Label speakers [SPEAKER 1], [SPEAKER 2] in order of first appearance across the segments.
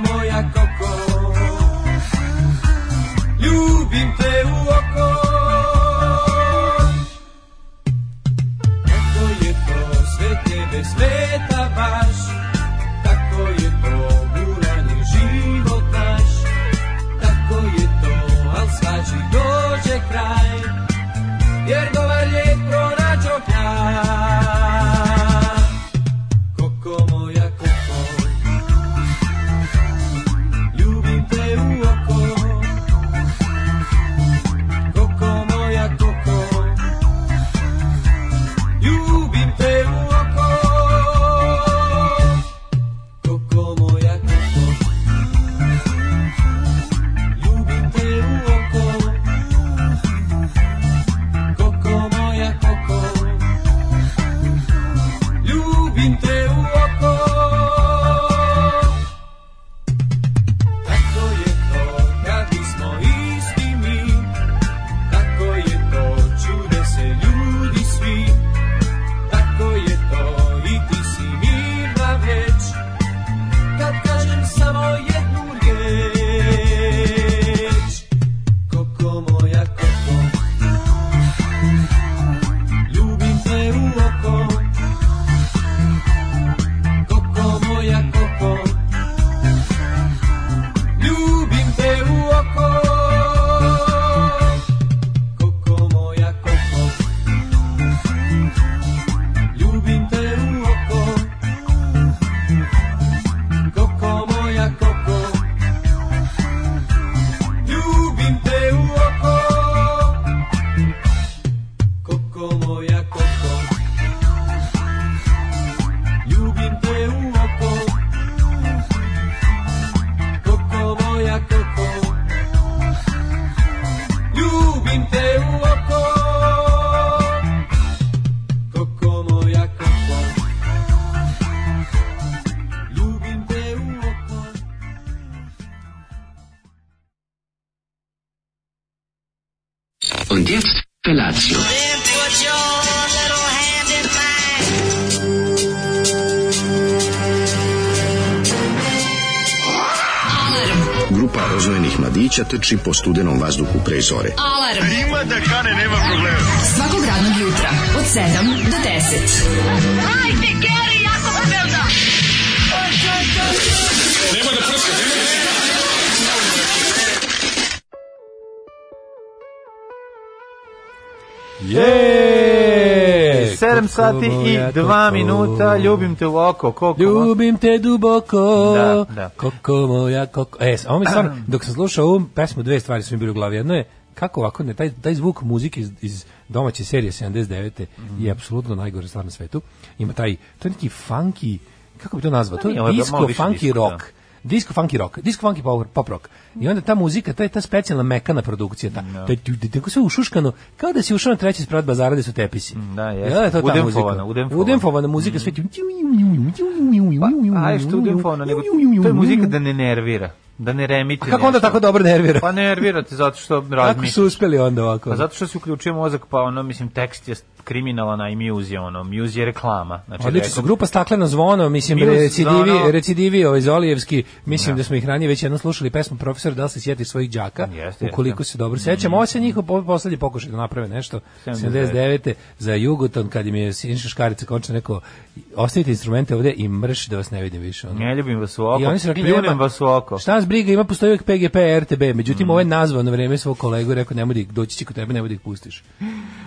[SPEAKER 1] moja koko Ljubim te u oko Kako je to sve tebe sveta baš Tako je to guranje život naš Tako je to, al svađi dođe kraj Jer dobar lijek pronađo ja Koko moja koko Ljubim te u oko Koko moja koko Ljubim te u oko Koko moja koko Ljubim te u oko Koko moja koko Ljubim te u oko tako je to, kad smo isti mi, tako je to, čude se ljudi svi, tako je to, i ti si mirna već, kad kažem samo jednu riječ. Koko moja koko, ljubim te u oko, koko moja koko, Ljubim te u oko Koko moja koko Ljubim te u oko Koko moja koko Ljubim te u oko Koko moja koko Ljubim te u oko Koko moja koko Ljubim te u oko Koko moja koko Ljubim te u oko
[SPEAKER 2] Und jetzt Felatio.
[SPEAKER 3] Grupa rozvojenih mladića teči po studenom vazduhu pre zore.
[SPEAKER 4] Alarm. Ima da kane, nema problema. Svakog radnog jutra, od 7 do 10. Hajde, Geri, jako se velda.
[SPEAKER 5] Je!
[SPEAKER 6] 7 sati i 2 minuta, ljubim te u oko, koko.
[SPEAKER 5] Ljubim te duboko.
[SPEAKER 6] Da, da.
[SPEAKER 5] Koko moja koko. E, s- ovo mi stvarno, dok sam slušao ovu pesmu, dve stvari su mi bile u glavi. Jedno je kako ovako ne taj taj zvuk muzike iz, iz domaće serije 79
[SPEAKER 6] Mhm.
[SPEAKER 5] je apsolutno najgore stvar na svetu. Ima taj to je neki funky kako bi to nazvao? To
[SPEAKER 6] Pa nije,
[SPEAKER 5] je
[SPEAKER 6] ovo je
[SPEAKER 5] disco
[SPEAKER 6] malo više
[SPEAKER 5] funky
[SPEAKER 6] disco, da.
[SPEAKER 5] rock. Disco funky rock, disco funky power, pop rock. I onda ta muzika, ta ta specijalna mekana produkcija, ta taj tu- tu- tako sve ušuškano, kao da si ušao na treći sprat bazara gde su tepisi.
[SPEAKER 6] da, jeste.
[SPEAKER 5] Jel je to ta
[SPEAKER 6] Udemfovana,
[SPEAKER 5] muzika.
[SPEAKER 6] udemfovana.
[SPEAKER 5] Udemfovana muzika sve ti-
[SPEAKER 6] Pa, a je što udimfona, nego to je muzika da ne nervira, da ne remiti.
[SPEAKER 5] A kako onda
[SPEAKER 6] nešto.
[SPEAKER 5] tako dobro nervira?
[SPEAKER 6] Pa nervira te zato što
[SPEAKER 5] Kako
[SPEAKER 6] razmišljaš.
[SPEAKER 5] su uspeli onda ovako?
[SPEAKER 6] Pa zato što se uključuje mozak, pa ono, mislim, tekst je kriminalan, a i muse je ono, muse je reklama. Znači,
[SPEAKER 5] Odlično su
[SPEAKER 6] rekao-
[SPEAKER 5] grupa Stakleno zvono, mislim
[SPEAKER 6] Minus
[SPEAKER 5] recidivi,
[SPEAKER 6] zvono.
[SPEAKER 5] recidivi ovaj Zolijevski, mislim da smo ih ranije već jednom slušali pesmu profesor da li se sjeti svojih đaka,
[SPEAKER 6] Jeste, Mm.
[SPEAKER 5] ukoliko se dobro sećam, ovo se njihov po- poslednji pokušaj da naprave nešto 79. za Jugoton kad im je Sinša Škarica končno neko ostavite instrumente ovde i mrš da vas ne vidim više. ono.
[SPEAKER 6] Ne ljubim vas u oko,
[SPEAKER 5] I oni su rekli,
[SPEAKER 6] pljunem
[SPEAKER 5] nema-
[SPEAKER 6] vas u oko. Mhm.
[SPEAKER 5] Šta nas briga, ima postoji uvijek PGP, RTB, međutim ovaj nazvao na vreme svog kolegu i rekao nemoj da ih doći će kod tebe, nemoj da ih pustiš.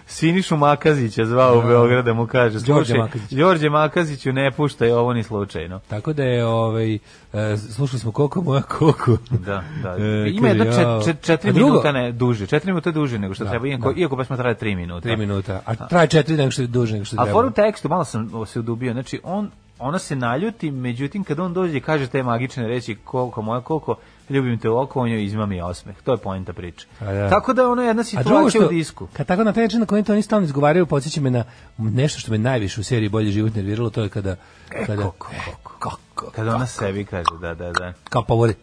[SPEAKER 6] Sinišu Makazića zvao u Beograda, mu kaže,
[SPEAKER 5] Đorđe
[SPEAKER 6] slušaj,
[SPEAKER 5] Makazić.
[SPEAKER 6] Đorđe Makaziću ne puštaj ovo ni slučajno.
[SPEAKER 5] Tako da je, ovaj, e, slušali smo koliko moja koliko.
[SPEAKER 6] Da, da.
[SPEAKER 5] E,
[SPEAKER 6] Ima jedno
[SPEAKER 5] kaže, jao.
[SPEAKER 6] čet, čet, četiri
[SPEAKER 5] A drugo?
[SPEAKER 6] minuta ne, duže, četiri minuta duže nego što treba, iako,
[SPEAKER 5] da.
[SPEAKER 6] iako pesma traje tri minuta.
[SPEAKER 5] Tri minuta, a traje četiri nego što je duže nego što
[SPEAKER 6] A
[SPEAKER 5] treba.
[SPEAKER 6] for u tekstu, malo sam se udubio, znači on, ona se naljuti, međutim kad on dođe i kaže te magične reći koliko moja koliko, ljubim te u oko, on joj izmami osmeh. To je poenta priče.
[SPEAKER 5] A da.
[SPEAKER 6] Tako da ono je jedna
[SPEAKER 5] A drugo
[SPEAKER 6] situacija
[SPEAKER 5] što,
[SPEAKER 6] u disku.
[SPEAKER 5] kad tako na taj način na koji to oni stalno izgovaraju, podsjeća me na nešto što me najviše u seriji Bolje život nerviralo, to je kada... kada
[SPEAKER 6] kako,
[SPEAKER 5] e, kako,
[SPEAKER 6] Kad ona sebi kaže, da, da, da.
[SPEAKER 5] Kao pa voli.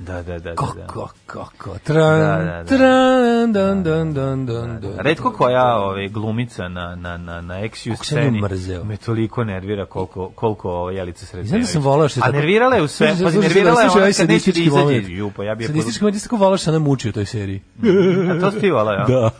[SPEAKER 6] Da, da, da. da, da.
[SPEAKER 5] Kako, kako. Tran,
[SPEAKER 6] Da, da, da.
[SPEAKER 5] tran, dan, dan, dan, dan, dan.
[SPEAKER 6] Redko koja ove, glumica na, na, na, na eksiju
[SPEAKER 5] Kako sam nju
[SPEAKER 6] sceni
[SPEAKER 5] mrzeo.
[SPEAKER 6] me toliko nervira koliko, koliko ova Jelica Sretenović.
[SPEAKER 5] Znam da sam volao što je
[SPEAKER 6] A
[SPEAKER 5] tako-
[SPEAKER 6] nervirala je u sve,
[SPEAKER 5] Slušaj,
[SPEAKER 6] pazi,
[SPEAKER 5] slušaj,
[SPEAKER 6] nervirala je
[SPEAKER 5] slušaj,
[SPEAKER 6] ona
[SPEAKER 5] ovaj
[SPEAKER 6] kad neće da
[SPEAKER 5] sadistički
[SPEAKER 6] izađe
[SPEAKER 5] moment.
[SPEAKER 6] iz jupa. Ja bih je
[SPEAKER 5] Sadistički moment, ja sam tako volao što ona muči u toj seriji.
[SPEAKER 6] poru- A to ste volao, ja?
[SPEAKER 5] Da.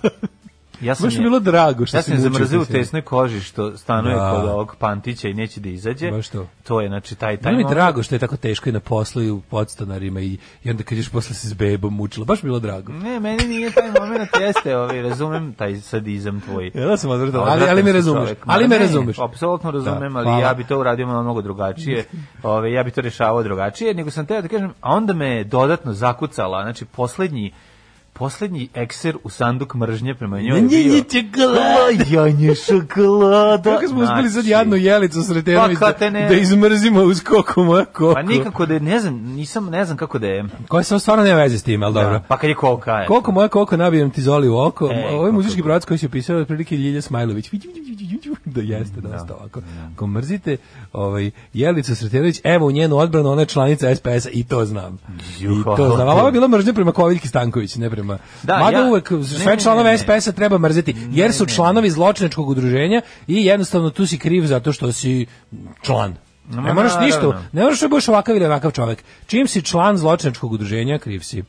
[SPEAKER 6] Ja sam
[SPEAKER 5] Baš mi
[SPEAKER 6] je-
[SPEAKER 5] je bilo drago što
[SPEAKER 6] Ja
[SPEAKER 5] se
[SPEAKER 6] sam je
[SPEAKER 5] muči u toj
[SPEAKER 6] zamrzeo u
[SPEAKER 5] seriji.
[SPEAKER 6] tesnoj koži što stanuje
[SPEAKER 5] Da.
[SPEAKER 6] kod ovog pantića i neće da izađe.
[SPEAKER 5] Baš to.
[SPEAKER 6] To je, znači, taj, taj
[SPEAKER 5] Bilo mi je
[SPEAKER 6] moment.
[SPEAKER 5] drago što je tako teško i na poslu i u podstanarima i, i onda kad ješ posle se s bebom mučila. Baš mi je bilo drago.
[SPEAKER 6] Ne, meni nije taj moment, jeste, ovaj, razumem taj sadizam tvoj. Ovaj,
[SPEAKER 5] Ja da sam odvratan, ali,
[SPEAKER 6] Odvratan
[SPEAKER 5] ali me
[SPEAKER 6] si
[SPEAKER 5] razumeš.
[SPEAKER 6] čovek. Ma
[SPEAKER 5] Ali me
[SPEAKER 6] ne, pa,
[SPEAKER 5] razumeš.
[SPEAKER 6] Apsolutno razumem,
[SPEAKER 5] Da,
[SPEAKER 6] ali
[SPEAKER 5] hvala.
[SPEAKER 6] ja bi to uradio malo mnogo drugačije. Ove, ja bi to rešavao drugačije, nego sam teo da kažem, a onda me je dodatno zakucala, znači poslednji poslednji ekser u sanduk mržnje prema njoj je
[SPEAKER 5] Janje
[SPEAKER 6] bio.
[SPEAKER 5] čokolada.
[SPEAKER 6] Janje šokolada.
[SPEAKER 5] Kako smo uspeli sad
[SPEAKER 6] Znači,
[SPEAKER 5] jadnu jelicu Sretenović
[SPEAKER 6] Pa
[SPEAKER 5] da,
[SPEAKER 6] kad te ne-
[SPEAKER 5] da izmrzimo uz koku moja koku.
[SPEAKER 6] Pa nikako da je, ne znam, nisam, ne znam kako da je.
[SPEAKER 5] Koja se stvarno nema veze s tim, ali dobro.
[SPEAKER 6] Da, pa kad je kolka je.
[SPEAKER 5] Koliko moja koliko nabijem ti zoli u oko,
[SPEAKER 6] E,
[SPEAKER 5] ovaj muzički
[SPEAKER 6] kako-
[SPEAKER 5] pravac koji se pisao je otprilike Ljilja Smajlović. Da jeste dosta ovako. Ako mrzite, ovaj, Jelica Sretenović, evo u njenu odbranu, ona je članica SPS-a i to znam. I
[SPEAKER 6] Juhu.
[SPEAKER 5] to znam. Ali ovo je bila mržnja prema Koviljki Stanković, ne prema...
[SPEAKER 6] Pa, Da,
[SPEAKER 5] Mada
[SPEAKER 6] ja-
[SPEAKER 5] uvek
[SPEAKER 6] ne, ne,
[SPEAKER 5] sve
[SPEAKER 6] ne,
[SPEAKER 5] članove
[SPEAKER 6] ne.
[SPEAKER 5] SPS-a treba mrziti, jer su članovi zločinačkog udruženja i jednostavno tu si kriv zato što si član. Ne
[SPEAKER 6] Ma,
[SPEAKER 5] moraš
[SPEAKER 6] naravno.
[SPEAKER 5] ništa, ne moraš da budeš ovakav ili onakav čovek. Čim si član zločinačkog udruženja, kriv si.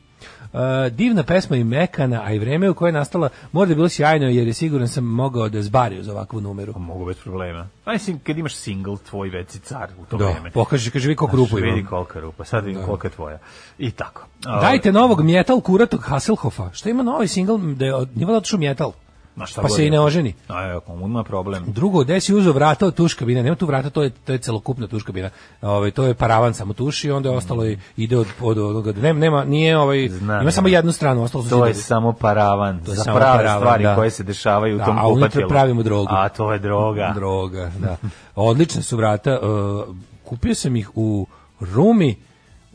[SPEAKER 5] E, divna pesma i mekana, a i vreme u koje je nastala mora da je bilo sjajno, jer je siguran sam mogao da zbari uz ovakvu numeru.
[SPEAKER 6] Mogu bez problema. Pa mislim, kad imaš single, tvoj već si car u to
[SPEAKER 5] Da,
[SPEAKER 6] vreme.
[SPEAKER 5] pokaži, kaže vi koliko rupu
[SPEAKER 6] Znaš,
[SPEAKER 5] imam.
[SPEAKER 6] Vidi kolika rupa, sad vidim kolika je tvoja. I tako. A,
[SPEAKER 5] Dajte novog metal kuratog Hasselhoffa. Što ima novi singl da je od njega otišao metal?
[SPEAKER 6] ma šta
[SPEAKER 5] Pa
[SPEAKER 6] god
[SPEAKER 5] se i
[SPEAKER 6] je.
[SPEAKER 5] ne oženi.
[SPEAKER 6] A ako mu ima problem.
[SPEAKER 5] Drugo, gde si uzeo vrata od tuš kabina? Nema tu vrata, to je, to je celokupna tuš kabina. Ovaj, to je paravan samo tuš i onda je ostalo i ide od, od onoga. Nema, nema, nije, ovaj,
[SPEAKER 6] Znam,
[SPEAKER 5] ima samo
[SPEAKER 6] ja.
[SPEAKER 5] jednu stranu, ostalo su
[SPEAKER 6] To je
[SPEAKER 5] zidovi.
[SPEAKER 6] samo paravan
[SPEAKER 5] je
[SPEAKER 6] za
[SPEAKER 5] samo
[SPEAKER 6] prave
[SPEAKER 5] paravan,
[SPEAKER 6] stvari
[SPEAKER 5] da.
[SPEAKER 6] koje se dešavaju
[SPEAKER 5] Da,
[SPEAKER 6] u tom
[SPEAKER 5] a unutra
[SPEAKER 6] kupatilu.
[SPEAKER 5] pravimo drogu.
[SPEAKER 6] A to je droga.
[SPEAKER 5] Droga, da. Odlična su vrata. e, kupio sam ih u Rumi,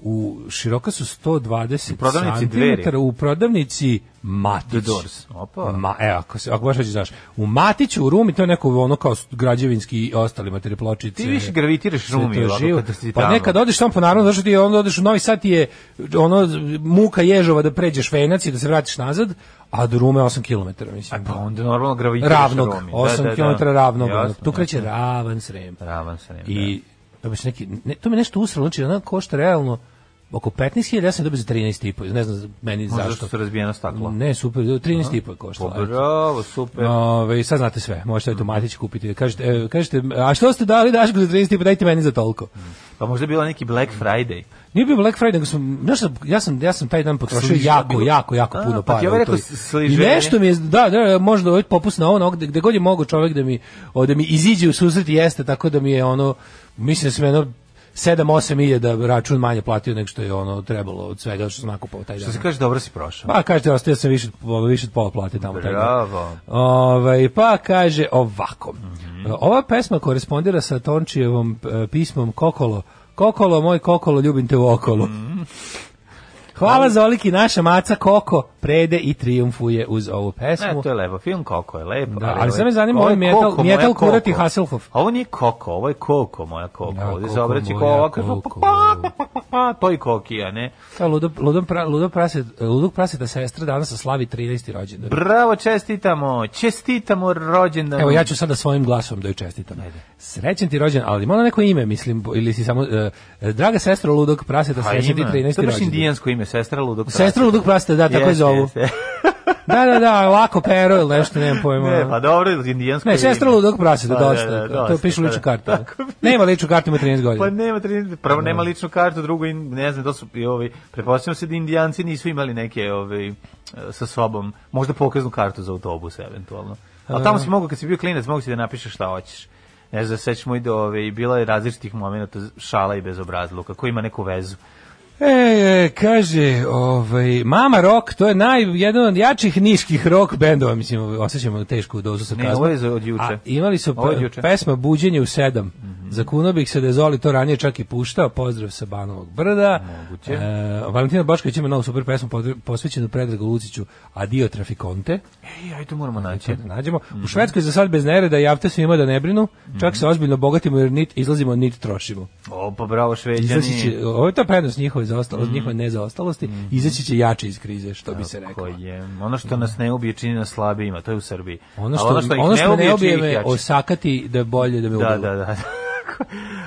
[SPEAKER 5] u široka su 120
[SPEAKER 6] prodavnici
[SPEAKER 5] centimetara,
[SPEAKER 6] Dveri.
[SPEAKER 5] u prodavnici Matić.
[SPEAKER 6] The Doors. Opa.
[SPEAKER 5] Ma, e, ako, se, ako baš već znaš. U Matiću, u Rumi, to je neko ono kao građevinski i ostali materijal pločice.
[SPEAKER 6] Ti više gravitiraš
[SPEAKER 5] sve to
[SPEAKER 6] rumi.
[SPEAKER 5] je
[SPEAKER 6] ovako,
[SPEAKER 5] živo.
[SPEAKER 6] kada si
[SPEAKER 5] Pa
[SPEAKER 6] tamo.
[SPEAKER 5] nekad odeš tamo po naravno, znaš ti onda odeš u Novi Sad ti je ono muka ježova da pređeš Venac i da se vratiš nazad, a do Rume 8 km,
[SPEAKER 6] A
[SPEAKER 5] mislim.
[SPEAKER 6] pa onda normalno gravitiraš
[SPEAKER 5] ravnog,
[SPEAKER 6] rumi. Da,
[SPEAKER 5] 8
[SPEAKER 6] da, da.
[SPEAKER 5] km ravnog. ono.
[SPEAKER 6] Jasno,
[SPEAKER 5] tu kreće
[SPEAKER 6] jasno.
[SPEAKER 5] ravan srem.
[SPEAKER 6] Ravan se nema.
[SPEAKER 5] I to bi se neki ne, to mi nešto usralo, znači ona košta realno oko 15.000, ja sam je dobio za 13.500. Ne znam meni
[SPEAKER 6] Možda
[SPEAKER 5] zašto.
[SPEAKER 6] što se razbijeno staklo.
[SPEAKER 5] Ne, super, 13.500 je koštalo.
[SPEAKER 6] Pa
[SPEAKER 5] eto.
[SPEAKER 6] Bravo, super.
[SPEAKER 5] Ove, sad znate sve, možete automatički kupiti. Kažete, e, kažete, a što ste dali Dašku za 30 pa dajte meni za toliko.
[SPEAKER 6] Pa možda je bilo neki Black Friday.
[SPEAKER 5] Nije bio Black Friday, nego sam, znaš, šta, ja sam, ja sam taj dan potrošio
[SPEAKER 6] Sliže-
[SPEAKER 5] jako, jako, jako
[SPEAKER 6] A,
[SPEAKER 5] puno
[SPEAKER 6] pa ti
[SPEAKER 5] para.
[SPEAKER 6] je ovaj
[SPEAKER 5] u toj-
[SPEAKER 6] rekao sliženje.
[SPEAKER 5] I nešto mi je, da, da možda ovaj popust na ovo, na ovo, gde, gde god je mogo čovjek da mi, o, da mi iziđe u susret jeste, tako da mi je ono, mislim da sam jedno 7-8 iljada račun manje platio nego što je ono trebalo od svega što sam nakupao taj dan.
[SPEAKER 6] Što se kaže, dobro si prošao.
[SPEAKER 5] Pa kažete, ostavio sam više, od- više od pola plate tamo. taj dan.
[SPEAKER 6] Bravo.
[SPEAKER 5] Ovaj, pa kaže ovako. Ova pesma korespondira sa Tončijevom e, pismom Kokolo. Kokolo, moj kokolo, ljubim te u okolo. Hvala za oliki naša maca Koko prede i trijumfuje uz ovu pesmu.
[SPEAKER 6] Ne, to je lepo. Film Koko je lepo.
[SPEAKER 5] Da, ali sad me
[SPEAKER 6] ovaj-
[SPEAKER 5] zanima
[SPEAKER 6] ovo je
[SPEAKER 5] ovaj metal-
[SPEAKER 6] Koko, moja
[SPEAKER 5] metal kurati
[SPEAKER 6] Koko.
[SPEAKER 5] Hasselhoff.
[SPEAKER 6] Ovo nije Koko, ovo je Koko, moja Koko.
[SPEAKER 5] Da,
[SPEAKER 6] Ovdje se
[SPEAKER 5] Koko,
[SPEAKER 6] obraći
[SPEAKER 5] moja
[SPEAKER 6] Koko, ovako,
[SPEAKER 5] Koko.
[SPEAKER 6] pa, pa, pa, pa, pa, to je Koki, a ne?
[SPEAKER 5] Kao ludo, ludo, pra, ludo praset, ludog praseta sestra danas se slavi 13. rođendan.
[SPEAKER 6] Bravo, čestitamo, čestitamo rođendan.
[SPEAKER 5] Evo ja ću sada svojim glasom da joj čestitam. Srećan ti rođen, ali ima ona neko ime, mislim, bo- ili si samo... e, e, draga sestra Ludog praseta,
[SPEAKER 6] Pa
[SPEAKER 5] srećan ti
[SPEAKER 6] ima.
[SPEAKER 5] 13. rođendan.
[SPEAKER 6] To je baš indijansko ime, sestra Ludog Praseta.
[SPEAKER 5] Sestra Ludog praseta, da, tako je
[SPEAKER 6] Jeste,
[SPEAKER 5] zovu.
[SPEAKER 6] jeste.
[SPEAKER 5] Da, da, da, lako pero ili nešto, nemam pojma.
[SPEAKER 6] Ne, pa dobro, indijansko
[SPEAKER 5] Ne,
[SPEAKER 6] ime.
[SPEAKER 5] sestra Ludog praseta,
[SPEAKER 6] Pa,
[SPEAKER 5] dosta.
[SPEAKER 6] da, da,
[SPEAKER 5] to
[SPEAKER 6] dosta,
[SPEAKER 5] piše u
[SPEAKER 6] pa
[SPEAKER 5] ličnu
[SPEAKER 6] da.
[SPEAKER 5] kartu.
[SPEAKER 6] Tako piše.
[SPEAKER 5] Nema ličnu kartu, ima 13
[SPEAKER 6] Pa
[SPEAKER 5] godina.
[SPEAKER 6] nema tri- prvo nema ličnu kartu, drugo i ne znam, to su i ovi. Pretpostavljam se da Indijanci nisu imali neke ovi e, sa sobom, možda pokaznu kartu za autobus eventualno.
[SPEAKER 5] Pa
[SPEAKER 6] A tamo si mogao kad si bio klinac, mogao si da napišeš šta hoćeš. Ne znam, sećaš moj do ove, i bila je različitih momenata šala i bezobrazluka, koji ima neku vezu.
[SPEAKER 5] E, e, kaže, ovaj, Mama Rock, to je naj, jedan od jačih niških rock bendova, mislim, osjećamo tešku dozu sa
[SPEAKER 6] Ne, ovo je za- od juče.
[SPEAKER 5] A, imali su
[SPEAKER 6] Ovo je od
[SPEAKER 5] pe-
[SPEAKER 6] juče. Mhm.
[SPEAKER 5] pesma Buđenje u sedam. Zakuno bih se da je Zoli to ranije čak i puštao. Pozdrav sa Banovog brda.
[SPEAKER 6] Moguće.
[SPEAKER 5] E, Valentina Bošković ima novu super pesmu podre- posvećenu Predragu Luciću Adio Trafikonte.
[SPEAKER 6] Ej, aj to moramo naći.
[SPEAKER 5] Da nađemo.
[SPEAKER 6] Mhm.
[SPEAKER 5] U Švedskoj za sad bez nereda javte svima da ne brinu. Čak se ozbiljno bogatimo jer nit izlazimo, nit trošimo.
[SPEAKER 6] O, pa bravo, šveđani.
[SPEAKER 5] Izlazi će, ovo je ta prednost njihova njihove
[SPEAKER 6] Mm.
[SPEAKER 5] zaostalosti, njihove nezaostalosti, izaći će jače iz krize, što bi se reklo.
[SPEAKER 6] je. Ono što nas ne ubije čini nas slabijima, to je u Srbiji.
[SPEAKER 5] Ono što,
[SPEAKER 6] A
[SPEAKER 5] ono što, me ne
[SPEAKER 6] čini
[SPEAKER 5] ubije
[SPEAKER 6] ih
[SPEAKER 5] me
[SPEAKER 6] jačim.
[SPEAKER 5] osakati da je bolje da me ubije.
[SPEAKER 6] Da, da, da.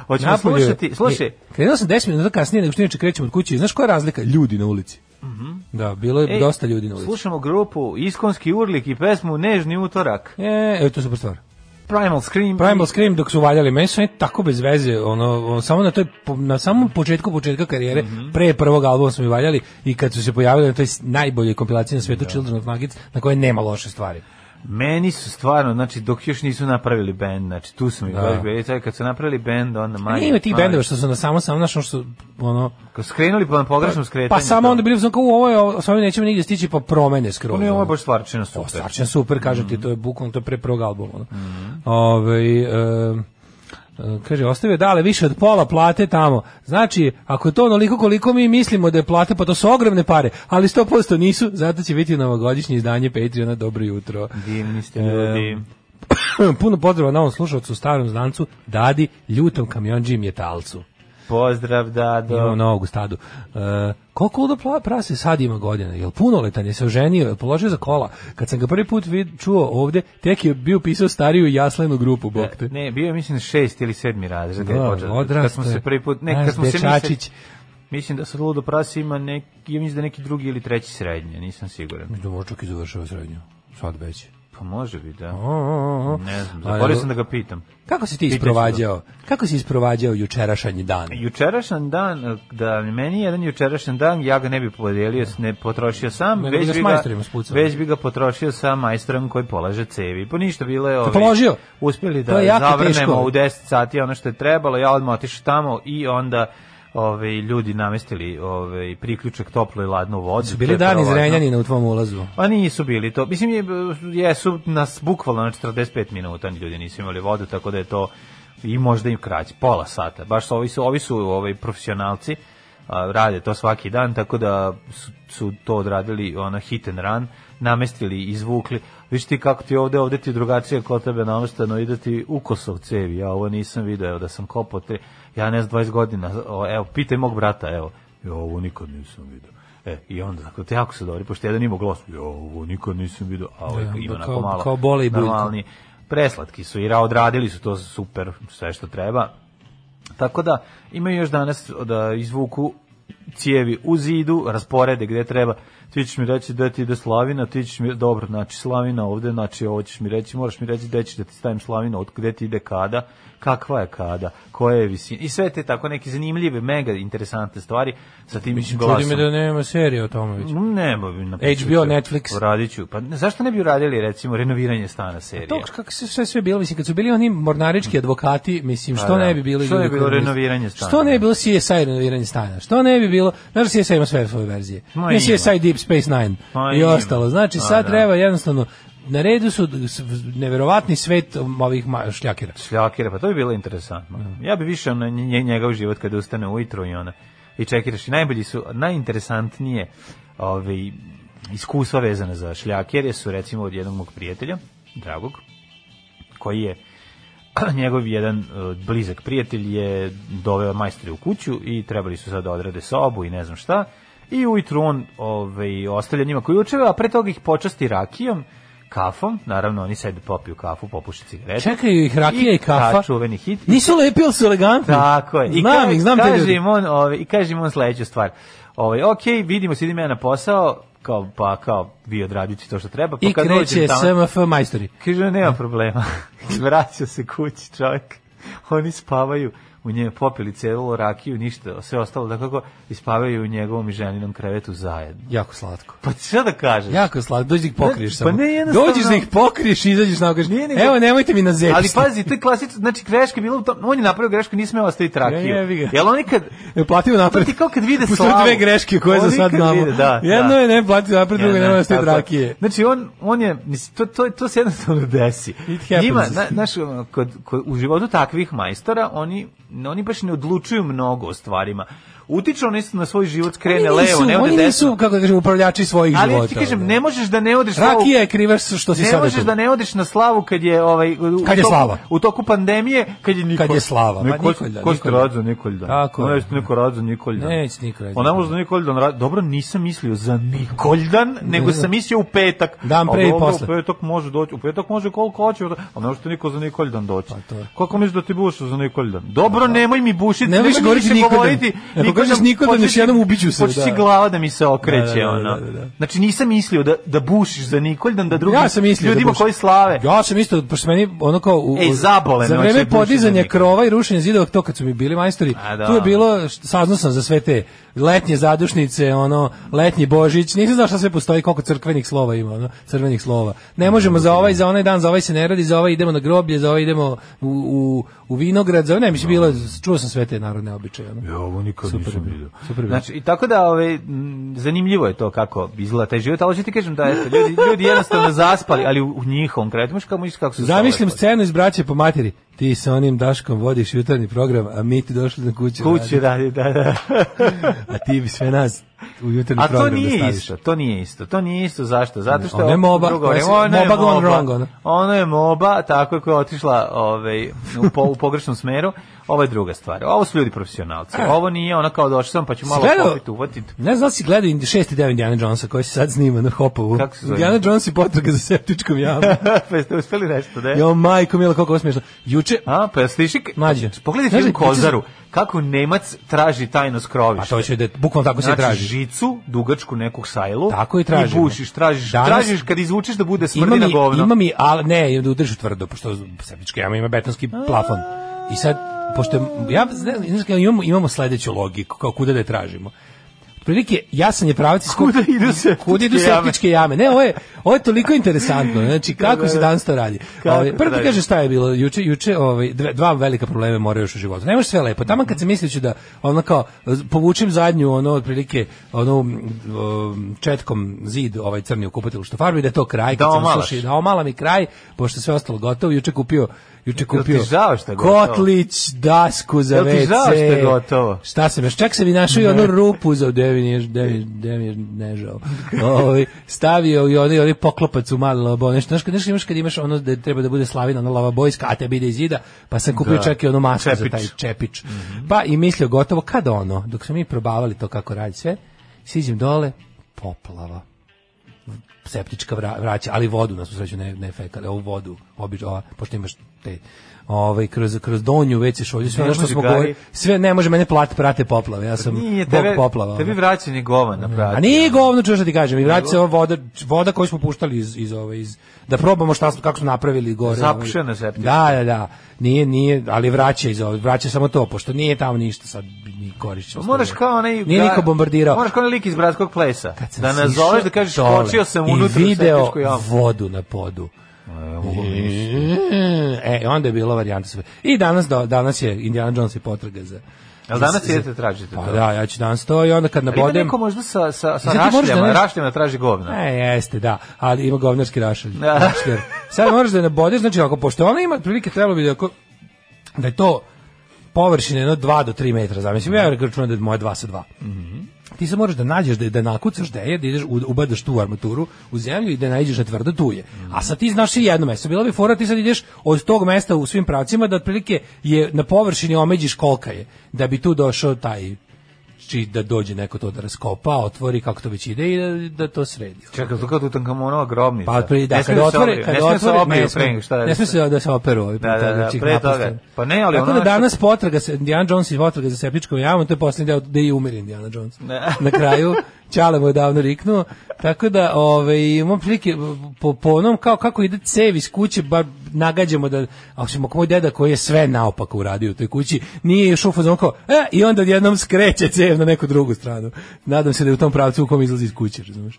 [SPEAKER 6] Hoćemo
[SPEAKER 5] Napolju-
[SPEAKER 6] slušati, slušaj,
[SPEAKER 5] E, krenuo sam 10 minuta kasnije nego što inače krećem od kuće. i Znaš koja je razlika? Ljudi na ulici.
[SPEAKER 6] Mhm.
[SPEAKER 5] Da, bilo je
[SPEAKER 6] Ej,
[SPEAKER 5] dosta ljudi na ulici.
[SPEAKER 6] E, Slušamo grupu Iskonski urlik i pesmu Nežni utorak.
[SPEAKER 5] E, evo to je super stvar.
[SPEAKER 6] Primal Scream.
[SPEAKER 5] Primal Scream dok su valjali, meni su oni tako bez veze, ono, ono, samo na toj, po- na samom početku početka karijere,
[SPEAKER 6] Mhm.
[SPEAKER 5] pre prvog albuma su mi valjali i kad su se pojavili na toj s- najboljoj kompilaciji na svetu Children of Nuggets, na kojoj nema loše stvari.
[SPEAKER 6] Meni su stvarno, znači, dok još nisu napravili bend, znači, tu su mi
[SPEAKER 5] Da.
[SPEAKER 6] baš bili, sad kad su napravili bend, onda manje.
[SPEAKER 5] Ima tih
[SPEAKER 6] manje.
[SPEAKER 5] bendova što su na samo samo našom što su, ono,
[SPEAKER 6] Kad su skrenuli po na pogrešnom skretanju.
[SPEAKER 5] pa samo
[SPEAKER 6] to-
[SPEAKER 5] onda bili u fazonu kao, u, ovo je, ovo- s ovim nećemo nigdje stići, pa promene skroz.
[SPEAKER 6] Ono je ovo
[SPEAKER 5] ono.
[SPEAKER 6] je baš Mhm. stvarčina super.
[SPEAKER 5] Starčan super, kažem ti, to je bukvalno to je pre prvog albuma. ono.
[SPEAKER 6] Mhm.
[SPEAKER 5] Ovaj, em, e, kaže, ostavio dale više od pola plate tamo. Znači, ako je to onoliko koliko mi mislimo da je plate, pa to su ogromne pare, ali 100% nisu, zato će biti novogodišnje izdanje Patreona Dobro jutro.
[SPEAKER 6] Divni ste ljudi.
[SPEAKER 5] Puno pozdrava novom slušalcu, starom znancu, Dadi, ljutom kamionđi i mjetalcu.
[SPEAKER 6] Pozdrav,
[SPEAKER 5] Imamo
[SPEAKER 6] Dado.
[SPEAKER 5] novog u stadu. E, koliko ludo pla- prase sad ima godina? Jel punoletan je se oženio, jel položio za kola? Kad sam ga prvi put vid, čuo ovde, tek je bio pisao stariju jaslenu grupu, bok te.
[SPEAKER 6] Ne, bio je, mislim, šest ili sedmi razred. kad je
[SPEAKER 5] Da,
[SPEAKER 6] počeo. Kad
[SPEAKER 5] odrastao
[SPEAKER 6] smo se
[SPEAKER 5] je.
[SPEAKER 6] prvi put, ne,
[SPEAKER 5] Znaš,
[SPEAKER 6] kad smo se mi
[SPEAKER 5] dečačić.
[SPEAKER 6] se... Mislim da sad Ludo Prasi ima neki, ja mislim da je neki drugi ili treći srednje, nisam siguran.
[SPEAKER 5] Mislim da možda čak i završava srednju. Sad već.
[SPEAKER 6] Pa može bi, da.
[SPEAKER 5] O, o, o.
[SPEAKER 6] Ne znam,
[SPEAKER 5] A,
[SPEAKER 6] zaboravio
[SPEAKER 5] jel-
[SPEAKER 6] sam da ga pitam.
[SPEAKER 5] Kako si ti
[SPEAKER 6] Pitaj
[SPEAKER 5] isprovađao? Kako si isprovađao jučerašanji dan?
[SPEAKER 6] Jučerašnji dan, da meni je jedan jučerašnji dan, ja ga ne bi podijelio, s- ne potrošio sam,
[SPEAKER 5] Nego bi ga
[SPEAKER 6] već
[SPEAKER 5] s
[SPEAKER 6] bi, ga,
[SPEAKER 5] majstorima spucao.
[SPEAKER 6] već bi ga potrošio sa majstorom koji polaže cevi. Po ništa bilo je... Ovaj,
[SPEAKER 5] položio?
[SPEAKER 6] Uspjeli
[SPEAKER 5] To
[SPEAKER 6] da
[SPEAKER 5] je jako
[SPEAKER 6] zavrnemo
[SPEAKER 5] teško.
[SPEAKER 6] u 10 sati ono što je trebalo, ja odmah otišao tamo i onda ovaj ljudi namestili ovaj priključak toplo i ladnu vodu.
[SPEAKER 5] Su
[SPEAKER 6] To
[SPEAKER 5] bili
[SPEAKER 6] je
[SPEAKER 5] dani iz
[SPEAKER 6] prevažno.
[SPEAKER 5] Renjanina u tvom ulazu?
[SPEAKER 6] Pa nisu bili to. Mislim, je, jesu nas bukvalno na 45 minuta ljudi nisu imali vodu, tako da je to i možda i kraće, pola sata. Baš su, ovi su, ovi su ovaj, profesionalci, a, rade to svaki dan, tako da su, su to odradili ono, hit and run, namestili, izvukli. Viš ti kako ti ovde, ovde ti je drugačije kod tebe nameštano, ide ti u Kosov cevi, ja ovo nisam video, evo da sam kopao te, ja ne znam, 20 godina, o, evo, pitaj mog brata, evo, ja ovo nikad nisam video. E, i onda, tako, te jako su dobri, pošto jedan ima glas, jo, ovo nikad nisam vidio, a ovaj
[SPEAKER 5] Da,
[SPEAKER 6] ima
[SPEAKER 5] da,
[SPEAKER 6] onako
[SPEAKER 5] kao-
[SPEAKER 6] malo,
[SPEAKER 5] kao bole i buljka.
[SPEAKER 6] normalni, preslatki su i ra- odradili su to super, sve što treba, tako da, imaju još danas da izvuku cijevi u zidu, rasporede gde treba. Ti ćeš mi reći da ti ide slavina, ti ćeš mi, dobro, znači slavina ovde, znači ovo ćeš mi reći, moraš mi reći da ćeš da ti stavim slavinu, od gde ti ide kada, kakva je kada, koja je visina. I sve te tako neke zanimljive, mega interesantne stvari sa tim glasom.
[SPEAKER 5] Čudi me da nema serije o tome već.
[SPEAKER 6] Ne, ma, napisat ću.
[SPEAKER 5] HBO, Netflix.
[SPEAKER 6] Uradit ću. Pa ne, zašto ne bi uradili, recimo, renoviranje stana serije?
[SPEAKER 5] To kako se sve sve bilo, mislim kad su bili oni mornarički advokati, mislim
[SPEAKER 6] Pa
[SPEAKER 5] što
[SPEAKER 6] da.
[SPEAKER 5] ne bi bilo
[SPEAKER 6] Što
[SPEAKER 5] ljudi
[SPEAKER 6] ne bi bilo
[SPEAKER 5] koji
[SPEAKER 6] renoviranje stana,
[SPEAKER 5] Što ne bi
[SPEAKER 6] da.
[SPEAKER 5] bilo CSI renoviranje stana? Što ne bi bilo, znaš CSI ima sve svoje verzije.
[SPEAKER 6] Ma
[SPEAKER 5] Ne
[SPEAKER 6] ima.
[SPEAKER 5] CSI Deep Space Nine
[SPEAKER 6] Ma
[SPEAKER 5] i
[SPEAKER 6] ima.
[SPEAKER 5] ostalo. Znači
[SPEAKER 6] Pa
[SPEAKER 5] sad
[SPEAKER 6] da.
[SPEAKER 5] treba jednostavno na redu su s- neverovatni svet ovih ma- šljakera.
[SPEAKER 6] šljakira, pa to bi bilo interesantno.
[SPEAKER 5] Mm.
[SPEAKER 6] Ja bi više na nje- njegov život kada ustane ujutro i ona i čekiraš i najbolji su najinteresantnije ovaj iskustva vezane za šljakere su recimo od jednog mog prijatelja, dragog, koji je njegov jedan e, blizak prijatelj je doveo majstori u kuću i trebali su sad da odrade sobu i ne znam šta. I ujutru on ovaj, ostavlja njima ključeve, a pre toga ih počasti rakijom, kafom, naravno oni sede popiju kafu, popuše cigarete.
[SPEAKER 5] Čekaju ih rakija i, kafa.
[SPEAKER 6] Ta čuveni hit.
[SPEAKER 5] Nisu lepi, ali su elegantni.
[SPEAKER 6] Tako je. I
[SPEAKER 5] znam
[SPEAKER 6] ka-
[SPEAKER 5] ih, znam te
[SPEAKER 6] kaže
[SPEAKER 5] ljude.
[SPEAKER 6] im on, ovaj, I kaže im on sledeću stvar. Ovaj, ok, vidimo se, idem ja na posao, kao, pa kao vi odradite to što treba. Pa
[SPEAKER 5] I
[SPEAKER 6] kad
[SPEAKER 5] kreće
[SPEAKER 6] dođem tamo-
[SPEAKER 5] SMF majstori.
[SPEAKER 6] Kaže, nema problema. Vraća se kući čovjek. Oni spavaju u nje popili celu rakiju, ništa, sve ostalo da kako i spavaju u njegovom i ženinom krevetu zajedno.
[SPEAKER 5] Jako slatko.
[SPEAKER 6] Pa šta da kažeš?
[SPEAKER 5] Jako slatko, dođi da ih pokriješ
[SPEAKER 6] Pa
[SPEAKER 5] samo.
[SPEAKER 6] ne, jednostavno-
[SPEAKER 5] Dođeš da ih pokriješ i izađeš na kažeš,
[SPEAKER 6] Nije nego-
[SPEAKER 5] evo nemojte mi na zepište.
[SPEAKER 6] Ali pa pazi, to je klasično, znači greška je bila u tom, on je napravio grešku, nije smeo ostaviti rakiju.
[SPEAKER 5] jebi ga. E,
[SPEAKER 6] Jel oni kad,
[SPEAKER 5] Ne platimo
[SPEAKER 6] to
[SPEAKER 5] napred.
[SPEAKER 6] ti kao kad vide
[SPEAKER 5] Postoje
[SPEAKER 6] slavu.
[SPEAKER 5] dve greške koje za
[SPEAKER 6] Oni
[SPEAKER 5] sad
[SPEAKER 6] kad
[SPEAKER 5] znamo.
[SPEAKER 6] vide, da,
[SPEAKER 5] Jedno
[SPEAKER 6] da.
[SPEAKER 5] je ne plati napred, drugo
[SPEAKER 6] Ne,
[SPEAKER 5] je
[SPEAKER 6] ne,
[SPEAKER 5] nema ste
[SPEAKER 6] tako je.
[SPEAKER 5] rakije.
[SPEAKER 6] Znači on on je mislim to to to se jednostavno desi.
[SPEAKER 5] It happens.
[SPEAKER 6] ono, Njima na, naš kod, kod u životu takvih majstora oni oni baš ne odlučuju mnogo o stvarima. Utiču oni su na svoj život krene
[SPEAKER 5] Oni
[SPEAKER 6] levo,
[SPEAKER 5] nisu-
[SPEAKER 6] ne ode
[SPEAKER 5] Oni nisu,
[SPEAKER 6] desno.
[SPEAKER 5] kako da kažem, upravljači svojih
[SPEAKER 6] Ali ja
[SPEAKER 5] života.
[SPEAKER 6] ti kažem,
[SPEAKER 5] ono.
[SPEAKER 6] ne možeš da ne odeš na ovu-
[SPEAKER 5] Rakija je kriva što si
[SPEAKER 6] ne
[SPEAKER 5] sada
[SPEAKER 6] možeš
[SPEAKER 5] tu.
[SPEAKER 6] da ne odeš na slavu kad je ovaj u,
[SPEAKER 5] Kad je
[SPEAKER 6] toku-
[SPEAKER 5] slava.
[SPEAKER 6] u toku pandemije kad je Nikolj.
[SPEAKER 5] Kad je slava, ma
[SPEAKER 6] Nikolj,
[SPEAKER 5] Nikolj dan,
[SPEAKER 6] ko ste
[SPEAKER 5] Nikolj dan.
[SPEAKER 6] rođen Nikolj dan.
[SPEAKER 5] Tako
[SPEAKER 6] No,
[SPEAKER 5] je.
[SPEAKER 6] jeste neko rođen Nikolj dan.
[SPEAKER 5] Neće niko rođen.
[SPEAKER 6] Ona možda Nikolj dan. ra- Dobro, nisam mislio za Nikolj dan, nego sam mislio u petak.
[SPEAKER 5] Dan
[SPEAKER 6] A
[SPEAKER 5] pre i
[SPEAKER 6] dobro,
[SPEAKER 5] posle.
[SPEAKER 6] U petak može doći, u petak može koliko hoće, a ne može ti niko za Nikolj dan doći.
[SPEAKER 5] Pa to je.
[SPEAKER 6] Kako misliš da ti bušu za Nikolj dan? Dobro, nemoj mi bušiti,
[SPEAKER 5] Ne
[SPEAKER 6] nemoj
[SPEAKER 5] možeš
[SPEAKER 6] mi
[SPEAKER 5] govoriti
[SPEAKER 6] više
[SPEAKER 5] Nikolj dan.
[SPEAKER 6] govoriti.
[SPEAKER 5] Ako kažeš Nikolj dan, još
[SPEAKER 6] početi-
[SPEAKER 5] jednom ubiću se,
[SPEAKER 6] početi
[SPEAKER 5] da.
[SPEAKER 6] glava da mi se okreće,
[SPEAKER 5] Da, da, da,
[SPEAKER 6] ono.
[SPEAKER 5] da, da.
[SPEAKER 6] Znači nisam mislio da, da bušiš za Nikoljdan, da drugi
[SPEAKER 5] ja sam mislio
[SPEAKER 6] ljudima
[SPEAKER 5] da buš-
[SPEAKER 6] koji slave.
[SPEAKER 5] Ja sam isto pošto meni ono kao u,
[SPEAKER 6] Ej, zaboleno
[SPEAKER 5] za
[SPEAKER 6] je
[SPEAKER 5] vreme
[SPEAKER 6] sve buši za
[SPEAKER 5] podizanja
[SPEAKER 6] njega.
[SPEAKER 5] krova i rušenja zidova to kad su mi bili majstori.
[SPEAKER 6] A, da.
[SPEAKER 5] Tu je bilo št- saznao sam za sve te letnje zadušnice, ono letnji Božić, nisam znao šta sve postoji, koliko crkvenih slova ima, ono crvenih slova. Ne možemo za ovaj, za onaj dan, za ovaj se ne radi, za ovaj idemo na groblje, za ovaj idemo u, u, u vinograd, za ovaj ne, mislim bilo čuo sam sve te narodne običaje, ono.
[SPEAKER 6] Ja, ovo nikad
[SPEAKER 5] Super je bilo. Super je bilo.
[SPEAKER 6] Znači, i tako da, ove, m, zanimljivo je to kako izgleda taj život, ali hoću ti kažem da eto, ljudi, ljudi jednostavno zaspali, ali u, u njihovom kretu, možeš kako, možeš kako su
[SPEAKER 5] Zamislim
[SPEAKER 6] se
[SPEAKER 5] scenu iz braće po materi. Ti sa onim Daškom vodiš jutarnji program, a mi ti došli na kuću.
[SPEAKER 6] kuće radi, da, da.
[SPEAKER 5] A ti bi sve nas u jutarnji
[SPEAKER 6] A to
[SPEAKER 5] program da
[SPEAKER 6] nije
[SPEAKER 5] staviš.
[SPEAKER 6] isto, to nije isto, to nije isto, zašto? Zato što...
[SPEAKER 5] Ono je moba,
[SPEAKER 6] drugo,
[SPEAKER 5] koja
[SPEAKER 6] ne,
[SPEAKER 5] se-
[SPEAKER 6] ono je
[SPEAKER 5] moba gone wrong, ono.
[SPEAKER 6] moba, ono je moba, tako je koja je otišla ovaj, u, po, u pogrešnom smeru, ovo je druga stvar. Ovo su ljudi profesionalci, ovo nije ono kao došao sam pa ću malo
[SPEAKER 5] E. Gledao-
[SPEAKER 6] popiti, uvatiti.
[SPEAKER 5] Ne znam da li si gledao indi- šesti deo Indiana Jonesa koji se sad snima na Hopovu.
[SPEAKER 6] Kako se zove?
[SPEAKER 5] Indiana Jones i potraga za septičkom jamom.
[SPEAKER 6] pa jeste uspeli nešto, da je?
[SPEAKER 5] jo, majko, mila, koliko ovo smiješno. Juče,
[SPEAKER 6] A, pa jeste išli...
[SPEAKER 5] Mlađe. Znači,
[SPEAKER 6] Pogledaj
[SPEAKER 5] Znaš
[SPEAKER 6] film
[SPEAKER 5] da-
[SPEAKER 6] Kozaru, kako Nemac traži tajno
[SPEAKER 5] pa
[SPEAKER 6] skrovište.
[SPEAKER 5] to će da, bukvalno tako se
[SPEAKER 6] Znači,
[SPEAKER 5] traži.
[SPEAKER 6] žicu, dugačku nekog sajlu.
[SPEAKER 5] Tako i tražimo.
[SPEAKER 6] I bušiš, tražiš,
[SPEAKER 5] Danas-
[SPEAKER 6] tražiš kad izvučeš da bude
[SPEAKER 5] ima
[SPEAKER 6] smrdi na
[SPEAKER 5] mi,
[SPEAKER 6] govno.
[SPEAKER 5] ima mi, ali ne, i da udrži tvrdo, pošto septička jama ima betonski plafon. I sad, pošto, je- ja, ne znam, znaš, kao imamo, imamo sledeću logiku, kao kuda da je tražimo. Otprilike, jasan je pravac iz kog-
[SPEAKER 6] Kuda idu septičke
[SPEAKER 5] kuda idu
[SPEAKER 6] jame?
[SPEAKER 5] septičke jame. Ne, ovo je, ovo je toliko interesantno. Znači, kako se danas to radi?
[SPEAKER 6] Kako
[SPEAKER 5] Ovaj,
[SPEAKER 6] se
[SPEAKER 5] prvo ti
[SPEAKER 6] radi?
[SPEAKER 5] kažem šta je bilo. Juče, juče ovaj, dve- dva velika probleme moraju još u životu. Ne može sve lepo. Tamo kad sam mislio ću da ono kao, z- povučem zadnju, ono, otprilike, ono, um, četkom zid, ovaj crni u kupatilu što farbi, da je to kraj. Kad
[SPEAKER 6] Da
[SPEAKER 5] sam
[SPEAKER 6] omalaš.
[SPEAKER 5] slušao, da omala mi kraj, pošto je sve ostalo gotovo. Juče kupio Juče kupio
[SPEAKER 6] žao što je gotovo?
[SPEAKER 5] kotlić, dasku za
[SPEAKER 6] Jel ti
[SPEAKER 5] WC.
[SPEAKER 6] žao što je gotovo?
[SPEAKER 5] Šta sam još? Čak sam i našao i onu rupu za devin je, devin, devin je nežao. Ovaj, stavio i onaj, onaj poklopac u mali lavabo. Nešto, znaš, kad, nešto imaš kad imaš ono da treba da bude slavina, ono lavabojska, a tebi ide iz zida, pa sam kupio
[SPEAKER 6] Da.
[SPEAKER 5] čak i ono masku za
[SPEAKER 6] Čepić. Mhm.
[SPEAKER 5] taj čepić. Pa i mislio gotovo, kad ono, dok smo mi probavali to kako radi sve, siđem dole, poplava septička vra, vraća, ali vodu na svu sreću ne ne fekale, ovu vodu, obično, ova, pošto imaš te ovaj kroz kroz donju već se ovdje sve ono što
[SPEAKER 6] može
[SPEAKER 5] smo
[SPEAKER 6] Gari.
[SPEAKER 5] govorili, sve ne može mene plat prate poplave, ja sam
[SPEAKER 6] Nije,
[SPEAKER 5] bog
[SPEAKER 6] tebe,
[SPEAKER 5] poplava.
[SPEAKER 6] tebi
[SPEAKER 5] ono.
[SPEAKER 6] vraćanje govana, brate.
[SPEAKER 5] A nije govno čuješ što ti kažem, i vraća se ova voda, voda koju smo puštali iz iz ove iz da probamo šta smo kako smo napravili gore.
[SPEAKER 6] Zapušena
[SPEAKER 5] ovaj.
[SPEAKER 6] septička.
[SPEAKER 5] Da, da, da. Nije, nije, ali vraća iz ove, vraća samo to, pošto nije tamo ništa sad ni korišćeno.
[SPEAKER 6] Pa Moraš kao onaj...
[SPEAKER 5] Nije niko bombardirao.
[SPEAKER 6] Moraš kao onaj lik iz Bratskog plesa.
[SPEAKER 5] Kad sam
[SPEAKER 6] Da nazoveš
[SPEAKER 5] sišao
[SPEAKER 6] da kažeš,
[SPEAKER 5] dole
[SPEAKER 6] skočio sam
[SPEAKER 5] i
[SPEAKER 6] unutra u
[SPEAKER 5] video
[SPEAKER 6] septičku jamu.
[SPEAKER 5] vodu na podu. E, onda je bila varijanta sve. I danas, da, danas je Indiana Jones i potraga za...
[SPEAKER 6] Jel danas
[SPEAKER 5] za-
[SPEAKER 6] idete tražite
[SPEAKER 5] Pa
[SPEAKER 6] to?
[SPEAKER 5] da, ja ću danas to i onda kad
[SPEAKER 6] Ali Ima
[SPEAKER 5] nabodem...
[SPEAKER 6] neko možda sa, sa, sa
[SPEAKER 5] Zato moraš da
[SPEAKER 6] rašljama,
[SPEAKER 5] ne-
[SPEAKER 6] rašljama traži govna.
[SPEAKER 5] E, jeste, da, ali ima govnarski rašelj.
[SPEAKER 6] Da.
[SPEAKER 5] Rašljer. Znači, Sad moraš da je nabodeš, znači ako, pošto ona ima prilike, trebalo bi da, ako, da je to površine jedno 2 do 3 metra, zamislim, ja računam da je moje 2 sa 2. Ti se moraš da nađeš, da, da nakucaš da je, da ideš, u- ubadaš tu armaturu u zemlju i da nađeš na tvrdo tu je. A sad ti znaš i jedno mesto. Bila bi fora, ti sad ideš od tog mesta u svim pravcima da otprilike je na površini omeđiš kolika je, da bi tu došao taj či da dođe neko to da raskopa, otvori kako to već ide i da, da to sredi.
[SPEAKER 6] Čekaj, to kao Tutankamonova grobnica.
[SPEAKER 5] Pa pri da
[SPEAKER 6] Ne smiju
[SPEAKER 5] kad
[SPEAKER 6] se
[SPEAKER 5] otvore,
[SPEAKER 6] obriju,
[SPEAKER 5] kad
[SPEAKER 6] ne smiju se
[SPEAKER 5] otvore,
[SPEAKER 6] obriju
[SPEAKER 5] ne
[SPEAKER 6] pre
[SPEAKER 5] smije
[SPEAKER 6] nego šta
[SPEAKER 5] ne smije se da se operu ovaj
[SPEAKER 6] Da, da,
[SPEAKER 5] pripadnik,
[SPEAKER 6] da,
[SPEAKER 5] ih
[SPEAKER 6] pre toga.
[SPEAKER 5] napuste.
[SPEAKER 6] Pa ne, ali
[SPEAKER 5] Tako
[SPEAKER 6] ono
[SPEAKER 5] da
[SPEAKER 6] što-
[SPEAKER 5] danas potraga se Indiana Jones i potraga za septičkom jamom, to je poslednji deo da i umire Indiana Jones. Na kraju Ćale mu je davno riknuo. Tako da, ovaj, imamo prilike po, po onom kao kako ide cev iz kuće, bar nagađamo da, ako ćemo moj deda koji je sve naopako uradio u toj kući, nije još ufazom kao, e, i onda odjednom skreće cev na neku drugu stranu. Nadam se da je u tom pravcu u kom izlazi iz kuće, razumeš?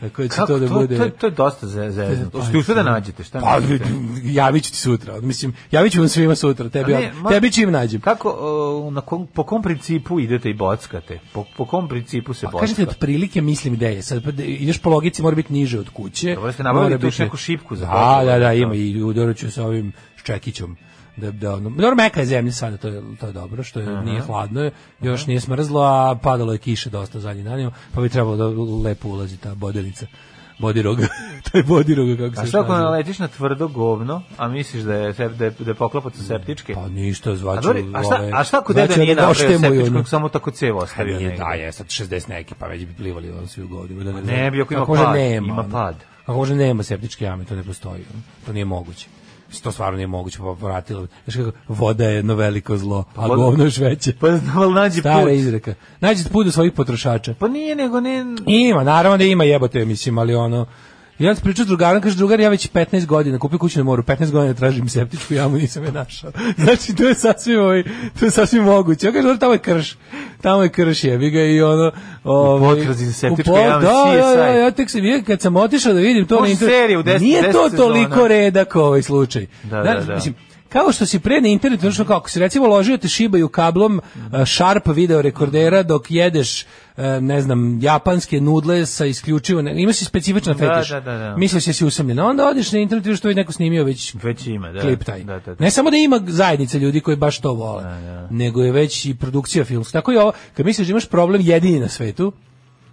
[SPEAKER 5] Tako da će to da bude...
[SPEAKER 6] To, to je dosta ze- zezno. Ste ušli da nađete, šta
[SPEAKER 5] Pa,
[SPEAKER 6] nađete?
[SPEAKER 5] javit ću ti sutra. Mislim, javit ću vam svima sutra. Tebi,
[SPEAKER 6] A ne, ma-
[SPEAKER 5] tebi čim nađem.
[SPEAKER 6] Kako, o, na kom, po kom principu idete i bockate? Po, po kom principu se
[SPEAKER 5] Pa kažete
[SPEAKER 6] bockate?
[SPEAKER 5] otprilike mislim gde je. Sad pa da ideš po logici mora biti niže od kuće.
[SPEAKER 6] Dobro, ste nabavili
[SPEAKER 5] Mora
[SPEAKER 6] tu
[SPEAKER 5] biti-
[SPEAKER 6] neku šipku za
[SPEAKER 5] Da,
[SPEAKER 6] potrebe,
[SPEAKER 5] da, da,
[SPEAKER 6] da.
[SPEAKER 5] ima i udarat ću se ovim ščekićom da da ono, dobro meka je zemlja sada to je to je dobro što je nije hladno još nije smrzlo a padalo je kiše dosta zadnjih dana pa bi trebalo da lepo ulazi ta bodelica bodirog taj bodirog kako
[SPEAKER 6] A
[SPEAKER 5] se
[SPEAKER 6] što ako
[SPEAKER 5] naziva.
[SPEAKER 6] naletiš na tvrdo govno, a misliš da je, sep- da je, da je poklopac u septički?
[SPEAKER 5] pa ništa
[SPEAKER 6] A,
[SPEAKER 5] zvaću
[SPEAKER 6] dobro, a šta,
[SPEAKER 5] ove-
[SPEAKER 6] a šta ako
[SPEAKER 5] zvaću
[SPEAKER 6] deda nije
[SPEAKER 5] znači da
[SPEAKER 6] napravio
[SPEAKER 5] doštemuju, ono.
[SPEAKER 6] septičkog, samo tako cevo
[SPEAKER 5] Pa
[SPEAKER 6] ostavio
[SPEAKER 5] nije,
[SPEAKER 6] negdje?
[SPEAKER 5] da, je, sad 60 neki, pa već bi plivali on svi u godinu. Da ne,
[SPEAKER 6] ne bi, ako ima
[SPEAKER 5] Kako može
[SPEAKER 6] pad,
[SPEAKER 5] nema,
[SPEAKER 6] ima
[SPEAKER 5] ono.
[SPEAKER 6] pad.
[SPEAKER 5] Kako može nema septičke jame, to ne postoji. ono. To nije moguće. Mislim, To stvarno nije moguće, pa vratilo. bi. Znaš kako, voda je jedno veliko zlo, a
[SPEAKER 6] voda-
[SPEAKER 5] govno još veće.
[SPEAKER 6] Pa znao nađi
[SPEAKER 5] Stara
[SPEAKER 6] put.
[SPEAKER 5] izreka. Nađite put do svojih potrošača.
[SPEAKER 6] Pa nije, nego ne...
[SPEAKER 5] Ima, naravno da ima jebote, mislim, ali ono... Ja sam pričao s drugarom, kaže drugar, ja već 15 godina kupio kuću na moru, 15 godina tražim septičku jamu, nisam je našao. Znači, to je sasvim, ovaj, to je sasvim moguće. Ja kaže, dobro, tamo je krš, tamo je krš, jebi ga i ono... Ovaj,
[SPEAKER 6] potrazi za
[SPEAKER 5] u
[SPEAKER 6] septičku
[SPEAKER 5] pot-
[SPEAKER 6] jamu,
[SPEAKER 5] Da, ja, ja,
[SPEAKER 6] CSI.
[SPEAKER 5] ja tek sam, vidio, kad sam otišao da vidim to
[SPEAKER 6] Može
[SPEAKER 5] na internetu,
[SPEAKER 6] serija u deset-
[SPEAKER 5] nije to
[SPEAKER 6] deset
[SPEAKER 5] toliko
[SPEAKER 6] sezona.
[SPEAKER 5] redak ovaj slučaj.
[SPEAKER 6] Da,
[SPEAKER 5] Znaš,
[SPEAKER 6] da, da.
[SPEAKER 5] Mislim, kao što si pre na internetu, znaš kao, ako si recimo ložio te šibaju kablom a, Sharp video rekordera
[SPEAKER 6] Mhm.
[SPEAKER 5] dok jedeš e, ne znam, japanske nudle sa isključivo, ne, imaš i specifična
[SPEAKER 6] Da,
[SPEAKER 5] fetiš.
[SPEAKER 6] da, da, da.
[SPEAKER 5] Misliš da si usamljen. A Onda odeš na internet i vidiš što je neko snimio već
[SPEAKER 6] Već ima, da.
[SPEAKER 5] klip taj.
[SPEAKER 6] Da, da, da.
[SPEAKER 5] Ne samo da ima zajednica ljudi koji baš to vole, nego je već i produkcija filmska. Tako i ovo, kad misliš da imaš problem jedini na svetu,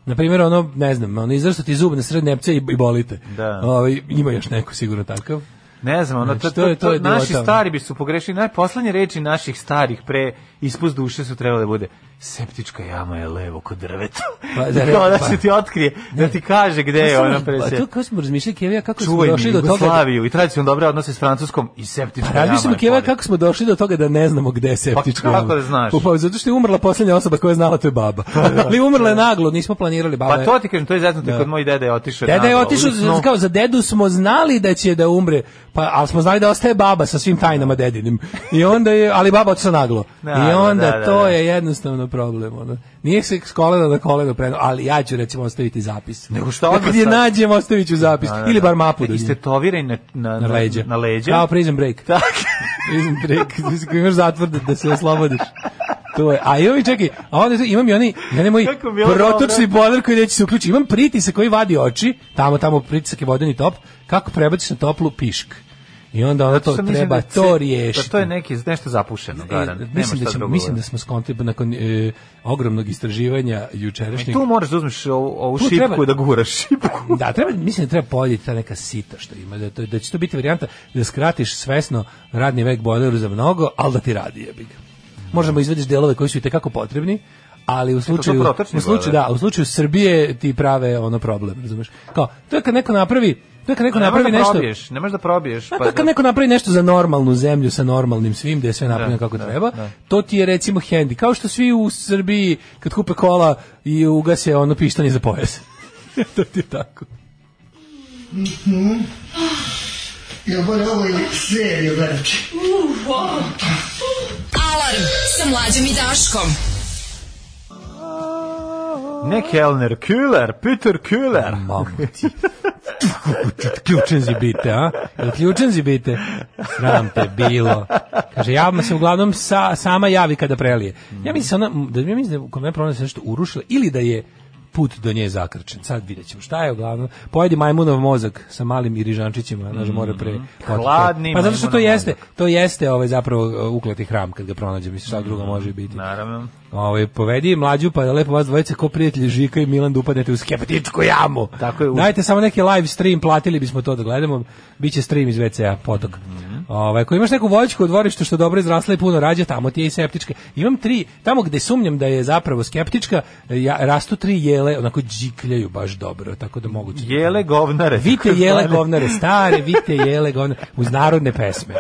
[SPEAKER 5] Na primjer, ono, ne znam, ono, izrastu ti zub na sred nepce i, i bolite.
[SPEAKER 6] Da.
[SPEAKER 5] Ovaj, ima još neko sigurno takav.
[SPEAKER 6] Ne znam, ono, to,
[SPEAKER 5] Znači,
[SPEAKER 6] to,
[SPEAKER 5] to je- to
[SPEAKER 6] to-
[SPEAKER 5] je bilo
[SPEAKER 6] naši
[SPEAKER 5] tamo.
[SPEAKER 6] stari bi su pogrešili, najposlednje reči naših starih pre ispust duše su trebale da bude septička jama je levo kod drveta.
[SPEAKER 5] Pa,
[SPEAKER 6] Pa,
[SPEAKER 5] da,
[SPEAKER 6] da, Kao da
[SPEAKER 5] pa.
[SPEAKER 6] se ti otkrije, da ti kaže gde je
[SPEAKER 5] Kako
[SPEAKER 6] ona
[SPEAKER 5] smo-
[SPEAKER 6] E, ono pre
[SPEAKER 5] pa
[SPEAKER 6] se.
[SPEAKER 5] To kako smo razmišljali, Kevija, kako smo
[SPEAKER 6] Čuvaj mi
[SPEAKER 5] došli do toga... da-
[SPEAKER 6] Jugoslaviju i tradicionalno dobre odnose s Francuskom i septička jama.
[SPEAKER 5] Razmišljamo
[SPEAKER 6] je
[SPEAKER 5] Keva
[SPEAKER 6] pored.
[SPEAKER 5] kako smo došli do toga da ne znamo gde je septička
[SPEAKER 6] Pa kako
[SPEAKER 5] jama.
[SPEAKER 6] da znaš?
[SPEAKER 5] Upravo, zato što je umrla posljednja osoba koja je znala to je baba. Ali umrla je naglo, nismo planirali baba.
[SPEAKER 6] Pa to ti kažem, to je zeznuto
[SPEAKER 5] Da.
[SPEAKER 6] kod moj dede je otišao.
[SPEAKER 5] Deda je
[SPEAKER 6] naglo,
[SPEAKER 5] otišao,
[SPEAKER 6] odnosno-
[SPEAKER 5] kao za dedu smo znali da će da umre, pa, ali smo znali da ostaje baba sa svim tajnama dedinim. I onda je, ali baba otišla naglo. I
[SPEAKER 6] Naglo,
[SPEAKER 5] onda
[SPEAKER 6] da, da,
[SPEAKER 5] to
[SPEAKER 6] da.
[SPEAKER 5] je jednostavno problem. Ono. Nije se s kolena na koleno preno, ali ja ću recimo ostaviti zapis.
[SPEAKER 6] Nego šta
[SPEAKER 5] Da
[SPEAKER 6] odmah
[SPEAKER 5] Kad je
[SPEAKER 6] sad?
[SPEAKER 5] nađem, ostavit ću zapis.
[SPEAKER 6] Da, E, da,
[SPEAKER 5] Ili bar
[SPEAKER 6] da.
[SPEAKER 5] mapu do nje.
[SPEAKER 6] Istetoviraj na, na,
[SPEAKER 5] Na leđa.
[SPEAKER 6] Na leđa.
[SPEAKER 5] Kao prison break.
[SPEAKER 6] Tak.
[SPEAKER 5] Prison break, mislim, imaš zatvor da, da se oslobodiš. To je. A imam i čekaj, a onda imam i oni, i oni moji
[SPEAKER 6] Kako ono mi je ovo
[SPEAKER 5] protočni boiler koji neće se uključiti. Imam pritisak koji vadi oči, tamo, tamo pritisak je vodeni top, kako prebaciš na toplu pišk. I onda ono to
[SPEAKER 6] Sad mislim
[SPEAKER 5] treba
[SPEAKER 6] da se-
[SPEAKER 5] to riješiti.
[SPEAKER 6] Da to je neki, nešto zapušeno, garant.
[SPEAKER 5] E,
[SPEAKER 6] Nema
[SPEAKER 5] mislim, da
[SPEAKER 6] šta
[SPEAKER 5] ćemo,
[SPEAKER 6] drugo
[SPEAKER 5] mislim da
[SPEAKER 6] govoriti.
[SPEAKER 5] smo skontili nakon e, ogromnog istraživanja jučerašnjeg.
[SPEAKER 6] Tu moraš da uzmeš ovu, ovu
[SPEAKER 5] Tu
[SPEAKER 6] šipku
[SPEAKER 5] treba-
[SPEAKER 6] i da guraš šipku.
[SPEAKER 5] Da, treba, mislim da treba poljeti ta neka sita što ima, da, to- da će to biti varijanta da skratiš svesno radni vek bojleru za mnogo, ali da ti radi jebi ga. Možemo izvediš delove koji su i tekako potrebni, ali u slučaju,
[SPEAKER 6] protočni
[SPEAKER 5] u slučaju,
[SPEAKER 6] bojler.
[SPEAKER 5] da, u slučaju Srbije ti prave ono problem, razumeš? Kao, to je kad neko napravi, to je kad neko
[SPEAKER 6] Pa Ne možeš
[SPEAKER 5] napravi
[SPEAKER 6] da
[SPEAKER 5] nešto,
[SPEAKER 6] probiješ, ne možeš da probiješ.
[SPEAKER 5] pa
[SPEAKER 6] Pa,
[SPEAKER 5] to kad neko napravi nešto za normalnu zemlju sa normalnim svim, gde je sve napravljeno
[SPEAKER 6] Da,
[SPEAKER 5] kako
[SPEAKER 6] da,
[SPEAKER 5] treba,
[SPEAKER 6] da.
[SPEAKER 5] to ti je recimo hendi. Kao što svi u Srbiji kad kupe kola i ugase ono pištanje za pojas. to ti je tako.
[SPEAKER 7] Ja moram ovo i seriju gledati.
[SPEAKER 4] Alarm sa mlađom i Daškom.
[SPEAKER 6] Ne Kellner, Kühler, Peter Kühler.
[SPEAKER 5] Mamu ti. Ključen zibite, a? Jel Ključen zibite. Sram te bilo. Kaže, ja se uglavnom sa, sama javi kada prelije. Ja mislim, da se ona, da mi mislim da je kod mene problem da se nešto urušilo ili da je put do nje zakrčen. Sad vidjet ćemo šta je uglavnom. Pojedi majmunov mozak sa malim irižančićima, znaš, more pre...
[SPEAKER 6] Mm, Hladni
[SPEAKER 5] Pa zato što to
[SPEAKER 6] majmunov
[SPEAKER 5] jeste, to jeste ovaj, zapravo uklati hram kad ga pronađe, mislim, šta drugo može i biti.
[SPEAKER 6] Naravno.
[SPEAKER 5] Ovaj povedi mlađu pa da lepo vas dvojica ko prijatelji Žika i Milan da upadnete u skeptičku jamu.
[SPEAKER 6] Tako je.
[SPEAKER 5] Dajte samo neki live stream, platili bismo to da gledamo. Biće stream iz WC-a potok. Ovaj ako imaš neku voćku u dvorištu što dobro izrasla i puno rađa, tamo ti je i septička. Imam tri, tamo gde sumnjam da je zapravo skeptička, ja, rastu tri jele, onako đikljaju baš dobro, tako da moguće.
[SPEAKER 6] Jele govnare.
[SPEAKER 5] Vite jele govnare stare, vite jele govnare uz narodne pesme.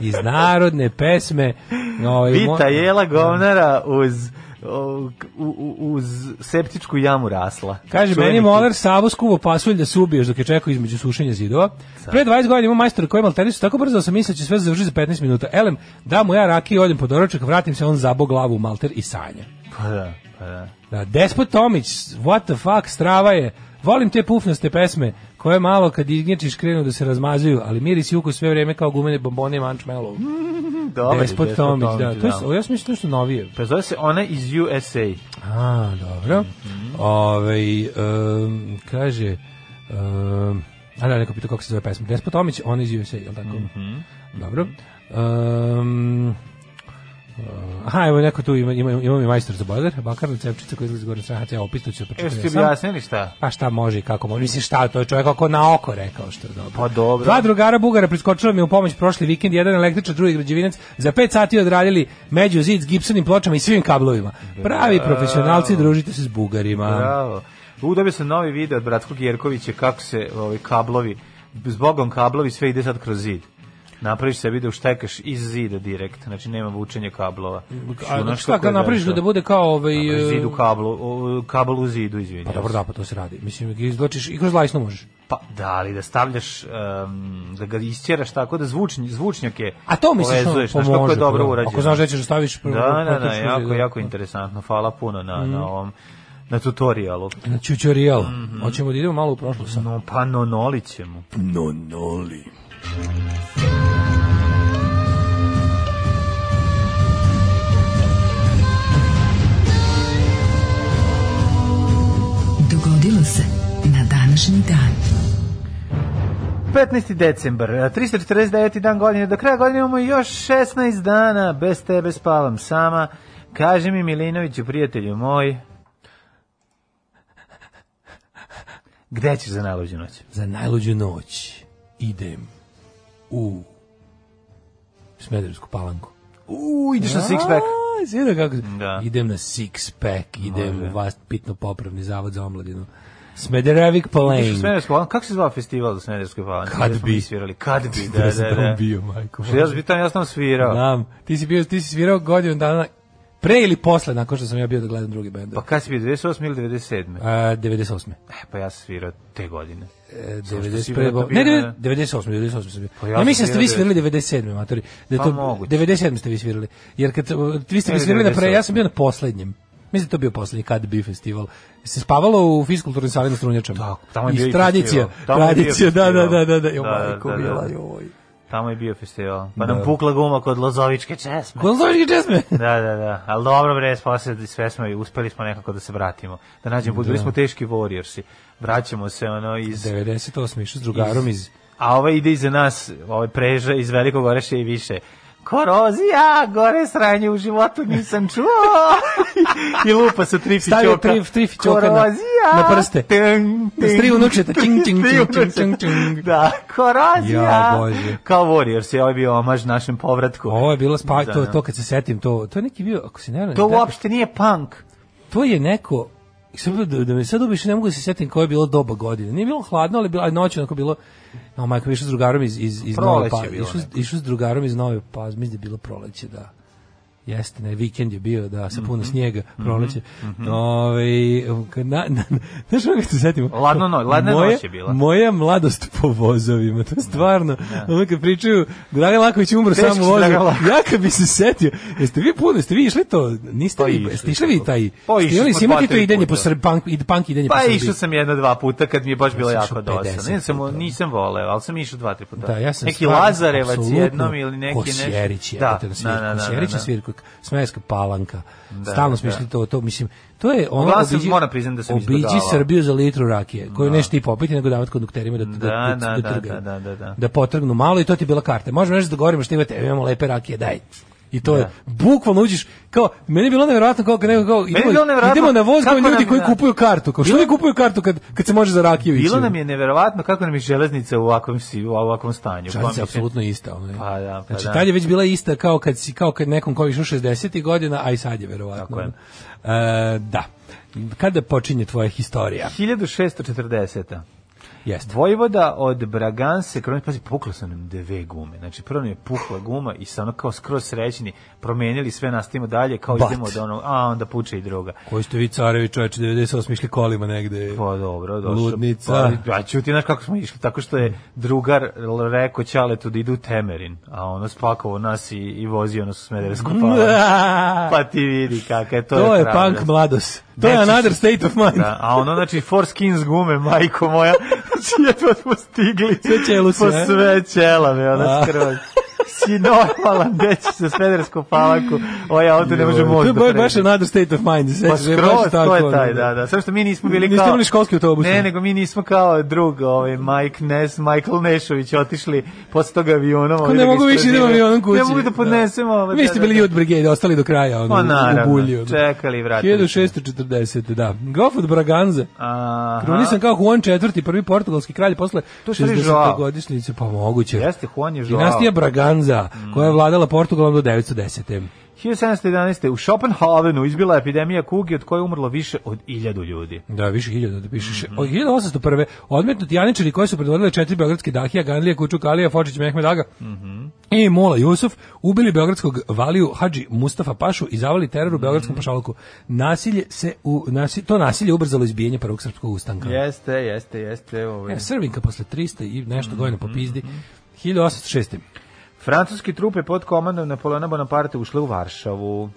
[SPEAKER 5] Iz narodne pesme. Ovaj, mo-
[SPEAKER 6] Vita jela govnara uz o, k- u- u- uz septičku jamu rasla.
[SPEAKER 5] Kaže,
[SPEAKER 6] Čuveni
[SPEAKER 5] meni je
[SPEAKER 6] hit.
[SPEAKER 5] moler Savo skuvo pasulj da se ubiješ dok je čekao između sušenja zidova. Pre 20 godina ima majstor koji malteri su tako brzo da sam mislio da će sve završiti za 15 minuta. Elem, da mu ja rakiju, odem po doručak, vratim se, on zabo glavu u malter i sanja.
[SPEAKER 6] Pa da, pa da.
[SPEAKER 5] Da, Despot Tomić, what the fuck, strava je. Volim te pufnaste pesme, koje malo kad ignječiš krenu da se razmazuju, ali miris i ukus sve vreme kao gumene bombone i mančmelo.
[SPEAKER 6] Dobar je
[SPEAKER 5] Despot Tomić, da. To je,
[SPEAKER 6] da.
[SPEAKER 5] o, ja sam mislio nešto novije.
[SPEAKER 6] Pa zove se ona iz USA.
[SPEAKER 5] A, dobro. Ovaj em, kaže, em, A da, neko pitao kako se zove pesma. Despot Omić, on iz USA, jel tako? Dobro. Um, aha, evo neko tu ima, ima, ima mi majstor za bojler, bakarna cepčica koja izlazi gore sa ja opet to ću
[SPEAKER 6] Još
[SPEAKER 5] pročitati.
[SPEAKER 6] ti
[SPEAKER 5] sam.
[SPEAKER 6] objasnili šta?
[SPEAKER 5] Pa šta može i kako može. Mislim šta, to je čovjek ako na oko rekao što je dobro.
[SPEAKER 6] Pa dobro.
[SPEAKER 5] Dva drugara Bugara priskočila mi u pomoć prošli vikend, jedan električar, drugi građevinac, za pet sati odradili među zid s gipsanim pločama i svim kablovima. Pravi profesionalci, družite se s Bugarima.
[SPEAKER 6] Bravo. U, dobio sam novi video od Bratskog Jerkovića kako se ovi kablovi, zbogom kablovi sve ide sad kroz zid. Napraviš se video štekaš iz zida direkt, znači nema vučenja kablova.
[SPEAKER 5] A,
[SPEAKER 6] Znaš
[SPEAKER 5] šta
[SPEAKER 6] kako
[SPEAKER 5] ga
[SPEAKER 6] je
[SPEAKER 5] napraviš
[SPEAKER 6] došlo?
[SPEAKER 5] da bude kao ovaj...
[SPEAKER 6] Napraviš Zid
[SPEAKER 5] e,
[SPEAKER 6] u kablu, u- kabel u zidu, izvinjam.
[SPEAKER 5] Pa
[SPEAKER 6] se.
[SPEAKER 5] dobro da, pa to se radi. Mislim, ga izvlačiš i kroz lajsno možeš.
[SPEAKER 6] Pa da, ali da stavljaš, em, da ga isćeraš tako da zvučni, zvučnjake
[SPEAKER 5] A to misliš ono
[SPEAKER 6] povezuješ, znaš kako je dobro
[SPEAKER 5] pa
[SPEAKER 6] urađeno.
[SPEAKER 5] Ako znaš da ćeš da staviš...
[SPEAKER 6] Da, da, da, jako, jako interesantno. Hvala puno na,
[SPEAKER 5] Mhm.
[SPEAKER 6] na ovom na tutorijalu.
[SPEAKER 5] Na tutorial.
[SPEAKER 6] Mhm.
[SPEAKER 5] Hoćemo da idemo malo u prošlost. sad.
[SPEAKER 6] No, pa nonolit ćemo. Nonoli.
[SPEAKER 8] Dogodilo se na današnji dan.
[SPEAKER 6] 15. decembar, a 349. dan godine, do kraja godine imamo još 16 dana, bez tebe spavam sama. Kaži mi Milinoviću, prijatelju moj, gde ćeš za najluđu noć?
[SPEAKER 5] Za najluđu noć idem u Smederevsku palanku.
[SPEAKER 6] Uuu, ideš na six pack.
[SPEAKER 5] A, si vidio kako...
[SPEAKER 6] Da.
[SPEAKER 5] Idem na six pack, idem u vas pitno popravni zavod za omladinu. Smederevik
[SPEAKER 6] Ideš u
[SPEAKER 5] Plain.
[SPEAKER 6] Smederevsku palanku. Kako se zvao festival za Smederevsku palanku?
[SPEAKER 5] Kad
[SPEAKER 6] Gde smo
[SPEAKER 5] bi.
[SPEAKER 6] mi Svirali? Kad bi, da,
[SPEAKER 5] Da, sam
[SPEAKER 6] da, da.
[SPEAKER 5] tamo bio, majko.
[SPEAKER 6] Što ja sam bio tamo, ja sam svirao.
[SPEAKER 5] Znam, ti si bio, ti si svirao godinu dana pre ili posle nakon što sam ja bio da gledam drugi bend.
[SPEAKER 6] Pa kad si bio, 98 ili 97?
[SPEAKER 5] A, 98.
[SPEAKER 6] E, pa ja sam svirao te godine.
[SPEAKER 5] E,
[SPEAKER 6] Samo što
[SPEAKER 5] 91.
[SPEAKER 6] si vjerojatno bio
[SPEAKER 5] Ne,
[SPEAKER 6] na-
[SPEAKER 5] ne, 98, 98 sam bio.
[SPEAKER 6] Pa ja
[SPEAKER 5] ja
[SPEAKER 6] sam
[SPEAKER 5] mislim da ste vi
[SPEAKER 6] bio
[SPEAKER 5] svirali 97. matori. Da je
[SPEAKER 6] Pa
[SPEAKER 5] to,
[SPEAKER 6] moguće.
[SPEAKER 5] 97 ste vi svirali. Jer kad, uh, vi ste
[SPEAKER 6] Ili
[SPEAKER 5] mi svirali na pre,
[SPEAKER 6] 98.
[SPEAKER 5] ja sam bio na poslednjem. Mislim da je to bio poslednji kad bi festival. Se spavalo u fiskulturnim sali na Strunjačama.
[SPEAKER 6] Tako, tamo je bio i
[SPEAKER 5] tradicija,
[SPEAKER 6] festival. Tamo je bio
[SPEAKER 5] tradicija, da, da,
[SPEAKER 6] festival.
[SPEAKER 5] da, da, da, jo,
[SPEAKER 6] Da, da,
[SPEAKER 5] majko,
[SPEAKER 6] da, da.
[SPEAKER 5] bila, joj.
[SPEAKER 6] Tamo je bio festival. Pa
[SPEAKER 5] Da.
[SPEAKER 6] nam pukla guma kod Lozovičke česme.
[SPEAKER 5] Ko znaš gdje česme?
[SPEAKER 6] Da, da, da. Ali dobro bre, spasili sve smo i uspeli smo nekako da se vratimo. Da nađemo, put. bili smo teški warriorsi. Vraćamo se ono iz...
[SPEAKER 5] 98. išao s drugarom iz...
[SPEAKER 6] A ovaj ide iza nas, ovaj preže iz Velikog Oreša i više. Korozija, gore sranje u životu nisam čuo. I lupa sa tri fićoka.
[SPEAKER 5] Stavio tri- tri fićoka na-
[SPEAKER 6] Korozija.
[SPEAKER 5] na prste.
[SPEAKER 6] Ting,
[SPEAKER 5] S tri
[SPEAKER 6] ting.
[SPEAKER 5] unučeta, čing, čing,
[SPEAKER 6] S tri
[SPEAKER 5] čing, čing,
[SPEAKER 6] unučeta.
[SPEAKER 5] čing, čing.
[SPEAKER 6] Da, korozija.
[SPEAKER 5] Ja, Bože.
[SPEAKER 6] Kao Warriors je ovaj bio omaž našem povratku.
[SPEAKER 5] Ovo je bilo spa, to,
[SPEAKER 6] da.
[SPEAKER 5] to kad se setim, to, to je neki bio, ako se ne varam,
[SPEAKER 6] To
[SPEAKER 5] da-
[SPEAKER 6] uopšte nije punk.
[SPEAKER 5] to je neko Samo da, da me sad ubiš, ne mogu da se setim koje je bilo doba godine. Nije bilo hladno, ali bilo, aj noć onako bilo... No, majko, išao s drugarom iz, iz, iz Nove
[SPEAKER 6] Proleće
[SPEAKER 5] Pazme.
[SPEAKER 6] je bilo
[SPEAKER 5] Išao, s-
[SPEAKER 6] neko.
[SPEAKER 5] išao s drugarom iz Nove Pazme, mislim da je bilo proleće, da. Jeste, ne, vikend je bio, da, sa
[SPEAKER 6] Mhm.
[SPEAKER 5] puno snijega, proleće. Ovaj, kad na, na, znaš ono kad se setimo?
[SPEAKER 6] Ladno noć, ladna
[SPEAKER 5] Moje-
[SPEAKER 6] noć je bila.
[SPEAKER 5] Moja mladost po vozovima, to je stvarno. Ono kad pričaju, Dragan Laković je umro
[SPEAKER 6] Teški
[SPEAKER 5] samo
[SPEAKER 6] si,
[SPEAKER 5] vozu.
[SPEAKER 6] Dragan Laković.
[SPEAKER 5] Ja kad bi se setio, jeste vi puno, jeste vi išli to, niste
[SPEAKER 6] Pa
[SPEAKER 5] vi,
[SPEAKER 6] išli
[SPEAKER 5] jeste išli
[SPEAKER 6] smo.
[SPEAKER 5] vi taj,
[SPEAKER 6] Pa išli
[SPEAKER 5] ste imali,
[SPEAKER 6] smo
[SPEAKER 5] ste imali
[SPEAKER 6] dva,
[SPEAKER 5] to
[SPEAKER 6] tri
[SPEAKER 5] idenje po
[SPEAKER 6] puta.
[SPEAKER 5] Srbiji, punk, id- punk idenje po
[SPEAKER 6] Pa
[SPEAKER 5] Srbiji.
[SPEAKER 6] išao sam jedno, dva puta kad mi je baš bilo
[SPEAKER 5] sam
[SPEAKER 6] jako
[SPEAKER 5] išao
[SPEAKER 6] dosadno.
[SPEAKER 5] 50
[SPEAKER 6] Nisam,
[SPEAKER 5] puta.
[SPEAKER 6] nisam voleo, ali sam išao dva, tri puta.
[SPEAKER 5] Da, ja sam
[SPEAKER 6] neki
[SPEAKER 5] stvarno
[SPEAKER 6] Lazarevac
[SPEAKER 5] apsolutno
[SPEAKER 6] jednom ili neki nešto.
[SPEAKER 5] Kosjerić je,
[SPEAKER 6] da,
[SPEAKER 5] na
[SPEAKER 6] da,
[SPEAKER 5] svirku,
[SPEAKER 6] da, da,
[SPEAKER 5] Kosjerić
[SPEAKER 6] da.
[SPEAKER 5] je svirku, Smeska palanka. Stalno smo
[SPEAKER 6] da.
[SPEAKER 5] išli to, to, mislim, to je ono...
[SPEAKER 6] Uglavnom sam- moram priznati da sam
[SPEAKER 5] Obiđi
[SPEAKER 6] izbjegavao.
[SPEAKER 5] Srbiju za litru rakije, koju nešto ti popiti, nego davat kondukterima da, da, da,
[SPEAKER 6] Da,
[SPEAKER 5] da,
[SPEAKER 6] da, da,
[SPEAKER 5] trgaju.
[SPEAKER 6] da, da, da.
[SPEAKER 5] Da potrgnu malo i to ti je bila karta. Možemo nešto da govorimo što imate, imamo lepe rakije, daj. I to je, bukvalno uđeš, kao, meni je bilo nevjerojatno kao, kad neko, kao, idemo,
[SPEAKER 6] bilo nevjerojatno
[SPEAKER 5] idemo na voz kao
[SPEAKER 6] kako
[SPEAKER 5] ljudi
[SPEAKER 6] nam-
[SPEAKER 5] koji
[SPEAKER 6] da.
[SPEAKER 5] kupuju kartu, kao, što ne kupuju kartu kad, kad se može za rakiju ići? ono?
[SPEAKER 6] Bilo nam je neverovatno kako nam je železnica u ovakvom, si- u ovakvom stanju. Pa
[SPEAKER 5] Članica
[SPEAKER 6] mislim,
[SPEAKER 5] je apsolutno ista. Ono, je.
[SPEAKER 6] Pa da, pa
[SPEAKER 5] znači,
[SPEAKER 6] da.
[SPEAKER 5] tad je već bila ista kao kad si kao kad nekom ko je išao 60. godina, a i sad je verovatno.
[SPEAKER 6] Tako je.
[SPEAKER 5] E, da. Kada počinje tvoja historija?
[SPEAKER 6] 1640.
[SPEAKER 5] Jeste.
[SPEAKER 6] Vojvoda od Braganse, kroz, pazi, pukla su nam dve gume. Znači, prvo nam je pukla guma i sa ono kao skroz srećni, promijenili sve, nastavimo dalje, kao
[SPEAKER 5] But.
[SPEAKER 6] idemo od onog, a onda puče i druga.
[SPEAKER 5] Koji ste vi carevi čoveče 98 išli kolima negde?
[SPEAKER 6] Pa dobro, došlo.
[SPEAKER 5] Ludnica. Mm.
[SPEAKER 6] Pa, ja ću ti, znaš kako smo išli, tako što je drugar l- rekao Ćaletu da idu u Temerin, a ono spakovo nas i, i vozio nas u Smederevsku palanku.
[SPEAKER 5] Da.
[SPEAKER 6] Pa ti vidi kakav je to.
[SPEAKER 5] Mm. to je
[SPEAKER 6] hrabrost.
[SPEAKER 5] punk mladost. To je
[SPEAKER 6] Nećeš-
[SPEAKER 5] another state of mind.
[SPEAKER 6] Da, a ono, znači, four skins gume, majko moja, znači, jedva smo stigli.
[SPEAKER 5] Sve ćeluse,
[SPEAKER 6] Po
[SPEAKER 5] e?
[SPEAKER 6] sve ćelave,
[SPEAKER 5] A.
[SPEAKER 6] ona skroz. si normalan, gde ćeš se Smedersku palaku, ovaj auto ne može
[SPEAKER 5] To je
[SPEAKER 6] možda
[SPEAKER 5] baš
[SPEAKER 6] preći.
[SPEAKER 5] baš another state of mind.
[SPEAKER 6] Pa
[SPEAKER 5] sećaš, je baš
[SPEAKER 6] skroz, to
[SPEAKER 5] tako,
[SPEAKER 6] je taj,
[SPEAKER 5] ono.
[SPEAKER 6] da, da. Samo što mi nismo bili kao...
[SPEAKER 5] Niste imali školski autobus,
[SPEAKER 6] Ne,
[SPEAKER 5] ne?
[SPEAKER 6] nego mi nismo kao drug, ovaj, Mike Ness, Michael Nešović, otišli posle toga avionom. ovaj,
[SPEAKER 5] Ko ne
[SPEAKER 6] da ga
[SPEAKER 5] mogu više idemo
[SPEAKER 6] istraživaju.
[SPEAKER 5] avionom kući.
[SPEAKER 6] Ne mogu da podnesemo. ovaj,
[SPEAKER 5] Vi
[SPEAKER 6] da,
[SPEAKER 5] ste
[SPEAKER 6] da,
[SPEAKER 5] bili
[SPEAKER 6] da.
[SPEAKER 5] Youth Brigade, ostali do kraja, ono,
[SPEAKER 6] Pa
[SPEAKER 5] u
[SPEAKER 6] naravno,
[SPEAKER 5] bulji. ono.
[SPEAKER 6] čekali i vratili se.
[SPEAKER 5] 1640, da. Gof od Braganze.
[SPEAKER 6] Aha.
[SPEAKER 5] Krunisan kao Juan IV, prvi portugalski kralj posle
[SPEAKER 6] To je stari
[SPEAKER 5] 60.
[SPEAKER 6] Joao.
[SPEAKER 5] godišnjice, pa moguće.
[SPEAKER 6] Jeste, Mm. Juan je Joao.
[SPEAKER 5] Dinastija Braganza, koja je vladala Portugalom do 910.
[SPEAKER 6] 1711. u Schopenhavenu izbila je epidemija kuge od koje je umrlo više od iljadu ljudi.
[SPEAKER 5] Da, više hiljada, da piše.
[SPEAKER 6] Mhm.
[SPEAKER 5] Mm. 1801. Odmetnuti janičari koji su predvodili četiri beogradske dahija, Ganlije, Kučuk, Alija, Fočić, Mehmed Aga
[SPEAKER 6] Mhm.
[SPEAKER 5] i Mola Jusuf, ubili beogradskog valiju Hadži Mustafa Pašu i zavali teror u beogradskom
[SPEAKER 6] Mhm.
[SPEAKER 5] pašaluku. Nasilje se u, nasi, to nasilje ubrzalo izbijenje prvog srpskog ustanka.
[SPEAKER 6] Jeste, jeste, jeste. Ovaj.
[SPEAKER 5] E, Srvinka posle 300 i nešto
[SPEAKER 6] Mhm,
[SPEAKER 5] godina po pizdi. 1806.
[SPEAKER 6] Francuske trupe pod komandom Napoleona Bonaparte ušle u Varšavu.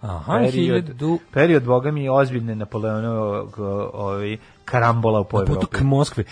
[SPEAKER 5] Aha,
[SPEAKER 6] Period,
[SPEAKER 5] hiljadu-
[SPEAKER 6] period boga mi je ozbiljne Napoleonovog o- ovaj, karambola po
[SPEAKER 5] Putu
[SPEAKER 6] Evropi.
[SPEAKER 5] k Moskvi.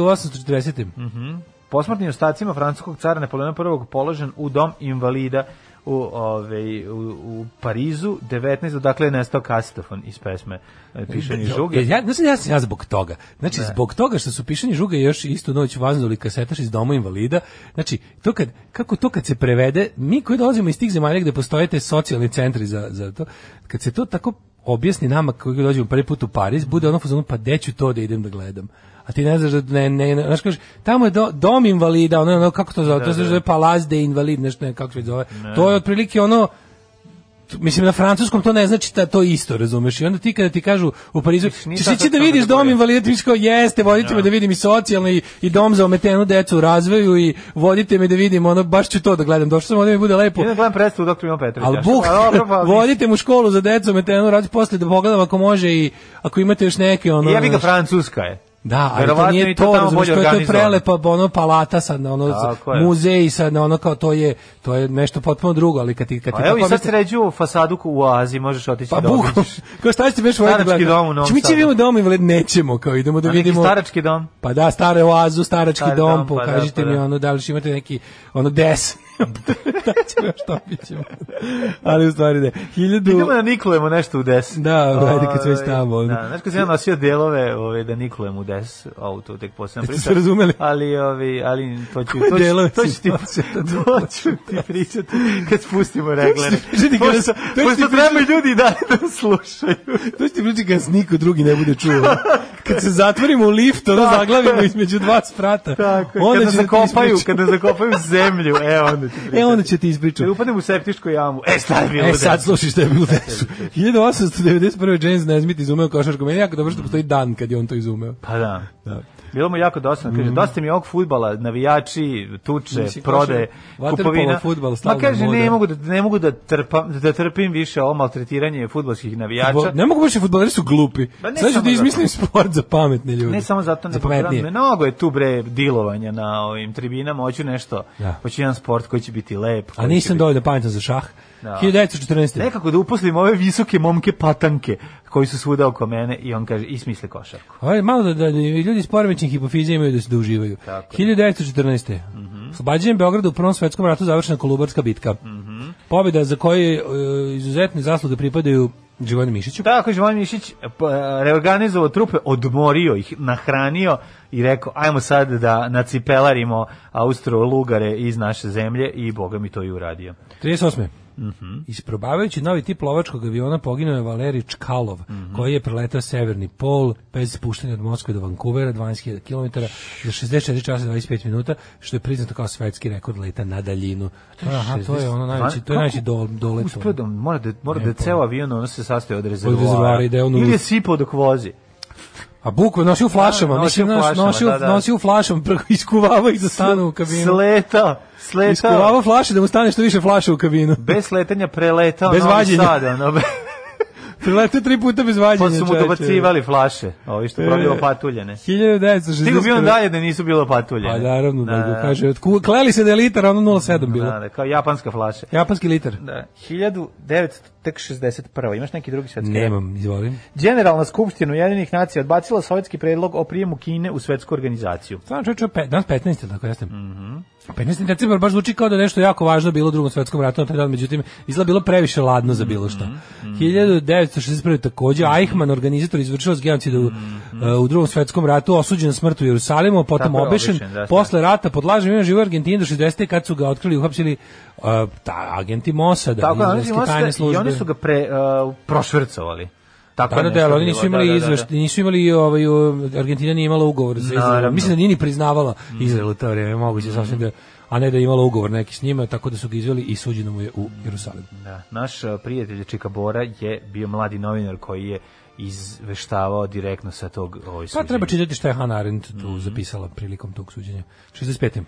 [SPEAKER 5] 1840.
[SPEAKER 6] Posmrtnim ostacima francuskog cara Napoleona I položen u dom invalida u, ovaj, u, u Parizu 19, dakle je nestao kasetofon iz pesme e, Pišanje žuge.
[SPEAKER 5] Ja, ja, znači, ja sam ja zbog toga. Znači, zbog toga što su pišanje žuga još istu noć vaznuli kasetaš iz doma invalida. Znači, to kad, kako to kad se prevede, mi koji dolazimo iz tih zemalja gde postoje te socijalni centri za, za to, kad se to tako objasni nama koji dođemo prvi put u Pariz, bude ono fazonu, pa gde ću to da idem da gledam? A ti ne znaš da ne, ne, ne znaš kažeš, tamo je do, dom invalida, ono, ono, kako to zove, to se zove palaz de invalid, nešto ne, kako se već zove. To je otprilike ono, mislim na francuskom to ne znači da to isto, razumeš? I onda ti kada ti kažu u Parizu,
[SPEAKER 6] nije
[SPEAKER 5] ćeš
[SPEAKER 6] tako
[SPEAKER 5] ići da
[SPEAKER 6] samo
[SPEAKER 5] vidiš
[SPEAKER 6] kategorija.
[SPEAKER 5] dom invalida, ti misliš kao jeste, vodite me da vidim i socijalni i, i dom za ometenu decu u razvoju i vodite me da vidim, ono baš ću to da gledam, došao sam ovde mi bude lepo.
[SPEAKER 6] Ja ne gledam predstavu doktor Ivan Pa, Petrović.
[SPEAKER 5] Ali buk, vodite mu školu za decu ometenu, rađu posle da pogledam ako može i ako imate još neke ono...
[SPEAKER 6] Ja bih ga
[SPEAKER 5] znaš,
[SPEAKER 6] Francuska je.
[SPEAKER 5] da, ali to
[SPEAKER 6] Verovatno je
[SPEAKER 5] nije
[SPEAKER 6] i
[SPEAKER 5] to,
[SPEAKER 6] to tamo
[SPEAKER 5] razumeš,
[SPEAKER 6] bolje
[SPEAKER 5] to je- to je
[SPEAKER 6] organizovano.
[SPEAKER 5] prelepa ono palata sad, ono
[SPEAKER 6] Tako je.
[SPEAKER 5] muzej sad, ono kao to je, to je nešto potpuno drugo, ali kad ti kad ti
[SPEAKER 6] A Pa, evo i
[SPEAKER 5] tako
[SPEAKER 6] sad
[SPEAKER 5] objasne-
[SPEAKER 6] sređuju fasadu u Oazi, možeš otići
[SPEAKER 5] Pa
[SPEAKER 6] da
[SPEAKER 5] buku,
[SPEAKER 6] obiđeš.
[SPEAKER 5] kao šta ćete već voditi?
[SPEAKER 6] Starački dom u Novom
[SPEAKER 5] Mi ćemo
[SPEAKER 6] Sadu.
[SPEAKER 5] imamo dom invalid, nećemo, kao idemo da
[SPEAKER 6] A neki
[SPEAKER 5] vidimo.
[SPEAKER 6] starački dom.
[SPEAKER 5] Pa da, stare oazu, starački
[SPEAKER 6] Stari
[SPEAKER 5] dom,
[SPEAKER 6] dom, pa da,
[SPEAKER 5] pokažite
[SPEAKER 6] pa
[SPEAKER 5] mi
[SPEAKER 6] da.
[SPEAKER 5] ono, da li još imate neki, ono, des. da ćemo još to bićemo. Ali u stvari ne. Hiljadu...
[SPEAKER 6] Idemo da niklujemo nešto u des.
[SPEAKER 5] Da, ajde, kad se već
[SPEAKER 6] Ovaj,
[SPEAKER 5] tamo, ono.
[SPEAKER 6] Da, znaš kad sam ja nosio delove ovaj, da niklujem u des auto, tek posebno
[SPEAKER 5] Jeste
[SPEAKER 6] priča.
[SPEAKER 5] se razumeli?
[SPEAKER 6] Ali, ovaj, ali to ću, to
[SPEAKER 5] delove
[SPEAKER 6] ću, to
[SPEAKER 5] si
[SPEAKER 6] ću ti,
[SPEAKER 5] nosio
[SPEAKER 6] to ću ti pričati kad spustimo reglere.
[SPEAKER 5] Pričati kada
[SPEAKER 6] Pošto-
[SPEAKER 5] se- to ću ti
[SPEAKER 6] Pošto treba ljudi i dalje da slušaju.
[SPEAKER 5] To ćete pričati kad niko drugi ne bude čuo. Kad se zatvorimo u lift, ono zaglavimo između dva sprata.
[SPEAKER 6] Tako, je,
[SPEAKER 5] onda
[SPEAKER 6] kada
[SPEAKER 5] će da ti
[SPEAKER 6] zakopaju,
[SPEAKER 5] ispričam.
[SPEAKER 6] kada zakopaju zemlju, e onda ću pričati.
[SPEAKER 5] E, onda će ti ispričati.
[SPEAKER 6] Kad upadnem u septičku jamu, e šta je bilo
[SPEAKER 5] E
[SPEAKER 6] u
[SPEAKER 5] sad
[SPEAKER 6] desu?
[SPEAKER 5] slušaj šta je bilo u desu. 1891. James Nesmith izumeo košarku. Meni je jako dobro što postoji dan kad je on to izumeo.
[SPEAKER 6] Pa da. Bilo mu jako dosta. Kaže, dosta mi je ovog futbala, navijači, tuče,
[SPEAKER 5] Mm. Mislim,
[SPEAKER 6] prode,
[SPEAKER 5] košarka, vaterpolo,
[SPEAKER 6] kupovina.
[SPEAKER 5] fudbal,
[SPEAKER 6] Ma
[SPEAKER 5] stalna
[SPEAKER 6] kaže,
[SPEAKER 5] moda.
[SPEAKER 6] ne mogu, da, ne mogu da, trpam, da trpim više ovo maltretiranje futbalskih navijača.
[SPEAKER 5] Bo- Ne mogu baš i fudbaleri su glupi.
[SPEAKER 6] Pa ne
[SPEAKER 5] Sad ću
[SPEAKER 6] samo
[SPEAKER 5] da izmislim
[SPEAKER 6] zato.
[SPEAKER 5] sport za pametne ljude.
[SPEAKER 6] Ne samo zato,
[SPEAKER 5] za
[SPEAKER 6] nego
[SPEAKER 5] pametnije.
[SPEAKER 6] da, mnogo je tu bre dilovanja na ovim tribinama, hoću nešto,
[SPEAKER 5] Da.
[SPEAKER 6] hoću jedan sport koji će biti lep.
[SPEAKER 5] A
[SPEAKER 6] koji će
[SPEAKER 5] nisam
[SPEAKER 6] biti-
[SPEAKER 5] dovoljno pametan za šah.
[SPEAKER 6] Da.
[SPEAKER 5] 1914.
[SPEAKER 6] Nekako da uposlim ove visoke momke patanke koji su svuda oko mene i on kaže, i smisli košarku.
[SPEAKER 5] Ovaj malo da, da ljudi s poremećim hipofizijom imaju da se da uživaju.
[SPEAKER 6] Tako Mhm.
[SPEAKER 5] 1914. Mm Oslobađanjem Beograda u Prvom svetskom ratu završena Kolubarska bitka.
[SPEAKER 6] Mhm.
[SPEAKER 5] Pobjeda za koje e, izuzetne zasluge pripadaju Đivani Mišiću.
[SPEAKER 6] Tako je Žvan Mišić pa, reorganizovao trupe, odmorio ih, nahranio i rekao, ajmo sad da nacipelarimo Austro-Lugare iz naše zemlje i Boga mi to i uradio.
[SPEAKER 5] 38. Isprobavajući novi tip lovačkog aviona poginuo je Valerij Čkalov, koji je preletao severni pol bez spuštanja od Moskve do Vancouvera, 12.000 km, za 64 časa i 25 minuta, što je priznato kao svetski rekord leta na daljinu. Aha, to je ono najveći, to je najveći dol, dolet.
[SPEAKER 6] Uspio da, mora da, mora
[SPEAKER 5] Ne,
[SPEAKER 6] da
[SPEAKER 5] pa.
[SPEAKER 6] ceo avion ono se sastoji od rezervoara.
[SPEAKER 5] rezervoara i da je on
[SPEAKER 6] Ili je
[SPEAKER 5] uz-
[SPEAKER 6] sipao dok vozi.
[SPEAKER 5] A bukve nosi u flašama,
[SPEAKER 6] Da, nosi
[SPEAKER 5] mislim,
[SPEAKER 6] u
[SPEAKER 5] nosi,
[SPEAKER 6] flašama,
[SPEAKER 5] nosi,
[SPEAKER 6] da, da.
[SPEAKER 5] nosi u flašama, preko iskuvava ih za stanu u kabinu.
[SPEAKER 6] Sletao, sletao.
[SPEAKER 5] Iskuvava flaše da mu stane što više flaša u kabinu.
[SPEAKER 6] Bez sletanja preletao
[SPEAKER 5] Bez
[SPEAKER 6] Novi
[SPEAKER 5] vađenja.
[SPEAKER 6] Sad, ono,
[SPEAKER 5] Preletao tri puta bez vađenja. E.
[SPEAKER 6] pa su mu
[SPEAKER 5] čoveče.
[SPEAKER 6] dobacivali flaše, ovi što probio patuljene.
[SPEAKER 5] 1960.
[SPEAKER 6] Stigo bi on dalje da nisu bilo patuljene.
[SPEAKER 5] Pa naravno, da,
[SPEAKER 6] Da,
[SPEAKER 5] da,
[SPEAKER 6] da.
[SPEAKER 5] kaže, otku, kleli se da je litar, ono 0,7 bilo.
[SPEAKER 6] Da, da, kao japanska flaša.
[SPEAKER 5] Japanski litar.
[SPEAKER 6] Da, 1900 tek 61. Imaš neki drugi svetski? rat?
[SPEAKER 5] Nemam, izvolim.
[SPEAKER 6] Generalna skupština Ujedinjenih nacija odbacila sovjetski predlog o prijemu Kine u svetsku organizaciju.
[SPEAKER 5] Stvarno čovječe, pe, danas 15. tako jeste. Mm
[SPEAKER 6] Mhm.
[SPEAKER 5] 15. decembar baš zvuči kao da je nešto jako važno bilo u drugom svetskom ratu na taj dan, međutim, izgleda bilo previše ladno za bilo šta.
[SPEAKER 6] Mhm,
[SPEAKER 5] 1961. takođe, Eichmann, organizator izvršilac genocida u, e, u drugom svetskom ratu, osuđen na smrt u Jerusalimu, potom
[SPEAKER 6] Mhm, Tako je,
[SPEAKER 5] obešen,
[SPEAKER 6] obešen, da, da.
[SPEAKER 5] posle rata pod lažnim imenom živo u Argentini do 60. kad su ga otkrili i uhapsili e, ta, agenti Mosada,
[SPEAKER 6] Tako,
[SPEAKER 5] Tako,
[SPEAKER 6] oni
[SPEAKER 5] izraelske
[SPEAKER 6] su ga-
[SPEAKER 5] tajne
[SPEAKER 6] i
[SPEAKER 5] službe.
[SPEAKER 6] oni su ga pre, uh, prošvercovali. Tako
[SPEAKER 5] Pa da,
[SPEAKER 6] je nešto
[SPEAKER 5] da, ali oni
[SPEAKER 6] bilo,
[SPEAKER 5] nisu imali
[SPEAKER 6] da, da, da.
[SPEAKER 5] izveštaj, nisu imali ovaj o, Argentina nije imala ugovor sa
[SPEAKER 6] Naravno.
[SPEAKER 5] Izraelom. Mislim da nije ni priznavala Izrael u to vrijeme, moguće sasvim da a ne da je imala ugovor neki s njima, tako da su ga izveli i suđeno mu je u Jerusalimu.
[SPEAKER 6] Da, naš uh, prijatelj Čika Bora je bio mladi novinar koji je izveštavao direktno sa tog ovaj,
[SPEAKER 5] Pa
[SPEAKER 6] suđenja.
[SPEAKER 5] treba čitati šta je Hannah Arendt tu zapisala prilikom tog suđenja. 65.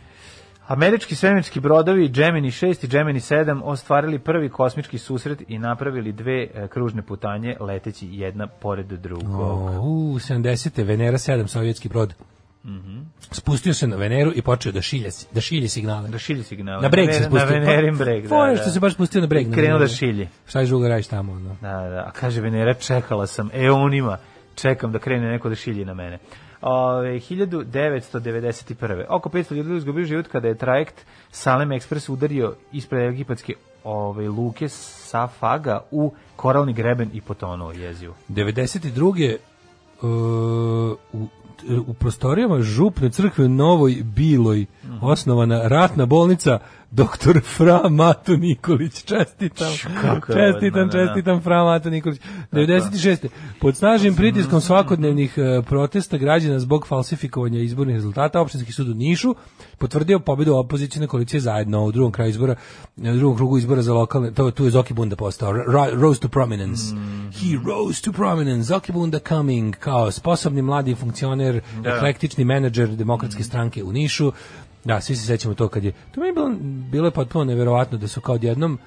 [SPEAKER 6] Američki svemirski brodovi Gemini 6 i Gemini 7 ostvarili prvi kosmički susret i napravili dve e, kružne putanje leteći jedna pored drugog.
[SPEAKER 5] O, u 70. Venera 7, sovjetski brod. Mhm. Spustio se na Veneru i počeo da šilje, da šilje signale.
[SPEAKER 6] Da šilji signale.
[SPEAKER 5] na breg
[SPEAKER 6] Ven-
[SPEAKER 5] se spustio.
[SPEAKER 6] Na Venerin
[SPEAKER 5] Pa,
[SPEAKER 6] breg, da,
[SPEAKER 5] fora je
[SPEAKER 6] da.
[SPEAKER 5] što se baš spustio na breg.
[SPEAKER 6] I
[SPEAKER 5] na
[SPEAKER 6] krenuo da
[SPEAKER 5] Veneri.
[SPEAKER 6] šilji.
[SPEAKER 5] Šta je drugo radiš tamo? Ono?
[SPEAKER 6] Da, da, a kaže Venera, čekala sam, e on ima, čekam da krene neko da šilji na mene. Ove, 1991. Oko 500 ljudi izgubio život kada je trajekt Salem Express udario ispred egipatske ove, luke Safaga u koralni greben i potonuo jeziju.
[SPEAKER 5] 92. Uh, u, e, u prostorijama župne crkve u Novoj Biloj
[SPEAKER 6] Mhm.
[SPEAKER 5] osnovana ratna bolnica doktor Fra Mato Nikolić čestitam
[SPEAKER 6] kako je
[SPEAKER 5] čestitam,
[SPEAKER 6] odmah, da, da.
[SPEAKER 5] čestitam Fra Mato Nikolić 96. pod snažnim pritiskom svakodnevnih eh, protesta građana zbog falsifikovanja izbornih rezultata opštinski sud u Nišu potvrdio pobedu opozicione koalicije zajedno u drugom kraju izbora na drugom krugu izbora za lokalne to tu je Zoki Bunda postao ra- rose to prominence he rose to prominence Zoki Bunda coming kao sposobni mladi funkcioner eklektični menadžer demokratske stranke u Nišu Da, svi se sećamo to kad je... To mi je bilo, bilo je potpuno neverovatno da su kao odjednom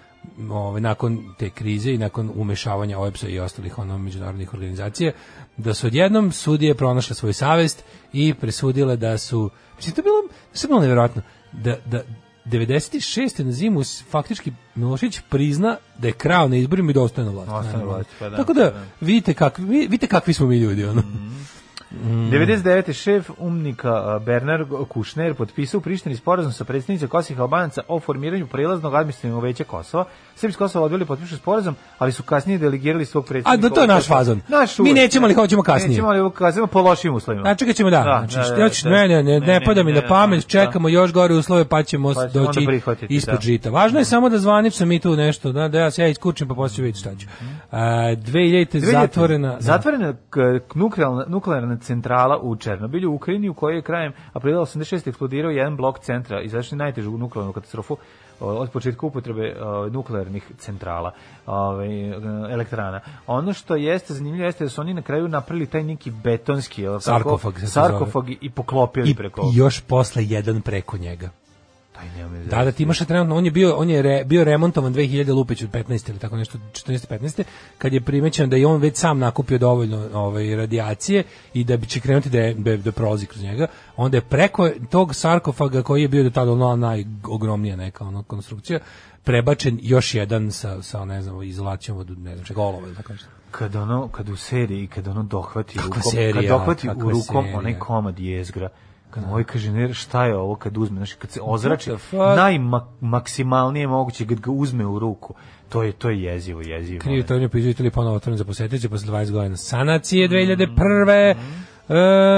[SPEAKER 5] ovaj, nakon te krize i nakon umešavanja OEPS-a i ostalih ono, međunarodnih organizacija, da su odjednom sudije pronašle svoju savest i presudile da su... Mislim, to je bilo, to je bilo nevjerojatno. Da, da, 96. na zimu s- faktički Milošić prizna da je krao na izborima i da ostaje na vlasti.
[SPEAKER 6] Ostaje na
[SPEAKER 5] naravno.
[SPEAKER 6] vlasti, pa da, Mhm.
[SPEAKER 5] Tako da, vidite kakvi, vi- vidite kakvi smo mi ljudi. Ono. Mm.
[SPEAKER 6] 99. šef umnika a, Bernard Kušner potpisao u Prištini sporazum sa predsjednicom Kosih Albanaca o formiranju prelaznog administrativnog veća Kosova. Srbi iz Kosova odbili potpišu sporazum, ali su kasnije delegirali svog predsjednika.
[SPEAKER 5] A da, to je
[SPEAKER 6] ovog
[SPEAKER 5] naš fazon.
[SPEAKER 6] Naš
[SPEAKER 5] Mi
[SPEAKER 6] uvek,
[SPEAKER 5] nećemo, ali
[SPEAKER 6] da.
[SPEAKER 5] hoćemo kasnije.
[SPEAKER 6] Nećemo, ali kasnije po lošim uslovima.
[SPEAKER 5] A čekat ćemo da. znači, šta hoćeš? ne, ne, ne, ne, pada mi na pamet, čekamo još gore uslove pa ćemo
[SPEAKER 6] Pa ćemo
[SPEAKER 5] doći
[SPEAKER 6] onda prihvatiti,
[SPEAKER 5] ispod
[SPEAKER 6] da.
[SPEAKER 5] žita. Važno je samo da zvanično mi tu nešto, da, da ja se ja iskučim pa poslije vidjeti šta ću. Uh, 2000 Znači, zatvorena... da.
[SPEAKER 6] Zatvorena k- nuklearna, nuklearna centrala u Černobilju, u Ukrajini, u kojoj je krajem aprila 86. eksplodirao jedan blok centra i zašli najtežu nuklearnu katastrofu o, od početka upotrebe o, nuklearnih centrala, ovaj, e, elektrana. Ono što jeste zanimljivo jeste da su oni na kraju napravili taj neki betonski jel tako,
[SPEAKER 5] Sarkofag se to
[SPEAKER 6] sarkofag i poklopili
[SPEAKER 5] I,
[SPEAKER 6] preko...
[SPEAKER 5] I još posle jedan preko njega.
[SPEAKER 6] Taj nema veze.
[SPEAKER 5] Da, da, ti imaš trenutno, on je bio, on je re, bio remontovan 2000 Lupić od 15 ili tako nešto, 14 15 kad je primećen da je on već sam nakupio dovoljno ovaj, radijacije i da bi će krenuti da, je, da, da prolazi kroz njega, onda je preko tog sarkofaga koji je bio do tada ono najogromnija neka ono, konstrukcija, prebačen još jedan sa, sa ne znam, izolacijom od ne znam čega, olova ili tako nešto.
[SPEAKER 6] kad ono kad u seriji kad ono dohvati
[SPEAKER 5] Kakva
[SPEAKER 6] rukom kad
[SPEAKER 5] serija,
[SPEAKER 6] dohvati
[SPEAKER 5] kakva
[SPEAKER 6] u rukom
[SPEAKER 5] serija.
[SPEAKER 6] onaj komad jezgra kad moj kaže ne šta je ovo kad uzme znači kad se ozrači
[SPEAKER 5] What the fuck?
[SPEAKER 6] najmaksimalnije moguće kad ga uzme u ruku to je to je jezivo jezivo
[SPEAKER 5] Krivi Tonio Pizuitelj ponovo otvoren za posjetitelje posle 20 godina sanacije
[SPEAKER 6] Mm-hmm.
[SPEAKER 5] 2001. Uh,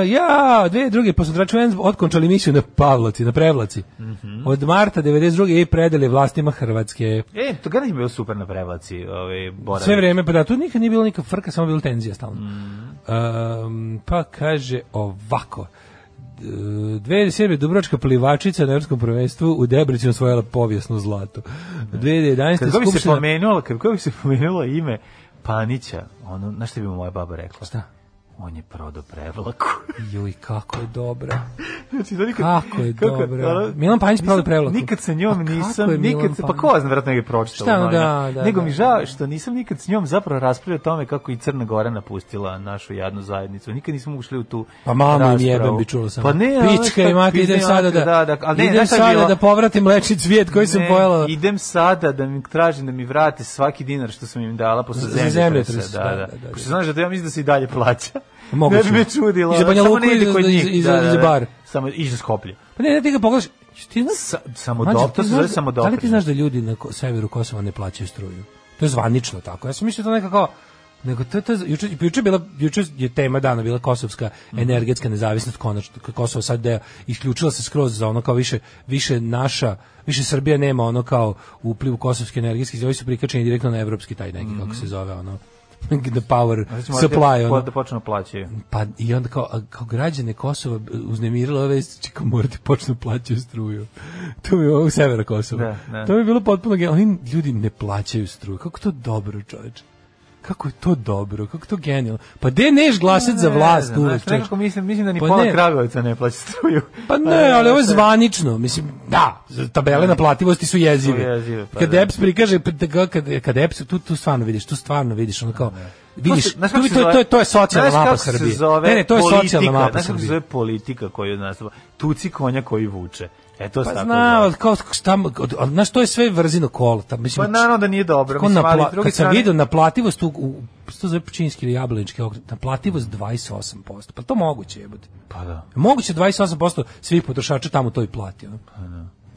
[SPEAKER 5] ja, dve druge posmatrači UN otkončali misiju na Pavlaci, na Prevlaci.
[SPEAKER 6] Mm-hmm.
[SPEAKER 5] Od marta 92. i predali vlastima Hrvatske.
[SPEAKER 6] E, to gledaj je bio super na prevlaci, ovaj, boravi.
[SPEAKER 5] Sve vreme, pa da, tu nikad nije bilo nikakva frka, samo bilo tenzija stalno.
[SPEAKER 6] Mm-hmm.
[SPEAKER 5] Um, pa kaže ovako. eh, D- 2007. Dubrovačka plivačica na evropskom prvenstvu u Debrecinu osvojila povijesno zlato. 2011.
[SPEAKER 6] Mm-hmm. Kad god bi se
[SPEAKER 5] skupština-
[SPEAKER 6] pomenulo, kad god bi se pomenulo ime Panića, ono, na što bi mu moja baba rekla?
[SPEAKER 5] Šta?
[SPEAKER 6] on je prodao prevlaku.
[SPEAKER 5] Juj, kako je dobra.
[SPEAKER 6] znači, to nikad, ono,
[SPEAKER 5] Kako je dobra. Milan Panić
[SPEAKER 6] nisam-
[SPEAKER 5] prodao prevlaku.
[SPEAKER 6] Nikad sa njom
[SPEAKER 5] A kako
[SPEAKER 6] nisam,
[SPEAKER 5] je Milan
[SPEAKER 6] nikad, se, pa
[SPEAKER 5] Panić?
[SPEAKER 6] ko zna, vjerojatno je pročitao.
[SPEAKER 5] Šta,
[SPEAKER 6] novine.
[SPEAKER 5] da, da,
[SPEAKER 6] Nego
[SPEAKER 5] da,
[SPEAKER 6] mi
[SPEAKER 5] da.
[SPEAKER 6] žao što nisam nikad s njom zapravo raspravljao o tome kako i Crna Gora napustila našu jadnu zajednicu. Nikad nismo ušli u tu
[SPEAKER 5] Pa mama im
[SPEAKER 6] raspravu.
[SPEAKER 5] jebem bi čulo sam.
[SPEAKER 6] Pa ne, ali
[SPEAKER 5] Pička
[SPEAKER 6] šta,
[SPEAKER 5] i mati,
[SPEAKER 6] pička
[SPEAKER 5] idem
[SPEAKER 6] i
[SPEAKER 5] sada da,
[SPEAKER 6] mati, da, da, ali ne,
[SPEAKER 5] idem
[SPEAKER 6] znaš šta je
[SPEAKER 5] sada
[SPEAKER 6] bilo?
[SPEAKER 5] da povratim leči cvijet koji sam
[SPEAKER 6] Ne,
[SPEAKER 5] pojela.
[SPEAKER 6] Idem sada da mi tražim da mi vrate svaki dinar što sam im dala posle
[SPEAKER 5] Za- za
[SPEAKER 6] zemlje.
[SPEAKER 5] zemljotres,
[SPEAKER 6] Da,
[SPEAKER 5] da,
[SPEAKER 6] da.
[SPEAKER 5] da, da.
[SPEAKER 6] Pošto znaš da to ja mislim da se i dalje plaća.
[SPEAKER 5] Moguće.
[SPEAKER 6] Ne bi me čudilo.
[SPEAKER 5] I za Banja
[SPEAKER 6] samo
[SPEAKER 5] Luku
[SPEAKER 6] ne
[SPEAKER 5] i
[SPEAKER 6] ide
[SPEAKER 5] za-
[SPEAKER 6] kod
[SPEAKER 5] i za-
[SPEAKER 6] njih.
[SPEAKER 5] i za- i za bar.
[SPEAKER 6] Samo i za Skoplje.
[SPEAKER 5] Pa ne, ne, ti ga pogledaš. Ti znaš,
[SPEAKER 6] Sa,
[SPEAKER 5] Mlađe,
[SPEAKER 6] samodop,
[SPEAKER 5] ti
[SPEAKER 6] to se
[SPEAKER 5] znaš
[SPEAKER 6] zove
[SPEAKER 5] da-
[SPEAKER 6] samodop.
[SPEAKER 5] Da li ti znaš da ljudi na ko- severu Kosova ne plaćaju struju? To je zvanično tako. Ja sam mislio da to nekako nego to, to je- juče, juče je bila juče je tema dana bila kosovska
[SPEAKER 6] Mhm.
[SPEAKER 5] energetska nezavisnost konačno kako Kosovo sad deo isključila se skroz za ono kao više više naša više Srbija nema ono kao upliv kosovske energetske zove su prikačeni direktno na evropski taj neki kako se zove ono the power
[SPEAKER 6] Mhm. Recimo,
[SPEAKER 5] supply
[SPEAKER 6] po-
[SPEAKER 5] ono.
[SPEAKER 6] Da počnu plaćaju.
[SPEAKER 5] Pa i onda kao, a kao građane Kosova uznemirila ove čika morate počnu plaćaju struju. to mi je ovo u severa Kosova.
[SPEAKER 6] Da, da.
[SPEAKER 5] To mi je bilo potpuno gen- Oni ljudi ne plaćaju struju. Kako to dobro, čoveče? Kako je to dobro, kako je to genijalno. Pa de neš glasat za vlast
[SPEAKER 6] Ne znam,
[SPEAKER 5] uvek,
[SPEAKER 6] znaš,
[SPEAKER 5] čoveče?
[SPEAKER 6] Nekako mislim, mislim da ni
[SPEAKER 5] Pa
[SPEAKER 6] pola
[SPEAKER 5] ne.
[SPEAKER 6] Kragovica ne plaća struju.
[SPEAKER 5] Pa ne, ali ovo je
[SPEAKER 6] sve-
[SPEAKER 5] zvanično, mislim, da, za tabele naplativosti su jezive.
[SPEAKER 6] Su jezive, pa
[SPEAKER 5] kad
[SPEAKER 6] da.
[SPEAKER 5] EPS prikaže, kad, kad EPS, tu, tu stvarno vidiš, tu stvarno vidiš, ono kao, vidiš,
[SPEAKER 6] se- znaš
[SPEAKER 5] tu-
[SPEAKER 6] kako
[SPEAKER 5] to,
[SPEAKER 6] se
[SPEAKER 5] to,
[SPEAKER 6] zove-
[SPEAKER 5] to, je- to je socijalna
[SPEAKER 6] Znaš
[SPEAKER 5] mapa
[SPEAKER 6] kako se
[SPEAKER 5] Srbije.
[SPEAKER 6] zove
[SPEAKER 5] Ne, ne, to je
[SPEAKER 6] politika?
[SPEAKER 5] socijalna mapa
[SPEAKER 6] Znaš kako se
[SPEAKER 5] Srbije.
[SPEAKER 6] zove politika koju nastupa? Tuci konja koji vuče. E, to se
[SPEAKER 5] Pa
[SPEAKER 6] tako
[SPEAKER 5] zna,
[SPEAKER 6] zove.
[SPEAKER 5] ali kao šta, od- od- znaš, to je sve vrzino kolo. Tam, mislim,
[SPEAKER 6] Pa naravno da nije dobro.
[SPEAKER 5] Ko
[SPEAKER 6] mislim, ali
[SPEAKER 5] napla-
[SPEAKER 6] s druge
[SPEAKER 5] kad sam
[SPEAKER 6] strane-
[SPEAKER 5] vidio naplativost u, u što zove pčinjski ili jablanički okret, naplativost 28%. Pa to moguće jebote.
[SPEAKER 6] Pa da.
[SPEAKER 5] Moguće 28% svih potrošača tamo to i plati. ono.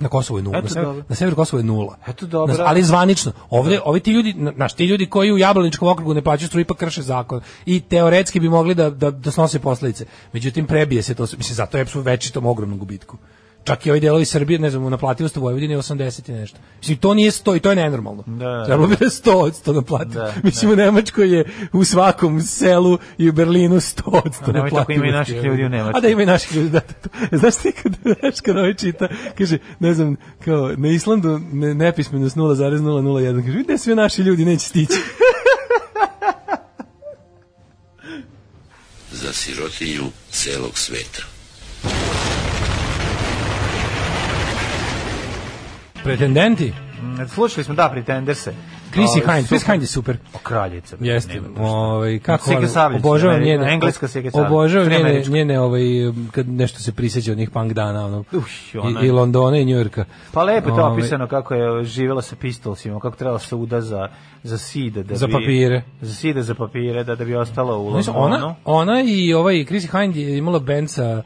[SPEAKER 5] Na Kosovu je nula.
[SPEAKER 6] Pa Eto
[SPEAKER 5] na, sever,
[SPEAKER 6] dobro.
[SPEAKER 5] na severu Kosova je nula.
[SPEAKER 6] Eto dobro.
[SPEAKER 5] Na- ali zvanično. Ovde, ovi ti ljudi, na- znaš, ti ljudi koji u Jablaničkom okrugu ne plaćaju struju ipak krše zakon i teoretski bi mogli da, da, da snose posledice. Međutim, prebije se to. Mislim, zato je EPS u večitom ogromnom gubitku. Čak i ovi delovi Srbije, ne znam, u naplativost u Vojvodini je 80 i nešto. Mislim, to nije 100 i to je nenormalno.
[SPEAKER 6] Da, da, da.
[SPEAKER 5] Trebalo bi da je 100 naplati.
[SPEAKER 6] Da,
[SPEAKER 5] Mislim, u Nemačkoj je u svakom selu i u Berlinu 100
[SPEAKER 6] A nemoj tako, ima i
[SPEAKER 5] naplativosti,
[SPEAKER 6] naših
[SPEAKER 5] evo.
[SPEAKER 6] ljudi u Nemačkoj.
[SPEAKER 5] A da ima i naših ljudi, da, da, da. Znaš ti kad, znaš kad ovaj čita, kaže, ne znam, kao, na Islandu ne, nepismenost 0,001, kaže, gde svi naši ljudi neće stići.
[SPEAKER 2] Za sirotinju celog sveta.
[SPEAKER 5] Pretendenti,
[SPEAKER 6] Mm, Slušali smo, da, pretender se.
[SPEAKER 5] Chrissy
[SPEAKER 6] Ovaj,
[SPEAKER 5] Hind,
[SPEAKER 6] super.
[SPEAKER 5] Chris Hind je super.
[SPEAKER 6] O, Kraljica. bre,
[SPEAKER 5] Jeste,
[SPEAKER 6] nema šta.
[SPEAKER 5] ovaj kako
[SPEAKER 6] Seke
[SPEAKER 5] ono,
[SPEAKER 6] Sabljić,
[SPEAKER 5] obožavam
[SPEAKER 6] Ameri-
[SPEAKER 5] njene
[SPEAKER 6] ovaj, engleska Seke Sabljić,
[SPEAKER 5] Obožavam
[SPEAKER 6] ne
[SPEAKER 5] njene
[SPEAKER 6] američka.
[SPEAKER 5] njene ovaj kad nešto se priseća onih punk dana ono.
[SPEAKER 6] Uš, ona
[SPEAKER 5] i,
[SPEAKER 6] je-
[SPEAKER 5] i Londona i Njujorka.
[SPEAKER 6] Pa lepo je to
[SPEAKER 5] Ovaj,
[SPEAKER 6] opisano kako je živjela sa pistolsima, kako trebala se uda za, za sida. Da
[SPEAKER 5] Za
[SPEAKER 6] bi,
[SPEAKER 5] papire.
[SPEAKER 6] Za sida, za papire, da, da bi ostala u
[SPEAKER 5] Mislim,
[SPEAKER 6] Londonu.
[SPEAKER 5] ona, ona i ovaj Chrissy Hind je imala band sa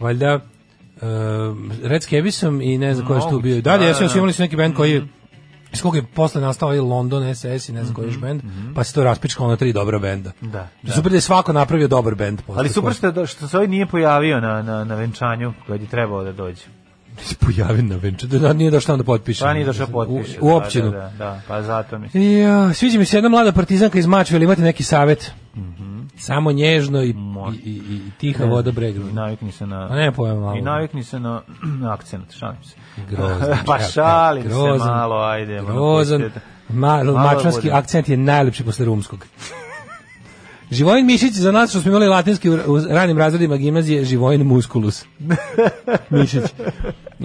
[SPEAKER 5] valjda um, Red Scabisom i ne znam ko je što
[SPEAKER 6] Moguće,
[SPEAKER 5] bio. Da, da,
[SPEAKER 6] da,
[SPEAKER 5] jesu,
[SPEAKER 6] da, Mhm.
[SPEAKER 5] jesu
[SPEAKER 6] da.
[SPEAKER 5] imali su neki band koji je iz kog je posle nastao ovaj London SS i ne znam koji još band, pa se to raspičkalo na tri dobra benda.
[SPEAKER 6] Da, Mhm, da.
[SPEAKER 5] Super da je svako napravio dobar bend. posle
[SPEAKER 6] Ali super
[SPEAKER 5] koje-
[SPEAKER 6] što, je- što se ovaj nije pojavio na, na, na venčanju kad je trebao da dođe.
[SPEAKER 5] se pojavi na venčanju. Da, nije došao da potpiše.
[SPEAKER 6] Pa nije došao potpiše.
[SPEAKER 5] U, u općinu.
[SPEAKER 6] Da, da, da, da, pa zato mi.
[SPEAKER 5] Ja, sviđa mi se jedna mlada partizanka iz Mačve, imate neki savet?
[SPEAKER 6] Mhm.
[SPEAKER 5] Samo nježno i, i, i, i tiha voda bregnu.
[SPEAKER 6] I navikni se na...
[SPEAKER 5] Pa ne pojma malo.
[SPEAKER 6] I navikni se na akcent, šalim se.
[SPEAKER 5] Grozan.
[SPEAKER 6] pa
[SPEAKER 5] Evo,
[SPEAKER 6] šalim
[SPEAKER 5] evo, grozan,
[SPEAKER 6] se malo, ajde. malo
[SPEAKER 5] Grozan.
[SPEAKER 6] pustite.
[SPEAKER 5] Ma, mačvanski
[SPEAKER 6] bude.
[SPEAKER 5] akcent je najlepši posle rumskog. Živojin Mišić za nas što smo imali latinski u, u ranim razredima gimnazije Živojin Musculus. Mišić.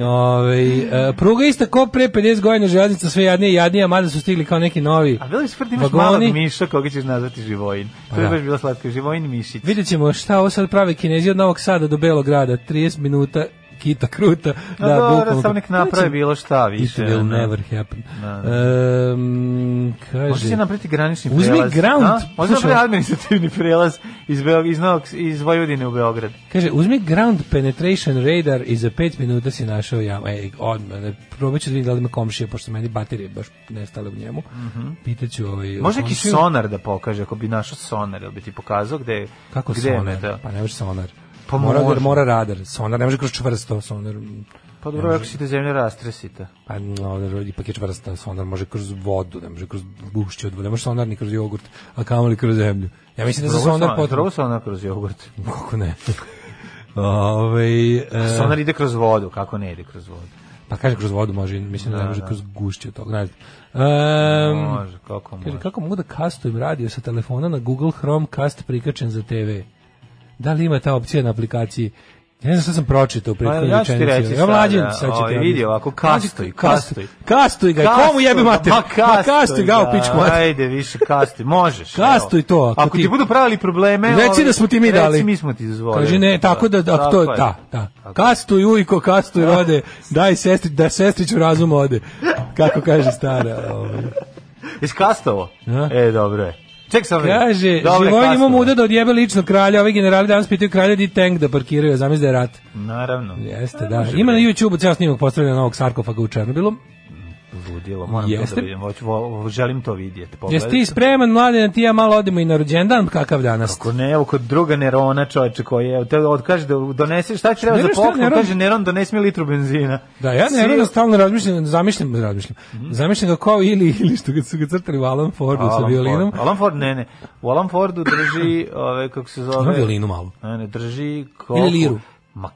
[SPEAKER 5] Ove, e, pruga ista ko pre 50 godina železnica sve jadnije i jadnije, a mada su stigli kao neki novi.
[SPEAKER 6] A veli smrti imaš
[SPEAKER 5] Vagoni. Pa
[SPEAKER 6] malog miša koga ćeš nazvati živojin. to je
[SPEAKER 5] da.
[SPEAKER 6] baš bilo slatko. Živojin mišić.
[SPEAKER 5] Vidjet ćemo šta ovo sad prave kinezi od Novog Sada do Belog grada. 30 minuta kita kruta.
[SPEAKER 6] No, da, Pa dobro,
[SPEAKER 5] bukvalno.
[SPEAKER 6] sam nek naprave bilo šta
[SPEAKER 5] It
[SPEAKER 6] više.
[SPEAKER 5] will
[SPEAKER 6] ono.
[SPEAKER 5] never happen.
[SPEAKER 6] Da,
[SPEAKER 5] Ehm, kaže...
[SPEAKER 6] Može se napraviti granični
[SPEAKER 5] Uzmi
[SPEAKER 6] prelaz.
[SPEAKER 5] ground,
[SPEAKER 6] a? Može se
[SPEAKER 5] slušaj.
[SPEAKER 6] napraviti administrativni prelaz iz, Beog, iz, Novog, iz Vojvodine u Beograd.
[SPEAKER 5] Kaže, uzmi ground penetration radar i za 5 minuta si našao jamu. Ej, odmah, ne, probat ću da vidim da li ima komšija, pošto meni baterije baš nestale u njemu. Pitaću ovaj...
[SPEAKER 6] Mhm. Može neki
[SPEAKER 5] komšiju.
[SPEAKER 6] sonar da pokaže, ako bi našao sonar, ili bi ti pokazao gde,
[SPEAKER 5] Kako
[SPEAKER 6] gde je
[SPEAKER 5] sonar?
[SPEAKER 6] meteo?
[SPEAKER 5] Pa ne može sonar.
[SPEAKER 6] Pa
[SPEAKER 5] mora,
[SPEAKER 6] može.
[SPEAKER 5] mora radar. Sonar ne može kroz čvrsto. Sonar...
[SPEAKER 6] Pa dobro, ako si te zemlje rastresite.
[SPEAKER 5] Pa no, ipak je čvrsta, sonar može kroz vodu, ne može kroz gušće od vode, ne može sonar ni kroz jogurt, a kamoli kroz zemlju. Ja mislim da za sonar potrebno.
[SPEAKER 6] Prvo sonar kroz jogurt.
[SPEAKER 5] Kako ne? Ove,
[SPEAKER 6] Sonar ide kroz vodu, kako ne ide kroz vodu?
[SPEAKER 5] pa kaže kroz vodu može, mislim da ne može kroz gušće od toga. Ne znam. Em,
[SPEAKER 6] Može, kako
[SPEAKER 5] Kaže,
[SPEAKER 6] može.
[SPEAKER 5] kako mogu da kastujem radio sa telefona na Google Chrome cast prikačen za TV? da li ima ta opcija na aplikaciji Ja ne znam šta sam pročitao u prethodnoj
[SPEAKER 6] Pa, ja ću ti
[SPEAKER 5] rečenici.
[SPEAKER 6] reći
[SPEAKER 5] Ja
[SPEAKER 6] sada,
[SPEAKER 5] mlađen,
[SPEAKER 6] da,
[SPEAKER 5] sad ću ti
[SPEAKER 6] ovaj,
[SPEAKER 5] ja
[SPEAKER 6] vidi
[SPEAKER 5] mislim.
[SPEAKER 6] ovako,
[SPEAKER 5] Mlađe,
[SPEAKER 6] kastuj, kastuj.
[SPEAKER 5] Kastuj ga,
[SPEAKER 6] Kastuj
[SPEAKER 5] komu jebe
[SPEAKER 6] ga,
[SPEAKER 5] mater?
[SPEAKER 6] Ma kastuj,
[SPEAKER 5] ga, u pičku mater.
[SPEAKER 6] Ajde, više kastuj, možeš.
[SPEAKER 5] Kastuj
[SPEAKER 6] evo.
[SPEAKER 5] to, ako
[SPEAKER 6] Ako ti,
[SPEAKER 5] ti-
[SPEAKER 6] budu pravili probleme...
[SPEAKER 5] Reci
[SPEAKER 6] ovaj,
[SPEAKER 5] da smo ti mi dali.
[SPEAKER 6] Reci mi smo ti dozvolili.
[SPEAKER 5] Kaže ne, tako da, da to,
[SPEAKER 6] je.
[SPEAKER 5] da, da. Kastuj ujko, kastuj rode, daj sestri, da sestriću razum ode. Kako kaže stara. ovaj.
[SPEAKER 6] Jesi kastovo?
[SPEAKER 5] A?
[SPEAKER 6] E, dobro je. Ček sam.
[SPEAKER 5] Kaže,
[SPEAKER 6] Dobro je
[SPEAKER 5] živojn ima
[SPEAKER 6] kastovo.
[SPEAKER 5] muda da odjebe lično kralja, ovi generali danas pitaju kralja di tank da parkiraju, a zamisli da je rat.
[SPEAKER 6] Naravno.
[SPEAKER 5] Jeste, da. Ima na YouTube ceo snimak postavljen novog sarkofaga u Černobilu.
[SPEAKER 6] Ludilo, moram to
[SPEAKER 5] Jeste.
[SPEAKER 6] da vidim. Hoću, vo- vo- želim to vidjeti.
[SPEAKER 5] Jesi
[SPEAKER 6] pogledati.
[SPEAKER 5] ti spreman, mladen, ti i ja malo odemo i na rođendan, kakav danas?
[SPEAKER 6] Ko ne, evo kod druga Nerona čoveče koji je, te od kaže da donese, šta će treba
[SPEAKER 5] Ne,
[SPEAKER 6] za
[SPEAKER 5] šta
[SPEAKER 6] poklon,
[SPEAKER 5] Neron?
[SPEAKER 6] kaže Neron donesi mi litru benzina.
[SPEAKER 5] Da, ja
[SPEAKER 6] Svi- Mhm.
[SPEAKER 5] ne vrlo stalno razmišljam, zamišljam, razmišljam. Zamišljam ga kao ili, ili što ga su ga crtali u Alan Fordu sa
[SPEAKER 6] Alan
[SPEAKER 5] violinom.
[SPEAKER 6] Ford. pa, Alan Ford, ne, ne. U Alan Fordu drži, ove, kako se zove...
[SPEAKER 5] Ima violinu malu.
[SPEAKER 6] Ne, ne, drži...
[SPEAKER 5] Ili liru.
[SPEAKER 6] Ma,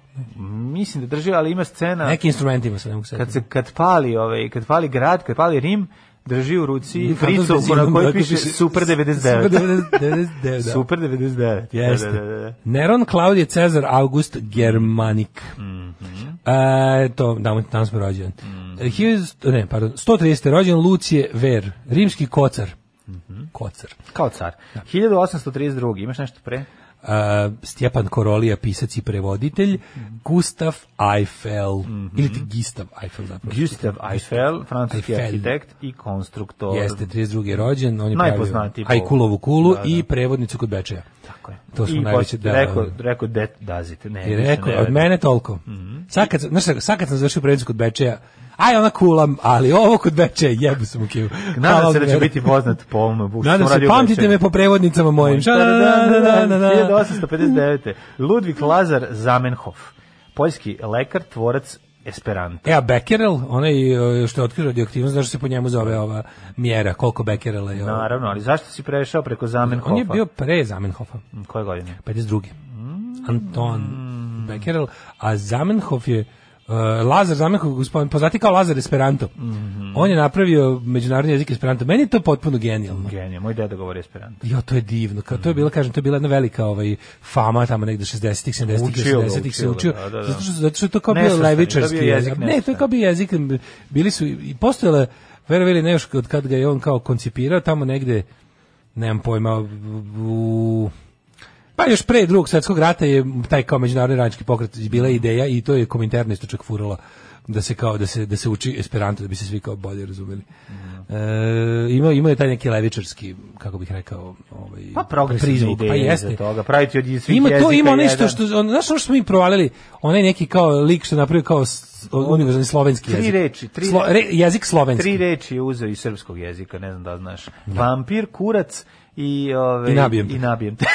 [SPEAKER 6] mislim da drži, ali ima scena...
[SPEAKER 5] Neki instrument ima, sad ne mogu se.
[SPEAKER 6] kad se kad pali ovaj kad pali grad kad pali Rim drži u ruci
[SPEAKER 5] I
[SPEAKER 6] fricu
[SPEAKER 5] Frantos
[SPEAKER 6] na
[SPEAKER 5] benzinom,
[SPEAKER 6] kojoj
[SPEAKER 5] tako
[SPEAKER 6] piše
[SPEAKER 5] piše
[SPEAKER 6] Super 99
[SPEAKER 5] Super 99, da.
[SPEAKER 6] Super 99
[SPEAKER 5] Jeste.
[SPEAKER 6] da, da, da, da.
[SPEAKER 5] Neron, Klaudije, Cezar, August, Germanik. Mm
[SPEAKER 6] Mhm.
[SPEAKER 5] e, to, da, tam smo rođen. E, 1000 ne, pardon, 130. rođen Lucije Ver, rimski kocar.
[SPEAKER 6] Mhm.
[SPEAKER 5] Kocar.
[SPEAKER 6] kao car 1832 imaš nešto pre
[SPEAKER 5] E, Stjepan Korolija, pisac i prevoditelj,
[SPEAKER 6] Mhm.
[SPEAKER 5] Gustav Eiffel, ili ti Gistav Eiffel zapravo.
[SPEAKER 6] Gustav Eiffel francuski
[SPEAKER 5] Eiffel.
[SPEAKER 6] arhitekt i konstruktor
[SPEAKER 5] Jeste, 32. rođen, on je
[SPEAKER 6] Najpoznatiji
[SPEAKER 5] pravio
[SPEAKER 6] po-
[SPEAKER 5] Ajkulovu kulu
[SPEAKER 6] Da, da.
[SPEAKER 5] i prevodnicu kod Bečeja.
[SPEAKER 6] tako je
[SPEAKER 5] To smo
[SPEAKER 6] I
[SPEAKER 5] najveće,
[SPEAKER 6] posle
[SPEAKER 5] da,
[SPEAKER 6] rekao
[SPEAKER 5] da.
[SPEAKER 6] rekao det dazit ne
[SPEAKER 5] I
[SPEAKER 6] E, više
[SPEAKER 5] rekao,
[SPEAKER 6] ne
[SPEAKER 5] od
[SPEAKER 6] radi. Mhm.
[SPEAKER 5] mene toliko. Sad, kad, znaš, šta, sad kad sam završio prevodnicu kod Bečeja, aj ona kulam, ali ovo kod Bečeja, jebu sam u kivu.
[SPEAKER 6] Nadam
[SPEAKER 5] Hvala
[SPEAKER 6] se da će
[SPEAKER 5] vam,
[SPEAKER 6] biti poznat po ovom bušu.
[SPEAKER 5] Nadam se, pamtite me po prevodnicama mojim. Da, da, da, da, da.
[SPEAKER 6] 1859. Ludvig Lazar Zamenhof, poljski lekar, tvorac Esperanta.
[SPEAKER 5] E, a Becquerel, onaj e, što je otkrio radioaktivnost, znaš što se po njemu zove ova mjera, koliko Becquerela je ovo?
[SPEAKER 6] Naravno, ali zašto si prešao preko Zamenhofa? Mm,
[SPEAKER 5] On je bio pre Zamenhofa,
[SPEAKER 6] Koje godine?
[SPEAKER 5] 52.
[SPEAKER 6] Mm.
[SPEAKER 5] Anton Becquerel, a Zamenhof je e, Lazar Zamenhof, gospodin, poznati kao Lazar Esperanto.
[SPEAKER 6] Mhm.
[SPEAKER 5] On je napravio međunarodni jezik Esperanto. Meni je to potpuno genijalno.
[SPEAKER 6] Genije, moj deda govori Esperanto.
[SPEAKER 5] Jo, to je divno. Kao to je bila, kažem, to je bila jedna velika ovaj fama tamo negde 60-ih, 70-ih,
[SPEAKER 6] Učio ga,
[SPEAKER 5] 80-ih se
[SPEAKER 6] učio
[SPEAKER 5] učio.
[SPEAKER 6] ga, da, da, da.
[SPEAKER 5] Zato što zato što je to kao bio
[SPEAKER 6] Nesvrstani,
[SPEAKER 5] levičarski
[SPEAKER 6] to je bio jezik
[SPEAKER 5] jezik. Ne, to je kao bio jezik bili su i postojala verovali ne još od kad ga je on kao koncipirao tamo negde nemam pojma u Pa još pre drugog svetskog rata je taj kao međunarodni radnički pokret bila ideja i to je kominterna isto čak furala da se kao da se da se uči esperanto da bi se svi kao bolje razumeli.
[SPEAKER 6] Mhm.
[SPEAKER 5] E, ima ima je taj neki levičarski kako bih rekao ovaj
[SPEAKER 6] Pa progresivne
[SPEAKER 5] prizvuk,
[SPEAKER 6] ideje
[SPEAKER 5] pa jeste.
[SPEAKER 6] iza toga. Praviti od svih
[SPEAKER 5] Ima to,
[SPEAKER 6] jezika
[SPEAKER 5] ima nešto
[SPEAKER 6] jedan.
[SPEAKER 5] što, što on, znaš ono što smo mi provalili, onaj neki kao lik što je napravio kao s- univerzalni slovenski
[SPEAKER 6] Tri
[SPEAKER 5] jezik.
[SPEAKER 6] reči, tri reči.
[SPEAKER 5] re, jezik slovenski.
[SPEAKER 6] Tri reči je uzeo iz srpskog jezika, ne znam da li znaš. Vampir, kurac i... Ove,
[SPEAKER 5] I nabijem te.
[SPEAKER 6] I nabijem te.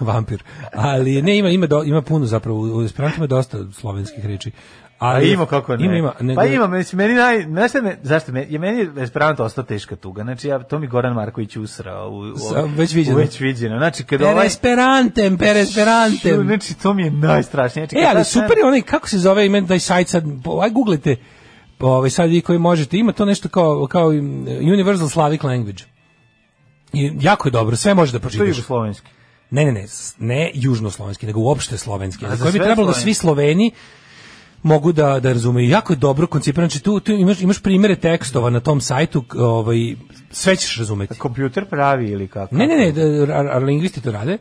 [SPEAKER 5] vampir. Ali ne ima ima do, ima puno zapravo u Esperantu ima dosta slovenskih reči.
[SPEAKER 6] A
[SPEAKER 5] Ali
[SPEAKER 6] ima kako ne.
[SPEAKER 5] Ima ima. nego-
[SPEAKER 6] pa ima, mislim, meni naj... Znaš šta me, zašto me, je meni je Esperanto ostao teška tuga. Znači, ja, to mi Goran Marković usrao. U, u,
[SPEAKER 5] Sa- već viđeno.
[SPEAKER 6] u Već viđeno. Znači, kada
[SPEAKER 5] Per
[SPEAKER 6] ovaj...
[SPEAKER 5] esperantem, per esperantem.
[SPEAKER 6] Znači, to mi je najstrašnije. Znači,
[SPEAKER 5] E,
[SPEAKER 6] kad ta
[SPEAKER 5] ali
[SPEAKER 6] scena-
[SPEAKER 5] super je onaj, kako se zove ime taj sajt sad, po- aj googlite, ovaj, sad vi koji možete, ima to nešto kao, kao um, Universal Slavic Language. I jako je dobro, sve može da
[SPEAKER 6] To je
[SPEAKER 5] pročitaš.
[SPEAKER 6] jugoslovenski.
[SPEAKER 5] Ne, ne, ne, s- ne južnoslovenski, nego uopšte slovenski.
[SPEAKER 6] A
[SPEAKER 5] Za
[SPEAKER 6] za
[SPEAKER 5] koje bi
[SPEAKER 6] sve
[SPEAKER 5] trebalo da svi
[SPEAKER 6] Sloveni?
[SPEAKER 5] Sloveni mogu da da razumeju. Jako je dobro koncipirano, znači tu, tu imaš imaš primere tekstova na tom sajtu, k- ovaj sve ćeš razumeti.
[SPEAKER 6] Kompjuter pravi ili kako?
[SPEAKER 5] Ne, ne, ne, da, ar, ar, lingvisti to rade,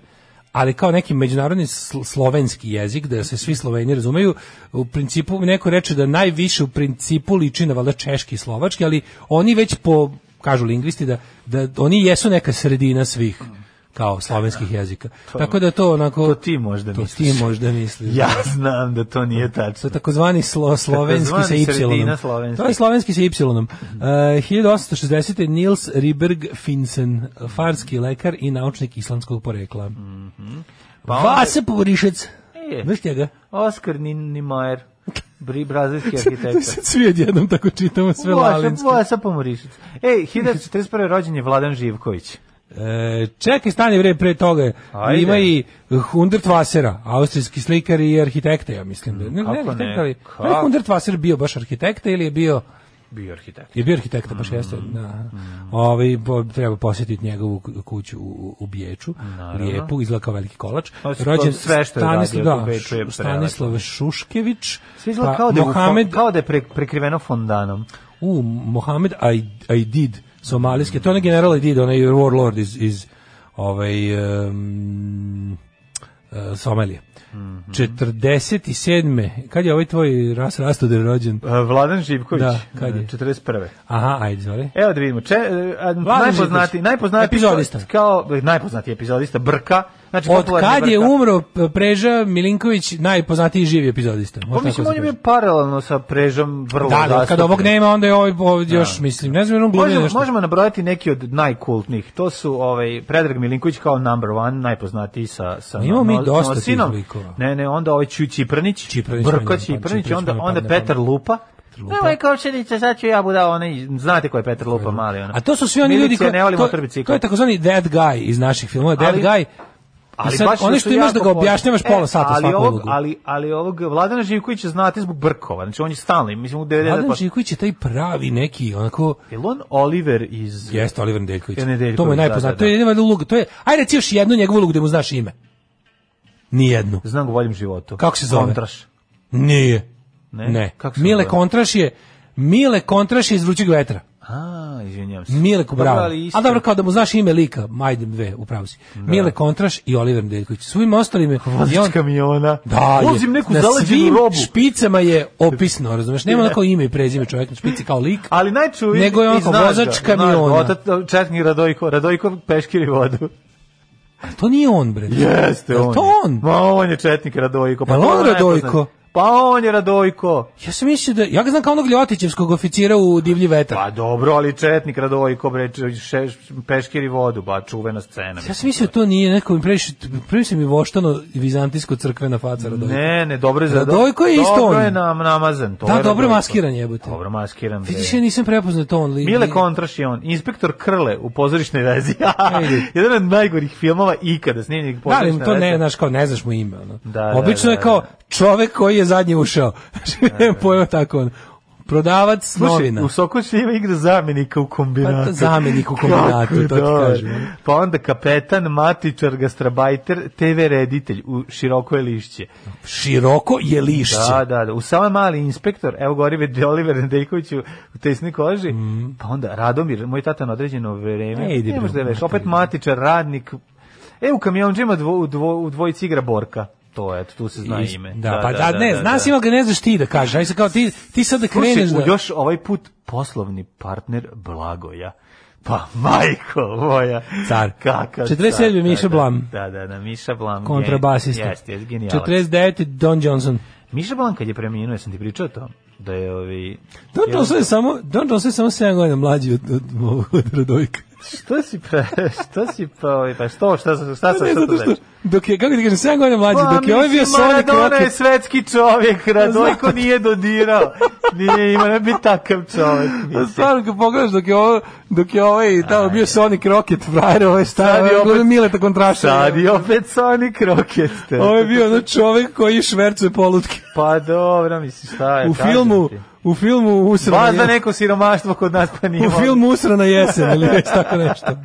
[SPEAKER 5] ali kao neki međunarodni sl- slovenski jezik, da se svi Sloveni razumeju, u principu neko reče da najviše u principu liči na valjda češki i slovački, ali oni već po, kažu lingvisti, da, da oni jesu neka sredina svih kao slovenskih jezika. Tako da to onako...
[SPEAKER 6] To ti možda
[SPEAKER 5] to
[SPEAKER 6] misliš.
[SPEAKER 5] ti možda misliš.
[SPEAKER 6] Ja znam da to nije
[SPEAKER 5] To
[SPEAKER 6] tačno.
[SPEAKER 5] je takozvani slo, slovenski sa
[SPEAKER 6] Takozvani
[SPEAKER 5] y.
[SPEAKER 6] sredina slovenski. Mhm.
[SPEAKER 5] To je slovenski sa y. Uh, 1860. Nils Riberg Finsen, farski lekar i naučnik islandskog porekla. Pa
[SPEAKER 6] Pa onda-
[SPEAKER 5] Vase Povrišec.
[SPEAKER 6] E.
[SPEAKER 5] Znaš njega?
[SPEAKER 6] Oskar Nin- Niemeyer, bri brazilski
[SPEAKER 5] Sad
[SPEAKER 6] arhitekt.
[SPEAKER 5] svi odjednom tako čitamo sve lalinski.
[SPEAKER 6] Vasa Pomorišić. Ej, 1941. rođen je Vladan Živković.
[SPEAKER 5] E, čekaj, stani vre pre toga.
[SPEAKER 6] Ajde.
[SPEAKER 5] Ima i Hundertwassera, austrijski slikar i arhitekta, ja mislim. Ne, ne,
[SPEAKER 6] Kako
[SPEAKER 5] arhitekta,
[SPEAKER 6] ne?
[SPEAKER 5] ali-
[SPEAKER 6] Kako?
[SPEAKER 5] je Hundertwasser bio baš arhitekta ili je bio
[SPEAKER 6] bio arhitekt.
[SPEAKER 5] Je bio arhitekta,
[SPEAKER 6] Mm-hmm.
[SPEAKER 5] baš jeste. Da. Ovaj, bo- treba posjetiti njegovu ku- kuću u, u Biječu, lijepu, izgleda kao veliki kolač.
[SPEAKER 6] To je to Pa sve što je radio
[SPEAKER 5] da,
[SPEAKER 6] u Beču je
[SPEAKER 5] Š-
[SPEAKER 6] prelepo.
[SPEAKER 5] Stanislav Šuškević,
[SPEAKER 6] Sve izgleda
[SPEAKER 5] pa
[SPEAKER 6] kao da, je u fon-
[SPEAKER 5] Mohamed,
[SPEAKER 6] kao da je pre- prekriveno fondanom.
[SPEAKER 5] u, Mohamed Aid- Aidid, somalijski, to je onaj general Aidid, onaj warlord iz, iz ovaj, em, e, Somalije.
[SPEAKER 6] Mhm.
[SPEAKER 5] 47. Kad je ovaj tvoj ras rastude rođen?
[SPEAKER 6] E, Vladan Živković,
[SPEAKER 5] Da, kad je?
[SPEAKER 6] e, 41.
[SPEAKER 5] Aha, ajde, izvoli.
[SPEAKER 6] Evo da vidimo. Če, e, a,
[SPEAKER 5] Vladan
[SPEAKER 6] najpoznati,
[SPEAKER 5] Živković.
[SPEAKER 6] najpoznati
[SPEAKER 5] Epizodista.
[SPEAKER 6] Kao, najpoznati epizodista Brka. Znači,
[SPEAKER 5] Od
[SPEAKER 6] popularni
[SPEAKER 5] kad je
[SPEAKER 6] Brka.
[SPEAKER 5] umro P- Preža Milinković, najpoznatiji živi epizodista? Može
[SPEAKER 6] Pa
[SPEAKER 5] tako
[SPEAKER 6] mislim,
[SPEAKER 5] da
[SPEAKER 6] on je
[SPEAKER 5] se
[SPEAKER 6] bio
[SPEAKER 5] kaže.
[SPEAKER 6] paralelno sa prežom vrlo
[SPEAKER 5] Da, da, kad
[SPEAKER 6] zastupljen.
[SPEAKER 5] ovog nema, onda je ovaj ovdje još, mislim, ne znam, on glumi
[SPEAKER 6] Možemo,
[SPEAKER 5] nešto.
[SPEAKER 6] možemo nabrojati neki od najkultnih. To su ovaj Predrag Milinković kao number one, najpoznatiji sa sa
[SPEAKER 5] Imamo mi
[SPEAKER 6] no-
[SPEAKER 5] dosta tih
[SPEAKER 6] Nosinom.
[SPEAKER 5] likova.
[SPEAKER 6] Ne, ne, onda ovaj Ću Čiprnić,
[SPEAKER 5] Čipranić mi ne
[SPEAKER 6] Brko
[SPEAKER 5] padne,
[SPEAKER 6] Čiprnić,
[SPEAKER 5] Čipranić
[SPEAKER 6] onda
[SPEAKER 5] mi ne
[SPEAKER 6] onda
[SPEAKER 5] padne na
[SPEAKER 6] Petar
[SPEAKER 5] pamet.
[SPEAKER 6] Lupa.
[SPEAKER 5] Lupa.
[SPEAKER 6] Evo je Kovčevića, sad ću ja buda onaj, znate ko je Petar Lupa, mali ono.
[SPEAKER 5] A to su svi oni ljudi
[SPEAKER 6] Milicija,
[SPEAKER 5] koji
[SPEAKER 6] ne voli motor
[SPEAKER 5] to, to
[SPEAKER 6] bicikla.
[SPEAKER 5] je takozvani dead guy iz naših filmova, dead
[SPEAKER 6] Ali-
[SPEAKER 5] guy.
[SPEAKER 6] Ali
[SPEAKER 5] I sad,
[SPEAKER 6] baš
[SPEAKER 5] ono
[SPEAKER 6] da
[SPEAKER 5] što
[SPEAKER 6] su
[SPEAKER 5] imaš
[SPEAKER 6] jako
[SPEAKER 5] da ga
[SPEAKER 6] poznati.
[SPEAKER 5] objašnjavaš pola sata
[SPEAKER 6] ali
[SPEAKER 5] svaku
[SPEAKER 6] ovog,
[SPEAKER 5] ulogu.
[SPEAKER 6] ali, ali ovog Vladana Živkovića znate zbog Brkova, znači on je pa- stalni, mislim u 99%.
[SPEAKER 5] Vladan Živković je taj pravi neki, onako,
[SPEAKER 6] Jel on Oliver iz...
[SPEAKER 5] jeste Oliver Nedeljković.
[SPEAKER 6] Je Nedeljković,
[SPEAKER 5] To mu je
[SPEAKER 6] da,
[SPEAKER 5] najpoznatiji.
[SPEAKER 6] da, da.
[SPEAKER 5] To je jedina valjda uloga. To je, ajde reci još jednu njegovu ulogu da mu znaš ime. Nijednu.
[SPEAKER 6] Znam ga voljim životu.
[SPEAKER 5] Kako se zove?
[SPEAKER 6] Kontraš.
[SPEAKER 5] Nije.
[SPEAKER 6] Ne?
[SPEAKER 5] Ne.
[SPEAKER 6] Kako se
[SPEAKER 5] Mile
[SPEAKER 6] zove?
[SPEAKER 5] Kontraš je Mile Kontraš je iz vrućeg vetra.
[SPEAKER 6] A, izvinjam se.
[SPEAKER 5] Mile
[SPEAKER 6] Dobro,
[SPEAKER 5] Bravo.
[SPEAKER 6] ali isto-
[SPEAKER 5] A dobro kao da mu znaš ime lika, majde dve, upravo si. Mile Kontraš i Oliver Nedeljković. Svim ostalim je...
[SPEAKER 6] Vozač
[SPEAKER 5] i on-
[SPEAKER 6] kamiona.
[SPEAKER 5] Da, je.
[SPEAKER 6] Vozim neku
[SPEAKER 5] na
[SPEAKER 6] zaleđenu
[SPEAKER 5] svim
[SPEAKER 6] robu.
[SPEAKER 5] špicama je opisno, razumeš? Nema onako ime i prezime čovjek na špici kao lik.
[SPEAKER 6] Ali najčuvi...
[SPEAKER 5] Nego je onako vozač kamiona.
[SPEAKER 6] Otac, četnik Radojko, Radojko peškiri vodu.
[SPEAKER 5] To nije on, bre.
[SPEAKER 6] Jeste
[SPEAKER 5] Jel
[SPEAKER 6] on.
[SPEAKER 5] to
[SPEAKER 6] je.
[SPEAKER 5] on?
[SPEAKER 6] Ma on je četnik Radojko.
[SPEAKER 5] Jel
[SPEAKER 6] to
[SPEAKER 5] on
[SPEAKER 6] je najpoznat.
[SPEAKER 5] Radojko?
[SPEAKER 6] Pa on je Radojko.
[SPEAKER 5] Ja sam mislio da... Ja ga znam kao onog Ljotićevskog oficira u Divlji vetar.
[SPEAKER 6] Pa dobro, ali četnik Radojko, bre, č- šeš- peškiri vodu, ba, čuvena scena.
[SPEAKER 5] Ja sam mislio da to nije neko mi previše, previše mi voštano vizantijsko crkvena faca Radojko.
[SPEAKER 6] Ne, ne, dobro je za...
[SPEAKER 5] Radojko je isto
[SPEAKER 6] Dobro
[SPEAKER 5] on.
[SPEAKER 6] je nam, namazan. To
[SPEAKER 5] Da,
[SPEAKER 6] je
[SPEAKER 5] dobro
[SPEAKER 6] Radojko.
[SPEAKER 5] maskiran jebote.
[SPEAKER 6] Dobro maskiran, bre.
[SPEAKER 5] Vidiš, ja nisam prepoznao to on lik.
[SPEAKER 6] Mile Kontraš je on, inspektor Krle u pozorišnoj vezi.
[SPEAKER 5] Ajde.
[SPEAKER 6] Jedan od najgorih filmova ikada snimljenih u
[SPEAKER 5] Da, ali
[SPEAKER 6] pozorišnoj
[SPEAKER 5] to
[SPEAKER 6] vezi.
[SPEAKER 5] ne, znaš, kao ne znaš mu ime. Ono.
[SPEAKER 6] Da,
[SPEAKER 5] Obično
[SPEAKER 6] da,
[SPEAKER 5] je
[SPEAKER 6] da,
[SPEAKER 5] kao
[SPEAKER 6] da.
[SPEAKER 5] čovek koji je zadnji ušao. Nemam pojma tako. Ono. Prodavac
[SPEAKER 6] Slušaj,
[SPEAKER 5] novina.
[SPEAKER 6] u Sokoću ima igra zamenika u kombinatu.
[SPEAKER 5] Pa to zamenik u kombinatu,
[SPEAKER 6] Kako je
[SPEAKER 5] to ti
[SPEAKER 6] dobar.
[SPEAKER 5] kažem.
[SPEAKER 6] Pa onda kapetan, matičar, gastrabajter, TV reditelj u široko je lišće.
[SPEAKER 5] Široko je lišće.
[SPEAKER 6] Da, da, da. U samo mali inspektor, evo gori vidi Oliver Nedeljković u u tesnoj koži, pa onda Radomir, moj tata na određeno vreme,
[SPEAKER 5] Mhm. E, idi
[SPEAKER 6] ne možeš da
[SPEAKER 5] bre,
[SPEAKER 6] je veš, opet matičar, radnik, e, u kamionđima dvo, u, dvo, u dvojici igra Borka, to je, tu se zna
[SPEAKER 5] Is-
[SPEAKER 6] ime.
[SPEAKER 5] Da, pa da, ne, znaš ima ga ne znaš ti da kažeš. Aj sad kao ti ti sad da
[SPEAKER 6] Slušaj,
[SPEAKER 5] kreneš da
[SPEAKER 6] još ovaj put poslovni partner Blagoja. Pa majko moja.
[SPEAKER 5] Car.
[SPEAKER 6] Kakav
[SPEAKER 5] 47
[SPEAKER 6] car,
[SPEAKER 5] Miša
[SPEAKER 6] da,
[SPEAKER 5] Blam.
[SPEAKER 6] Da, da, da, Miša Blam.
[SPEAKER 5] kontrabasista.
[SPEAKER 6] Jeste, jeste, genijalac.
[SPEAKER 5] 49 Don Johnson.
[SPEAKER 6] Miša Blan kad je preminuo, jesam ti pričao to? Da je ovi...
[SPEAKER 5] Don Johnson je samo Don Johnson je samo 7 godina mlađi od od, od, od Radojka.
[SPEAKER 6] Što si pre... Što si pa... ovaj, Pa što, šta, šta, šta sam
[SPEAKER 5] Ne,
[SPEAKER 6] sad Pa
[SPEAKER 5] zato što dok je kako ti kažem 7 godina mlađi, dok je ovaj bio Sonic
[SPEAKER 6] Maradona
[SPEAKER 5] rock.
[SPEAKER 6] je svetski čovjek, Radojko
[SPEAKER 5] Znam.
[SPEAKER 6] nije dodirao. Nije ima, ne bi takav čovjek.
[SPEAKER 5] Pa
[SPEAKER 6] mislim.
[SPEAKER 5] Stvarno kad pogledaš dok je ovo, dok je ovaj tamo bio Sonic Rocket frajer, ovaj stari,
[SPEAKER 6] Sad je
[SPEAKER 5] ovaj
[SPEAKER 6] opet-
[SPEAKER 5] opet, Mileta kontraša.
[SPEAKER 6] Sad je opet Sonic Rocket. te.
[SPEAKER 5] Ovo je bio ono čovek koji švercuje polutke.
[SPEAKER 6] Pa dobro, mislim, šta je.
[SPEAKER 5] U
[SPEAKER 6] E, kažem
[SPEAKER 5] filmu,
[SPEAKER 6] ti.
[SPEAKER 5] u filmu usrana
[SPEAKER 6] Baš da
[SPEAKER 5] je-
[SPEAKER 6] neko siromaštvo kod nas pa nije.
[SPEAKER 5] U
[SPEAKER 6] moglo.
[SPEAKER 5] filmu Usrana jesen ili već tako nešto.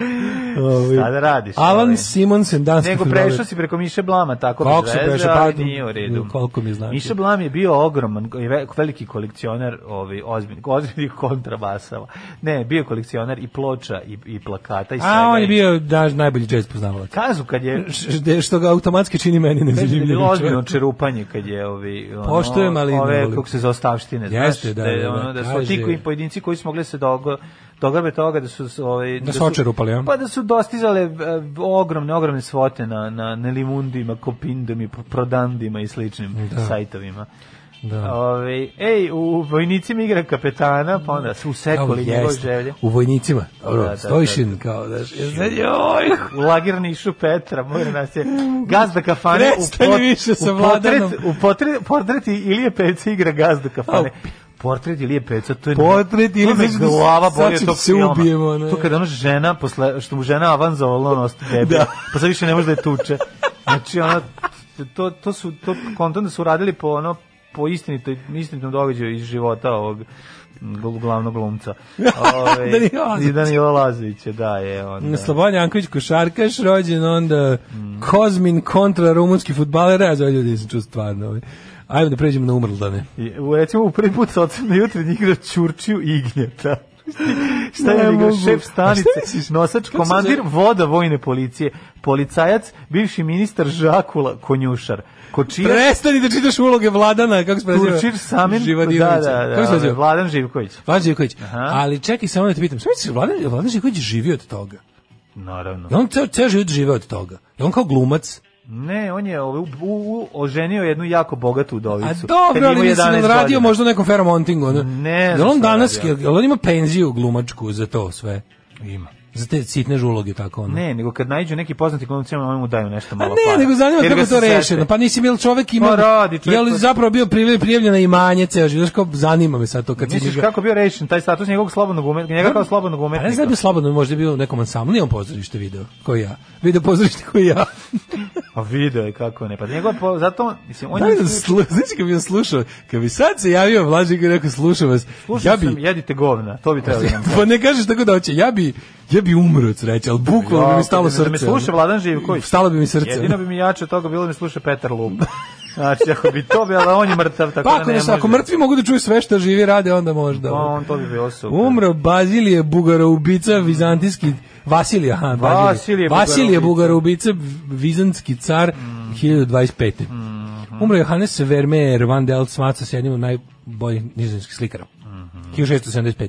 [SPEAKER 5] Ovi.
[SPEAKER 6] Šta da radiš, ovaj?
[SPEAKER 5] Alan Simonsen, danski
[SPEAKER 6] Nego
[SPEAKER 5] fudbaler.
[SPEAKER 6] prešao si preko Miše Blama, tako
[SPEAKER 5] Kako
[SPEAKER 6] bez
[SPEAKER 5] sam
[SPEAKER 6] veze,
[SPEAKER 5] prešao,
[SPEAKER 6] ali
[SPEAKER 5] pa,
[SPEAKER 6] nije u redu.
[SPEAKER 5] koliko mi znači.
[SPEAKER 6] Miše Blam je bio ogroman, i ve- veliki kolekcioner ovaj, ozbiljnih, ozbiljnih kontrabasava. Ne, bio je kolekcioner i ploča i, i plakata i svega.
[SPEAKER 5] A on je bio da, najbolji jazz poznavalac.
[SPEAKER 6] Kazu kad je...
[SPEAKER 5] Š- š- Što ga automatski čini meni
[SPEAKER 6] Kaže da je
[SPEAKER 5] nezanimljivim
[SPEAKER 6] bilo ozbiljno
[SPEAKER 5] čovjekom.
[SPEAKER 6] čerupanje kad je ovi ono,
[SPEAKER 5] Poštujem, ali ne
[SPEAKER 6] ove
[SPEAKER 5] volim.
[SPEAKER 6] kako se zaostavštine
[SPEAKER 5] Jeste,
[SPEAKER 6] znaš,
[SPEAKER 5] da,
[SPEAKER 6] da, je
[SPEAKER 5] da, da,
[SPEAKER 6] ono da su ti
[SPEAKER 5] kaže-
[SPEAKER 6] koji pojedinci koji su mogli se dogo dograbe toga da su s- ovaj
[SPEAKER 5] Da su očerupali, a?
[SPEAKER 6] pa da su dostizale e, ogromne ogromne svote na na Nelimundima, Kopindama, Prodandima i sličnim sajtovima.
[SPEAKER 5] Da.
[SPEAKER 6] Ove, ej, u vojnicima igra kapetana, pa onda su
[SPEAKER 5] Kao,
[SPEAKER 6] usekoli njegove
[SPEAKER 5] jeste.
[SPEAKER 6] želje.
[SPEAKER 5] U vojnicima. Dobro,
[SPEAKER 6] Da, da,
[SPEAKER 5] Stojšin, kao da... Joj,
[SPEAKER 6] U lagirnišu Petra, mora nas je gazda kafane u,
[SPEAKER 5] Prestani više sa
[SPEAKER 6] u portret,
[SPEAKER 5] Vladanom.
[SPEAKER 6] u portret, portret Ilije Pevca igra gazda kafane. Portret Ilije Pevca, to je
[SPEAKER 5] Portret Ilije
[SPEAKER 6] to me
[SPEAKER 5] Pevca,
[SPEAKER 6] glava
[SPEAKER 5] sad
[SPEAKER 6] bolje
[SPEAKER 5] ćemo
[SPEAKER 6] tog
[SPEAKER 5] se
[SPEAKER 6] filma.
[SPEAKER 5] ubijemo, ne.
[SPEAKER 6] To kada ona žena, posle, što mu žena avanzovala, ono ostaje debel, pa sad više ne može da je tuče. Znači, ona, to, to su, to kontent da su radili po ono, po istinitoj, istinitom događaju iz života ovog mm, gl- glavnog glumca. Ove,
[SPEAKER 5] Danila Lazovića.
[SPEAKER 6] I Danila Lazovića, da je on.
[SPEAKER 5] Slobodan Janković košarkaš, rođen onda Kozmin kontra rumunski futbaler, ja za ove ljudi nisam čuo stvarno. ovaj. Ajmo da pređemo na umrldane.
[SPEAKER 6] I, u, recimo, u prvi put se odsam na jutrenji igra Čurčiju i Ignjeta. Šta
[SPEAKER 5] Ne
[SPEAKER 6] je igra?
[SPEAKER 5] mogu.
[SPEAKER 6] Šef
[SPEAKER 5] A šta
[SPEAKER 6] stanice,
[SPEAKER 5] misliš?
[SPEAKER 6] nosač,
[SPEAKER 5] Kako se
[SPEAKER 6] komandir,
[SPEAKER 5] zove?
[SPEAKER 6] voda vojne policije, policajac, bivši ministar Žakula, konjušar, kočirač,
[SPEAKER 5] Prestani da čitaš uloge Vladana, kako se preziva?
[SPEAKER 6] Turčir Samin, da,
[SPEAKER 5] Živadinovića. Kako
[SPEAKER 6] da,
[SPEAKER 5] se
[SPEAKER 6] da, da,
[SPEAKER 5] preziva?
[SPEAKER 6] Vladan Živković.
[SPEAKER 5] Vladan Živković.
[SPEAKER 6] Aha.
[SPEAKER 5] Ali čekaj samo da te pitam, šta misliš, Vladan, jel Vladan Živković živi od toga?
[SPEAKER 6] Naravno.
[SPEAKER 5] Je on ceo, ceo život žive od toga? Je on kao glumac?
[SPEAKER 6] Ne, on je ovaj, u, u, oženio jednu jako bogatu udovicu.
[SPEAKER 5] A
[SPEAKER 6] kad
[SPEAKER 5] dobro,
[SPEAKER 6] je
[SPEAKER 5] ali
[SPEAKER 6] imao
[SPEAKER 5] nisi
[SPEAKER 6] 11
[SPEAKER 5] radio
[SPEAKER 6] godina.
[SPEAKER 5] možda u nekom feromontingu. ono.
[SPEAKER 6] Ne
[SPEAKER 5] Jel
[SPEAKER 6] znam
[SPEAKER 5] on
[SPEAKER 6] šta
[SPEAKER 5] danas,
[SPEAKER 6] radi,
[SPEAKER 5] jel, jel on ima penziju glumačku za to sve?
[SPEAKER 6] Ima.
[SPEAKER 5] Za te sitne žuloge tako ono?
[SPEAKER 6] Ne, nego kad naiđu neki poznati glumci, oni mu daju nešto
[SPEAKER 5] A
[SPEAKER 6] malo
[SPEAKER 5] ne,
[SPEAKER 6] para.
[SPEAKER 5] nego zanima me
[SPEAKER 6] pa, Jer
[SPEAKER 5] kako
[SPEAKER 6] ga
[SPEAKER 5] to
[SPEAKER 6] se
[SPEAKER 5] rešeno.
[SPEAKER 6] seče.
[SPEAKER 5] Pa nisi bil čovek ima...
[SPEAKER 6] Pa radi, čovjek
[SPEAKER 5] Jel
[SPEAKER 6] koji-
[SPEAKER 5] zapravo bio privljen, prijavljena imanje ceo život? Znaš kao, zanima me sad to kad si
[SPEAKER 6] Misliš
[SPEAKER 5] njega-
[SPEAKER 6] kako bio rešen taj status njegovog slobodnog umetnika, njega kao slobodnog
[SPEAKER 5] A ne
[SPEAKER 6] umetnika?
[SPEAKER 5] znam da bi slobodno možda bio u nekom ansamblu, on pozorište video, koji ja. Video pozorište koji ja.
[SPEAKER 6] Pa video je kako ne, pa njegov po, zato, mislim, on
[SPEAKER 5] Da li
[SPEAKER 6] je...
[SPEAKER 5] da slu, znaš kad bi on slušao, kad bi sad se javio Vlađe i rekao slušam vas,
[SPEAKER 6] Slušao
[SPEAKER 5] ja bi,
[SPEAKER 6] sam, jedite govna, to bi trebalo da nam
[SPEAKER 5] pa ne kažeš tako da hoće, ja bi, ja bi umro od sreće, ali bukvalno bi mi stalo
[SPEAKER 6] Da
[SPEAKER 5] srce.
[SPEAKER 6] me sluša
[SPEAKER 5] ono.
[SPEAKER 6] Vladan Živković.
[SPEAKER 5] Stalo bi mi srce.
[SPEAKER 6] Jedino bi mi jače od toga bilo da me sluša Petar Lupa. Znači, ako bi to bilo, ali on je mrtav, tako
[SPEAKER 5] Pa
[SPEAKER 6] da
[SPEAKER 5] ako,
[SPEAKER 6] ne
[SPEAKER 5] ne,
[SPEAKER 6] može.
[SPEAKER 5] ako mrtvi mogu da čuju sve što živi rade, onda možda. ono.
[SPEAKER 6] On, to bi bilo super.
[SPEAKER 5] Umro Bazilije Bugaroubica, vizantijski Vasilije, aha, Bazilije.
[SPEAKER 6] Vasilije
[SPEAKER 5] Vasilije
[SPEAKER 6] Bugaroubica. Mm.
[SPEAKER 5] Bugaroubica, vizantski car 1025.
[SPEAKER 6] Mm-hmm.
[SPEAKER 5] Umro Johannes Vermeer van der Smaca, jednim od najboljih nizozemskih slikara.
[SPEAKER 6] Mm-hmm.
[SPEAKER 5] 1675.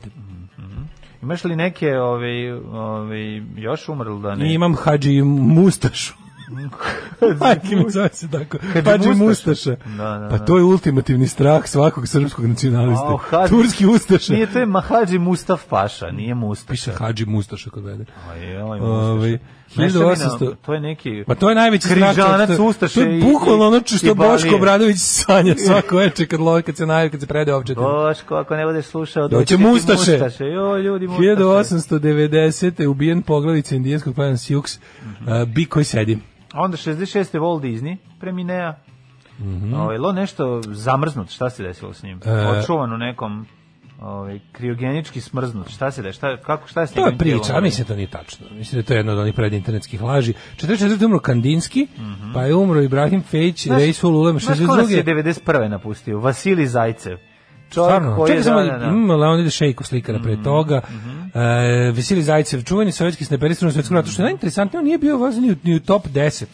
[SPEAKER 6] Imaš li neke ove, ove, još umrli da ne?
[SPEAKER 5] I imam Hadži Mustašu. Pa, Ajde, mi zove se tako. Hadži
[SPEAKER 6] Mustaša.
[SPEAKER 5] Mustaša.
[SPEAKER 6] Da, da,
[SPEAKER 5] Pa
[SPEAKER 6] da.
[SPEAKER 5] to je ultimativni strah svakog srpskog nacionaliste.
[SPEAKER 6] A, o, Hadži-
[SPEAKER 5] Turski Ustaša.
[SPEAKER 6] Nije, to je Mahađi Mustaf Paša, nije Mustaf.
[SPEAKER 5] Piše Hadži Mustaša kod mene.
[SPEAKER 6] Aj, aj,
[SPEAKER 5] Ovaj,
[SPEAKER 6] Ovaj
[SPEAKER 5] 1800
[SPEAKER 6] To je neki...
[SPEAKER 5] Ma to je najveći
[SPEAKER 6] Križanac,
[SPEAKER 5] strah, to-
[SPEAKER 6] Ustaše
[SPEAKER 5] To je
[SPEAKER 6] i-
[SPEAKER 5] bukvalno ono
[SPEAKER 6] i
[SPEAKER 5] što Boško
[SPEAKER 6] Balije.
[SPEAKER 5] Obradović sanja svako veče kad lovi kad se najavi kad se prede ovčetu.
[SPEAKER 6] Boško, ako ne budeš slušao... doći
[SPEAKER 5] Doće
[SPEAKER 6] će ti
[SPEAKER 5] Mustaše.
[SPEAKER 6] Mustaše. Jo, ljudi, Mustaše.
[SPEAKER 5] 1890. je ubijen poglavica indijanskog plana Sioux,
[SPEAKER 6] Mhm.
[SPEAKER 5] uh, bi koji sedi.
[SPEAKER 6] A Onda 66. Walt Disney, preminea.
[SPEAKER 5] Mhm.
[SPEAKER 6] Mm -hmm. Ovo, nešto zamrznut, šta se desilo s njim?
[SPEAKER 5] E.
[SPEAKER 6] Očuvan u nekom ovaj kriogenički smrznut. Šta se desilo? Šta kako šta je s
[SPEAKER 5] To je
[SPEAKER 6] njegovim
[SPEAKER 5] priča, a
[SPEAKER 6] tijelom?
[SPEAKER 5] mislim da to nije tačno. Mislim da je to jedna od onih predinternetskih laži. 44. je umro Kandinski, pa je umro Ibrahim Fejić,
[SPEAKER 6] Mhm. Znaš-
[SPEAKER 5] Rejsul Ulem,
[SPEAKER 6] Znaš ko nas je
[SPEAKER 5] 62.
[SPEAKER 6] 91. napustio? Vasili Zajcev. Čovjek
[SPEAKER 5] Stvarno,
[SPEAKER 6] koji je...
[SPEAKER 5] čekaj
[SPEAKER 6] Mhm.
[SPEAKER 5] samo, mm.
[SPEAKER 6] da, da, da.
[SPEAKER 5] ima Leonida Šejko slikara pre toga, e, Vesili Zajcev, čuveni sovjetski snajper u svetskom ratu, što je najinteresantnije, on nije bio važan ni u, ni u top 10,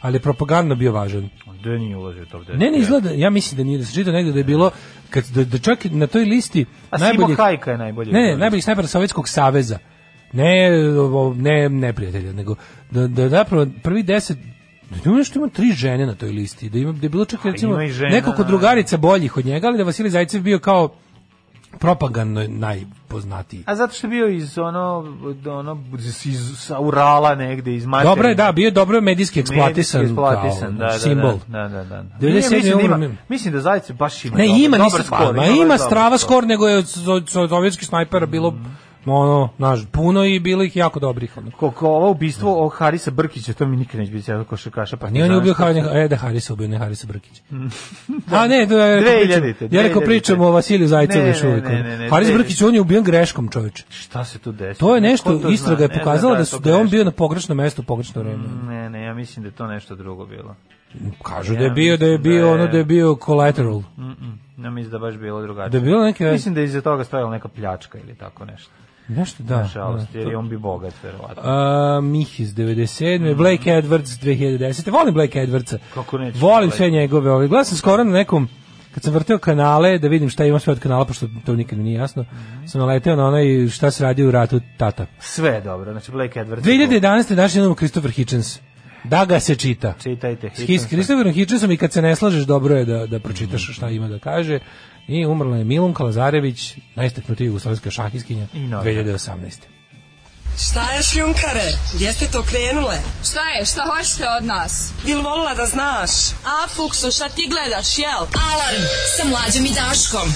[SPEAKER 5] ali je propagandno bio važan.
[SPEAKER 6] Gde nije ulazio u top 10?
[SPEAKER 5] Ne, ne izgleda, ja mislim da nije da se čita negde da je bilo, kad, da, da čak i na toj listi
[SPEAKER 6] A Simo
[SPEAKER 5] najboljih,
[SPEAKER 6] Hajka je najbolji.
[SPEAKER 5] ne, ne,
[SPEAKER 6] igrač.
[SPEAKER 5] najboljih snajpera Sovjetskog saveza, ne, ovo, ne neprijatelja, nego da, da zapravo prvi deset, da ima nešto ima tri žene na toj listi, da, ima, da je bilo čak recimo
[SPEAKER 6] ima i žena,
[SPEAKER 5] nekoliko
[SPEAKER 6] da.
[SPEAKER 5] drugarica boljih od njega, ali da je Vasilij Zajcev bio kao propagandno najpoznatiji.
[SPEAKER 6] A zato što je bio iz ono, od ono iz, sa Urala negde, iz Materina.
[SPEAKER 5] Dobro je, da, bio je dobro medijski eksploatisan,
[SPEAKER 6] Medijski eksploatisan,
[SPEAKER 5] kao,
[SPEAKER 6] da, da,
[SPEAKER 5] simbol.
[SPEAKER 6] Da, da, da. da.
[SPEAKER 5] 97
[SPEAKER 6] Nije, mislim, da
[SPEAKER 5] umro,
[SPEAKER 6] ima,
[SPEAKER 5] ne.
[SPEAKER 6] mislim da Zajce baš ima.
[SPEAKER 5] Ne,
[SPEAKER 6] dobar-
[SPEAKER 5] ima,
[SPEAKER 6] dobar
[SPEAKER 5] nisi pa, ma
[SPEAKER 6] dobar
[SPEAKER 5] ima
[SPEAKER 6] skor. Mhm.
[SPEAKER 5] strava skor, nego je od so- so- sovjetskih snajpera bilo ono, znaš, puno i bilo ih jako dobrih. Ono.
[SPEAKER 6] Koliko ovo ubistvo o Harisa Brkića, to mi nikad neće biti sjavio košarkaša. Pa
[SPEAKER 5] Nije on je ubio Harisa, e da Harisa ubio, ne Harisa Brkića. A ne, da, ja rekao
[SPEAKER 6] 2000-te,
[SPEAKER 5] pričam, ja rekao
[SPEAKER 6] 2000-te.
[SPEAKER 5] pričamo o Vasiliju Zajcevu
[SPEAKER 6] Ne,
[SPEAKER 5] još
[SPEAKER 6] ne,
[SPEAKER 5] uvijek.
[SPEAKER 6] ne,
[SPEAKER 5] ono.
[SPEAKER 6] ne, ne,
[SPEAKER 5] Haris
[SPEAKER 6] 2000-te.
[SPEAKER 5] Brkić, on je ubijen greškom čoveče.
[SPEAKER 6] Šta se tu desilo?
[SPEAKER 5] To je
[SPEAKER 6] Ko
[SPEAKER 5] nešto,
[SPEAKER 6] to
[SPEAKER 5] istraga
[SPEAKER 6] zna?
[SPEAKER 5] je
[SPEAKER 6] Ne,
[SPEAKER 5] pokazala da, su,
[SPEAKER 6] to
[SPEAKER 5] da je on
[SPEAKER 6] greška.
[SPEAKER 5] bio na pogrešno mesto u pogrešno vreme.
[SPEAKER 6] Ne, ne, ja mislim da je to nešto drugo bilo.
[SPEAKER 5] Kažu da je
[SPEAKER 6] Mm. Ja
[SPEAKER 5] bio, da je
[SPEAKER 6] mislim da
[SPEAKER 5] bio,
[SPEAKER 6] je-
[SPEAKER 5] ono da je bio collateral.
[SPEAKER 6] Ja mislim da je baš bilo drugačije.
[SPEAKER 5] Da je bilo neke...
[SPEAKER 6] Mislim da je iza toga stojala neka pljačka ili tako nešto.
[SPEAKER 5] Nešto, da.
[SPEAKER 6] Nažalost,
[SPEAKER 5] da.
[SPEAKER 6] jer je on bi bogat, verovatno.
[SPEAKER 5] Uh, Mihis 97. Blake Edwards 2010. Volim Blake Edwardsa.
[SPEAKER 6] Mm. Kako neću
[SPEAKER 5] Volim
[SPEAKER 6] Blake.
[SPEAKER 5] sve njegove. Ovaj. Gledao sam skoro na nekom, kad sam vrteo kanale, da vidim šta imam sve od kanala, pošto to nikad mi nije jasno,
[SPEAKER 6] Mhm.
[SPEAKER 5] sam naleteo na onaj šta se radi u ratu tata.
[SPEAKER 6] Sve je dobro, znači Blake Edwards. je
[SPEAKER 5] 2011. daš jednom Christopher Hitchens. Da ga se čita.
[SPEAKER 6] tu. Čitajte.
[SPEAKER 5] S His- Christopherom Hitchensom i kad se ne slažeš, dobro je da, da
[SPEAKER 6] Mhm.
[SPEAKER 5] pročitaš šta ima da kaže. I umrla je Milunka Lazarević, najistaknutija jugoslovenska šahiskinja,
[SPEAKER 6] I novinar.
[SPEAKER 5] 2018.
[SPEAKER 9] Šta je šljunkare? Gdje ste to krenule?
[SPEAKER 10] Šta je? Šta hoćete od nas?
[SPEAKER 9] Bil volila da znaš?
[SPEAKER 10] A, Fuksu, šta ti gledaš, jel?
[SPEAKER 9] Alarm sa mlađom i Daškom.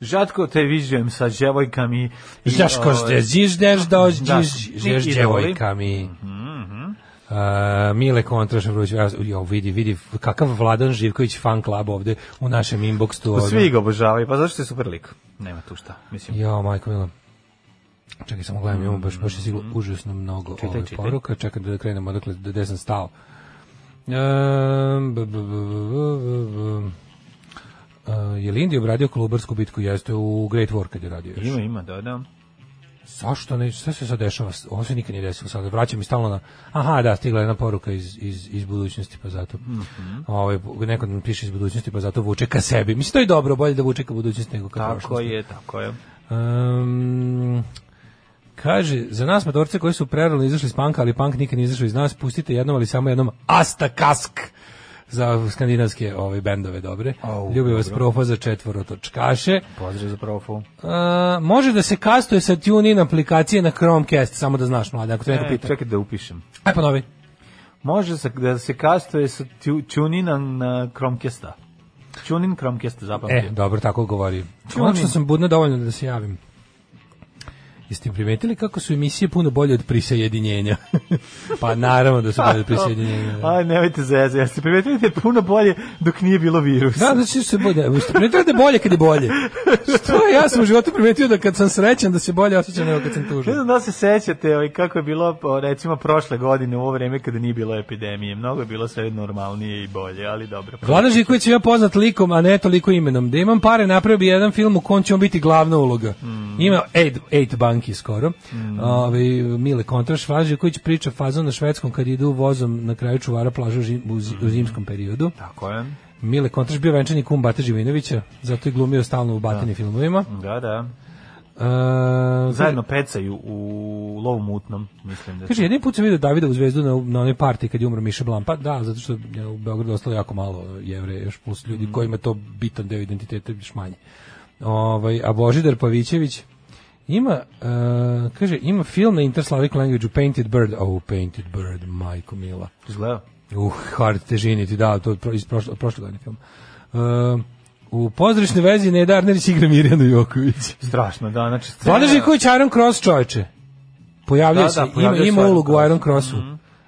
[SPEAKER 6] Žatko te viđujem sa djevojkami. i,
[SPEAKER 5] Žaško
[SPEAKER 6] ovaj,
[SPEAKER 5] ste ziždeš dođiš,
[SPEAKER 6] Da.
[SPEAKER 5] žeš
[SPEAKER 6] I Mhm,
[SPEAKER 5] djevojkami. A, Mile Kontraš, ja, jo, vidi, vidi, kakav Vladan Živković fan club ovde u našem inboxu.
[SPEAKER 6] Pa
[SPEAKER 5] ono.
[SPEAKER 6] Svi ga obožavaju, pa zašto je super lik? Nema tu šta, mislim.
[SPEAKER 5] Jo, majko Mila. Čekaj, samo gledam, imamo baš, baš je sigurno užasno mnogo
[SPEAKER 6] Mhm. Čitaj,
[SPEAKER 5] ove
[SPEAKER 6] čitaj.
[SPEAKER 5] poruka. Čekaj da krenemo odakle, gde sam stao. Ehm, b- b- b- b- b- b- E, je li Indija obradio kolubarsku bitku? Jeste u Great War kad je radio još.
[SPEAKER 6] Ima, ima, da, da.
[SPEAKER 5] Zašto ne? Šta se sad dešava? Ovo se nikad nije desilo. Sad vraćam i stalno na... Aha, da, stigla je jedna poruka iz, iz, iz budućnosti, pa zato... Mm
[SPEAKER 6] Mhm.
[SPEAKER 5] neko nam piše iz budućnosti, pa zato vuče ka sebi. Mislim, to je dobro, bolje da vuče ka budućnosti nego ka
[SPEAKER 6] Tako
[SPEAKER 5] prošlosti.
[SPEAKER 6] je, tako je.
[SPEAKER 5] Um, kaže, za nas motorce koji su prerano izašli iz panka, ali pank nikad nije izašao iz nas, pustite jednom, ali samo jednom Asta Kask za skandinavske ove bendove dobre.
[SPEAKER 6] Au,
[SPEAKER 5] Ljubi vas
[SPEAKER 6] dobro.
[SPEAKER 5] profa za četvorotočkaše.
[SPEAKER 6] Pozdrav za profu.
[SPEAKER 5] A, Uh, može da se kastuje sa TuneIn aplikacije na Chromecast, samo da znaš, mlade, ako te neko
[SPEAKER 6] E,
[SPEAKER 5] pita.
[SPEAKER 6] čekaj da upišem.
[SPEAKER 5] Aj ponovi.
[SPEAKER 6] Može se, da se kastuje sa tu- tunina na Chromecasta. Tunin Chromecasta, zapamtio.
[SPEAKER 5] E, dobro, tako govori. Konačno sam budno dovoljno da se javim. Jeste primetili kako su emisije puno bolje od prisajedinjenja? pa naravno da su bolje od prisajedinjenja. da.
[SPEAKER 6] Aj, nemojte zeze, jeste primetili da je puno bolje dok nije bilo virusa.
[SPEAKER 5] Da, znači se bolje, ste primetili da je bolje kad je bolje. Što ja sam u životu primetio da kad sam srećan da se bolje osjećam nego kad sam
[SPEAKER 6] Ne
[SPEAKER 5] tužan.
[SPEAKER 6] znam da li se sećate ovaj, kako je bilo pa, recimo prošle godine u ovo vreme kada nije bilo epidemije. Mnogo je bilo sve normalnije i bolje, ali dobro.
[SPEAKER 5] Vlada Žiković je ja poznat likom, a ne toliko imenom. Da imam pare, napravio bi jedan film u kom će on biti glavna uloga.
[SPEAKER 6] Mm.
[SPEAKER 5] Ima Eight, eight Banki skoro. Ovaj, Mile Kontraš, Vlada Žiković priča fazom na švedskom kad idu vozom na kraju čuvara plažu u, zim- u zi- u zimskom periodu.
[SPEAKER 6] Tako je.
[SPEAKER 5] Mile Kontraš bio venčani kum Bate Živinovića, zato je glumio stalno u Batini filmovima.
[SPEAKER 6] Da, da.
[SPEAKER 5] E,
[SPEAKER 6] Zajedno pecaju u lovu mutnom, mislim da.
[SPEAKER 5] Kaže, jedin put sam vidio Davida u zvezdu na, na onoj partiji kad je umro Miša Blan. Pa da, zato što je u Beogradu ostalo jako malo jevre, još plus ljudi kojima je to bitan deo identiteta, još manje. Ovaj, a Božidar Pavićević ima, e, kaže, ima film na Interslavic language Painted Bird. Oh, Painted Bird, majko mila.
[SPEAKER 6] Izgleda.
[SPEAKER 5] Uh, hard težini ti da, to je pro- iz prošle, od prošle godine film. E, u pozdravišnoj vezi Ned Arnerić igra Mirjanu Joković.
[SPEAKER 6] Strašno, da, znači scena-
[SPEAKER 5] Vlada Živković Iron Cross čovječe. Pojavljuje
[SPEAKER 6] Da,
[SPEAKER 5] se,
[SPEAKER 6] da, pojavljuje
[SPEAKER 5] ima,
[SPEAKER 6] se
[SPEAKER 5] ima
[SPEAKER 6] Iron
[SPEAKER 5] ulogu u
[SPEAKER 6] Crossu.
[SPEAKER 5] Iron Crossu.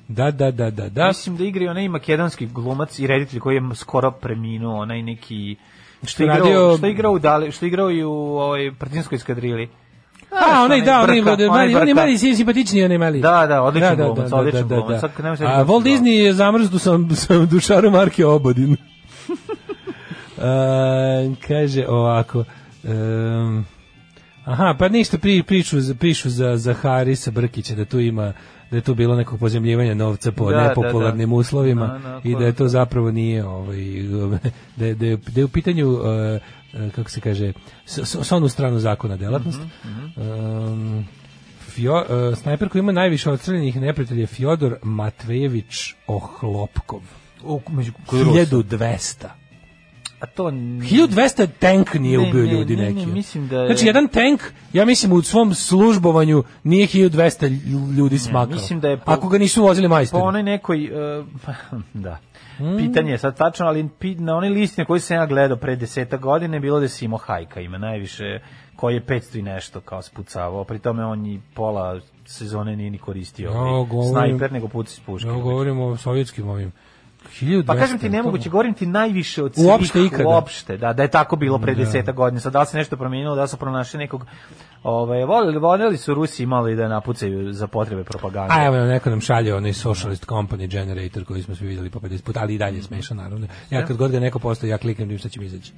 [SPEAKER 5] Da, da, da, da, da.
[SPEAKER 6] Mislim da igra i onaj makedonski glumac i reditelj koji je skoro preminuo, onaj neki što
[SPEAKER 5] Što
[SPEAKER 6] je igrao,
[SPEAKER 5] radio-
[SPEAKER 6] što je igrao u Dali, što je igrao i u ovoj Partizanskoj eskadrili.
[SPEAKER 5] A, onaj, da, onaj,
[SPEAKER 6] Brka,
[SPEAKER 5] mali,
[SPEAKER 6] onaj
[SPEAKER 5] onaj,
[SPEAKER 6] Brka.
[SPEAKER 5] mali, si- simpatičniji, onaj mali.
[SPEAKER 6] Da, da, odličan glumac, odličan glumac. Sad kad ne možeš
[SPEAKER 5] A Walt
[SPEAKER 6] reći-
[SPEAKER 5] Disney je zamrzdu sa, sa dušarom Marke Obodin. E, kaže ovako, em, aha, pa ništa pri, priču, za- pišu za, za Harisa Brkića, da tu ima da je tu bilo nekog pozemljivanja novca po
[SPEAKER 6] Da, da, da.
[SPEAKER 5] nepopularnim uslovima
[SPEAKER 6] Na, na, pa
[SPEAKER 5] i da je to zapravo nije ovaj, da, je, da, je, da je u pitanju e, e, kako se kaže s, s, s onu stranu zakona delatnost
[SPEAKER 6] Mhm,
[SPEAKER 5] Em, Fio, e, snajper koji ima najviše odstreljenih neprijatelja je Fjodor Matvejević Ohlopkov.
[SPEAKER 6] U, među, kod Rusa.
[SPEAKER 5] 1200.
[SPEAKER 6] A to n-
[SPEAKER 5] 1200 tank nije
[SPEAKER 6] Ne,
[SPEAKER 5] ubio
[SPEAKER 6] ne,
[SPEAKER 5] ljudi
[SPEAKER 6] ne, ne,
[SPEAKER 5] neki.
[SPEAKER 6] mislim da je-
[SPEAKER 5] Znači, jedan tank, ja mislim, u svom službovanju nije 1200 ljudi smakao.
[SPEAKER 6] mislim da je po-
[SPEAKER 5] Ako ga nisu vozili
[SPEAKER 6] po
[SPEAKER 5] majstori.
[SPEAKER 6] onoj Pa nekoj e, da.
[SPEAKER 5] Mm.
[SPEAKER 6] Pitanje je sad tačno, ali pi- na onoj listi na kojoj sam ja gledao pre deseta godine je bilo da je Simo Hajka ima najviše koji je 500 i nešto kao spucavao, pri tome on i pola sezone nije ni koristio
[SPEAKER 5] Ja,
[SPEAKER 6] ovaj
[SPEAKER 5] govorim-
[SPEAKER 6] snajper, nego puci s puške.
[SPEAKER 5] Ja govorim o sovjetskim ovim. 1200.
[SPEAKER 6] Pa kažem ti
[SPEAKER 5] to-
[SPEAKER 6] nemoguće, govorim ti najviše od svih
[SPEAKER 5] Uopšte ikada.
[SPEAKER 6] uopšte, da, da je tako bilo pre deseta godina. Sad da li se nešto promijenilo, da li su pronašli nekog, ovaj, voleli, voljeli su Rusi imali da napucaju za potrebe propagande.
[SPEAKER 5] A evo neko nam šalje onaj socialist company generator koji smo svi vidjeli po 50 puta, ali i dalje smešan naravno. Ja kad god ga neko postoji, ja kliknem njim šta će mi izaći.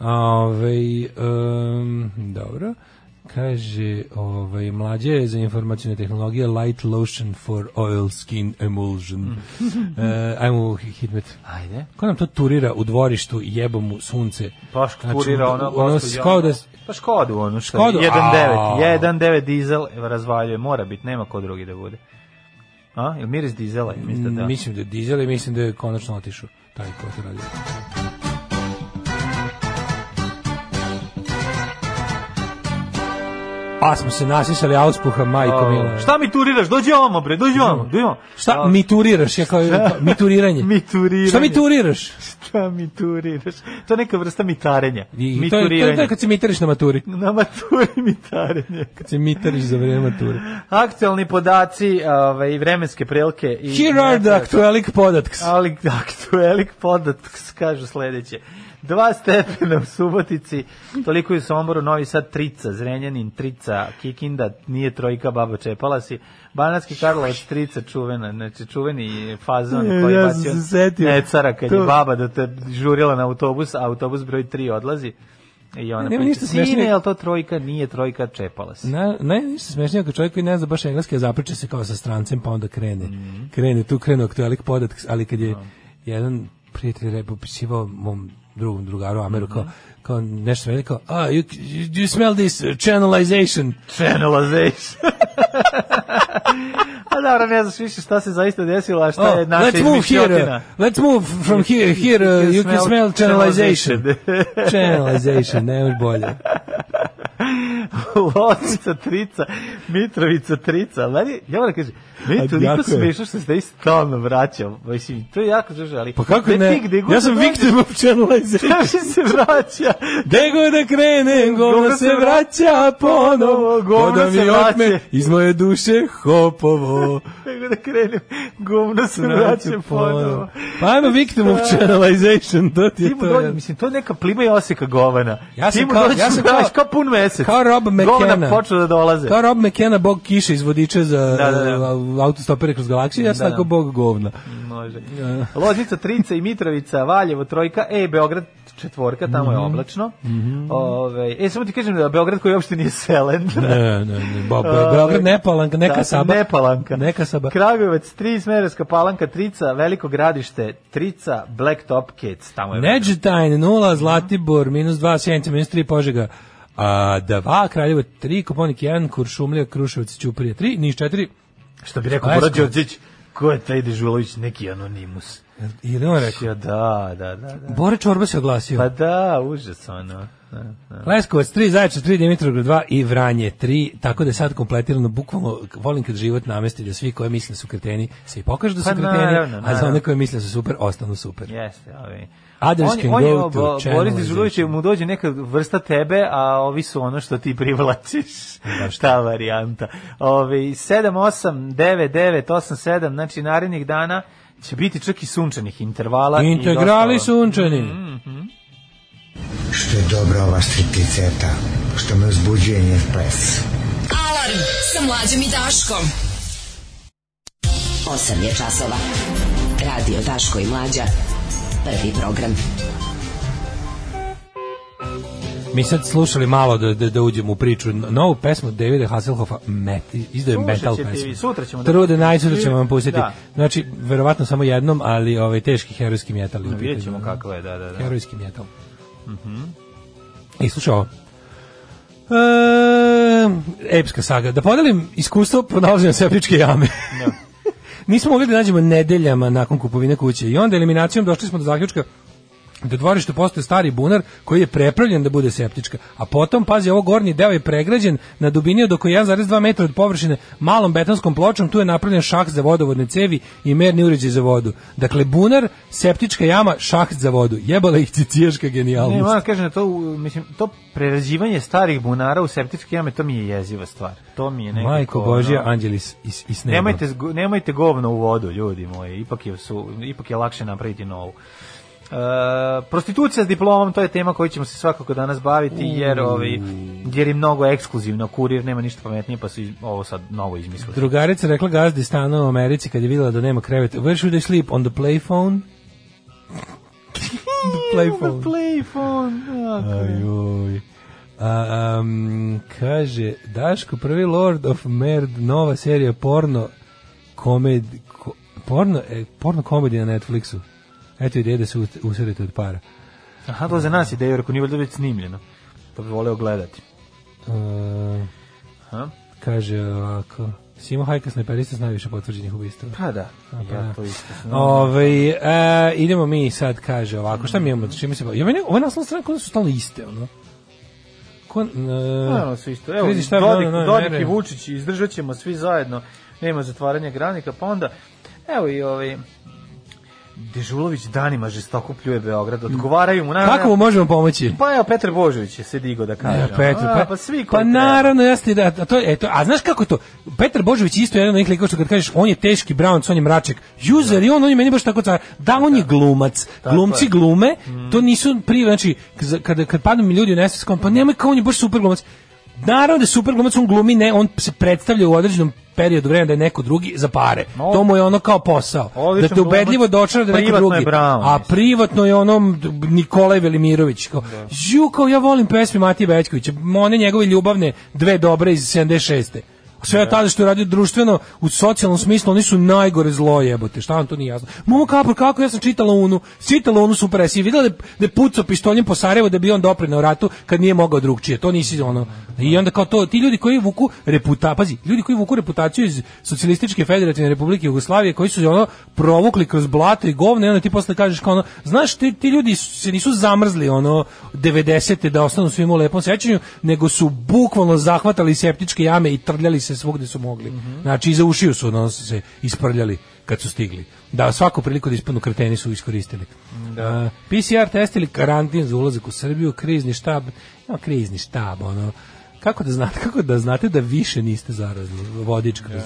[SPEAKER 5] Ovaj, em, dobro. Kaže, ovaj, mlađe je za informacijne tehnologije light lotion for oil skin emulsion. E, ajmo u hitmet.
[SPEAKER 6] Ajde.
[SPEAKER 5] Ko nam to turira u dvorištu, jebo mu sunce.
[SPEAKER 6] Pa škurira
[SPEAKER 5] Znači,
[SPEAKER 6] ona,
[SPEAKER 5] ono,
[SPEAKER 6] gospođa,
[SPEAKER 5] kao da,
[SPEAKER 6] Pa Škodu ono što
[SPEAKER 5] Škodu,
[SPEAKER 6] je, 1.9,
[SPEAKER 5] a.
[SPEAKER 6] 1.9 dizel evo, razvaljuje, mora biti, nema ko drugi da bude. A, jel miris dizela je, mislite da?
[SPEAKER 5] Mm, Mislim da je dizel i mislim da je konačno otišao taj ko to radi. Pa smo se nasisali auspuha, majko mila.
[SPEAKER 6] Šta mi turiraš? Dođi ovamo, bre, dođi ovamo. Dođi ovamo.
[SPEAKER 5] Šta mi turiraš? Ja kao, mi turiranje.
[SPEAKER 6] Mi turiranje.
[SPEAKER 5] Šta mi turiraš?
[SPEAKER 6] Šta mi turiraš? To je neka vrsta mitarenja.
[SPEAKER 5] I
[SPEAKER 6] Mi
[SPEAKER 5] to, je, to, je, to
[SPEAKER 6] turiranje.
[SPEAKER 5] je kad se mitariš na maturi.
[SPEAKER 6] Na maturi mitarenje.
[SPEAKER 5] Kad se mitariš za vreme mature.
[SPEAKER 6] Aktualni podaci ovaj, i vremenske prilike. I
[SPEAKER 5] Here are the
[SPEAKER 6] meteor-
[SPEAKER 5] actualic podacts.
[SPEAKER 6] Ali aktuelik podatak kažu sledeće. Dva stepena u Subotici, toliko je u Somboru, Novi Sad, Trica, Zrenjanin, Trica, Kikinda, nije trojka, baba čepala si, Banatski Karlovac, Trica, čuvena, znači čuveni fazon
[SPEAKER 5] E,
[SPEAKER 6] koji
[SPEAKER 5] ja
[SPEAKER 6] je
[SPEAKER 5] sam
[SPEAKER 6] bacio
[SPEAKER 5] se setio.
[SPEAKER 6] necara kad je
[SPEAKER 5] To-
[SPEAKER 6] baba da te žurila na autobus, a autobus broj 3 odlazi. I ona
[SPEAKER 5] Nema
[SPEAKER 6] priča,
[SPEAKER 5] ništa
[SPEAKER 6] sine,
[SPEAKER 5] smešnije."
[SPEAKER 6] jel to trojka? Nije trojka, čepala si.
[SPEAKER 5] Na, najništa smešnije ako čovjek koji ne zna baš engleski, a zapriča se kao sa strancem, pa onda krene.
[SPEAKER 6] Mhm.
[SPEAKER 5] Krene, tu krenu aktualik podat, ali kad je jedan prijatelj rep opisivao mom drugom drugaru Ameru, kao,
[SPEAKER 6] Mhm.
[SPEAKER 5] kao nešto sam rekao, ah, you, you smell this uh, channelization.
[SPEAKER 6] Channelization. a dobro, ne znaš više šta se zaista desilo, a šta
[SPEAKER 5] Oh,
[SPEAKER 6] je naša
[SPEAKER 5] let's move here.
[SPEAKER 6] izmišljotina.
[SPEAKER 5] uh, let's move from here. Here uh, you can smell channelization. channelization, ne još bolje.
[SPEAKER 6] Loznica, trica, Mitrovica, trica. Meni, ja moram kažem, meni
[SPEAKER 5] A
[SPEAKER 6] je toliko
[SPEAKER 5] jako je.
[SPEAKER 6] smiješno što se da i stalno vraćam. Mislim, to je jako žuže, ali...
[SPEAKER 5] Pa kako
[SPEAKER 6] gde
[SPEAKER 5] ne?
[SPEAKER 6] ti, gde god
[SPEAKER 5] Ja sam
[SPEAKER 6] da dođeš,
[SPEAKER 5] victim of channelization.
[SPEAKER 6] Kaže se vraća.
[SPEAKER 5] Gde god da krenem, govno
[SPEAKER 6] Govno
[SPEAKER 5] se
[SPEAKER 6] se
[SPEAKER 5] vraća ponovo,
[SPEAKER 6] Govno
[SPEAKER 5] ko da mi
[SPEAKER 6] se vraća.
[SPEAKER 5] otme iz moje duše hopovo.
[SPEAKER 6] Nego da krenem, govno se vraća ponovo.
[SPEAKER 5] Pa I'm a victim of channelization, to ti
[SPEAKER 6] Ti
[SPEAKER 5] je
[SPEAKER 6] mu
[SPEAKER 5] to.
[SPEAKER 6] dođe, mislim, to je neka plima i oseka govana.
[SPEAKER 5] Ja sam
[SPEAKER 6] Ti mu
[SPEAKER 5] kao-
[SPEAKER 6] dođeš,
[SPEAKER 5] ja sam kao-
[SPEAKER 6] znaš, kao pun mesec.
[SPEAKER 5] Kao Rob
[SPEAKER 6] Govna
[SPEAKER 5] McKenna.
[SPEAKER 6] počnu da dolaze.
[SPEAKER 5] Kao Rob McKenna, bog kiše iz vodiča za
[SPEAKER 6] Da, da, da.
[SPEAKER 5] uh, autostopere kroz galaksiju, ja sam
[SPEAKER 6] Da,
[SPEAKER 5] tako
[SPEAKER 6] da.
[SPEAKER 5] bog govna.
[SPEAKER 6] Može. Loznica, Trica i Mitrovica, Valjevo, Trojka, e, Beograd, četvorka, tamo je
[SPEAKER 5] Mhm.
[SPEAKER 6] oblačno. Ove, e, samo ti kažem da Beograd koji uopšte nije selen.
[SPEAKER 5] Ne, ne, ne, bo, Be- Beograd, ne palanka, neka saba.
[SPEAKER 6] Nepalanka.
[SPEAKER 5] Neka saba.
[SPEAKER 6] Kragujevac, tri, Smerovska palanka, Trica, Veliko gradište, Trica, Black Top Kids, tamo je. vedro.
[SPEAKER 5] Neđetajn, 0, Zlatibor, minus 2, Sjenica, minus 3, Požega, a, 2, Kraljevo, 3, Koponik, 1, Kuršumlija, Kruševac, Ćuprija, 3, Niš, 4,
[SPEAKER 6] Što bi rekao
[SPEAKER 5] Leskovac.
[SPEAKER 6] Bora Đorđić, ko je taj Dežulović, neki anonimus.
[SPEAKER 5] I da on rekao,
[SPEAKER 6] Ja, da, da, da, da.
[SPEAKER 5] Bore Čorba se oglasio.
[SPEAKER 6] Pa da, užas ono. Da, da.
[SPEAKER 5] Leskovac 3, Zaječar 3, Dimitrovgrad 2 i Vranje 3, tako da je sad kompletirano, bukvalno volim kad život namesti da svi koji misle da su kreteni se i pokažu da su
[SPEAKER 6] Pa
[SPEAKER 5] kreteni,
[SPEAKER 6] naravno,
[SPEAKER 5] a za
[SPEAKER 6] naravno.
[SPEAKER 5] one koji misle da su super, ostanu super.
[SPEAKER 6] Jeste, ovi.
[SPEAKER 5] Others can
[SPEAKER 6] on je,
[SPEAKER 5] go to
[SPEAKER 6] Bo- Boris
[SPEAKER 5] channelization.
[SPEAKER 6] Dežulović je mu dođe neka vrsta tebe, a ovi su ono što ti privlačiš. Ta varijanta. Ove, 7, 8, 9, 9, 8, 7, znači narednih dana će biti čak i sunčanih intervala. i Mm.
[SPEAKER 5] Integrali
[SPEAKER 6] dosta-
[SPEAKER 5] sunčani.
[SPEAKER 7] Što je dobra ova stripticeta, što me uzbuđuje njen ples.
[SPEAKER 4] Alarm sa mlađom i Daškom.
[SPEAKER 8] 8 je časova. Radio Daško i Mlađa. Prvi program.
[SPEAKER 5] Mi sad slušali malo da, da, da uđemo u priču. Novu pesmu Davida Hasselhoffa, Met, izdaju
[SPEAKER 6] Slušat
[SPEAKER 5] metal
[SPEAKER 6] ćete
[SPEAKER 5] pesmu.
[SPEAKER 6] vi, sutra ćemo da-
[SPEAKER 5] True the Night, sutra ćemo vam pustiti.
[SPEAKER 6] Da.
[SPEAKER 5] Znači, verovatno samo jednom, ali ovaj, teški herojski metal. je u
[SPEAKER 6] Vidjet ćemo
[SPEAKER 5] pitanju.
[SPEAKER 6] kako je, da, da, Mhm. da.
[SPEAKER 5] Herojski metal. I slušaj ovo. Ehm, epska saga. Da podelim iskustvo pronalaženja septičke jame. Nismo mogli da nađemo nedeljama nakon kupovine kuće i onda eliminacijom došli smo do zaključka da u dvorištu postoje stari bunar koji je prepravljen da bude septička, a potom, pazi, ovo gornji deo je pregrađen na dubini od oko 1,2 metra od površine malom betonskom pločom, tu je napravljen šah za vodovodne cevi i merni uređaj za vodu. Dakle, bunar, septička jama, šah za vodu. Jebala ih cicijaška
[SPEAKER 6] Ne,
[SPEAKER 5] genijalnost.
[SPEAKER 6] moram kažem da to, u- mislim, to prerađivanje starih bunara u septičke jame, to mi je jeziva stvar. To mi je nekako...
[SPEAKER 5] Majko
[SPEAKER 6] ono-
[SPEAKER 5] Božja, Anđelis is, is neba.
[SPEAKER 6] Nemojte, zgo- nemojte govno u vodu, ljudi moji. Ipak je, su, ipak je lakše napraviti novu. E, prostitucija s diplomom, to je tema koju ćemo se svakako danas baviti, jer, ovi, jer je mnogo ekskluzivno. Kurir nema ništa pametnije, pa su iz- ovo sad novo izmislili.
[SPEAKER 5] Drugarica rekla gazdi stana u Americi kad je videla da nema kreveta. Where should I sleep? On the playphone? the playphone. E.
[SPEAKER 6] Playphone.
[SPEAKER 5] Ajoj. A, um, kaže, Daško, prvi Lord of Merd, nova serija porno komed, ko, porno, e, porno komedija na Netflixu. Eto ideje da se us- userete od para.
[SPEAKER 6] Aha, to za nas je da je, ako nije valjda već snimljeno. Pa bi voleo gledati.
[SPEAKER 5] Uh,
[SPEAKER 6] Aha.
[SPEAKER 5] kaže ovako, Simo Hajka snajperista s najviše potvrđenih ubistava.
[SPEAKER 6] Pa da, ja to isto znam.
[SPEAKER 5] Ove, e, idemo znači, mi sad, kaže ovako, šta mi imamo, čime se bavimo? Ja, meni, ove naslovne strane kod nas su stalno iste, ono. Ko,
[SPEAKER 6] Pa, Naravno,
[SPEAKER 5] uh,
[SPEAKER 6] svi isto. Evo,
[SPEAKER 5] vidi šta
[SPEAKER 6] Dodik,
[SPEAKER 5] na- na-
[SPEAKER 6] Dodik
[SPEAKER 5] mere.
[SPEAKER 6] i Vučić, izdržat ćemo svi zajedno. Nema zatvaranja granika, pa onda, evo i ovaj... Dežulović danima žestoko pljuje Beograd, odgovaraju mu. Na,
[SPEAKER 5] Kako mu možemo pomoći?
[SPEAKER 6] Pa evo, Petar Božović je se digo da kaže.
[SPEAKER 5] Ja, Petar,
[SPEAKER 6] A,
[SPEAKER 5] pa,
[SPEAKER 6] pa svi
[SPEAKER 5] pa
[SPEAKER 6] koji treba.
[SPEAKER 5] naravno, jasno je da, a to, je- e, to, a znaš kako je to? Petar Božović je isto jedan od njih likova što kad kažeš, on je teški Brown, on je mračak. User i on, on je meni baš tako car. Da, on je glumac. Glumci
[SPEAKER 6] je.
[SPEAKER 5] glume, to nisu pri, znači, kad, kad, kad padnu mi ljudi u nesvest, kao, pa nemoj kao on je baš super glumac. Naravno da je super glumac, on glumi, ne, on se predstavlja u određenom periodu vremena da je neko drugi za pare.
[SPEAKER 6] No.
[SPEAKER 5] to mu je ono kao posao. Da
[SPEAKER 6] Odličan
[SPEAKER 5] te ubedljivo
[SPEAKER 6] glumac,
[SPEAKER 5] dočara da je neko
[SPEAKER 6] privatno
[SPEAKER 5] drugi.
[SPEAKER 6] je Brown,
[SPEAKER 5] a
[SPEAKER 6] mislim.
[SPEAKER 5] privatno je onom Nikolaj Velimirović. Kao, Ju, kao ja volim pesme Matije Bećkovića, one njegove ljubavne, dve dobre iz 76. A Sve tada što je radio društveno, u socijalnom smislu, oni su najgore zlo jebote, šta vam to nije jasno. Momo Kapor, kako ja sam čitala Unu, čitala Unu super, jesi videla da, je- da je pucao pištoljem po Sarajevo da bi on doprinao ratu kad nije mogao drugčije, to nisi ono. I onda kao to, ti ljudi koji vuku reputa, pazi, ljudi koji vuku reputaciju iz socijalističke federativne republike Jugoslavije, koji su je ono provukli kroz blato i govno i onda ti posle kažeš kao ono, znaš, ti, ti ljudi su- se nisu zamrzli ono 90. da ostanu svima u lepom sećanju, nego su bukvalno zahvatali septičke jame i trljali se svugde su mogli. Znači, iza ušiju su ono, su se isprljali kad su stigli. Da, svaku priliku da ispadnu kreteni su iskoristili. Da. PCR test ili karantin za ulazak u Srbiju, krizni štab, no, krizni štab, ono, kako da znate, kako da znate da više niste zarazni, vodič kroz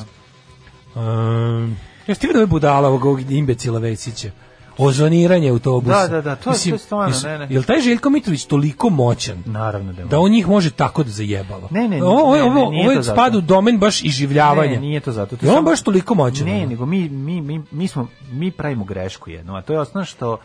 [SPEAKER 5] Um, jesi ti vidio ove budala ovog, ovog imbecila Vesića? Ozoniranje autobusa.
[SPEAKER 6] Da, da, da, to je- to je stvarno, ne, ne.
[SPEAKER 5] Je li taj Željko Mitrović toliko moćan?
[SPEAKER 6] Naravno da je
[SPEAKER 5] Da on njih može tako da zajebalo.
[SPEAKER 6] Ne, ne,
[SPEAKER 5] ovo, ovo,
[SPEAKER 6] ne, ne, nije
[SPEAKER 5] ovo
[SPEAKER 6] to
[SPEAKER 5] je
[SPEAKER 6] zato.
[SPEAKER 5] spad u domen baš iživljavanja.
[SPEAKER 6] Ne, nije to zato. To
[SPEAKER 5] Je on
[SPEAKER 6] samo-
[SPEAKER 5] baš toliko moćan?
[SPEAKER 6] Ne,
[SPEAKER 5] ono?
[SPEAKER 6] nego mi, mi, mi, mi, smo, mi pravimo grešku jednu, a to je osnovno što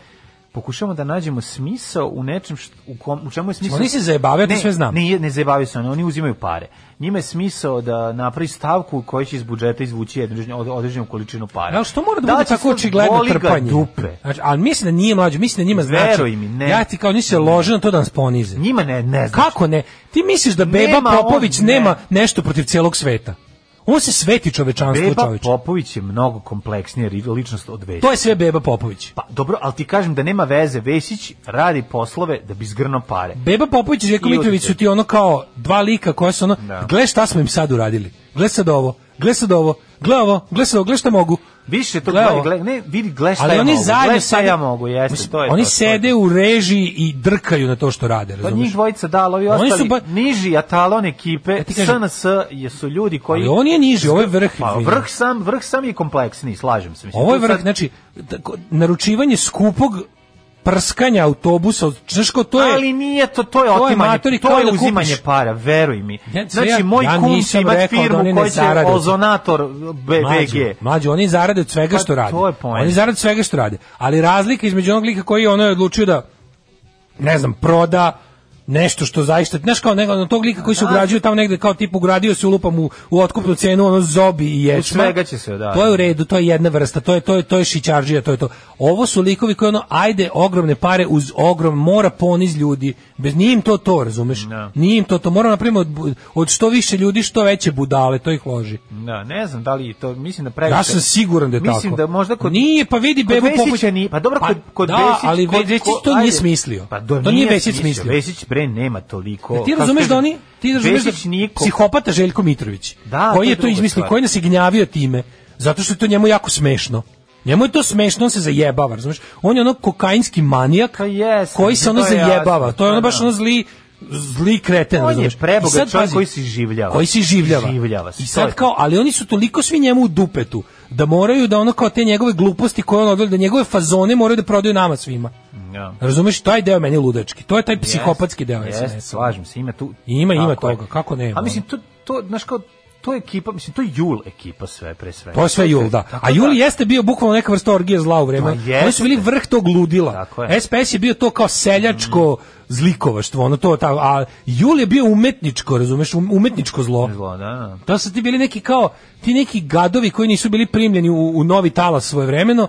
[SPEAKER 6] pokušamo da nađemo smisao u nečem što, u, kom, u čemu je smisao...
[SPEAKER 5] Oni se zajebavaju, ja to
[SPEAKER 6] Ne,
[SPEAKER 5] sve znam.
[SPEAKER 6] Ne, ne zajebavaju se oni, oni uzimaju pare. Njima je smisao da napravi stavku u kojoj će iz budžeta izvući jednu, od- određenu količinu para.
[SPEAKER 5] Ali što mora da, bude
[SPEAKER 6] će
[SPEAKER 5] tako
[SPEAKER 6] sad
[SPEAKER 5] očigledno
[SPEAKER 6] boli ga
[SPEAKER 5] trpanje?
[SPEAKER 6] Dupe.
[SPEAKER 5] Znači, ali mislim da nije mlađo, mislim da njima znači.
[SPEAKER 6] Veruj mi, ne.
[SPEAKER 5] Ja ti kao nisi se ložio na to da nas ponize.
[SPEAKER 6] Njima ne, ne znam.
[SPEAKER 5] Kako ne? Ti misliš da Beba
[SPEAKER 6] Nema on,
[SPEAKER 5] Popović
[SPEAKER 6] ne.
[SPEAKER 5] nema nešto protiv cijelog sveta? On se sveti čovečanstvu
[SPEAKER 6] Beba
[SPEAKER 5] čoveče.
[SPEAKER 6] Popović je mnogo kompleksnija ri- ličnost od Vesića.
[SPEAKER 5] To je sve Beba Popović.
[SPEAKER 6] Pa dobro, ali ti kažem da nema veze, Vesić radi poslove da bi zgrno pare.
[SPEAKER 5] Beba Popović i Željko
[SPEAKER 6] I
[SPEAKER 5] Mitrović
[SPEAKER 6] odite.
[SPEAKER 5] su ti ono kao dva lika koja su ono,
[SPEAKER 6] Da.
[SPEAKER 5] gle šta smo im sad uradili, gle sad ovo, gle sad ovo, gle ovo, gle sad ovo, gle šta mogu.
[SPEAKER 6] Više to
[SPEAKER 5] Gle
[SPEAKER 6] gledaj,
[SPEAKER 5] ovo.
[SPEAKER 6] gledaj, ne, vidi, gle šta
[SPEAKER 5] Ali
[SPEAKER 6] ja
[SPEAKER 5] oni
[SPEAKER 6] mogu,
[SPEAKER 5] zajedno
[SPEAKER 6] gle šta
[SPEAKER 5] sede-
[SPEAKER 6] ja mogu, jeste,
[SPEAKER 5] Mislim,
[SPEAKER 6] to je
[SPEAKER 5] Oni
[SPEAKER 6] to, to je to.
[SPEAKER 5] sede u režiji i drkaju na to što rade,
[SPEAKER 6] Pa
[SPEAKER 5] razumiješ?
[SPEAKER 6] njih dvojica da, ali ovi
[SPEAKER 5] Oni
[SPEAKER 6] ostali,
[SPEAKER 5] su ba-
[SPEAKER 6] niži atalon ekipe,
[SPEAKER 5] ti kažem-
[SPEAKER 6] SNS jesu ljudi koji...
[SPEAKER 5] Ali on je niži, ovo je vrh.
[SPEAKER 6] Pa
[SPEAKER 5] izvini.
[SPEAKER 6] vrh sam, vrh sam je kompleksniji, slažem se. Mislim,
[SPEAKER 5] Ovo je
[SPEAKER 6] tu sad-
[SPEAKER 5] vrh, znači, tako, naručivanje skupog prskanja autobusa, od- znaš kao, to je...
[SPEAKER 6] ali nije to to je
[SPEAKER 5] to je
[SPEAKER 6] otimanje to
[SPEAKER 5] matori
[SPEAKER 6] je,
[SPEAKER 5] kao da kupiš-
[SPEAKER 6] uzimanje para veruj mi
[SPEAKER 5] Ja- sve
[SPEAKER 6] znači
[SPEAKER 5] ja-
[SPEAKER 6] moj
[SPEAKER 5] ja
[SPEAKER 6] kum će
[SPEAKER 5] nisam
[SPEAKER 6] imati
[SPEAKER 5] rekao da
[SPEAKER 6] firmu
[SPEAKER 5] oni ne
[SPEAKER 6] koja će
[SPEAKER 5] zarade.
[SPEAKER 6] ozonator B- BG
[SPEAKER 5] Mlađo, oni zarade od svega
[SPEAKER 6] Pa,
[SPEAKER 5] što rade.
[SPEAKER 6] to je poenta.
[SPEAKER 5] Oni zarade od svega što rade. Ali razlika između onog lika koji je ono je odlučio da ne znam, proda nešto što zaista, znaš kao nego na tog lika koji se ugrađuje tamo negde kao tip ugradio se ulupam u, u otkupnu cenu ono zobi i ječma.
[SPEAKER 6] svega će se, da.
[SPEAKER 5] To je u redu, to je jedna vrsta, to je to je to je šićardžija, to je to. Ovo su likovi koji ono ajde ogromne pare uz ogrom mora poniz ljudi. Bez nije im to to, razumeš?
[SPEAKER 6] Da.
[SPEAKER 5] Nije im to to. Mora napravimo od, bu- od što više ljudi, što veće budale, to ih loži.
[SPEAKER 6] Da, ne znam da li to, mislim da previše.
[SPEAKER 5] Ja sam siguran da je
[SPEAKER 6] mislim
[SPEAKER 5] tako.
[SPEAKER 6] da možda kod
[SPEAKER 5] Nije, pa vidi
[SPEAKER 6] kod
[SPEAKER 5] Bebu
[SPEAKER 6] Vesića
[SPEAKER 5] Popovića.
[SPEAKER 6] nije- pa dobro
[SPEAKER 5] Pa
[SPEAKER 6] kod kod
[SPEAKER 5] da,
[SPEAKER 6] Vesić,
[SPEAKER 5] ali
[SPEAKER 6] kod-
[SPEAKER 5] Vesić
[SPEAKER 6] ko-
[SPEAKER 5] to nije
[SPEAKER 6] ajde.
[SPEAKER 5] smislio.
[SPEAKER 6] Pa
[SPEAKER 5] To nije Vesić smislio.
[SPEAKER 6] Vesić bre nema toliko.
[SPEAKER 5] Jel ti
[SPEAKER 6] kako
[SPEAKER 5] razumeš
[SPEAKER 6] Pa kažem,
[SPEAKER 5] da oni ti razumeš
[SPEAKER 6] Vesić
[SPEAKER 5] da
[SPEAKER 6] nije ko-
[SPEAKER 5] psihopata Željko Mitrović
[SPEAKER 6] Da, to
[SPEAKER 5] koji
[SPEAKER 6] je
[SPEAKER 5] je to
[SPEAKER 6] druga
[SPEAKER 5] izmislio
[SPEAKER 6] stvar.
[SPEAKER 5] koji nas je gnjavio time zato što je to njemu jako smešno Njemu je to smešno, on se zajebava, razumeš? On je ono kokainski manijak
[SPEAKER 6] Pa jesam,
[SPEAKER 5] koji se ono
[SPEAKER 6] to je
[SPEAKER 5] zajebava.
[SPEAKER 6] jasno,
[SPEAKER 5] To je ono
[SPEAKER 6] pa
[SPEAKER 5] baš
[SPEAKER 6] da.
[SPEAKER 5] ono zli zli kreten,
[SPEAKER 6] On je
[SPEAKER 5] razumeš?
[SPEAKER 6] prebogat
[SPEAKER 5] I sad,
[SPEAKER 6] čovjek
[SPEAKER 5] pazi,
[SPEAKER 6] koji se iživljava.
[SPEAKER 5] Koji se iživljava.
[SPEAKER 6] Iživljava se,
[SPEAKER 5] I
[SPEAKER 6] to je
[SPEAKER 5] sad
[SPEAKER 6] to.
[SPEAKER 5] kao, ali oni su toliko svi njemu u dupetu da moraju da ono kao te njegove gluposti koje on odvodi, da njegove fazone moraju da prodaju nama svima.
[SPEAKER 6] Da.
[SPEAKER 5] Razumeš, taj deo je meni ludački. To je taj psihopatski deo.
[SPEAKER 6] Jeste,
[SPEAKER 5] SNS-a.
[SPEAKER 6] slažem se, ima tu.
[SPEAKER 5] Ima, ima
[SPEAKER 6] Tako je.
[SPEAKER 5] toga, kako ono? nema,
[SPEAKER 6] A mislim to to znaš kao to je ekipa, mislim to je Jul ekipa sve pre sve.
[SPEAKER 5] To je sve Jul, da.
[SPEAKER 6] Tako
[SPEAKER 5] A Jul
[SPEAKER 6] da.
[SPEAKER 5] jeste bio bukvalno neka vrsta orgije zla u vreme.
[SPEAKER 6] Ma jeste.
[SPEAKER 5] Oni su bili vrh tog ludila.
[SPEAKER 6] Tako je. Mhm.
[SPEAKER 5] SPS je bio to kao seljačko zlikovaštvo, ono to, ta, a Jul je bio umetničko, razumeš, um- umetničko zlo.
[SPEAKER 6] Zlo, da, da.
[SPEAKER 5] To su ti bili neki kao, ti neki gadovi koji nisu bili primljeni u, u novi talas svojevremeno,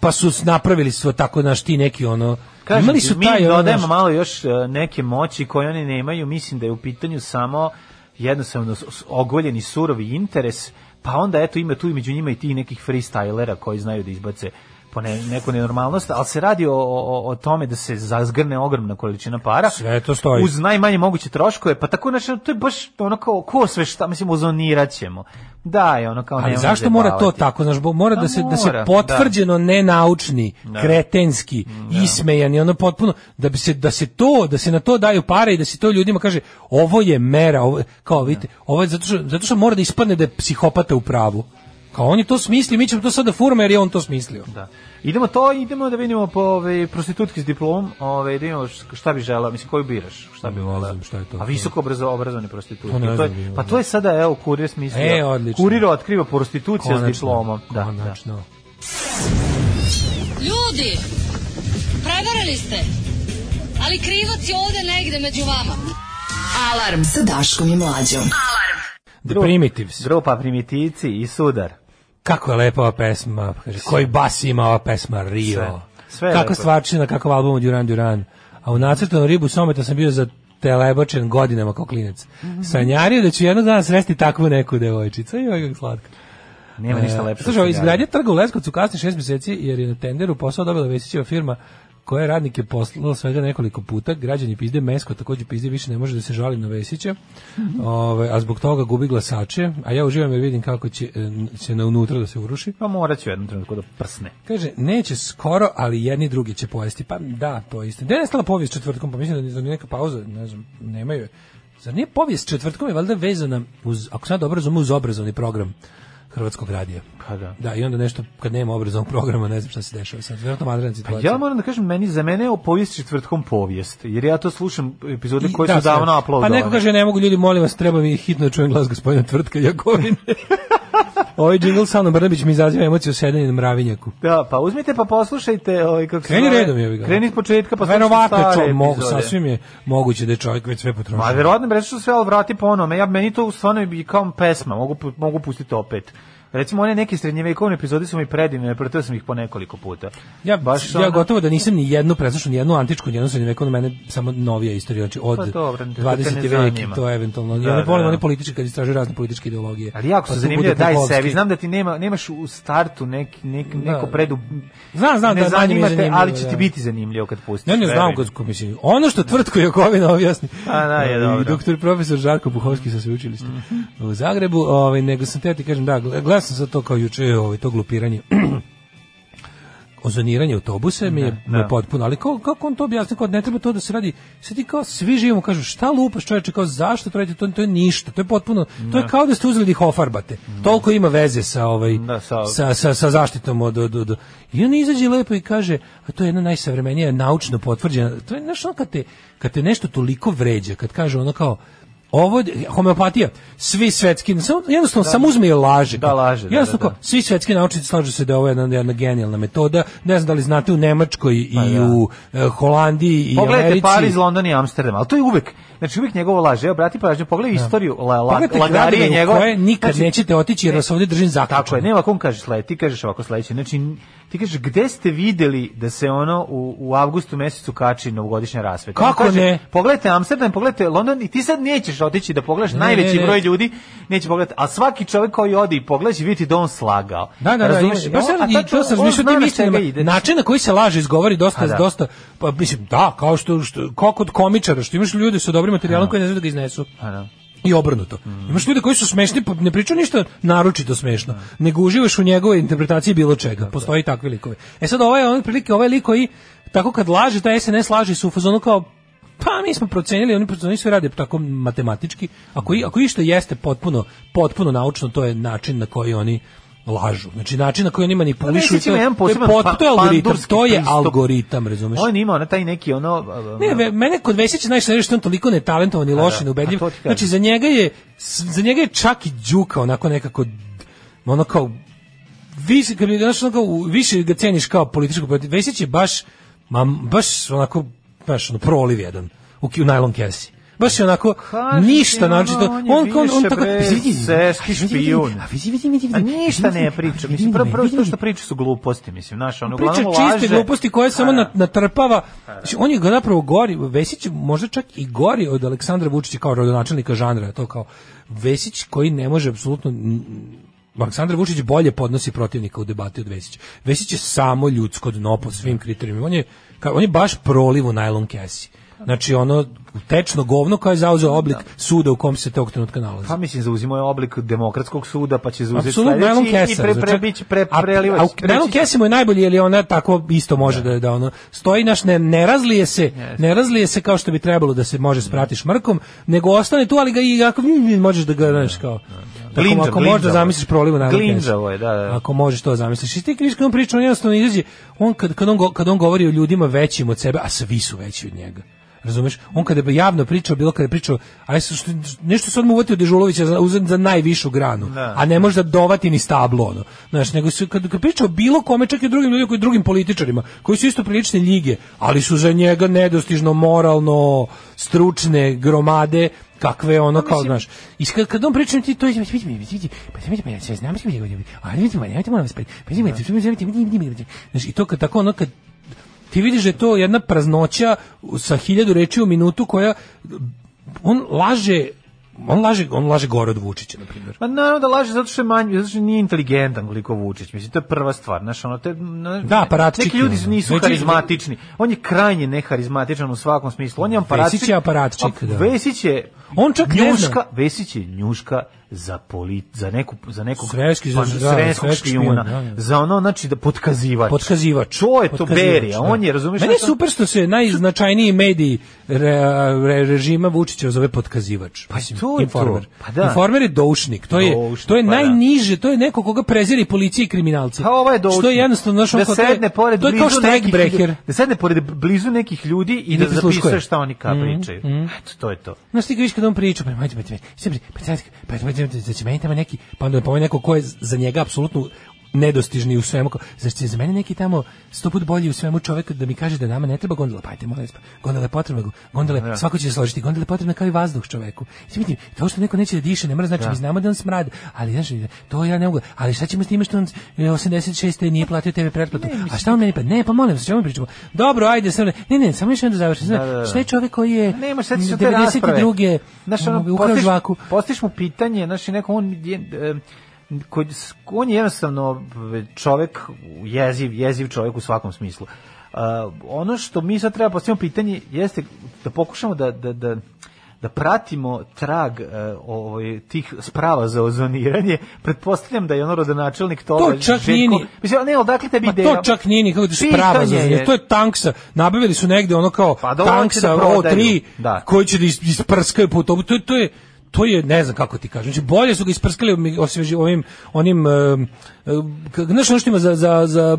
[SPEAKER 5] pa su s- napravili svoj tako, naš ti neki ono...
[SPEAKER 6] Kažem
[SPEAKER 5] imali
[SPEAKER 6] ti,
[SPEAKER 5] su
[SPEAKER 6] mi
[SPEAKER 5] taj, ono,
[SPEAKER 6] dodajemo
[SPEAKER 5] znaš,
[SPEAKER 6] malo još e, neke moći koje oni nemaju, mislim da je u pitanju samo jednostavno s- s- ogoljeni surovi interes, pa onda eto ima tu i među njima i tih nekih freestylera koji znaju da izbace po ne, neku nenormalnost, ali se radi o, o, o tome da se zazgrne ogromna količina para.
[SPEAKER 5] Sve to stoji.
[SPEAKER 6] Uz najmanje moguće troškove, pa tako, znači, to je baš ono kao, ko sve šta, mislim, ozonirat ćemo. Da, je ono kao...
[SPEAKER 5] Ali
[SPEAKER 6] nemoj
[SPEAKER 5] Pa zašto mora to
[SPEAKER 6] zajebavati.
[SPEAKER 5] tako, znaš, bo- mora
[SPEAKER 6] Pa
[SPEAKER 5] da se da se
[SPEAKER 6] mora,
[SPEAKER 5] potvrđeno nenaučni,
[SPEAKER 6] Da.
[SPEAKER 5] kretenski, ismejan i ono potpuno da bi se da se to, da se na to daju pare i da se to ljudima kaže ovo je mera, ovo kao vidite, ovo je zato što zato što mora da ispadne da je psihopata u pravu. Kao on je to smislio, mi ćemo to sad da furamo jer je on to smislio.
[SPEAKER 6] Da. Idemo to, idemo da vidimo po ove, prostitutki s diplom, ove, da vidimo š- šta bi žela, mislim, koju biraš, šta bi
[SPEAKER 5] Ne
[SPEAKER 6] voleo.
[SPEAKER 5] znam šta je to.
[SPEAKER 6] A visoko obrazo, obrazovani prostitutki.
[SPEAKER 5] To ne
[SPEAKER 6] To je-
[SPEAKER 5] znam,
[SPEAKER 6] pa to je sada, evo, kurir smislio.
[SPEAKER 5] E, odlično.
[SPEAKER 6] Kurir otkriva prostitucija s diplomom. Da, da.
[SPEAKER 5] konačno.
[SPEAKER 11] Ljudi, prevarili ste. Ali krivac je ovde negde među vama.
[SPEAKER 8] Alarm sa Daškom i Mlađom.
[SPEAKER 5] The Primitives.
[SPEAKER 6] Grupa pa primitici i sudar.
[SPEAKER 5] Kako je lepa ova pesma. Kaže, koji bas ima ova pesma Rio.
[SPEAKER 6] Sve. Sve je
[SPEAKER 5] kako
[SPEAKER 6] lepo.
[SPEAKER 5] stvarčina, kakav album od Duran Duran. A u nacrtu na ribu someta sam bio za telebačen godinama kao klinac.
[SPEAKER 6] Mhm.
[SPEAKER 5] Sanjario da ću jednog dana sresti takvu neku devojčicu. Joj, kako slatka.
[SPEAKER 6] Nema ništa
[SPEAKER 5] E,
[SPEAKER 6] lepše.
[SPEAKER 5] Slušaj, izgradnja trga u Leskovcu kasni šest mjeseci jer je na tenderu posao dobila Vesićeva firma koja je radnike poslala svega nekoliko puta, građani pizde mesko, takođe pizde više ne može da se žali na Vesića,
[SPEAKER 6] Mhm.
[SPEAKER 5] Ove, a zbog toga gubi glasače, a ja uživam jer vidim kako će e, se na unutra da se uruši.
[SPEAKER 6] Pa morat ću u jednom trenutku da prsne.
[SPEAKER 5] Kaže, neće skoro, ali jedni drugi će pojesti. Pa da, to je isto. Gde je nestala povijest četvrtkom? Pa mislim da je- da je neka pauza, ne znam, nemaju je. Zar nije povijest četvrtkom je valjda vezana, uz, ako sam ja dobro razumio, uz obrazovni program Hrvatskog radija.
[SPEAKER 6] Pa da.
[SPEAKER 5] Da, i onda nešto, kad nema obrazovnog programa, ne znam šta se dešava sad. Vjerojatno vanredna
[SPEAKER 6] Pa
[SPEAKER 5] situacija.
[SPEAKER 6] ja moram da kažem, meni, za mene je o povijest četvrtkom povijest, jer ja to slušam epizode
[SPEAKER 5] I-
[SPEAKER 6] koje
[SPEAKER 5] da,
[SPEAKER 6] su davno
[SPEAKER 5] sve. Pa
[SPEAKER 6] uploadovane.
[SPEAKER 5] neko kaže, ne mogu ljudi, molim vas, treba mi hitno čujem glas gospodina Tvrtka Jakovine. Ovaj džingl sa Anom Brnabić mi izaziva emociju sedenja na mravinjaku.
[SPEAKER 6] Da, pa uzmite pa poslušajte, ovaj kako se
[SPEAKER 5] Kreni
[SPEAKER 6] zove.
[SPEAKER 5] redom, jebi ga.
[SPEAKER 6] Kreni iz početka pa slušajte
[SPEAKER 5] Verovatno je
[SPEAKER 6] stare
[SPEAKER 5] čo, mogu,
[SPEAKER 6] epizode.
[SPEAKER 5] sasvim je moguće da je čovjek već sve potrošio.
[SPEAKER 6] Ma verovatno bi što sve ali vrati ponome. Ja meni to stvarno bi kao pesma, mogu pu- mogu pustiti opet. Recimo one neke srednjevekovne epizode su mi predivne, pretio sam ih po nekoliko puta.
[SPEAKER 5] Ja,
[SPEAKER 6] Baš
[SPEAKER 5] ja
[SPEAKER 6] ono-
[SPEAKER 5] gotovo da nisam ni jednu preslušao, ni jednu antičku, ni jednu srednjevekovnu, mene samo novija istorija, znači od
[SPEAKER 6] Pa dobro, to te ne
[SPEAKER 5] 20. veki,
[SPEAKER 6] zanima.
[SPEAKER 5] to je eventualno.
[SPEAKER 6] Da,
[SPEAKER 5] ja ne
[SPEAKER 6] da,
[SPEAKER 5] volim
[SPEAKER 6] da.
[SPEAKER 5] one političke kad istražuju razne političke ideologije.
[SPEAKER 6] Ali jako
[SPEAKER 5] Pa
[SPEAKER 6] su
[SPEAKER 5] tu
[SPEAKER 6] zanimljive,
[SPEAKER 5] bude
[SPEAKER 6] daj
[SPEAKER 5] Pupovski.
[SPEAKER 6] sebi. Znam da ti nema, nemaš u startu neki nek, neko predu...
[SPEAKER 5] Znam, znam
[SPEAKER 6] ne
[SPEAKER 5] da manje mi je
[SPEAKER 6] zanima te,
[SPEAKER 5] zanimljivo,
[SPEAKER 6] ali će ti
[SPEAKER 5] da.
[SPEAKER 6] biti zanimljivo kad pustiš.
[SPEAKER 5] Ne, ne znam
[SPEAKER 6] veruj.
[SPEAKER 5] kad ko mislim. Ono što tvrtko Jakovina objasni.
[SPEAKER 6] A, da, je
[SPEAKER 5] I
[SPEAKER 6] dobro.
[SPEAKER 5] Doktor profesor Žarko Buhovski sa sveučilišta u Zagrebu, ovaj nego sam teo ti kažem da gle- gledao sam sad to kao juče, ovaj to glupiranje. ozoniranje autobuse mi je, me
[SPEAKER 6] da.
[SPEAKER 5] potpuno, ali kao- kako on to objasni, kao ne treba to da se radi, sad ti kao svi živimo, kažu šta lupaš čoveče, kao zašto to radite, to, to je ništa, to je potpuno, to je kao da ste uzeli da ih ofarbate, toliko ima veze sa, ovaj,
[SPEAKER 6] Da, sa-
[SPEAKER 5] sa, sa, sa zaštitom od, od, od... I on izađe lepo i kaže, a to je jedna najsavremenija, naučno potvrđena, to je znaš ono kad te, kad te nešto toliko vređa, kad kaže ono kao, ovo je homeopatija, svi svetski, samo, jednostavno, samo uzme i laže.
[SPEAKER 6] Da, laže, da,
[SPEAKER 5] Jednostavno
[SPEAKER 6] da, da.
[SPEAKER 5] kao, svi svetski naučnici slažu se da je ovo jedna, jedna genijalna metoda. Ne znam da li znate u Nemačkoj i u e, Holandiji i
[SPEAKER 6] Pa Pogledajte
[SPEAKER 5] Americi.
[SPEAKER 6] Pariz, London i Amsterdam, ali to je uvek, znači uvek njegovo laže, evo, brati pažnju, pogledaj istoriju, la, la,
[SPEAKER 5] Pogledajte
[SPEAKER 6] lagarije
[SPEAKER 5] gradove u
[SPEAKER 6] njegove.
[SPEAKER 5] koje nikad
[SPEAKER 6] Znači,
[SPEAKER 5] nećete otići jer vas ovdje držim zaključeno.
[SPEAKER 6] Tako je, nema kom kažeš sledeće, ti kažeš ovako sledeće. Znači, ti kažeš gde ste videli da se ono u, u avgustu mesecu kači novogodišnja rasveta?
[SPEAKER 5] Kako
[SPEAKER 6] On kaže,
[SPEAKER 5] ne?
[SPEAKER 6] Pogledajte Amsterdam, pogledajte London i ti sad nećeš otići da pogledaš
[SPEAKER 5] Ne,
[SPEAKER 6] najveći
[SPEAKER 5] ne, ne.
[SPEAKER 6] broj ljudi, neće pogledati, a svaki čovjek koji ode i pogleda će vidjeti da on slagao.
[SPEAKER 5] Da, da, da,
[SPEAKER 6] Razumeš?
[SPEAKER 5] i- baš
[SPEAKER 6] On-
[SPEAKER 5] sam
[SPEAKER 6] a
[SPEAKER 5] i
[SPEAKER 6] tačno,
[SPEAKER 5] to sam
[SPEAKER 6] on
[SPEAKER 5] razmišljao
[SPEAKER 6] zna
[SPEAKER 5] tim
[SPEAKER 6] na
[SPEAKER 5] istinama.
[SPEAKER 6] čega ide.
[SPEAKER 5] Način na koji se laže izgovori dosta,
[SPEAKER 6] A, da.
[SPEAKER 5] dosta, pa mislim, da, kao što, što kao kod komičara, što imaš ljude sa dobrim materijalom koji ne znaju da ga iznesu.
[SPEAKER 6] A, da.
[SPEAKER 5] I obrnuto. Imaš ljude koji su smešni, pa ne pričaju ništa naročito smešno, nego uživaš u njegovoj interpretaciji bilo čega. Postoji i takvi likovi. E sad ovaj, on prilike, ovaj lik koji tako kad laže, taj SNS laže su u fazonu kao Pa mi smo procenili, oni procenili sve rade tako matematički. Ako, i, ako išta jeste potpuno, potpuno naučno, to je način na koji oni lažu. Znači način na koji
[SPEAKER 6] Pa
[SPEAKER 5] oni manipulišu, i
[SPEAKER 6] Vesić
[SPEAKER 5] to,
[SPEAKER 6] ima jedan
[SPEAKER 5] to je,
[SPEAKER 6] poseban
[SPEAKER 5] pot- to je
[SPEAKER 6] pa-
[SPEAKER 5] algoritam,
[SPEAKER 6] pandurski
[SPEAKER 5] to je
[SPEAKER 6] pristup.
[SPEAKER 5] algoritam, razumeš?
[SPEAKER 6] On ima ona taj neki ono...
[SPEAKER 5] Ne, ve- mene kod Vesića najsnervira što je on toliko netalentovan i
[SPEAKER 6] A
[SPEAKER 5] loš
[SPEAKER 6] da,
[SPEAKER 5] i neubedljiv.
[SPEAKER 6] a to ti kažem.
[SPEAKER 5] Znači za njega je s- za njega je čak i Đuka onako nekako ono kao više kad bi znaš, ono kao, u- više ga ceniš kao političkog protiv. Vesić je baš ma, baš onako baš ono proliv jedan u, ki- u najlon kesi. Baš je onako
[SPEAKER 6] Kažem Pa ti,
[SPEAKER 5] ništa
[SPEAKER 6] ono,
[SPEAKER 5] znači
[SPEAKER 6] on
[SPEAKER 5] on
[SPEAKER 6] je
[SPEAKER 5] on on, on
[SPEAKER 6] više,
[SPEAKER 5] tako pa
[SPEAKER 6] bre,
[SPEAKER 5] vidi, vidi,
[SPEAKER 6] seški
[SPEAKER 5] vidi, vidi, vidi,
[SPEAKER 6] špijun.
[SPEAKER 5] A vidi vidi vidi.
[SPEAKER 6] A
[SPEAKER 5] vidi,
[SPEAKER 6] ništa
[SPEAKER 5] vidi,
[SPEAKER 6] ne
[SPEAKER 5] vidi,
[SPEAKER 6] priča,
[SPEAKER 5] vidi,
[SPEAKER 6] mislim,
[SPEAKER 5] vidi,
[SPEAKER 6] prvo, prvo
[SPEAKER 5] vidi,
[SPEAKER 6] to što
[SPEAKER 5] vidi.
[SPEAKER 6] priča su gluposti, mislim, znaš, ono,
[SPEAKER 5] Priča
[SPEAKER 6] uglavnom laže.
[SPEAKER 5] čiste gluposti koje samo
[SPEAKER 6] A,
[SPEAKER 5] na- natrpava. Znači, on je ga zapravo gori, Vesić je možda čak i gori od Aleksandra Vučića kao rodonačelnika žanra, to kao Vesić koji ne može apsolutno n- Aleksandar Vučić bolje podnosi protivnika u debati od Vesića. Vesić je samo ljudsko dno po svim kriterijima. On je, ka- on je baš proliv u najlon kesi. Znači ono tečno govno koje je zauzeo oblik suda u kom se tog trenutka nalazi.
[SPEAKER 6] Pa mislim zauzima je oblik demokratskog suda, pa će zauzeti
[SPEAKER 5] Apsolutno, Nylon
[SPEAKER 6] sledeći i
[SPEAKER 5] Kesa,
[SPEAKER 6] pre,
[SPEAKER 5] znači,
[SPEAKER 6] pre, biće pre,
[SPEAKER 5] a-
[SPEAKER 6] prelivač.
[SPEAKER 5] a u- Nylon Kesa mu je najbolji, jer je ona tako isto može da, da ono, stoji naš, ne, ne razlije se, ne razlije se kao što bi trebalo da se može sprati šmrkom, nego ostane tu, ali ga i ako mm, mm, možeš da ga, znaš, kao... Tako,
[SPEAKER 6] Glinđav,
[SPEAKER 5] ako možeš da
[SPEAKER 6] glinđavo.
[SPEAKER 5] zamisliš prolivu na
[SPEAKER 6] Glinđavo je, da, da.
[SPEAKER 5] Ako možeš to zamisliš. I ti vidiš kad on priča, on jednostavno izađe, on kad, kad, on, go- kad on govori o ljudima većim od sebe, a svi su veći od njega. Razumeš? On kada bi javno pričao, bilo kada je pričao, aj sa što, nešto sad mu uvatio Dežulovića za, uzet za najvišu granu,
[SPEAKER 6] Da.
[SPEAKER 5] a ne može da dovati ni stablo, ono. Znaš, nego su, kad, kad pričao bilo kome, čak i drugim ljudima, koji drugim političarima, koji su isto prilične ljige, ali su za njega nedostižno moralno stručne gromade, kakve ono kao, znaš, i kad, kad on priča ti to je, vidi, vidi, vidi, pa vidi, pa ja sve znam, vidi, vidi, ali vidi, pa nemojte, molim vas, pa vidi, vidi, vidi, vidi, vidi, vidi, vidi, Znaš, i to kad tako, ono, kad ti vidiš da je to jedna praznoća sa hiljadu reči u minutu koja, on laže, on laže, on laže gore od Vučića, na primjer.
[SPEAKER 6] Ma Pa naravno da laže zato što je manji, zato što nije inteligentan koliko Vučić. Mislim to je prva stvar, znaš, ono te na,
[SPEAKER 5] Da, aparatčik
[SPEAKER 6] Neki
[SPEAKER 5] je
[SPEAKER 6] ljudi
[SPEAKER 5] ono.
[SPEAKER 6] nisu
[SPEAKER 5] Već-
[SPEAKER 6] karizmatični. On je krajnje neharizmatičan u svakom smislu. On je aparatčik.
[SPEAKER 5] Vesić je aparatčik,
[SPEAKER 6] A
[SPEAKER 5] da.
[SPEAKER 6] Vesić je
[SPEAKER 5] On čak ne
[SPEAKER 6] njuška,
[SPEAKER 5] zna.
[SPEAKER 6] Vesić je njuška za polit, za neku za nekog
[SPEAKER 5] Sreski, za-
[SPEAKER 6] pa,
[SPEAKER 5] da,
[SPEAKER 6] sremskog
[SPEAKER 5] sreski
[SPEAKER 6] špijuna,
[SPEAKER 5] špijun, da, da.
[SPEAKER 6] za ono znači da potkazivač.
[SPEAKER 5] Potkazivač.
[SPEAKER 6] To je to
[SPEAKER 5] Potkazivač,
[SPEAKER 6] Berija,
[SPEAKER 5] da.
[SPEAKER 6] on je, razumiješ?
[SPEAKER 5] Meni je
[SPEAKER 6] znaš, on-
[SPEAKER 5] super što se najznačajniji mediji re, re- režima Vučića zove potkazivač. Pa
[SPEAKER 6] to je
[SPEAKER 5] informer.
[SPEAKER 6] to. Pa da.
[SPEAKER 5] Informer je doušnik. To je,
[SPEAKER 6] Doušnik,
[SPEAKER 5] to je
[SPEAKER 6] pa da.
[SPEAKER 5] najniže, to je neko koga preziri policija i kriminalci.
[SPEAKER 6] Pa ovo je doušnik.
[SPEAKER 5] Što je jednostavno, znaš, on
[SPEAKER 6] da
[SPEAKER 5] kao, to je-
[SPEAKER 6] sedne pored
[SPEAKER 5] to je kao
[SPEAKER 6] blizu nekih ljudi-
[SPEAKER 5] štrajkbreker.
[SPEAKER 6] Da sedne pored blizu nekih ljudi i, da
[SPEAKER 5] da prisluškuje.
[SPEAKER 6] zapisuje šta oni kao
[SPEAKER 5] Mhm,
[SPEAKER 6] pričaju.
[SPEAKER 5] mhm.
[SPEAKER 6] Eto, to je to.
[SPEAKER 5] Znaš ti ga viš kada on priča, pa majte, majte, majte, majte, pa sad, pa majte, majte, zar će meni tamo neki, pa onda pomeni neko ko je za njega apsolutno nedostižni u svemu, kao, zar će za mene neki tamo sto put bolji u svemu čovek da mi kaže da nama ne treba gondola, pa ajte, molim vas, pa gondola je potrebna, gondola, je- svako će se složiti, gondola je potrebna kao i vazduh čoveku. I sad vidim, to što neko neće da diše, ne mora znači, mi znamo da on smrad, ali znaš, to ja ne mogu, ali šta ćemo s time što on e, 86. nije platio TV pretplatu, a šta on meni, pa ne, pa molim vas, o čemu pričamo, dobro, ajde, sad, ne, ne, samo još jedno da završim, znaš,
[SPEAKER 6] da, da.
[SPEAKER 5] šta je čovek koji je
[SPEAKER 6] Nema šta ti se te rasprave.
[SPEAKER 5] 92.
[SPEAKER 6] Znaš, ono,
[SPEAKER 5] ukrao
[SPEAKER 6] postiš,
[SPEAKER 5] žvaku.
[SPEAKER 6] postiš mu pitanje, znaš, i neko on je, e, kod, on je jednostavno čovek, jeziv, jeziv čovek u svakom smislu. A, ono što mi sad treba postavimo pitanje jeste da pokušamo da, da, da da pratimo trag e, ovaj, tih sprava za ozoniranje, pretpostavljam da je ono rodonačelnik toga
[SPEAKER 5] To čak
[SPEAKER 6] Željko-
[SPEAKER 5] nije ni-
[SPEAKER 6] Mislim, ne, odakle tebi
[SPEAKER 5] Pa
[SPEAKER 6] ideja?
[SPEAKER 5] to čak nije nikako da se
[SPEAKER 6] Pitanje
[SPEAKER 5] prava za
[SPEAKER 6] je-
[SPEAKER 5] njih. To je tanksa. Nabavili su negde ono kao
[SPEAKER 6] Pa dobro, hoće
[SPEAKER 5] tanksa
[SPEAKER 6] da prodaju.
[SPEAKER 5] O3
[SPEAKER 6] Da.
[SPEAKER 5] koji će da is- isprskaju po autobusu. To, je- to je to je ne znam kako ti kažem. Znači bolje su ga isprskali omi- osveži- ovim onim em, em, k- znaš ono što ima za za za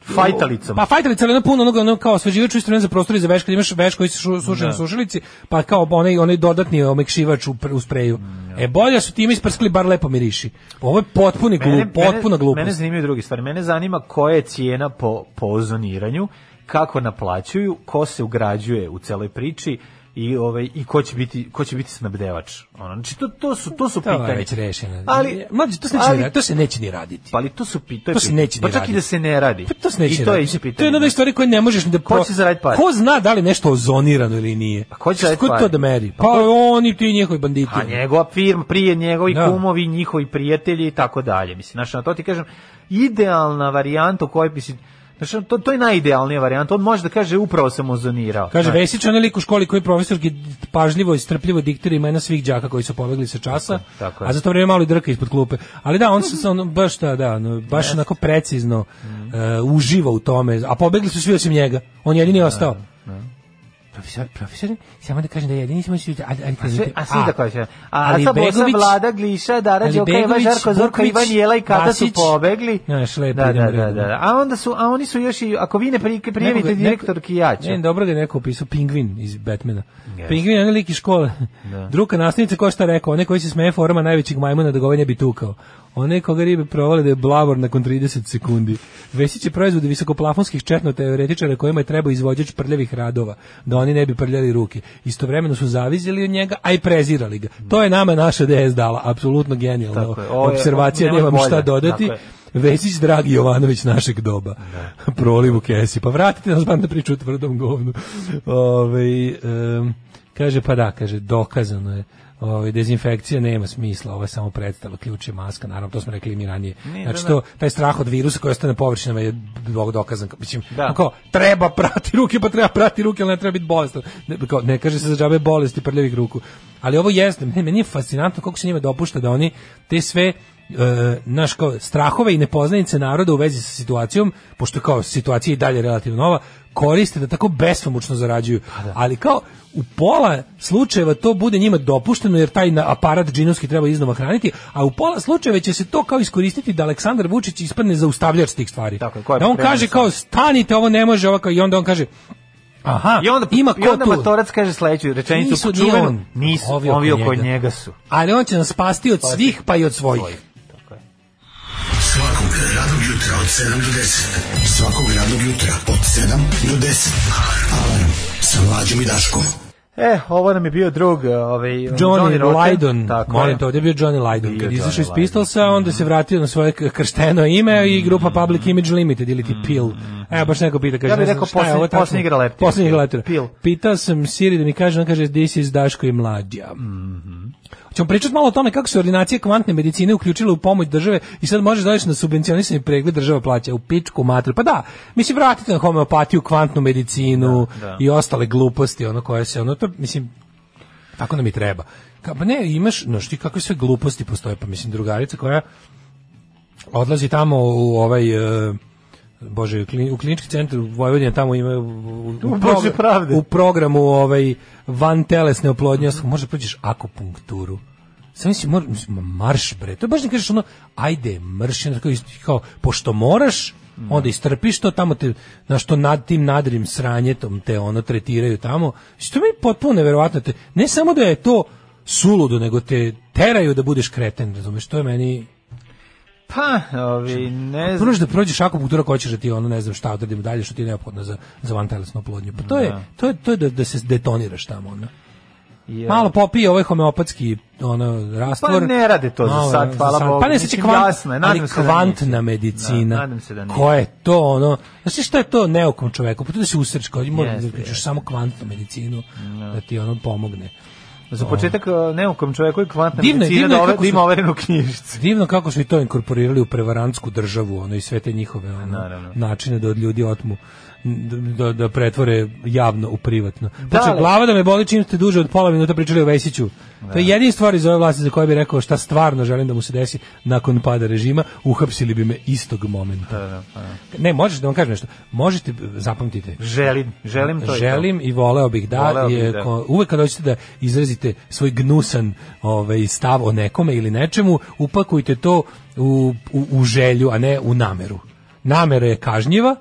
[SPEAKER 6] Fajtalicom.
[SPEAKER 5] Pa fajtalica ali ono puno onoga ono kao osveživač u isto vreme za prostor i za veš kad imaš veš koji se šu- suši na sušilici, pa kao onaj onaj dodatni omekšivač u, pr- u spreju. E bolje su time isprskali bar lepo miriši. Ovo je potpuni glup, potpuna glupost.
[SPEAKER 6] Mene zanimaju druge stvari. Mene zanima koja je cijena po, po ozoniranju, kako naplaćuju, ko se ugrađuje u celoj priči i ovaj i ko će biti ko će biti snabdevač. Ono, znači to to su to su
[SPEAKER 5] To je
[SPEAKER 6] pitanja.
[SPEAKER 5] već rešeno.
[SPEAKER 6] Ali
[SPEAKER 5] Ali, mlađe, to se neće,
[SPEAKER 6] ali-
[SPEAKER 5] ni raditi, to se neće ni raditi.
[SPEAKER 6] Pa ali to su pitanja.
[SPEAKER 5] To se neće
[SPEAKER 6] Pa
[SPEAKER 5] ni
[SPEAKER 6] čak i
[SPEAKER 5] raditi.
[SPEAKER 6] da se ne radi.
[SPEAKER 5] Pa to se neće
[SPEAKER 6] I to je
[SPEAKER 5] raditi.
[SPEAKER 6] isto
[SPEAKER 5] To je
[SPEAKER 6] pitanje.
[SPEAKER 5] jedna od onih stvari koje ne možeš ni da...
[SPEAKER 6] Ko
[SPEAKER 5] pro-
[SPEAKER 6] će zaraditi pare?
[SPEAKER 5] Ko zna da li je nešto ozonirano ili nije? Pa
[SPEAKER 6] ko će zaraditi
[SPEAKER 5] Ko
[SPEAKER 6] pare?
[SPEAKER 5] to da meri?
[SPEAKER 6] Pa
[SPEAKER 5] Pa
[SPEAKER 6] ko-
[SPEAKER 5] oni ti njihovi banditi.
[SPEAKER 6] A njegova firma, prije njegovi
[SPEAKER 5] Da.
[SPEAKER 6] kumovi, njihovi prijatelji i tako dalje. Mislim, znači, na to ti kažem, idealna varijanta u kojoj bi si... Znaš, ono, to, to je najidealnija varijanta. On može da kaže, upravo sam ozonirao.
[SPEAKER 5] Kaže
[SPEAKER 6] Znaš,
[SPEAKER 5] Vesić, onaj lik u školi koji profesorski pažljivo i strpljivo diktira imena svih đaka koji su pobegli sa časa,
[SPEAKER 6] tako je. Mhm.
[SPEAKER 5] a za to vrijeme malo i drka ispod klupe. Ali da, on se sa ono, baš ta, da, ono, baš onako precizno e, uživa u tome, a pobegli su svi osim njega. On jedini je ostao. Profesor, profesore, samo da kažem da jedini smo svi, ali, ali,
[SPEAKER 6] sve, a svi da kaže. A, a
[SPEAKER 5] ali
[SPEAKER 6] sad Bosa,
[SPEAKER 5] Begović-
[SPEAKER 6] Vlada, Gliša, Dara,
[SPEAKER 5] ali
[SPEAKER 6] Đoka, Ivan,
[SPEAKER 5] Begović,
[SPEAKER 6] Žarko, Zorko,
[SPEAKER 5] Vukvić,
[SPEAKER 6] Ivan, Jela i Kata su
[SPEAKER 5] Vasić.
[SPEAKER 6] pobegli.
[SPEAKER 5] Znaš, lepo
[SPEAKER 6] da,
[SPEAKER 5] idemo
[SPEAKER 6] da, da,
[SPEAKER 5] redom.
[SPEAKER 6] da. A onda su, a oni su još i, ako vi ne pri-
[SPEAKER 5] Neko
[SPEAKER 6] prijavite
[SPEAKER 5] ga-
[SPEAKER 6] direktorki, ja ću.
[SPEAKER 5] Ne, dobro ga je neko opisao, pingvin iz Batmana.
[SPEAKER 6] Jeste.
[SPEAKER 5] Pingvin je onaj lik iz škole. Druga nastavnica ko šta rekao, onaj koji se smeje forma najvećeg majmuna da ga ovaj ne bi tukao. Onaj koga ribe provale da je blavor nakon 30 sekundi. Vesić je proizvod visokoplafonskih četno teoretičara kojima je trebao izvođač prljavih radova, da oni ne bi prljali ruke. Istovremeno su zavizili od njega, a i prezirali ga. To je nama naša DS dala, apsolutno genijalna
[SPEAKER 6] Tako je, ovo je-
[SPEAKER 5] observacija,
[SPEAKER 6] nema
[SPEAKER 5] nemam šta
[SPEAKER 6] bolje.
[SPEAKER 5] dodati.
[SPEAKER 6] Tako je.
[SPEAKER 5] Vesić Dragi Jovanović našeg doba. Proliv u kesi. Pa vratite nas bar na priču o tvrdom govnu. Ove, kaže, pa da, kaže, dokazano je ovaj dezinfekcija nema smisla, ovo je samo predstava, ključ je maska, naravno to smo rekli mi ranije.
[SPEAKER 6] Ne,
[SPEAKER 5] znači
[SPEAKER 6] da, da.
[SPEAKER 5] to taj strah od virusa koji ostane na površinama je mnogo dokazan. Mislim,
[SPEAKER 6] Da.
[SPEAKER 5] kao treba prati ruke, pa treba prati ruke, ali ne treba biti bolestan. Ne, kao, ne kaže se za džabe bolesti prljavih ruku. Ali ovo jeste, ne, meni je fascinantno kako se njima dopušta da oni te sve e, naš kao strahove i nepoznanice naroda u vezi sa situacijom, pošto kao situacija je i dalje relativno nova, koriste da tako bespomučno zarađuju.
[SPEAKER 6] Pa
[SPEAKER 5] Ali kao u pola slučajeva to bude njima dopušteno jer taj na- aparat džinovski treba iznova hraniti, a u pola slučajeva će se to kao iskoristiti da Aleksandar Vučić ispadne zaustavljač tih stvari.
[SPEAKER 6] Tako je, ko je
[SPEAKER 5] da on
[SPEAKER 6] pokrenuo
[SPEAKER 5] kaže
[SPEAKER 6] sve?
[SPEAKER 5] kao stanite, ovo ne može, ovako, i onda on kaže Aha,
[SPEAKER 6] I onda,
[SPEAKER 5] ima
[SPEAKER 6] i
[SPEAKER 5] ko
[SPEAKER 6] onda
[SPEAKER 5] tu?
[SPEAKER 6] Matorac kaže sledeću rečenicu,
[SPEAKER 5] Nisu,
[SPEAKER 6] nisu,
[SPEAKER 5] nije on.
[SPEAKER 6] nisu,
[SPEAKER 5] Ovi
[SPEAKER 6] ovi,
[SPEAKER 5] oko
[SPEAKER 6] oko
[SPEAKER 5] njega.
[SPEAKER 6] njega. su.
[SPEAKER 5] Ali on će nas spasti od svih pa i od svojih.
[SPEAKER 3] Svakog radnog jutra od 7 do 10. Svakog radnog jutra od 7 do 10. Alarm sa mlađom i Daškom.
[SPEAKER 6] E, ovo nam je bio drug, e, ovaj,
[SPEAKER 5] Johnny, Lydon,
[SPEAKER 6] tako
[SPEAKER 5] molim
[SPEAKER 6] je.
[SPEAKER 5] te, ovdje je bio Johnny Lydon.
[SPEAKER 6] Bio
[SPEAKER 5] Kad je izašao
[SPEAKER 6] Johnny
[SPEAKER 5] iz
[SPEAKER 6] Lydon.
[SPEAKER 5] Pistolsa, onda se vratio na svoje k- kršteno ime i
[SPEAKER 6] Mm.
[SPEAKER 5] grupa Public Image Limited ili ti PIL. Evo, baš neko pita, kaže,
[SPEAKER 6] Ja bih
[SPEAKER 5] ne znam
[SPEAKER 6] rekao
[SPEAKER 5] šta je
[SPEAKER 6] posljednji-
[SPEAKER 5] ovo tačno.
[SPEAKER 6] posljednji igra leptira.
[SPEAKER 5] Posljednji igra leptira.
[SPEAKER 6] Pil.
[SPEAKER 5] Pitao sam Siri da mi kaže, on kaže, this is Daško i Mlađa.
[SPEAKER 6] Mhm.
[SPEAKER 5] Ćemo pričati malo o tome kako se ordinacije kvantne medicine uključile u pomoć države i sad možeš doći na subvencionisani pregled država plaća u pičku matru. Pa da, mislim vratite na homeopatiju, kvantnu medicinu
[SPEAKER 6] Da, da.
[SPEAKER 5] i ostale gluposti, ono koje se, ono to, mislim, tako nam i treba. Ka, pa ne, imaš, no što ti kakve sve gluposti postoje, pa mislim drugarica koja odlazi tamo u ovaj e, bože u klini- u klinički centar Vojvodina tamo ima u, u, u
[SPEAKER 6] Bože pravde.
[SPEAKER 5] u programu ovaj van telesne oplodnje, može prođeš akupunkturu. Sam si mor, mislim, ma marš bre. To baš ne kažeš ono ajde mrš, ono kao, ist- kao pošto moraš
[SPEAKER 6] Mm.
[SPEAKER 5] onda istrpiš to tamo te na što nad tim nadrim sranjetom te ono tretiraju tamo što mi je potpuno neverovatno te ne samo da je to suludo nego te teraju da budeš kreten razumeš to je meni
[SPEAKER 6] Pa,
[SPEAKER 5] Znači,
[SPEAKER 6] ovi, ne znam.
[SPEAKER 5] Prvo da prođeš akupunktura koja ćeš da ti ono ne znam šta odradimo dalje što ti je neophodno za za vantelesnu oplodnju. Pa to je
[SPEAKER 6] Da.
[SPEAKER 5] to je to je da, da se detoniraš tamo ono.
[SPEAKER 6] Ja.
[SPEAKER 5] Malo popije ovaj homeopatski ono raspor.
[SPEAKER 6] Pa ne rade to za sad, hvala Bogu.
[SPEAKER 5] Pa ne sad će
[SPEAKER 6] Mislim,
[SPEAKER 5] kvant,
[SPEAKER 6] jasno je, nadam
[SPEAKER 5] ali
[SPEAKER 6] se da neće.
[SPEAKER 5] kvantna medicina.
[SPEAKER 6] Da, nadam se da neće.
[SPEAKER 5] Ko je to ono? Znaš šta je to neukom čoveku? Pa to da se usreš, kao mora da
[SPEAKER 6] Jeste,
[SPEAKER 5] uključiš
[SPEAKER 6] jeste.
[SPEAKER 5] samo kvantnu medicinu da ti ono pomogne.
[SPEAKER 6] Za početak, e, neukom čoveku je kvantna
[SPEAKER 5] Divno je,
[SPEAKER 6] medicina
[SPEAKER 5] divno je
[SPEAKER 6] da, ove,
[SPEAKER 5] kako
[SPEAKER 6] da ima
[SPEAKER 5] su-
[SPEAKER 6] overenu knjižicu.
[SPEAKER 5] Divno kako su i to inkorporirali u prevarantsku državu, ono i sve te njihove ono,
[SPEAKER 6] Naravno.
[SPEAKER 5] načine da od ljudi otmu da, da pretvore javno u privatno. Da,
[SPEAKER 6] ali-
[SPEAKER 5] glava da me boli čim ste duže od pola minuta pričali o Vesiću. To je jedina stvar iz ove vlasti za koju bih rekao šta stvarno želim da mu se desi nakon pada režima, uhapsili bi me istog momenta. Ne, možeš da vam kažem nešto. Možete, zapamtite,
[SPEAKER 6] Želim, želim to. i to.
[SPEAKER 5] želim i voleo bih da,
[SPEAKER 6] Voleo bih
[SPEAKER 5] je,
[SPEAKER 6] da.
[SPEAKER 5] ko- uvek kad hoćete da izrazite svoj gnusan ovaj, stav o nekome ili nečemu, upakujte to u, u, u želju, a ne u nameru. Namera je kažnjiva,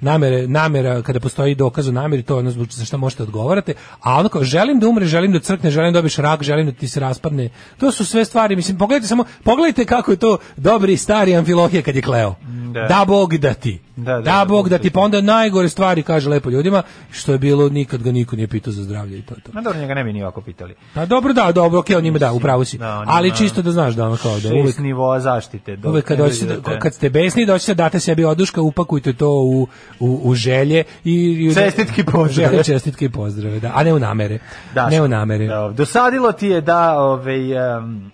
[SPEAKER 5] namere, namera, kada postoji dokaz o nameri, to je ono zbog za što možete odgovarate, a ono kao, želim da umre, želim da crkne, želim da dobiš rak, želim da ti se raspadne, to su sve stvari, mislim, pogledajte samo, pogledajte kako je to dobri stari amfilohije kad je kleo. Da,
[SPEAKER 6] Da.
[SPEAKER 5] Bog da ti.
[SPEAKER 6] Da, da,
[SPEAKER 5] da
[SPEAKER 6] da,
[SPEAKER 5] Bog da ti,
[SPEAKER 6] da.
[SPEAKER 5] pa onda najgore stvari kaže lepo ljudima, što je bilo nikad ga niko nije pitao za zdravlje i to je to.
[SPEAKER 6] Ma dobro, njega ne bi ni ovako pitali.
[SPEAKER 5] Pa dobro, da, dobro, okej, on ima da, upravo si.
[SPEAKER 6] Da, on ima-
[SPEAKER 5] Ali čisto da znaš da ono kao da
[SPEAKER 6] Šest
[SPEAKER 5] uvek
[SPEAKER 6] nivoa zaštite. dok
[SPEAKER 5] Uvek kad,
[SPEAKER 6] ne
[SPEAKER 5] dođete,
[SPEAKER 6] dođe do te-
[SPEAKER 5] kad ste besni, doćete da date sebi oduška, upakujte to u, u, u želje i... i
[SPEAKER 6] Čestitke i pozdrave.
[SPEAKER 5] Želje, čestitke i pozdrave, da. A ne u namere.
[SPEAKER 6] Daško,
[SPEAKER 5] ne u namere.
[SPEAKER 6] da, dosadilo ti je da ovaj, em,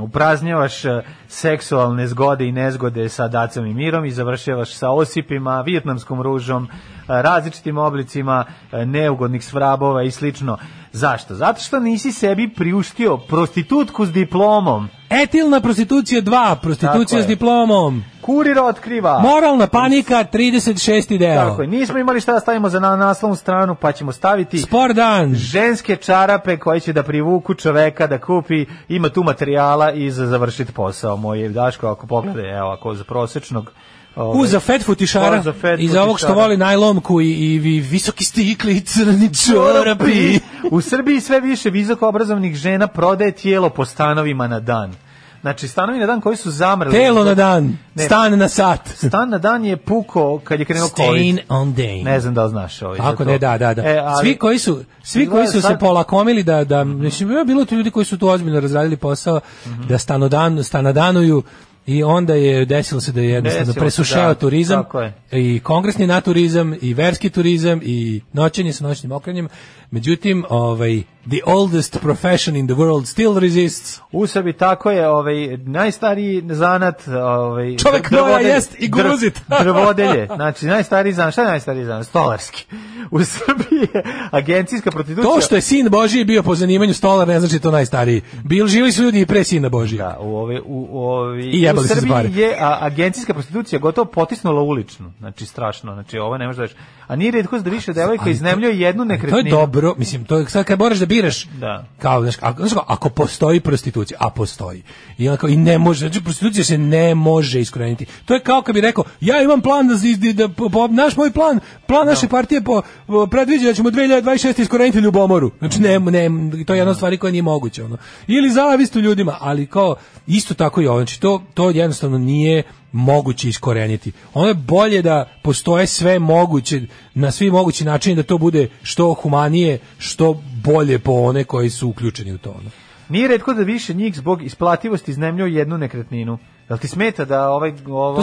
[SPEAKER 6] upražnjavaš eh, seksualne zgode i nezgode sa dacom i mirom i završavaš sa osipima, vijetnamskom ružom, eh, različitim oblicima eh, neugodnih svrabova i slično. Zašto? Zato što nisi sebi priuštio prostitutku s diplomom.
[SPEAKER 5] Etilna prostitucija 2,
[SPEAKER 6] Tako
[SPEAKER 5] prostitucija
[SPEAKER 6] je.
[SPEAKER 5] s diplomom,
[SPEAKER 6] Kurir otkriva.
[SPEAKER 5] moralna panika 36. deo,
[SPEAKER 6] Tako je. Nismo imali šta da stavimo za na naslovnu stranu, pa ćemo staviti...
[SPEAKER 5] spor dan,
[SPEAKER 6] ženske čarape koje će da privuku čoveka da kupi, ima tu materijala i za završiti posao. Moj Daško, ako pogleda, evo, ako za prosečnog... ovaj,
[SPEAKER 5] U, za fat futišara
[SPEAKER 6] Ko za fat
[SPEAKER 5] i za ovog što
[SPEAKER 6] futišara.
[SPEAKER 5] voli najlomku i, i, vi- visoki stikli i crni čorapi.
[SPEAKER 6] U Srbiji sve više visoko obrazovnih žena prodaje tijelo po stanovima na dan. Znači, stanovi na dan koji su zamrli...
[SPEAKER 5] Telo na dan,
[SPEAKER 6] Ne.
[SPEAKER 5] stan na sat.
[SPEAKER 6] Stan na dan je puko kad je krenuo
[SPEAKER 5] Stain
[SPEAKER 6] COVID.
[SPEAKER 5] on day.
[SPEAKER 6] Ne znam da li znaš ovaj. za
[SPEAKER 5] Ako
[SPEAKER 6] to.
[SPEAKER 5] ne, da, da, da.
[SPEAKER 6] E, ali-
[SPEAKER 5] svi koji su, svi koji su se
[SPEAKER 6] Sad-
[SPEAKER 5] polakomili da,
[SPEAKER 6] Mhm.
[SPEAKER 5] da, mislim, bilo je tu ljudi koji su tu ozbiljno razradili posao, da stanodan, stanodanuju I onda je desilo se da je jednostavno
[SPEAKER 6] Desilo se,
[SPEAKER 5] presušao
[SPEAKER 6] da,
[SPEAKER 5] turizam
[SPEAKER 6] tako je.
[SPEAKER 5] i kongresni naturizam i verski turizam i noćenje sa noćnim okrenjem. Međutim, ovaj the oldest profession in the world still resists.
[SPEAKER 6] U sebi tako je, ovaj najstariji zanat, ovaj
[SPEAKER 5] Čovek
[SPEAKER 6] drvodelje-
[SPEAKER 5] mora jest i gruzit.
[SPEAKER 6] dr- drvodelje. Znači najstariji zanat, šta je najstariji zanat? Stolarski. U Srbiji je agencijska prostitucija.
[SPEAKER 5] To što je sin Božiji bio po zanimanju stolar ne znači to najstariji. Bil živi su ljudi i pre sina Božija.
[SPEAKER 6] Da, u ove u u ove
[SPEAKER 5] I jebali
[SPEAKER 6] u
[SPEAKER 5] se
[SPEAKER 6] Srbiji
[SPEAKER 5] zbare.
[SPEAKER 6] je a, agencijska prostitucija gotovo potisnula uličnu. Znači strašno, znači ovo ne možeš da veš. A nije retko da više devojka
[SPEAKER 5] Ali to-
[SPEAKER 6] iznemljuje jednu
[SPEAKER 5] To je
[SPEAKER 6] nekretninu.
[SPEAKER 5] dobro, mislim, to je sad kad moraš da biraš,
[SPEAKER 6] Da.
[SPEAKER 5] kao, znaš, ako, znaš, kao, ako postoji prostitucija, a postoji, i, onako, i ne može, znači prostitucija se ne može iskoreniti. To je kao kad bi rekao, ja imam plan, da, da, da po- po- naš moj plan, plan naše partije po, po- predviđa da ćemo 2026. iskoreniti ljubomoru. Znači, ne, ne, to je jedna od stvari koja nije moguća. Ono. Ili zavist u ljudima, ali kao, isto tako i ovo, znači, to, to jednostavno nije moguće iskoreniti. Ono je bolje da postoje sve moguće, na svi mogući načini da to bude što humanije, što bolje po one koji su uključeni u to. ono.
[SPEAKER 6] Nije retko da više njih zbog isplativosti iznemljuje jednu nekretninu. Jel ti smeta da ovaj ovaj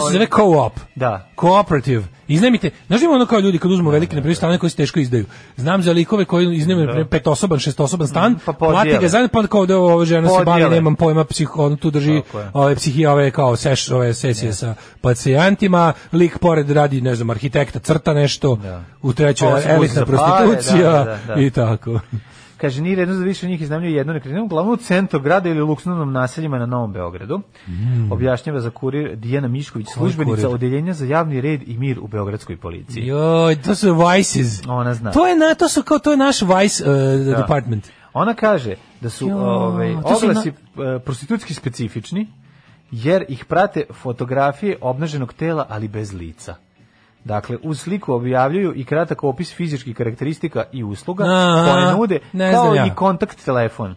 [SPEAKER 5] To se zove co-op.
[SPEAKER 6] Da.
[SPEAKER 5] Cooperative. Iznajmite, znaš li ima ono kao ljudi kad uzmu velike neprijatelje stane koji se teško izdaju. Znam za likove koji iznajmljuju da. petosoban, šestosoban stan,
[SPEAKER 6] pa
[SPEAKER 5] plati ga
[SPEAKER 6] podijele.
[SPEAKER 5] zajedno, pa onda kao da ova žena se bavi,
[SPEAKER 6] Podijele.
[SPEAKER 5] nemam pojma, psiho, on tu drži
[SPEAKER 6] Tako je.
[SPEAKER 5] ove psihije, ove kao seš, ove sesije sa pacijentima, lik pored radi, ne znam, arhitekta, crta nešto, u trećoj
[SPEAKER 6] Ovo se pusti
[SPEAKER 5] elitna
[SPEAKER 6] za pare,
[SPEAKER 5] prostitucija
[SPEAKER 6] da, da, da.
[SPEAKER 5] i tako.
[SPEAKER 6] Kaže, nije redno da više njih iznajmljuje jednu nekretninu, uglavnom u centru grada ili u luksuznom naseljima na Novom Beogradu. Objašnjava za kurir Dijana Mišković, službenica
[SPEAKER 5] kurir?
[SPEAKER 6] Odeljenja za javni red i mir u Beogradskoj policiji.
[SPEAKER 5] Joj, to su vices.
[SPEAKER 6] Ona zna.
[SPEAKER 5] To je na, to su kao, to je naš vice eh, department.
[SPEAKER 6] Ona kaže da su
[SPEAKER 5] Jo,
[SPEAKER 6] ovaj,
[SPEAKER 5] to su
[SPEAKER 6] oglasi e, prostitutski specifični, jer ih prate fotografije obnaženog tela, ali bez lica. Dakle, uz sliku objavljuju i kratak opis fizičkih karakteristika i usluga
[SPEAKER 5] A,
[SPEAKER 6] koje nude,
[SPEAKER 5] ne
[SPEAKER 6] kao
[SPEAKER 5] znam ja.
[SPEAKER 6] i kontakt telefon.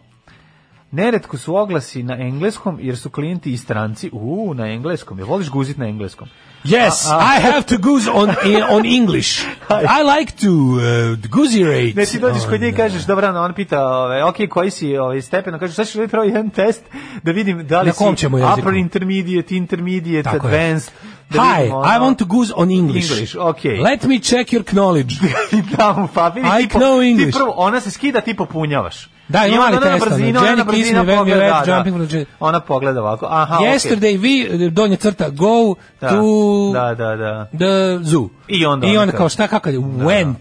[SPEAKER 6] Neretko su oglasi na engleskom, jer su klijenti i stranci. U, na engleskom. Jel voliš guzit na engleskom?
[SPEAKER 5] Yes,
[SPEAKER 6] A- a-
[SPEAKER 5] I have to goose on in, on English. I like to uh, goosirate.
[SPEAKER 6] Ne, ti dođeš kod nje i
[SPEAKER 5] On, uh,
[SPEAKER 6] kažeš, dobro, no, on pita, ove, ok, koji si ove, stepen, on kaže, sad ću da pravi jedan test da vidim da li
[SPEAKER 5] Na kom
[SPEAKER 6] si
[SPEAKER 5] ćemo jeziku?
[SPEAKER 6] upper intermediate, intermediate,
[SPEAKER 5] Tako je.
[SPEAKER 6] advanced.
[SPEAKER 5] uh,
[SPEAKER 6] Da
[SPEAKER 5] Hi,
[SPEAKER 6] vidim, ono,
[SPEAKER 5] I want to goose on English.
[SPEAKER 6] English, okay.
[SPEAKER 5] Let me check your knowledge.
[SPEAKER 6] I da mu papir,
[SPEAKER 5] I
[SPEAKER 6] i ti po-
[SPEAKER 5] know
[SPEAKER 6] Ti
[SPEAKER 5] English.
[SPEAKER 6] prvo, ona se skida, ti popunjavaš.
[SPEAKER 5] Da,
[SPEAKER 6] I
[SPEAKER 5] ima
[SPEAKER 6] onda
[SPEAKER 5] mali
[SPEAKER 6] ona na
[SPEAKER 5] test, ono,
[SPEAKER 6] brzinu, ona na
[SPEAKER 5] Jenny kiss
[SPEAKER 6] brzinu
[SPEAKER 5] me when we
[SPEAKER 6] pogleda,
[SPEAKER 5] left,
[SPEAKER 6] da.
[SPEAKER 5] jumping from the jet.
[SPEAKER 6] Ona pogleda ovako, aha, okej.
[SPEAKER 5] Yesterday we uh, donja crta go
[SPEAKER 6] Da,
[SPEAKER 5] to
[SPEAKER 6] da, da, da.
[SPEAKER 5] the zoo.
[SPEAKER 6] I onda
[SPEAKER 5] I
[SPEAKER 6] ona
[SPEAKER 5] onda kao
[SPEAKER 6] kaže.
[SPEAKER 5] šta kako je went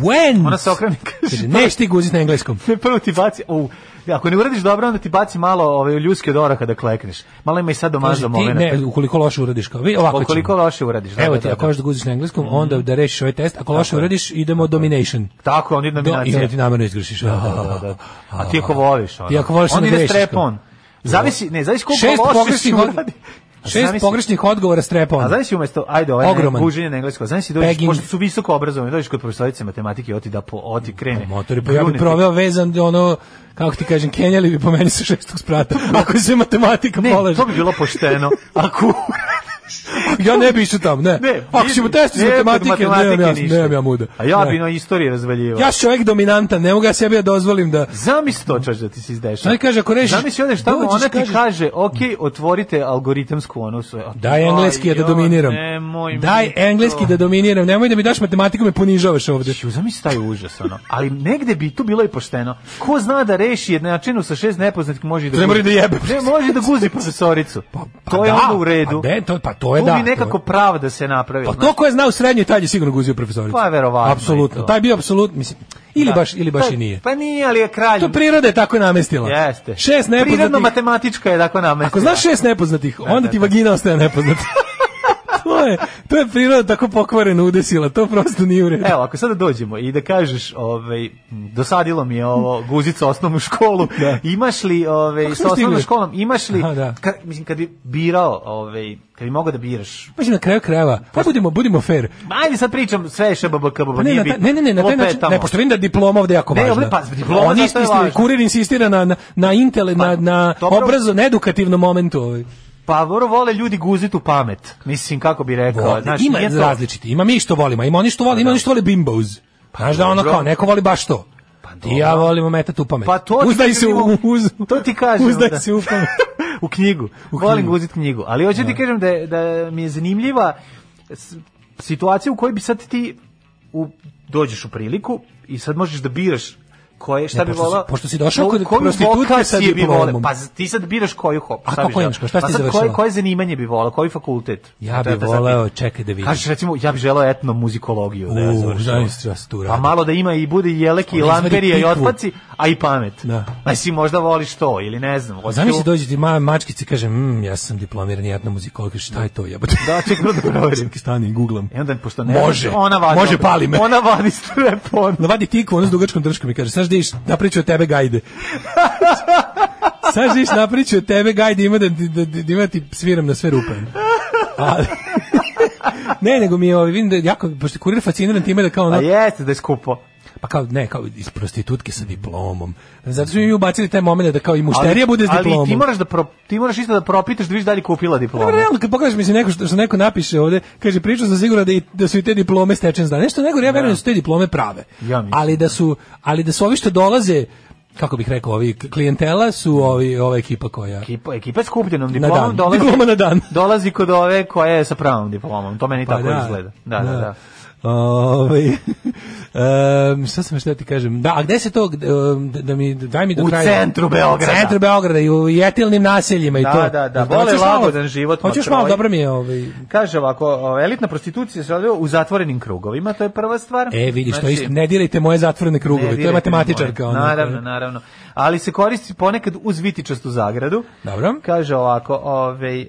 [SPEAKER 5] went.
[SPEAKER 6] Ona se okrene i kaže,
[SPEAKER 5] Kaže, neš ti guzit na engleskom.
[SPEAKER 6] Prvo ti baci, u, ako ne uradiš dobro, onda ti baci malo ove, ljuske od oraha da klekneš. Malo ima i sad
[SPEAKER 5] Kaže,
[SPEAKER 6] domažda
[SPEAKER 5] ti,
[SPEAKER 6] momena.
[SPEAKER 5] ne, ukoliko loše uradiš kao vi ovako ćemo.
[SPEAKER 6] Koliko loše uradiš. da,
[SPEAKER 5] Evo
[SPEAKER 6] da,
[SPEAKER 5] ti,
[SPEAKER 6] da,
[SPEAKER 5] ako
[SPEAKER 6] da. Mhm.
[SPEAKER 5] hoćeš da guziš na engleskom, onda da rešiš ovaj test. Ako loše
[SPEAKER 6] je.
[SPEAKER 5] uradiš, idemo domination.
[SPEAKER 6] Tako, on ide
[SPEAKER 5] Do, I onda
[SPEAKER 6] nominacija.
[SPEAKER 5] ti namerno izgrešiš.
[SPEAKER 6] Da, da. A ti ako voliš, ono.
[SPEAKER 5] Ti ako voliš,
[SPEAKER 6] on
[SPEAKER 5] onda
[SPEAKER 6] ide
[SPEAKER 5] grešiš,
[SPEAKER 6] strepon.
[SPEAKER 5] kao.
[SPEAKER 6] Zavisi, ne, zavisi koliko
[SPEAKER 5] Šest
[SPEAKER 6] loše si
[SPEAKER 5] pogrešnih od-
[SPEAKER 6] uradi. A
[SPEAKER 5] Šest
[SPEAKER 6] zamisli-
[SPEAKER 5] pogrešnih odgovora strepa
[SPEAKER 6] A
[SPEAKER 5] on.
[SPEAKER 6] znaš si umesto, ajde, ovaj Ogroman.
[SPEAKER 5] Ogroman.
[SPEAKER 6] guženje na englesko, znaš si dođeš,
[SPEAKER 5] Pegging.
[SPEAKER 6] pošto su visoko obrazovani, dođeš kod profesorice matematike, oti da po, oti krene.
[SPEAKER 5] Motor je, pa ja
[SPEAKER 6] Grune
[SPEAKER 5] bi
[SPEAKER 6] ti.
[SPEAKER 5] proveo vezan da ono, kako ti kažem, kenjali bi po meni sa šestog sprata. Ako se matematika
[SPEAKER 6] Ne,
[SPEAKER 5] polaže.
[SPEAKER 6] to bi bilo pošteno. Ako
[SPEAKER 5] Ja ne bi išao tam, ne.
[SPEAKER 6] ne,
[SPEAKER 5] Ako ćemo test iz
[SPEAKER 6] ne, kod
[SPEAKER 5] matematike, nemam ja,
[SPEAKER 6] ništa.
[SPEAKER 5] nemam ja muda.
[SPEAKER 6] A ja
[SPEAKER 5] Ne.
[SPEAKER 6] bi na istoriji razvaljivao.
[SPEAKER 5] Ja sam čovjek dominantan, ne mogu ja sebi da dozvolim da...
[SPEAKER 6] Zamisli to čaš da ti se izdešava.
[SPEAKER 5] Znaš, kaže, ako rešiš-
[SPEAKER 6] Zamisli odeš tamo,
[SPEAKER 5] dođeš,
[SPEAKER 6] ona ti
[SPEAKER 5] kažeš-
[SPEAKER 6] kaže, ok, otvorite algoritamsku onu sve. A ti,
[SPEAKER 5] Daj engleski
[SPEAKER 6] "Aj,
[SPEAKER 5] da
[SPEAKER 6] joj,
[SPEAKER 5] dominiram.
[SPEAKER 6] nemoj mi
[SPEAKER 5] Daj
[SPEAKER 6] to."
[SPEAKER 5] engleski da dominiram. Nemoj da mi daš matematiku, me ponižavaš ovdje.
[SPEAKER 6] Ću, zamisli taj užas, ono. Ali negde bi tu bilo i pošteno. Ko zna da reši jednačinu sa šest nepoznatih može i da
[SPEAKER 5] Ne mora
[SPEAKER 6] guzi-
[SPEAKER 5] i da jebe. Pa,
[SPEAKER 6] Ne, može i da guzi profesoricu. to je
[SPEAKER 5] da,
[SPEAKER 6] onda u redu.
[SPEAKER 5] Pa, de, to, pa to je
[SPEAKER 6] tu
[SPEAKER 5] da.
[SPEAKER 6] bi nekako
[SPEAKER 5] to je-
[SPEAKER 6] pravda se ono. napravila.
[SPEAKER 5] Pa to ko je znao srednju, taj je sigurno guzio profesoricu.
[SPEAKER 6] Pa, verovatno i
[SPEAKER 5] Apsolutno.
[SPEAKER 6] to.
[SPEAKER 5] Taj je bio apsolutno, mislim, ili
[SPEAKER 6] Da.
[SPEAKER 5] baš, ili baš
[SPEAKER 6] Pa-
[SPEAKER 5] i nije.
[SPEAKER 6] Pa nije, ali je kralj.
[SPEAKER 5] To priroda je tako namestila.
[SPEAKER 6] Jeste.
[SPEAKER 5] Pa, Šest
[SPEAKER 6] Prirodno
[SPEAKER 5] nepoznatih.
[SPEAKER 6] matematička je tako namestila.
[SPEAKER 5] Ako znaš šest nepoznatih, onda
[SPEAKER 6] da,
[SPEAKER 5] ti
[SPEAKER 6] da.
[SPEAKER 5] vagina ostaje nepoznata. to je, to je priroda tako pokvareno udesila, to prosto nije u redu.
[SPEAKER 6] Evo, ako sada dođemo i da kažeš, ovaj, dosadilo mi je ovo guzica osnovnu školu.
[SPEAKER 5] Da.
[SPEAKER 6] Imaš li ovaj
[SPEAKER 5] Kako
[SPEAKER 6] sa
[SPEAKER 5] smo
[SPEAKER 6] osnovnom
[SPEAKER 5] stigli?
[SPEAKER 6] školom, imaš li
[SPEAKER 5] Aha, da.
[SPEAKER 6] ka- mislim kad bi birao, ovaj, kad bi mogao da biraš.
[SPEAKER 5] Mislim, na kraju krajeva, pa budimo, budimo fair.
[SPEAKER 6] Ma, Ajde sad pričam sve je šbbk
[SPEAKER 5] Pa ne, na taj- ne, ne, ne, na taj način, ne, pošto vidim da je diploma ovde jako
[SPEAKER 6] Ne,
[SPEAKER 5] važna.
[SPEAKER 6] ovde pa diploma
[SPEAKER 5] Oni
[SPEAKER 6] zato je
[SPEAKER 5] insistira-
[SPEAKER 6] važna. Pa,
[SPEAKER 5] kurir insistira na, na, na intele, na, na
[SPEAKER 6] dobro.
[SPEAKER 5] obrazo, na edukativnom momentu. Ovaj.
[SPEAKER 6] Pa vrlo vole ljudi guzitu pamet. Mislim kako bi rekao,
[SPEAKER 5] Vole.
[SPEAKER 6] znaš,
[SPEAKER 5] ima
[SPEAKER 6] nije to-
[SPEAKER 5] različiti. Ima mi što volimo, ima oni što vole, ima oni što vole bimbos. Pa znaš da ono
[SPEAKER 6] dobro.
[SPEAKER 5] kao, neko voli baš to. Pa I ja volim ometati u pamet.
[SPEAKER 6] Pa to ti
[SPEAKER 5] uzdaj se u,
[SPEAKER 6] kažem,
[SPEAKER 5] uz,
[SPEAKER 6] to ti kažem,
[SPEAKER 5] Uzdaj
[SPEAKER 6] da.
[SPEAKER 5] se u pamet.
[SPEAKER 6] u knjigu. U Volim uzeti knjigu. Ali hoću ti kažem da, je- da mi je zanimljiva s- situacija u kojoj bi sad ti u, dođeš u priliku i sad možeš da biraš koje, šta
[SPEAKER 5] Ne,
[SPEAKER 6] bi
[SPEAKER 5] pošto si-
[SPEAKER 6] volao?
[SPEAKER 5] pošto si došao kod
[SPEAKER 6] koju
[SPEAKER 5] prostitutke
[SPEAKER 6] vokaciju
[SPEAKER 5] sa
[SPEAKER 6] bi volao?
[SPEAKER 5] diplomom.
[SPEAKER 6] Pa z- ti sad biraš koju hop.
[SPEAKER 5] A
[SPEAKER 6] šta
[SPEAKER 5] kako
[SPEAKER 6] bi želeo?
[SPEAKER 5] imaš? Šta si
[SPEAKER 6] pa sad, koje,
[SPEAKER 5] završila?
[SPEAKER 6] koje zanimanje bi volao? Koji fakultet?
[SPEAKER 5] Ja
[SPEAKER 6] To je
[SPEAKER 5] bih
[SPEAKER 6] to sad
[SPEAKER 5] voleo, čekaj da vidim.
[SPEAKER 6] Kažeš recimo, ja bih želeo etnomuzikologiju. da ja
[SPEAKER 5] U,
[SPEAKER 6] završim.
[SPEAKER 5] želim se ja se tu
[SPEAKER 6] Pa
[SPEAKER 5] radim.
[SPEAKER 6] malo da ima i bude i jeleki i
[SPEAKER 5] Oni izvadi
[SPEAKER 6] lamperija i
[SPEAKER 5] tikvu.
[SPEAKER 6] otpaci, a i pamet.
[SPEAKER 5] Da.
[SPEAKER 6] Pa si možda voliš to ili ne znam. hoćeš
[SPEAKER 5] Zamisli
[SPEAKER 6] tu-
[SPEAKER 5] dođe ti ma, mačkica i kaže, mm, ja sam diplomirani etnomuzikolog, šta je to jebote?
[SPEAKER 6] Da, E, čekaj da proverim.
[SPEAKER 5] Stani, googlam.
[SPEAKER 6] I onda, pošto ne
[SPEAKER 5] može,
[SPEAKER 6] ona vadi
[SPEAKER 5] može,
[SPEAKER 6] opet.
[SPEAKER 5] pali me.
[SPEAKER 6] Ona vadi strepon.
[SPEAKER 5] Ona vadi tikvu, ona ono s dugačkom drškom i kaže, sad ždiš, napriču od tebe gajde. sad ždiš, napriču od tebe gajde, ima da, da, da, da ima ti sviram na sve rupe. Ali, ne, nego mi je, ovaj, vidim da je jako, pošto je kurir fasciniran time da kao ono,
[SPEAKER 6] A Pa jeste da je skupo.
[SPEAKER 5] pa kao, ne, kao iz prostitutke sa diplomom. Zato su mi ubacili taj moment da kao i mušterija
[SPEAKER 6] Ali-
[SPEAKER 5] bude s diplomom.
[SPEAKER 6] Ali ti moraš, da pro, ti moraš isto da propitaš da vidiš da li je kupila diplomu.
[SPEAKER 5] Dobro, Pa realno, kad pokažeš mi se neko što, što neko napiše ovde, kaže, pričao sam sigurno da, i, da su i te diplome stečen zdan. Nešto nego, ja verujem da su te diplome prave.
[SPEAKER 6] Ja mislim.
[SPEAKER 5] ali, da su, ali da su ovi što dolaze, kako bih rekao, ovi klijentela su ovi, ova ekipa koja...
[SPEAKER 6] Ekipa, ekipa s kupljenom
[SPEAKER 5] Na
[SPEAKER 6] diplomom
[SPEAKER 5] dan.
[SPEAKER 6] dolazi,
[SPEAKER 5] Diploma na dan.
[SPEAKER 6] dolazi kod ove koja je sa pravom diplomom. To meni
[SPEAKER 5] Pa
[SPEAKER 6] tako
[SPEAKER 5] da.
[SPEAKER 6] izgleda. Da, da,
[SPEAKER 5] Da.
[SPEAKER 6] da.
[SPEAKER 5] Ovaj, em, šta sam još htio ti kažem? Da, a gde se to, gde, em, da, da mi, daj mi do
[SPEAKER 6] U
[SPEAKER 5] kraja.
[SPEAKER 6] centru Beograda.
[SPEAKER 5] U centru Beograda i u jetilnim naseljima i
[SPEAKER 6] Da,
[SPEAKER 5] to.
[SPEAKER 6] da, da,
[SPEAKER 5] Jel
[SPEAKER 6] vole
[SPEAKER 5] hoćeš malo-
[SPEAKER 6] lagodan život,
[SPEAKER 5] Hoćeš
[SPEAKER 6] matroj.
[SPEAKER 5] malo, dobro mi je, ovaj,
[SPEAKER 6] Kaže ovako, o, elitna prostitucija se odvija u zatvorenim krugovima, to je prva stvar.
[SPEAKER 5] E, vidiš, to
[SPEAKER 6] Znači,
[SPEAKER 5] isto, ne dirajte moje zatvorene
[SPEAKER 6] ne
[SPEAKER 5] krugove, to
[SPEAKER 6] dirajte
[SPEAKER 5] je matematičarka. ono,
[SPEAKER 6] moje.
[SPEAKER 5] ona.
[SPEAKER 6] Naravno, naravno. Ali se koristi ponekad uz vitičastu zagradu.
[SPEAKER 5] Dobro.
[SPEAKER 6] Kaže ovako, ovaj, em,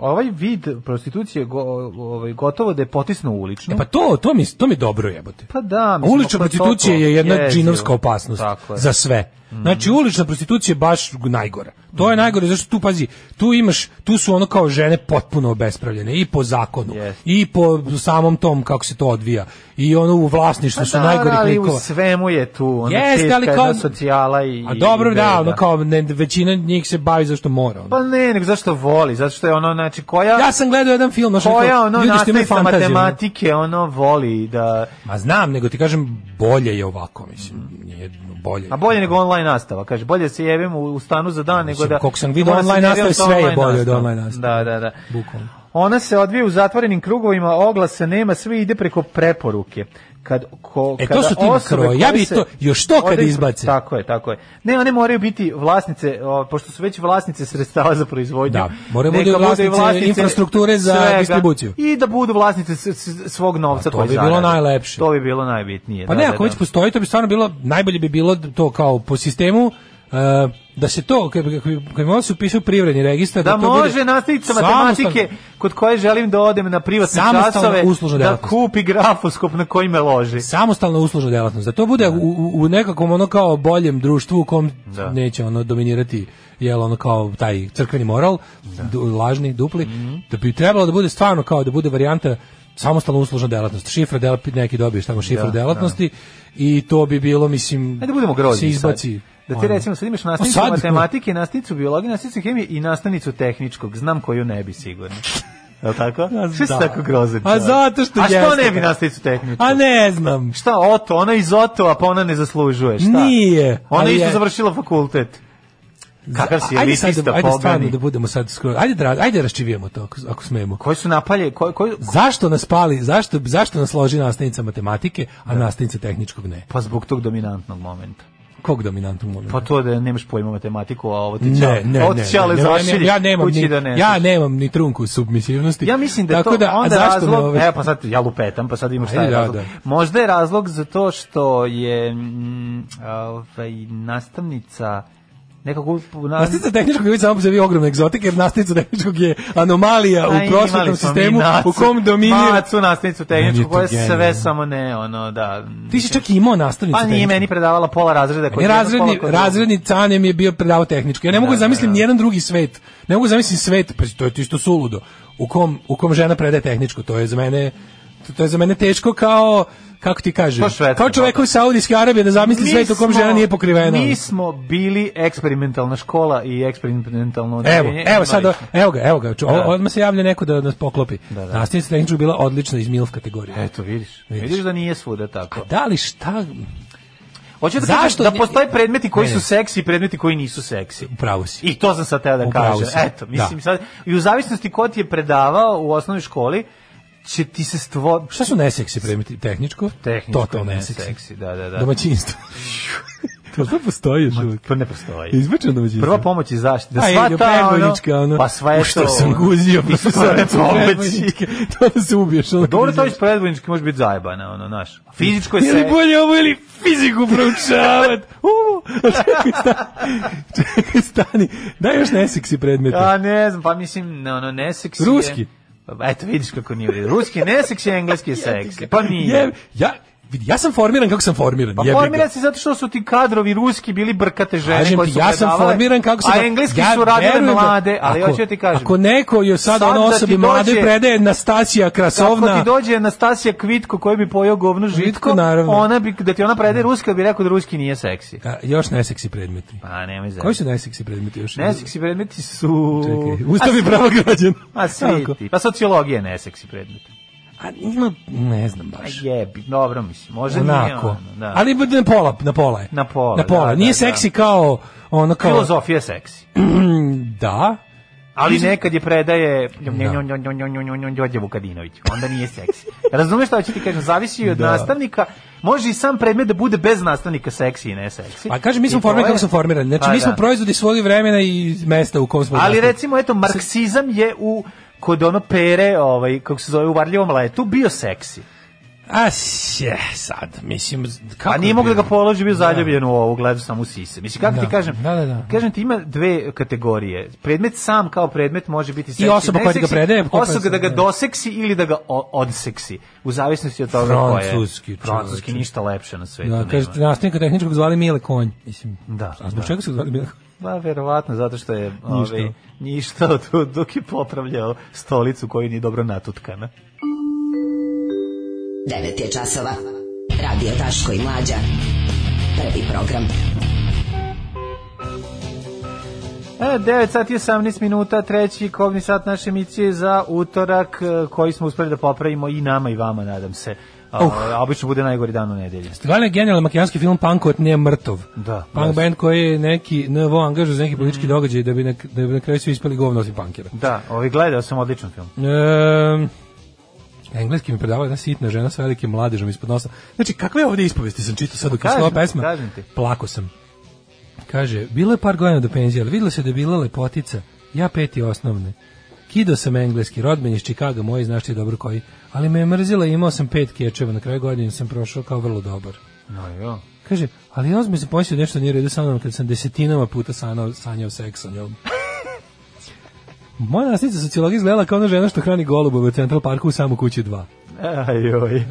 [SPEAKER 6] ovaj vid prostitucije go, ovaj, gotovo da je potisno ulično.
[SPEAKER 5] E pa to, to mi, to mi dobro jebote.
[SPEAKER 6] Pa da, mislim,
[SPEAKER 5] Ulična
[SPEAKER 6] pa to
[SPEAKER 5] prostitucija
[SPEAKER 6] to,
[SPEAKER 5] je jedna
[SPEAKER 6] jezivo.
[SPEAKER 5] džinovska opasnost
[SPEAKER 6] Tako je. Mhm.
[SPEAKER 5] za sve. Znači, ulična prostitucija je baš najgora. To je najgore, zašto tu, pazi, tu imaš, tu su ono kao žene potpuno obespravljene, i po zakonu,
[SPEAKER 6] Jeste.
[SPEAKER 5] i po samom tom kako se to odvija, i ono u vlasništvu su
[SPEAKER 6] Pa da,
[SPEAKER 5] najgori
[SPEAKER 6] ali u
[SPEAKER 5] klikova.
[SPEAKER 6] svemu je tu, ono
[SPEAKER 5] Jeste,
[SPEAKER 6] teška
[SPEAKER 5] ali
[SPEAKER 6] jedna
[SPEAKER 5] kao-
[SPEAKER 6] socijala i
[SPEAKER 5] A dobro,
[SPEAKER 6] i
[SPEAKER 5] da,
[SPEAKER 6] beda.
[SPEAKER 5] ono kao, ne, većina njih se bavi zašto mora. ono.
[SPEAKER 6] Pa ne, nego zašto voli, zato što je ono, znači, koja...
[SPEAKER 5] ja sam gledao jedan film, znaš,
[SPEAKER 6] koja
[SPEAKER 5] kao,
[SPEAKER 6] ono
[SPEAKER 5] ljudi što imaju
[SPEAKER 6] nastavnica
[SPEAKER 5] fantaziju, ono.
[SPEAKER 6] matematike ono voli da
[SPEAKER 5] Ma znam, nego ti kažem, bolje je ovako, mislim, nije bolje.
[SPEAKER 6] a Mhm. bolje nego online nastava kaže bolje se jebem u, u stanu za dan nego
[SPEAKER 5] Mislim,
[SPEAKER 6] da
[SPEAKER 5] koliko sam
[SPEAKER 6] nego
[SPEAKER 5] vidio,
[SPEAKER 6] da se
[SPEAKER 5] online
[SPEAKER 6] nerviram
[SPEAKER 5] nastave
[SPEAKER 6] sa
[SPEAKER 5] sve je
[SPEAKER 6] online
[SPEAKER 5] bolje od
[SPEAKER 6] nastavom.
[SPEAKER 5] online nastave.
[SPEAKER 6] da da da
[SPEAKER 5] Bukvalno.
[SPEAKER 6] ona se odvija u zatvorenim krugovima oglasa nema sve ide preko preporuke kad ko
[SPEAKER 5] E, to
[SPEAKER 6] kada
[SPEAKER 5] su ti
[SPEAKER 6] osobe
[SPEAKER 5] makroji, ja
[SPEAKER 6] koje
[SPEAKER 5] bi
[SPEAKER 6] se
[SPEAKER 5] to- još to kad
[SPEAKER 6] odaju-
[SPEAKER 5] izbace.
[SPEAKER 6] tako je tako je ne one moraju biti vlasnice o, pošto su već vlasnice sredstava za proizvodnju
[SPEAKER 5] Da, moraju
[SPEAKER 6] neka
[SPEAKER 5] budu
[SPEAKER 6] budu i
[SPEAKER 5] vlasnice infrastrukture za
[SPEAKER 6] svega
[SPEAKER 5] distribuciju.
[SPEAKER 6] i da budu vlasnice s- s- svog novca
[SPEAKER 5] A to
[SPEAKER 6] koji
[SPEAKER 5] bi bilo
[SPEAKER 6] zarade.
[SPEAKER 5] najlepše.
[SPEAKER 6] to bi bilo najbitnije
[SPEAKER 5] Pa
[SPEAKER 6] da,
[SPEAKER 5] ne,
[SPEAKER 6] da,
[SPEAKER 5] ako
[SPEAKER 6] da.
[SPEAKER 5] već postoji, to bi stvarno bilo, najbolje bi bilo to kao po sistemu e, da se to, kad bi ovo se upiše u privredni registar, da,
[SPEAKER 6] Da
[SPEAKER 5] to
[SPEAKER 6] može
[SPEAKER 5] bude
[SPEAKER 6] nastaviti sa
[SPEAKER 5] samostalno-
[SPEAKER 6] matematike kod koje želim da odem na privatne
[SPEAKER 5] Samostalna
[SPEAKER 6] časove
[SPEAKER 5] uslužna
[SPEAKER 6] da
[SPEAKER 5] delatnost.
[SPEAKER 6] kupi grafoskop na koji me loži.
[SPEAKER 5] samostalna uslužna delatnost, da to bude u, u, u nekakvom ono kao boljem društvu u kom
[SPEAKER 6] Da.
[SPEAKER 5] neće ono dominirati jel ono kao taj crkveni moral du- lažni, dupli,
[SPEAKER 6] Mhm.
[SPEAKER 5] da bi trebalo da bude stvarno kao da bude varijanta samostalna uslužna delatnost, šifra delatnosti, neki dobiješ tamo šifru
[SPEAKER 6] Da,
[SPEAKER 5] delatnosti i to bi bilo, mislim,
[SPEAKER 6] Ajde da budemo grozni.
[SPEAKER 5] se
[SPEAKER 6] sad.
[SPEAKER 5] izbaci.
[SPEAKER 6] Da ti
[SPEAKER 5] ono.
[SPEAKER 6] recimo sad imaš
[SPEAKER 5] A
[SPEAKER 6] nastavnicu
[SPEAKER 5] sad?
[SPEAKER 6] matematike, nastavnicu biologije, nastavnicu hemije i nastavnicu tehničkog. Znam koju ne bi sigurno. Je li tako? Sve si
[SPEAKER 5] da.
[SPEAKER 6] tako grozan.
[SPEAKER 5] A
[SPEAKER 6] čovjek.
[SPEAKER 5] zato što
[SPEAKER 6] A što
[SPEAKER 5] jeste.
[SPEAKER 6] ne bi nastavnicu tehničkog?
[SPEAKER 5] A ne znam.
[SPEAKER 6] Šta, Oto, ona iz Otova, pa ona ne zaslužuje, šta?
[SPEAKER 5] Nije.
[SPEAKER 6] Ona
[SPEAKER 5] ali
[SPEAKER 6] je isto
[SPEAKER 5] je-
[SPEAKER 6] završila fakultet. Kakav si
[SPEAKER 5] Ajde sad,
[SPEAKER 6] elitista,
[SPEAKER 5] da, ajde stvarno
[SPEAKER 6] pogani.
[SPEAKER 5] da budemo sad skroz. Ajde da, ra- ajde raščivijemo to ako, ako smemo.
[SPEAKER 6] Koji su napalje, koji, koji,
[SPEAKER 5] Zašto nas pali, zašto, zašto nas loži nastavnica matematike, a nastavnica tehničkog ne?
[SPEAKER 6] Pa zbog tog dominantnog momenta.
[SPEAKER 5] Kog dominantnog momenta?
[SPEAKER 6] Pa to da nemaš pojma matematiku, a ovo ti čale,
[SPEAKER 5] ne, ne, ne.
[SPEAKER 6] ovo ti čale
[SPEAKER 5] ne, ne,
[SPEAKER 6] zašilje
[SPEAKER 5] ja nemam
[SPEAKER 6] kući
[SPEAKER 5] ni,
[SPEAKER 6] da ne.
[SPEAKER 5] ja nemam ni trunku submisivnosti.
[SPEAKER 6] Ja mislim da je
[SPEAKER 5] Tako
[SPEAKER 6] to
[SPEAKER 5] da, a
[SPEAKER 6] onda
[SPEAKER 5] zašto ovaj? me
[SPEAKER 6] razlog,
[SPEAKER 5] ove-
[SPEAKER 6] e pa sad ja lupetam, pa sad imam šta
[SPEAKER 5] Ajde,
[SPEAKER 6] je
[SPEAKER 5] da,
[SPEAKER 6] razlog.
[SPEAKER 5] da.
[SPEAKER 6] Možda je razlog zato što je mm, ovaj, nastavnica nekako...
[SPEAKER 5] Nastavnica tehničkog je samo po sebi ogromna egzotika, jer nastavnica tehničkog je anomalija
[SPEAKER 6] Aj,
[SPEAKER 5] u
[SPEAKER 6] Pa imali
[SPEAKER 5] prosvetnom
[SPEAKER 6] smo mi
[SPEAKER 5] sistemu
[SPEAKER 6] nacu-
[SPEAKER 5] u kom dominira.
[SPEAKER 6] Macu nastavnicu
[SPEAKER 5] Meni je
[SPEAKER 6] tehničku,
[SPEAKER 5] to
[SPEAKER 6] koja je sve
[SPEAKER 5] genijalno.
[SPEAKER 6] samo ne, ono, da...
[SPEAKER 5] Ti si čak i imao nastavnicu
[SPEAKER 6] Pa nije
[SPEAKER 5] tehničkog.
[SPEAKER 6] meni predavala pola razreda. kod
[SPEAKER 5] Ne,
[SPEAKER 6] jednog,
[SPEAKER 5] Pa razredni,
[SPEAKER 6] pola kod drugog.
[SPEAKER 5] razredni cane mi je bio predavao tehnički. Ja ne mogu
[SPEAKER 6] Da,
[SPEAKER 5] da,
[SPEAKER 6] da,
[SPEAKER 5] zamislim
[SPEAKER 6] da.
[SPEAKER 5] nijedan drugi svet. Ne mogu zamislim svet, pa to je to isto suludo. U kom, u kom žena predaje tehničko, to je za mene to- to je za mene teško kao kako ti kažem,
[SPEAKER 6] Kao Švedska,
[SPEAKER 5] kao čovjek
[SPEAKER 6] tako.
[SPEAKER 5] iz Saudijske Arabije da zamisli
[SPEAKER 6] Mi
[SPEAKER 5] svet u kom
[SPEAKER 6] smo-
[SPEAKER 5] žena nije pokrivena.
[SPEAKER 6] Mi smo bili eksperimentalna škola i eksperimentalno
[SPEAKER 5] Evo,
[SPEAKER 6] odeljenje.
[SPEAKER 5] evo
[SPEAKER 6] Imali
[SPEAKER 5] sad,
[SPEAKER 6] smo.
[SPEAKER 5] evo ga, evo ga, ču,
[SPEAKER 6] Da.
[SPEAKER 5] odmah se javlja neko da nas poklopi.
[SPEAKER 6] Da,
[SPEAKER 5] Da,
[SPEAKER 6] da.
[SPEAKER 5] Nastavnica tehničkog bila odlična iz MILF kategorije.
[SPEAKER 6] Eto, vidiš. Vidiš,
[SPEAKER 5] Vidiš.
[SPEAKER 6] da nije svuda tako.
[SPEAKER 5] Da li šta,
[SPEAKER 6] Hoću da
[SPEAKER 5] Zašto
[SPEAKER 6] Zašto? da
[SPEAKER 5] nje-
[SPEAKER 6] postoje predmeti koji
[SPEAKER 5] Ne, ne.
[SPEAKER 6] su seksi i predmeti koji nisu seksi.
[SPEAKER 5] Upravo si.
[SPEAKER 6] I to sam sad teo da
[SPEAKER 5] Upravo
[SPEAKER 6] kažem.
[SPEAKER 5] si.
[SPEAKER 6] Eto, mislim sad, i u zavisnosti ko ti je predavao u osnovnoj školi, će ti se stvo...
[SPEAKER 5] Šta su neseksi predmeti? Tehničko?
[SPEAKER 6] Tehničko
[SPEAKER 5] Totalno
[SPEAKER 6] i
[SPEAKER 5] neseksi.
[SPEAKER 6] neseksi, da, da, da.
[SPEAKER 5] Domaćinstvo. to to postoji još uvijek.
[SPEAKER 6] Pa ne postoji.
[SPEAKER 5] Izbačeno domaćinstvo.
[SPEAKER 6] Prva pomoć i zaštita.
[SPEAKER 5] Da
[SPEAKER 6] Sva
[SPEAKER 5] je
[SPEAKER 6] ta, ono,
[SPEAKER 5] ono,
[SPEAKER 6] pa sva je
[SPEAKER 5] u što
[SPEAKER 6] to,
[SPEAKER 5] sam
[SPEAKER 6] ono,
[SPEAKER 5] guzio,
[SPEAKER 6] i sve to
[SPEAKER 5] predvojničke. to da se ubiješ. Ono,
[SPEAKER 6] Pa Dobro, to iz predvojnički može biti zajebana, ono, znaš. Fizičko je
[SPEAKER 5] Ili
[SPEAKER 6] se...
[SPEAKER 5] bolje ovo, ili fiziku proučavat. U, čekaj, stani. Čekaj, stani. Daj još neseksi predmete.
[SPEAKER 6] Ja ne znam, pa mislim, ne, ono, neseksi je-
[SPEAKER 5] Ruski.
[SPEAKER 6] Pa, Eto, vidiš kako nije u redu. Ruski je neseksi, engleski je seksi. Pa nije.
[SPEAKER 5] Jeb- ja, vidi, ja sam formiran kako sam formiran.
[SPEAKER 6] Pa
[SPEAKER 5] jebi ga.
[SPEAKER 6] formiran si zato što su ti kadrovi ruski bili brkate žene
[SPEAKER 5] Kažem
[SPEAKER 6] koje
[SPEAKER 5] ti,
[SPEAKER 6] su
[SPEAKER 5] ja sam
[SPEAKER 6] predavale,
[SPEAKER 5] formiran kako sam...
[SPEAKER 6] A engleski
[SPEAKER 5] ja
[SPEAKER 6] su radile
[SPEAKER 5] verujem da-
[SPEAKER 6] mlade, ali
[SPEAKER 5] ako-
[SPEAKER 6] hoću ja ti kažem.
[SPEAKER 5] Ako neko je sad,
[SPEAKER 6] Sad
[SPEAKER 5] ono
[SPEAKER 6] da ti
[SPEAKER 5] osobi
[SPEAKER 6] dođe-
[SPEAKER 5] mlade predaje Nastasija Krasovna...
[SPEAKER 6] Ako ti dođe Anastasija Kvitko koji bi pojeo govno žitko,
[SPEAKER 5] Žitko, naravno.
[SPEAKER 6] ona bi, da ti ona predaje ruska, bi rekao da ruski nije seksi.
[SPEAKER 5] A, još neseksi predmeti.
[SPEAKER 6] Pa nemoj
[SPEAKER 5] Koji
[SPEAKER 6] zavis.
[SPEAKER 5] su neseksi predmeti još?
[SPEAKER 6] Neseksi predmeti su...
[SPEAKER 5] Čekaj, Ustav i pravo građana.
[SPEAKER 6] A svi
[SPEAKER 5] Tako.
[SPEAKER 6] ti. Pa sociologija je neseksi predmet.
[SPEAKER 5] A ima, ne znam
[SPEAKER 6] A
[SPEAKER 5] baš.
[SPEAKER 6] jebi, dobro mislim, možda nije
[SPEAKER 5] Onako.
[SPEAKER 6] ono, da.
[SPEAKER 5] Ali bude na pola, na pola je.
[SPEAKER 6] Na pola,
[SPEAKER 5] Na pola.
[SPEAKER 6] da,
[SPEAKER 5] Nije
[SPEAKER 6] da,
[SPEAKER 5] seksi
[SPEAKER 6] da.
[SPEAKER 5] kao ono kao Mm,
[SPEAKER 6] Filozofija je seksi.
[SPEAKER 5] da.
[SPEAKER 6] Ali nekad je predaje Đorđe Vukadinović. Onda nije seksi. Razumeš šta ću ti kažem? Zavisi od
[SPEAKER 5] Da.
[SPEAKER 6] nastavnika. Može i sam predmet da bude bez nastavnika seksi i ne seksi.
[SPEAKER 5] Pa kažem, mi
[SPEAKER 6] I
[SPEAKER 5] smo
[SPEAKER 6] to
[SPEAKER 5] formirani
[SPEAKER 6] je-
[SPEAKER 5] kako smo formirani. Znači,
[SPEAKER 6] Pa
[SPEAKER 5] mi smo
[SPEAKER 6] da.
[SPEAKER 5] proizvodi svog vremena i mesta u kom smo
[SPEAKER 6] Ali
[SPEAKER 5] odrasli.
[SPEAKER 6] recimo, eto, marksizam je u kod ono pere, ovaj, kako se zove, u varljivom letu, bio seksi.
[SPEAKER 5] A sje, sad, mislim, kako
[SPEAKER 6] Pa nije mogu da ga
[SPEAKER 5] bi- ono?
[SPEAKER 6] položi, bio zaljubljen u ovu, gledao sam u sise. Mislim, kako
[SPEAKER 5] Da.
[SPEAKER 6] ti kažem,
[SPEAKER 5] Da, da, da.
[SPEAKER 6] kažem ti ima dve kategorije. Predmet sam kao predmet može biti seksi,
[SPEAKER 5] osoba koja ti ga
[SPEAKER 6] neseksi,
[SPEAKER 5] predaje, koja
[SPEAKER 6] Osoba da ga
[SPEAKER 5] da.
[SPEAKER 6] doseksi ili da ga o- odseksi, u zavisnosti od toga ko je.
[SPEAKER 5] Francuski, čoveče.
[SPEAKER 6] Francuski, ništa lepše na svetu
[SPEAKER 5] Da,
[SPEAKER 6] nema.
[SPEAKER 5] kažete, nastavnika tehničkog zvali Mile Konj, mislim.
[SPEAKER 6] Da,
[SPEAKER 5] A zbog
[SPEAKER 6] da.
[SPEAKER 5] čega su ga zvali Mile Konj?
[SPEAKER 6] Pa, verovatno, zato što je
[SPEAKER 5] Ništa.
[SPEAKER 6] ovaj, ništa od- od- dok je popravljao stolicu koju nije dobro natutkana.
[SPEAKER 8] 9 je časova. Radio Daško i Mlađa. Prvi program.
[SPEAKER 6] E, 9 sati i 18 minuta, treći kovni sat naše emisije za utorak e, koji smo uspeli da popravimo i nama i vama, nadam se. A, a obično bude najgori dan u nedelji.
[SPEAKER 5] Gledali je genijalan makijanski film Punk od nije mrtov.
[SPEAKER 6] Da,
[SPEAKER 5] Punk
[SPEAKER 6] jeste.
[SPEAKER 5] band koji je neki NVO angažao za neki
[SPEAKER 6] Mm.
[SPEAKER 5] politički događaj da bi na, da bi na kraju svi ispali govno osim punkira.
[SPEAKER 6] Da, ovaj gledao sam odličan film.
[SPEAKER 5] Ehm engleski mi predavala jedna sitna žena sa velikim mladežom ispod nosa. Znači, kakve ovdje ispovesti sam čitao sad dok je
[SPEAKER 6] Pa, Kažem
[SPEAKER 5] slova
[SPEAKER 6] ti,
[SPEAKER 5] pesma?
[SPEAKER 6] kažem ti.
[SPEAKER 5] Plako sam. Kaže, bilo je par godina do penzije, ali videlo se da je bila lepotica. Ja peti osnovne. Kido sam engleski, rodben iz Čikaga, moji znaš ti dobro koji. Ali me je mrzila i imao sam pet kečeva. Na kraju godine sam prošao kao vrlo dobar.
[SPEAKER 6] No, jo.
[SPEAKER 5] Kaže, ali ja sam se poslije nešto nije u redu sa mnom kad sam desetinama puta sanao, sanjao seks sa njom. Moja nastavnica sociologija izgledala kao ona žena što hrani golubove u Central Parku u samu kući 2.
[SPEAKER 6] Ajoj.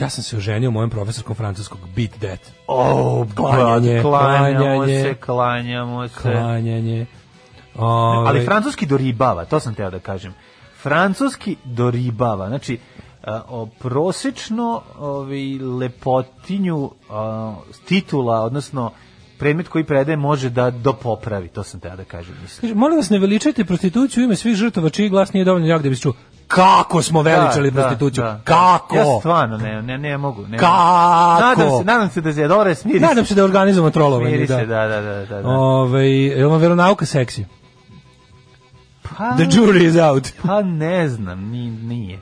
[SPEAKER 5] Ja sam se oženio mojem profesorskom francuskog Beat That.
[SPEAKER 6] O,
[SPEAKER 5] Klanjanje,
[SPEAKER 6] klanjanje, klanjamo
[SPEAKER 5] klanjanje.
[SPEAKER 6] se, klanjamo se.
[SPEAKER 5] Klanjanje.
[SPEAKER 6] Ali
[SPEAKER 5] Ove,
[SPEAKER 6] francuski doribava, to sam teo da kažem. Francuski doribava, znači a, o, prosečno ovi, lepotinju a, titula, odnosno predmet koji predaje može da dopopravi, to sam teo da kažem. Mislim.
[SPEAKER 5] Kaže, molim vas ne veličajte prostituciju u ime svih žrtava čiji glas nije dovoljno jak da bi se čuo. Kako smo veličali prostituciju? Kako?
[SPEAKER 6] Ja stvarno ne, ne, ne mogu. Ne
[SPEAKER 5] Kako?
[SPEAKER 6] Mogu. Nadam se, nadam se da je dobro, smiri se.
[SPEAKER 5] Nadam se da organizujemo trolovanje.
[SPEAKER 6] smiri se, da, da, da. da, da.
[SPEAKER 5] Ove, je li vam veronauka seksi?
[SPEAKER 6] pa,
[SPEAKER 5] The jury is out.
[SPEAKER 6] pa ne znam, ni, nije.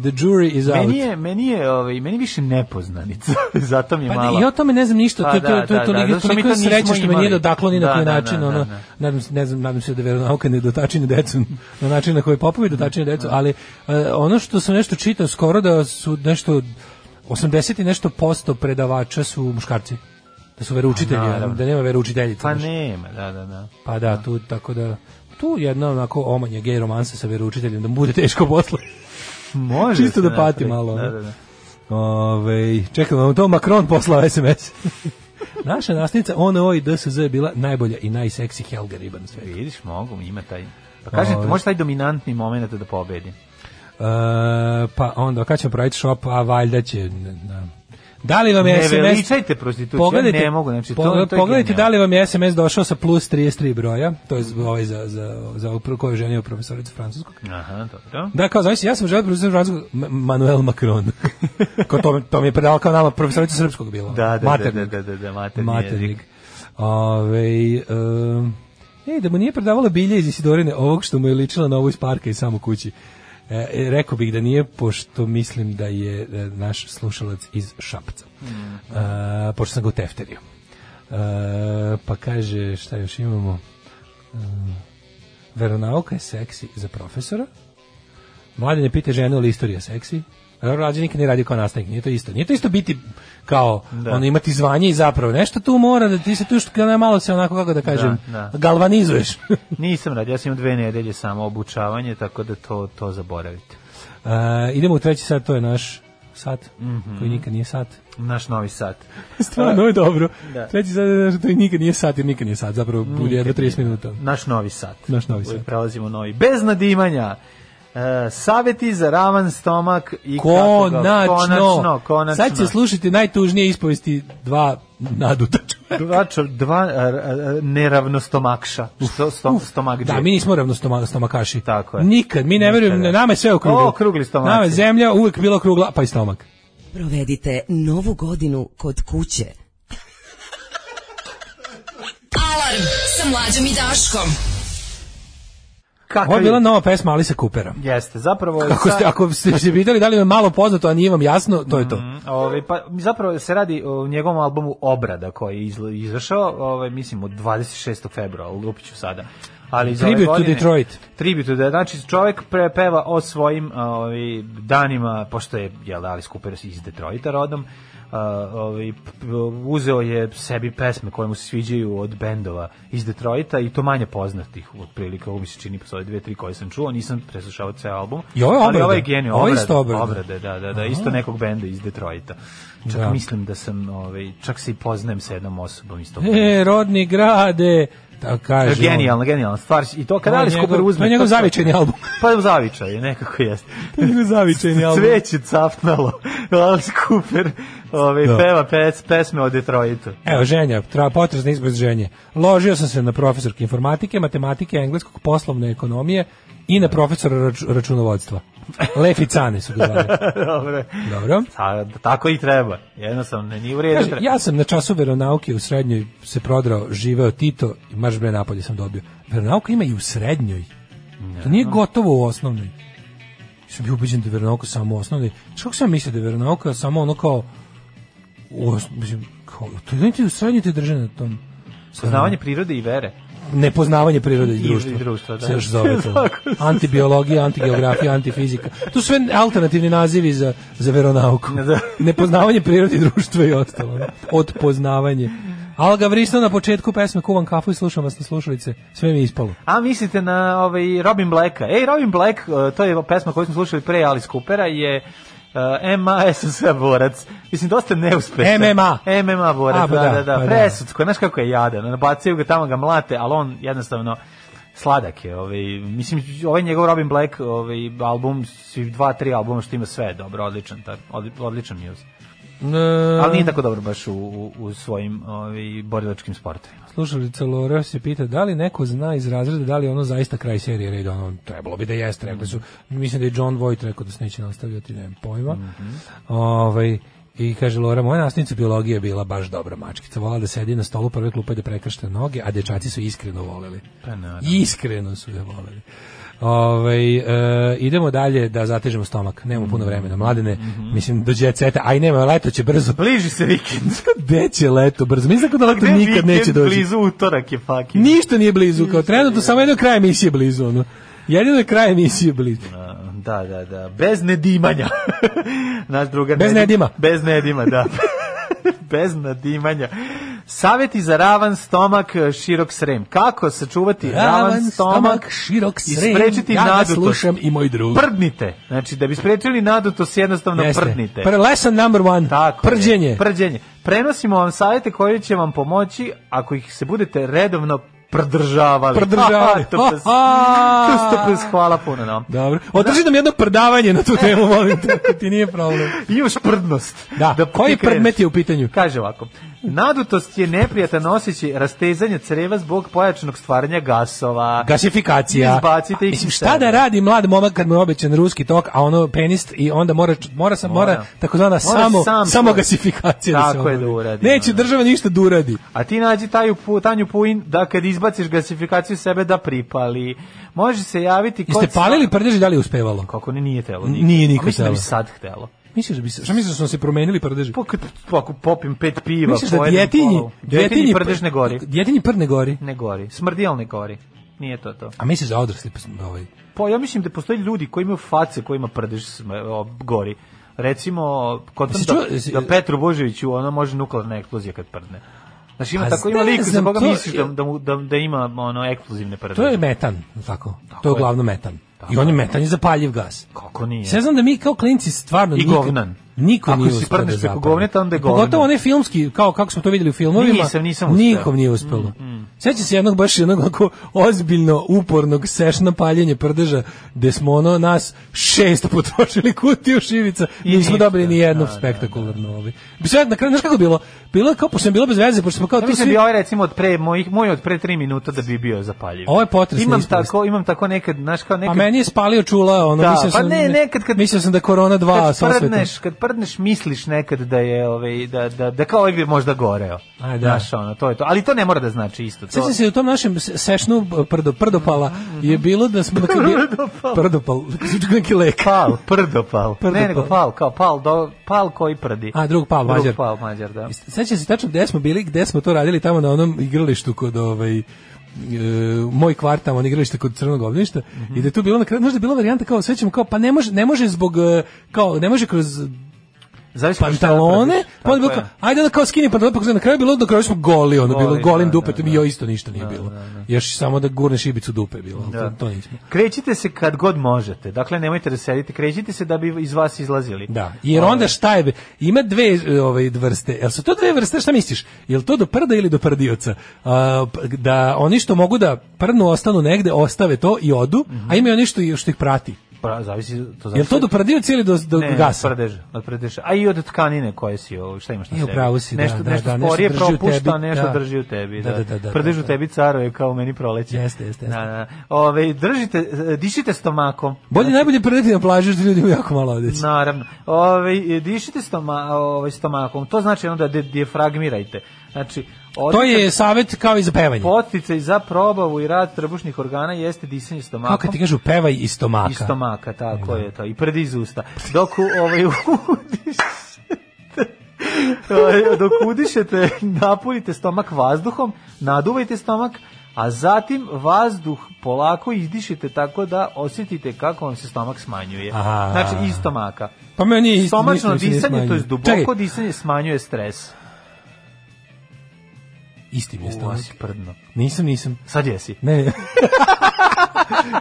[SPEAKER 5] The jury is out.
[SPEAKER 6] Meni je, meni je, ovaj, meni više nepoznanica, zato mi je
[SPEAKER 5] Pa
[SPEAKER 6] malo.
[SPEAKER 5] ne, ja o tome ne znam ništa,
[SPEAKER 6] Pa
[SPEAKER 5] to, to,
[SPEAKER 6] da,
[SPEAKER 5] to,
[SPEAKER 6] da,
[SPEAKER 5] to,
[SPEAKER 6] da,
[SPEAKER 5] toliko,
[SPEAKER 6] zato što mi
[SPEAKER 5] toliko
[SPEAKER 6] to nismo
[SPEAKER 5] sreće što me nije
[SPEAKER 6] imali.
[SPEAKER 5] dodaklo ni na
[SPEAKER 6] Da,
[SPEAKER 5] koji
[SPEAKER 6] da,
[SPEAKER 5] način,
[SPEAKER 6] da,
[SPEAKER 5] ono,
[SPEAKER 6] da, da.
[SPEAKER 5] nadam se, ne znam, nadam se da veronauka ne dotačine decu na način na koji popovi dotačine decu, ali e, ono što sam nešto čitao skoro da su nešto 80 i nešto posto predavača su muškarci, da su veroučitelji, a
[SPEAKER 6] Pa naravno.
[SPEAKER 5] da nema veroučiteljica.
[SPEAKER 6] Pa
[SPEAKER 5] znaš.
[SPEAKER 6] nema, da, da, da.
[SPEAKER 5] Pa da, tu tako da tu jedna onako omanja gej romansa sa veroučiteljem da mu bude teško posle.
[SPEAKER 6] Može
[SPEAKER 5] Čisto
[SPEAKER 6] se
[SPEAKER 5] da pati
[SPEAKER 6] napravi.
[SPEAKER 5] malo,
[SPEAKER 6] Da,
[SPEAKER 5] ono.
[SPEAKER 6] da, da.
[SPEAKER 5] Ove, čekam, vam to Macron poslao SMS. Naša nastavnica ONO i DSZ je bila najbolja i najseksi Helga Riba na svetu.
[SPEAKER 6] Pa Vidiš, mogu, ima taj. Pa kažem,
[SPEAKER 5] Ovaj.
[SPEAKER 6] ti, može taj dominantni moment da pobedi.
[SPEAKER 5] E, pa onda, kad ćemo praviti šop, a valjda će... ne, da. Da li vam je
[SPEAKER 6] Ne
[SPEAKER 5] SMS...
[SPEAKER 6] veličajte prostituciju, ja ne mogu, znači, to-
[SPEAKER 5] pogled-
[SPEAKER 6] to je
[SPEAKER 5] pogledajte
[SPEAKER 6] genijalno.
[SPEAKER 5] da li vam je SMS došao sa plus 33 broja, to je ovaj za, za, za ovu koju je ženio profesoricu francuskog.
[SPEAKER 6] Aha, dobro.
[SPEAKER 5] Da, kao, znači, ja sam želeo profesor francuskog M- Manuel Macron. kao to, to mi je predala kao nama profesorica srpskog bila.
[SPEAKER 6] Da, da, da, da,
[SPEAKER 5] Maternik.
[SPEAKER 6] da, da, da, materni
[SPEAKER 5] Maternik.
[SPEAKER 6] jezik.
[SPEAKER 5] Ove, um, ej, da mu nije prodavala bilje iz Isidorine, ovog što mu je ličila na ovo iz parka i samo kući. E, e, rekao bih da nije, pošto mislim da je e, naš slušalac iz Šapca.
[SPEAKER 6] Mm.
[SPEAKER 5] E, pošto sam ga utefterio. E, pa kaže, šta još imamo? E, veronauka je seksi za profesora. Mladen je pita žene, ali istorija seksi. Rađe nikad ne radi kao nastavnik, nije to isto. Nije to isto biti kao,
[SPEAKER 6] Da.
[SPEAKER 5] ono, imati zvanje i zapravo nešto tu mora, da ti se tu što, ono, malo se onako, kako da kažem,
[SPEAKER 6] Da, da.
[SPEAKER 5] galvanizuješ.
[SPEAKER 6] Nisam radio, ja sam imao dve nedelje samo obučavanje, tako da to, to zaboravite.
[SPEAKER 5] A, idemo u treći sat, to je naš sat, koji nikad nije sat.
[SPEAKER 6] Naš novi sat.
[SPEAKER 5] Mhm. Stvarno je dobro.
[SPEAKER 6] Da.
[SPEAKER 5] Treći sat, je naš- to je nikad nije sat, jer nikad nije sat, zapravo bude jedno
[SPEAKER 6] Nikad
[SPEAKER 5] 30
[SPEAKER 6] nije.
[SPEAKER 5] minuta.
[SPEAKER 6] Naš novi sat.
[SPEAKER 5] Naš novi
[SPEAKER 6] Koji
[SPEAKER 5] sat.
[SPEAKER 6] Prelazimo u novi. Bez nadimanja. E, saveti za ravan stomak i kako ga-
[SPEAKER 5] Konačno!
[SPEAKER 6] konačno, konačno.
[SPEAKER 5] Sad će slušati najtužnije ispovesti dva naduta čoveka.
[SPEAKER 6] dva, čo- dva a, a, a, neravnostomakša. Sto, sto, stomak
[SPEAKER 5] Da, mi nismo ravno stoma, stomakaši.
[SPEAKER 6] Tako je.
[SPEAKER 5] Nikad, mi ne verujemo,
[SPEAKER 6] Nikada.
[SPEAKER 5] nama je sve okruglo.
[SPEAKER 6] O, okrugli stomaci.
[SPEAKER 5] Nama je zemlja uvek bila okrugla, pa i stomak.
[SPEAKER 8] Provedite novu godinu kod kuće.
[SPEAKER 11] Alarm sa mlađom i Daškom.
[SPEAKER 6] Kako
[SPEAKER 5] Ovo je bila nova pesma Alisa Coopera.
[SPEAKER 6] Jeste, zapravo... je
[SPEAKER 5] Ako ste,
[SPEAKER 6] sa-
[SPEAKER 5] ako ste se pitali da li vam je malo poznato, a nije vam jasno, to je to.
[SPEAKER 6] Ovaj pa zapravo se radi o njegovom albumu Obrada koji je izl- izašao, ovaj mislim od 26. februara, lupiću sada. Ali za ove
[SPEAKER 5] Tribute to
[SPEAKER 6] godine-
[SPEAKER 5] Detroit.
[SPEAKER 6] Tribute da znači čovjek pre- peva o svojim ovaj danima pošto je je da Alice Cooper iz Detroita rodom. a, ovaj, p- p- uzeo je sebi pesme koje mu se sviđaju od bendova iz Detroita i to manje poznatih otprilike, ovo mi se čini postoje dve, tri koje sam čuo, nisam preslušao ceo album
[SPEAKER 5] I ovo je
[SPEAKER 6] ali
[SPEAKER 5] obrada.
[SPEAKER 6] ovo je genij,
[SPEAKER 5] Ovo je
[SPEAKER 6] obrada,
[SPEAKER 5] isto obrada.
[SPEAKER 6] obrade, da, da, da, isto nekog benda iz Detroita. Čak
[SPEAKER 5] Da.
[SPEAKER 6] mislim da sam, ovaj, čak se i poznajem sa jednom osobom iz tog benda.
[SPEAKER 5] E, rodni grade, da kaže. on.
[SPEAKER 6] Genijalna, genijalna stvar. I to kada
[SPEAKER 5] To je
[SPEAKER 6] Alice Cooper
[SPEAKER 5] njegov-
[SPEAKER 6] uzme...
[SPEAKER 5] to je njegov
[SPEAKER 6] to-
[SPEAKER 5] zavičajni album.
[SPEAKER 6] Pa je zavičaj, nekako jeste.
[SPEAKER 5] To je njegov zavičajni album.
[SPEAKER 6] Cveće cafnalo. Alice Cooper ovaj,
[SPEAKER 5] Da.
[SPEAKER 6] peva pes, pesme o Detroitu.
[SPEAKER 5] Evo, ženja, tra, potresna izbor ženje. Ložio sam se na profesorke informatike, matematike, engleskog, poslovne ekonomije i na profesora rač- računovodstva. Leficane su ga zvali.
[SPEAKER 6] Dobre.
[SPEAKER 5] Dobro.
[SPEAKER 6] Ta, tako i treba. Jednostavno, ne, nije u redu.
[SPEAKER 5] Kaže, ja sam na času veronauke u srednjoj se prodrao, živeo Tito i marš bre napolje sam dobio. Veronauka ima i u srednjoj. To nije gotovo u osnovnoj. Ja sam bio ubeđen da je veronauka samo u osnovnoj. Znaš kako sam mislio da je veronauka samo ono kao u os- mislim, kao, to je znači u srednjoj te drže na tom
[SPEAKER 6] Poznavanje prirode i vere.
[SPEAKER 5] nepoznavanje prirode i
[SPEAKER 6] I
[SPEAKER 5] društva.
[SPEAKER 6] društva, da.
[SPEAKER 5] Se još zove to.
[SPEAKER 6] Tako se-
[SPEAKER 5] Antibiologija, antigeografija, antifizika. To su sve alternativni nazivi za, za veronauku.
[SPEAKER 6] Da.
[SPEAKER 5] Nepoznavanje prirode i društva i ostalo. Odpoznavanje. Alga vrisno na početku pesme Kuvam kafu i slušam vas na slušalice. Sve mi je ispalo.
[SPEAKER 6] A mislite na ovaj Robin Blacka. Ej, Robin Black, eh, to je pesma koju smo slušali pre Alice Coopera, je eh, MMA SSV borac. Mislim, dosta neuspešan.
[SPEAKER 5] MMA.
[SPEAKER 6] MMA borac,
[SPEAKER 5] A, pa
[SPEAKER 6] da,
[SPEAKER 5] da,
[SPEAKER 6] da, da.
[SPEAKER 5] pa da.
[SPEAKER 6] Presudsko, znaš kako je jadan. Ono, Bacaju ga tamo, ga mlate, ali on jednostavno sladak je. Ovaj, mislim, ovaj njegov Robin Black ovaj, album, svi dva, tri albuma što ima sve je dobro, odličan, tak, odli- odličan muse. Ali
[SPEAKER 5] Um.
[SPEAKER 6] nije tako dobro baš u, u, u svojim ovaj, borilačkim sportovima.
[SPEAKER 5] Slušalica Lora se pita da li neko zna iz razreda da li je ono zaista kraj serije Red ono trebalo bi da jeste, rekli su. Mislim da je John Voight rekao da se neće nastavljati, nemam pojma.
[SPEAKER 6] Mhm.
[SPEAKER 5] Ovaj, i kaže Lora, moja nastavnica biologije je bila baš dobra mačkica. Vola da sedi na stolu prve klupe i da prekršta noge, a dečaci su iskreno voleli.
[SPEAKER 6] Pa naravno.
[SPEAKER 5] Iskreno su je voleli. Ovaj, e, idemo dalje da zatežemo stomak. Nemamo
[SPEAKER 6] Mhm.
[SPEAKER 5] puno vremena, mladene. Mislim, do jet seta. Aj, nema, leto će brzo.
[SPEAKER 6] Bliži se vikend.
[SPEAKER 5] Gde će leto brzo? Mislim da leto
[SPEAKER 6] Gde
[SPEAKER 5] nikad
[SPEAKER 6] vikend
[SPEAKER 5] neće doći.
[SPEAKER 6] Blizu utorak je fucking.
[SPEAKER 5] Ništa nije blizu, kao trenutno samo jedno kraj emisije blizu, ono. Jedino je kraj emisije blizu.
[SPEAKER 6] Da, da, da. Bez nedimanja. Naš drugar.
[SPEAKER 5] Bez
[SPEAKER 6] Nedim-
[SPEAKER 5] nedima.
[SPEAKER 6] Bez nedima, da. Bez nadimanja. Saveti za ravan stomak, e, širok srem. Kako sačuvati ravan, stomak,
[SPEAKER 5] širok
[SPEAKER 6] i
[SPEAKER 5] srem,
[SPEAKER 6] sprečiti
[SPEAKER 5] ja ga
[SPEAKER 6] nadutost?
[SPEAKER 5] slušam i moj drug.
[SPEAKER 6] Prdnite. Znači, da bi sprečili nadutost, jednostavno
[SPEAKER 5] Jeste.
[SPEAKER 6] prdnite.
[SPEAKER 5] Pr- lesson number one,
[SPEAKER 6] Tako je.
[SPEAKER 5] prđenje.
[SPEAKER 6] Prđenje. Prenosimo vam savete koji će vam pomoći ako ih se budete redovno prdržavali.
[SPEAKER 5] Prdržavali.
[SPEAKER 6] to pes,
[SPEAKER 5] Aha.
[SPEAKER 6] to ste pes, hvala puno nam.
[SPEAKER 5] Dobro. Održi nam jedno prdavanje na tu temu, molim te, ako ti nije problem.
[SPEAKER 6] Imaš prdnost.
[SPEAKER 5] Da, koji
[SPEAKER 6] ti kreneš.
[SPEAKER 5] predmet je u pitanju?
[SPEAKER 6] Kaže ovako, nadutost je neprijatan osjećaj rastezanja creva zbog pojačanog stvaranja gasova.
[SPEAKER 5] Gasifikacija.
[SPEAKER 6] Izbacite ih
[SPEAKER 5] Mislim,
[SPEAKER 6] iz
[SPEAKER 5] šta
[SPEAKER 6] sebe.
[SPEAKER 5] da radi mlad momak kad mu je obećan ruski tok, a ono penist i onda mora, mora, sam, mora,
[SPEAKER 6] Mora.
[SPEAKER 5] takozvana
[SPEAKER 6] Mora
[SPEAKER 5] samo,
[SPEAKER 6] sam
[SPEAKER 5] samo
[SPEAKER 6] to.
[SPEAKER 5] gasifikacija da se
[SPEAKER 6] Tako je da
[SPEAKER 5] obavi.
[SPEAKER 6] uradi,
[SPEAKER 5] Neće
[SPEAKER 6] ono.
[SPEAKER 5] država ništa da uradi.
[SPEAKER 6] A ti nađi taju, pu- Tanju Puin da kad izbaciš gasifikaciju sebe da pripali. Može se javiti kod...
[SPEAKER 5] Jeste palili prdež i da li je uspevalo?
[SPEAKER 6] Kako ne, nije telo.
[SPEAKER 5] Nije nikad
[SPEAKER 6] A Mislim da bi
[SPEAKER 5] telo.
[SPEAKER 6] sad htelo.
[SPEAKER 5] Misliš da bi se, šta misliš da su nam se promenili prdeži?
[SPEAKER 6] Pa kad- pa ako popim pet piva,
[SPEAKER 5] Misliš da
[SPEAKER 6] pojedem
[SPEAKER 5] djetinji,
[SPEAKER 6] polu- djetinji prdež ne gori.
[SPEAKER 5] Djetinji prd ne gori.
[SPEAKER 6] Ne gori. Smrdi, ali ne gori. Nije to to.
[SPEAKER 5] A misliš da odrasli pa ovaj.
[SPEAKER 6] Pa ja mislim da postoje ljudi koji imaju face kojima prdež sm- o, gori. Recimo, kod
[SPEAKER 5] Jesi
[SPEAKER 6] da,
[SPEAKER 5] čuo- jesi-
[SPEAKER 6] da Petru Božoviću ono može nuklearna eksplozija kad prdne. Znači ima
[SPEAKER 5] A
[SPEAKER 6] tako ima
[SPEAKER 5] ne
[SPEAKER 6] lik za
[SPEAKER 5] znam,
[SPEAKER 6] koga
[SPEAKER 5] Pa to-
[SPEAKER 6] misliš da, da, mu- da, da ima ono eksplozivne prdeže.
[SPEAKER 5] To je metan, je li tako. to je
[SPEAKER 6] je.
[SPEAKER 5] uglavnom metan. I on je metan i zapaljiv gas.
[SPEAKER 6] Kako nije?
[SPEAKER 5] Sve znam da mi kao klinci stvarno
[SPEAKER 6] I
[SPEAKER 5] nikad-
[SPEAKER 6] govnan.
[SPEAKER 5] Niko
[SPEAKER 6] Ako
[SPEAKER 5] nije
[SPEAKER 6] si
[SPEAKER 5] uspeo da
[SPEAKER 6] prdneš preko
[SPEAKER 5] zapali.
[SPEAKER 6] govneta, onda je
[SPEAKER 5] A
[SPEAKER 6] govno.
[SPEAKER 5] Pogotovo one filmski, kao kako smo to vidjeli u filmovima.
[SPEAKER 6] Nisam, nisam uspeo. Mm,
[SPEAKER 5] Nikom nije uspelo. Sjećam se jednog baš jednog onako ozbiljno upornog sešna paljenje prdeža, gde smo ono nas šest potrošili kutiju šivica.
[SPEAKER 6] I
[SPEAKER 5] Nismo
[SPEAKER 6] ništa.
[SPEAKER 5] dobili ni jednu
[SPEAKER 6] Da, da.
[SPEAKER 5] spektakularnu. ovaj. Bi sve na kraju, znaš kako je bilo? Bilo je kao, pošto je bilo bez veze, pošto smo kao
[SPEAKER 6] Ja
[SPEAKER 5] tu
[SPEAKER 6] mislim
[SPEAKER 5] Ono svi...
[SPEAKER 6] bi ovaj recimo od pre mojih moj od pre 3 minuta da bi bio zapaljiv.
[SPEAKER 5] Ovo je potresna
[SPEAKER 6] Imam
[SPEAKER 5] ispovest.
[SPEAKER 6] tako imam tako nekad, znaš kao nekad
[SPEAKER 5] A meni je spalio čula, ono,
[SPEAKER 6] Da,
[SPEAKER 5] mislio
[SPEAKER 6] pa
[SPEAKER 5] sam,
[SPEAKER 6] ne, nekad kad-
[SPEAKER 5] mislio sam da je korona 2 sa
[SPEAKER 6] kad
[SPEAKER 5] osvetom.
[SPEAKER 6] prdneš, kad prdneš misliš nekad da je ovaj da da da kao ovaj bi možda goreo.
[SPEAKER 5] A, da.
[SPEAKER 6] Znaš, ono, to je to. Ali to ne mora da znači isto to.
[SPEAKER 5] Sjećam se u tom našem se- sešnu e, prdo, prdopala je bilo da smo... Dakle, bi- Prdopal. Zvuči kao neki lek.
[SPEAKER 6] Pal, prdopal.
[SPEAKER 5] Prdopal.
[SPEAKER 6] Ne, nego pal, kao pal, do, pal koji prdi.
[SPEAKER 5] A, drug pal, mađar.
[SPEAKER 6] Drug pal, mađar, da.
[SPEAKER 5] Sećam se tačno gde smo bili, gde smo to radili tamo na onom igralištu kod ovaj e, moj kvart tamo, ono igralište kod Crnog ognjišta i da je tu bilo na kraju, znaš da je bila varijanta kao svećemo kao, pa ne može, ne može zbog e, kao, ne može kroz
[SPEAKER 6] Zavisi kako Pa šta
[SPEAKER 5] pantalone,
[SPEAKER 6] napraviš.
[SPEAKER 5] pa onda bilo
[SPEAKER 6] Tako
[SPEAKER 5] kao,
[SPEAKER 6] je.
[SPEAKER 5] ajde onda kao skini pantalone, pa kao na kraju bilo, na kraju smo goli, ono bilo,
[SPEAKER 6] Goli,
[SPEAKER 5] golim
[SPEAKER 6] da,
[SPEAKER 5] dupetom
[SPEAKER 6] da,
[SPEAKER 5] i
[SPEAKER 6] da.
[SPEAKER 5] joj isto ništa nije bilo. Još samo da gurneš šibicu dupe je bilo, ali
[SPEAKER 6] Da.
[SPEAKER 5] to, to nismo.
[SPEAKER 6] Krećite se kad god možete. Dakle, nemojte da sedite. Krećite se da bi iz vas izlazili.
[SPEAKER 5] Da, jer
[SPEAKER 6] Ovaj.
[SPEAKER 5] onda šta je, ima dve e, ovaj, vrste, jel su to dve vrste, šta misliš, jel to do prda ili do prdioca? A, p- da oni što mogu da prdnu ostanu negde, ostave to i odu, a ima i oni što, što ih prati.
[SPEAKER 6] Pa, zavisi, to zavisi.
[SPEAKER 5] Jel to do prdioca ili do, do
[SPEAKER 6] ne,
[SPEAKER 5] gasa?
[SPEAKER 6] prdeža, od prdeža. A i od tkanine koje si, ovo, šta imaš na
[SPEAKER 5] I u
[SPEAKER 6] sebi?
[SPEAKER 5] pravu si, da,
[SPEAKER 6] nešto,
[SPEAKER 5] da,
[SPEAKER 6] nešto
[SPEAKER 5] da, nešto
[SPEAKER 6] sporije
[SPEAKER 5] drži u
[SPEAKER 6] propušta,
[SPEAKER 5] tebi,
[SPEAKER 6] nešto
[SPEAKER 5] da.
[SPEAKER 6] drži u tebi.
[SPEAKER 5] Da,
[SPEAKER 6] Da,
[SPEAKER 5] da, da, da,
[SPEAKER 6] Prdež
[SPEAKER 5] da,
[SPEAKER 6] u tebi caruje kao meni proleće.
[SPEAKER 5] Jeste, jeste, jeste.
[SPEAKER 6] Da, da. Ove, držite, e, dišite stomakom. Znači,
[SPEAKER 5] Bolje najbolje prditi na plaži, što ljudi imaju jako malo odeće.
[SPEAKER 6] Naravno. Ove, e, dišite stoma, ovaj, stomakom. To znači onda da dijefragmirajte. Znači,
[SPEAKER 5] To je savjet kao i za pevanje.
[SPEAKER 6] poticaj za probavu i rad trebušnih organa jeste disanje stomakom.
[SPEAKER 5] Kako kad ti kažu pevaj iz stomaka.
[SPEAKER 6] Iz stomaka, tako je to. I pred iz usta. Dok u, ovaj, udišete, dok udišete, napunite stomak vazduhom, naduvajte stomak, a zatim vazduh polako izdišite tako da osjetite kako vam se stomak smanjuje.
[SPEAKER 5] Aha.
[SPEAKER 6] Znači, iz stomaka.
[SPEAKER 5] Pa meni je mislim
[SPEAKER 6] Stomačno
[SPEAKER 5] da se nije
[SPEAKER 6] disanje, to je
[SPEAKER 5] smanjio.
[SPEAKER 6] duboko
[SPEAKER 5] Čekaj,
[SPEAKER 6] disanje, smanjuje stres.
[SPEAKER 5] isti mi je
[SPEAKER 6] U,
[SPEAKER 5] stomak.
[SPEAKER 6] si prdno.
[SPEAKER 5] Nisam, nisam.
[SPEAKER 6] Sad jesi.
[SPEAKER 5] Ne.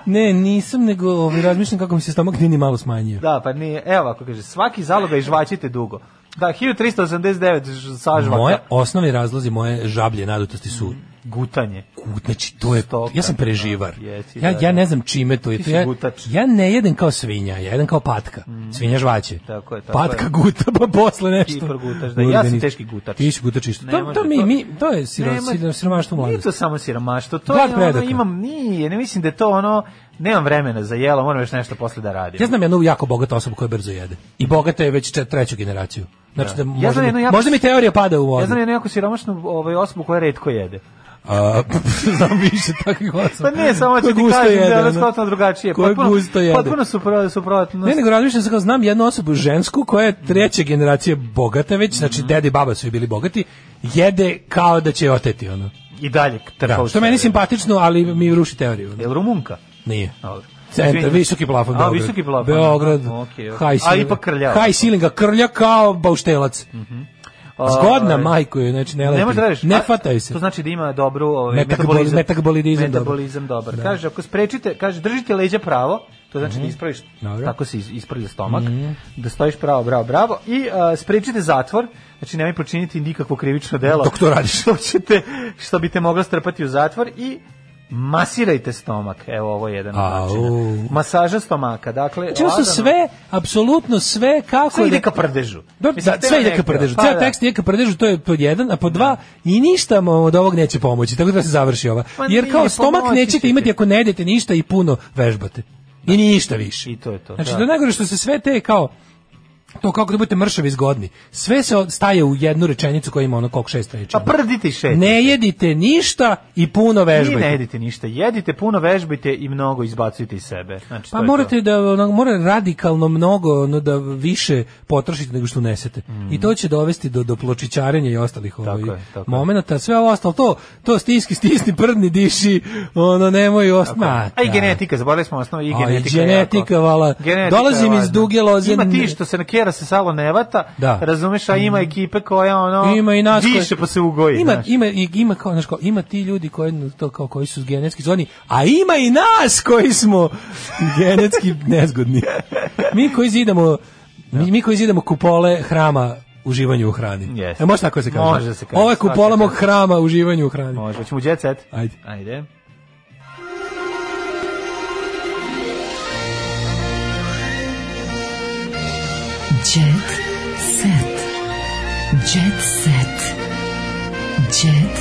[SPEAKER 5] ne, nisam, nego ovaj, razmišljam kako mi se stomak nije ni malo smanjio.
[SPEAKER 6] Da, pa nije. Evo ovako kaže, svaki zaloga i žvaćite dugo. Da, 1389 ž- sažvaka.
[SPEAKER 5] Moje osnovni razlozi moje žablje nadutosti su
[SPEAKER 6] Gutanje.
[SPEAKER 5] gut, znači to je,
[SPEAKER 6] Mm. Stoka,
[SPEAKER 5] ja sam
[SPEAKER 6] da,
[SPEAKER 5] preživar.
[SPEAKER 6] jesi,
[SPEAKER 5] Ja,
[SPEAKER 6] da,
[SPEAKER 5] ja
[SPEAKER 6] da.
[SPEAKER 5] ne znam čime to je.
[SPEAKER 6] Ti
[SPEAKER 5] To
[SPEAKER 6] si
[SPEAKER 5] ja,
[SPEAKER 6] gutač. Mm.
[SPEAKER 5] ja ne jedem kao svinja, ja jedem kao patka. Svinja žvaće.
[SPEAKER 6] Tako je, tako
[SPEAKER 5] patka
[SPEAKER 6] je.
[SPEAKER 5] guta, pa posle nešto.
[SPEAKER 6] Ti progutaš, da,
[SPEAKER 5] Ljudi,
[SPEAKER 6] ja sam
[SPEAKER 5] nisam-
[SPEAKER 6] teški gutač.
[SPEAKER 5] Ti si gutač isto.
[SPEAKER 6] Ne
[SPEAKER 5] To, to,
[SPEAKER 6] može
[SPEAKER 5] mi,
[SPEAKER 6] to.
[SPEAKER 5] mi, to je siro,
[SPEAKER 6] Nema-
[SPEAKER 5] siro- siromaštvo u
[SPEAKER 6] Nije
[SPEAKER 5] mladosti.
[SPEAKER 6] to samo siromaštvo, to
[SPEAKER 5] Glad
[SPEAKER 6] je
[SPEAKER 5] predaka.
[SPEAKER 6] ono, imam, nije, ne mislim da je to ono, nemam vremena za jelo, moram još nešto posle da radim.
[SPEAKER 5] Ja znam jednu jako bogatu osobu koja brzo jede. I bogata je već čet- treću generaciju. Znači da,
[SPEAKER 6] znam
[SPEAKER 5] možda,
[SPEAKER 6] jednu
[SPEAKER 5] mi,
[SPEAKER 6] jako-
[SPEAKER 5] možda mi teorija pada u vodu.
[SPEAKER 6] Ja znam jednu jako siromašnu ovaj, osobu koja redko jede.
[SPEAKER 5] A, znam više takvih osoba.
[SPEAKER 6] Pa ne, samo ću
[SPEAKER 5] Koje
[SPEAKER 6] ti
[SPEAKER 5] gusto
[SPEAKER 6] kažem da je ono
[SPEAKER 5] ono.
[SPEAKER 6] skotno drugačije.
[SPEAKER 5] Koje
[SPEAKER 6] potpuno,
[SPEAKER 5] gusto jede.
[SPEAKER 6] Potpuno supro- suprotno.
[SPEAKER 5] Ne, nego razmišljam se kao znam jednu osobu žensku koja je treća generacija bogata već, znači
[SPEAKER 6] Mhm.
[SPEAKER 5] dede i baba su joj bili bogati, jede kao da će oteti ono.
[SPEAKER 6] I dalje.
[SPEAKER 5] Da, što je meni simpatično, ali mi ruši teoriju. ono.
[SPEAKER 6] Je li Rumunka?
[SPEAKER 5] Nije.
[SPEAKER 6] Dobro.
[SPEAKER 5] Centar,
[SPEAKER 6] Izvinjam.
[SPEAKER 5] visoki plafon
[SPEAKER 6] A,
[SPEAKER 5] Beograd.
[SPEAKER 6] visoki plafon.
[SPEAKER 5] Beograd.
[SPEAKER 6] Okej, okej.
[SPEAKER 5] High
[SPEAKER 6] A
[SPEAKER 5] ceiling-
[SPEAKER 6] ipak krljav.
[SPEAKER 5] High ceilinga krlja kao bauštelac. Zgodna
[SPEAKER 6] Ovaj,
[SPEAKER 5] majko je, znači ne
[SPEAKER 6] Ne
[SPEAKER 5] lepi.
[SPEAKER 6] može da radiš.
[SPEAKER 5] Ne
[SPEAKER 6] A,
[SPEAKER 5] fataj se.
[SPEAKER 6] To znači da ima dobru ovaj,
[SPEAKER 5] Metabol-
[SPEAKER 6] metabolizam.
[SPEAKER 5] metabolizam dobar.
[SPEAKER 6] Metabolizam dobar. Kaže, ako sprečite, kaže, držite leđa pravo, to znači da ispraviš,
[SPEAKER 5] Mhm. Dobro.
[SPEAKER 6] tako se is- ispravlja stomak,
[SPEAKER 5] Mhm.
[SPEAKER 6] da stojiš pravo, bravo, bravo, i a, sprečite zatvor, znači nemoj počiniti nikakvo krivično delo.
[SPEAKER 5] Dok to radiš.
[SPEAKER 6] Što, ćete, što bi te moglo strpati u zatvor i masirajte stomak, evo ovo je jedan od
[SPEAKER 5] Au.
[SPEAKER 6] načina. Masaža stomaka, dakle...
[SPEAKER 5] Znači, ovo su
[SPEAKER 6] lagano-
[SPEAKER 5] sve, apsolutno sve, kako...
[SPEAKER 6] Sve ide
[SPEAKER 5] da-
[SPEAKER 6] ka prdežu.
[SPEAKER 5] Da,
[SPEAKER 6] Mislim,
[SPEAKER 5] da, sve ide ka
[SPEAKER 6] nekako,
[SPEAKER 5] prdežu.
[SPEAKER 6] pa
[SPEAKER 5] Ceo
[SPEAKER 6] da.
[SPEAKER 5] tekst ide ka prdežu, to je pod jedan, a pod dva, i ništa vam od ovog neće pomoći, tako da se završi ova.
[SPEAKER 6] Pa
[SPEAKER 5] Jer
[SPEAKER 6] nije,
[SPEAKER 5] kao stomak
[SPEAKER 6] pomoći će
[SPEAKER 5] nećete
[SPEAKER 6] ti.
[SPEAKER 5] imati ako ne jedete ništa i puno vežbate. I ništa više.
[SPEAKER 6] I to je to.
[SPEAKER 5] Znači,
[SPEAKER 6] da.
[SPEAKER 5] da najgore što se sve te kao to kako da budete mršavi i zgodni. Sve se od- staje u jednu rečenicu koja ima ono koliko šest reči.
[SPEAKER 6] Pa prdite i šetite.
[SPEAKER 5] Ne jedite ništa i puno
[SPEAKER 6] Vi
[SPEAKER 5] vežbajte.
[SPEAKER 6] ne jedite ništa. Jedite, puno vežbajte i mnogo izbacujte iz sebe. Znači,
[SPEAKER 5] Pa
[SPEAKER 6] to je
[SPEAKER 5] morate da ono, mora radikalno mnogo ono, da više potrošite nego što unesete. I to će dovesti do do pločićarenja i ostalih ovaj
[SPEAKER 6] je, tako je.
[SPEAKER 5] momenata, sve ovo ostalo to to stiski stisni prdni diši, ono nemoj
[SPEAKER 6] to.
[SPEAKER 5] ostma.
[SPEAKER 6] A i genetika, zaboravili smo osnovu i
[SPEAKER 5] A, i
[SPEAKER 6] genetika.
[SPEAKER 5] genetika,
[SPEAKER 6] jako-
[SPEAKER 5] vala. Dolazim
[SPEAKER 6] je
[SPEAKER 5] iz
[SPEAKER 6] važna.
[SPEAKER 5] duge loze.
[SPEAKER 6] Ima ti što se na kjera se salo nevata,
[SPEAKER 5] Da. Mm.
[SPEAKER 6] razumeš, a ima ekipe koja ono,
[SPEAKER 5] Ima i nas
[SPEAKER 6] diše
[SPEAKER 5] koje-
[SPEAKER 6] pa se ugoji.
[SPEAKER 5] Ima
[SPEAKER 6] znaš.
[SPEAKER 5] ima i- ima kao znaš, kao, ima ti ljudi koji to kao koji su genetski zgodni, a ima i nas koji smo genetski nezgodni. Mi koji zidamo mi, mi koji zidamo kupole hrama uživanju u hrani.
[SPEAKER 6] Jeste.
[SPEAKER 5] E, može tako da se kaže.
[SPEAKER 6] Može da se kaže,
[SPEAKER 5] Ovo je
[SPEAKER 6] svaka
[SPEAKER 5] kupola mog
[SPEAKER 6] čast.
[SPEAKER 5] hrama uživanju u hrani.
[SPEAKER 6] Može, ćemo jet set.
[SPEAKER 5] Ajde.
[SPEAKER 6] Ajde.
[SPEAKER 8] Jet set. Jet set. Jet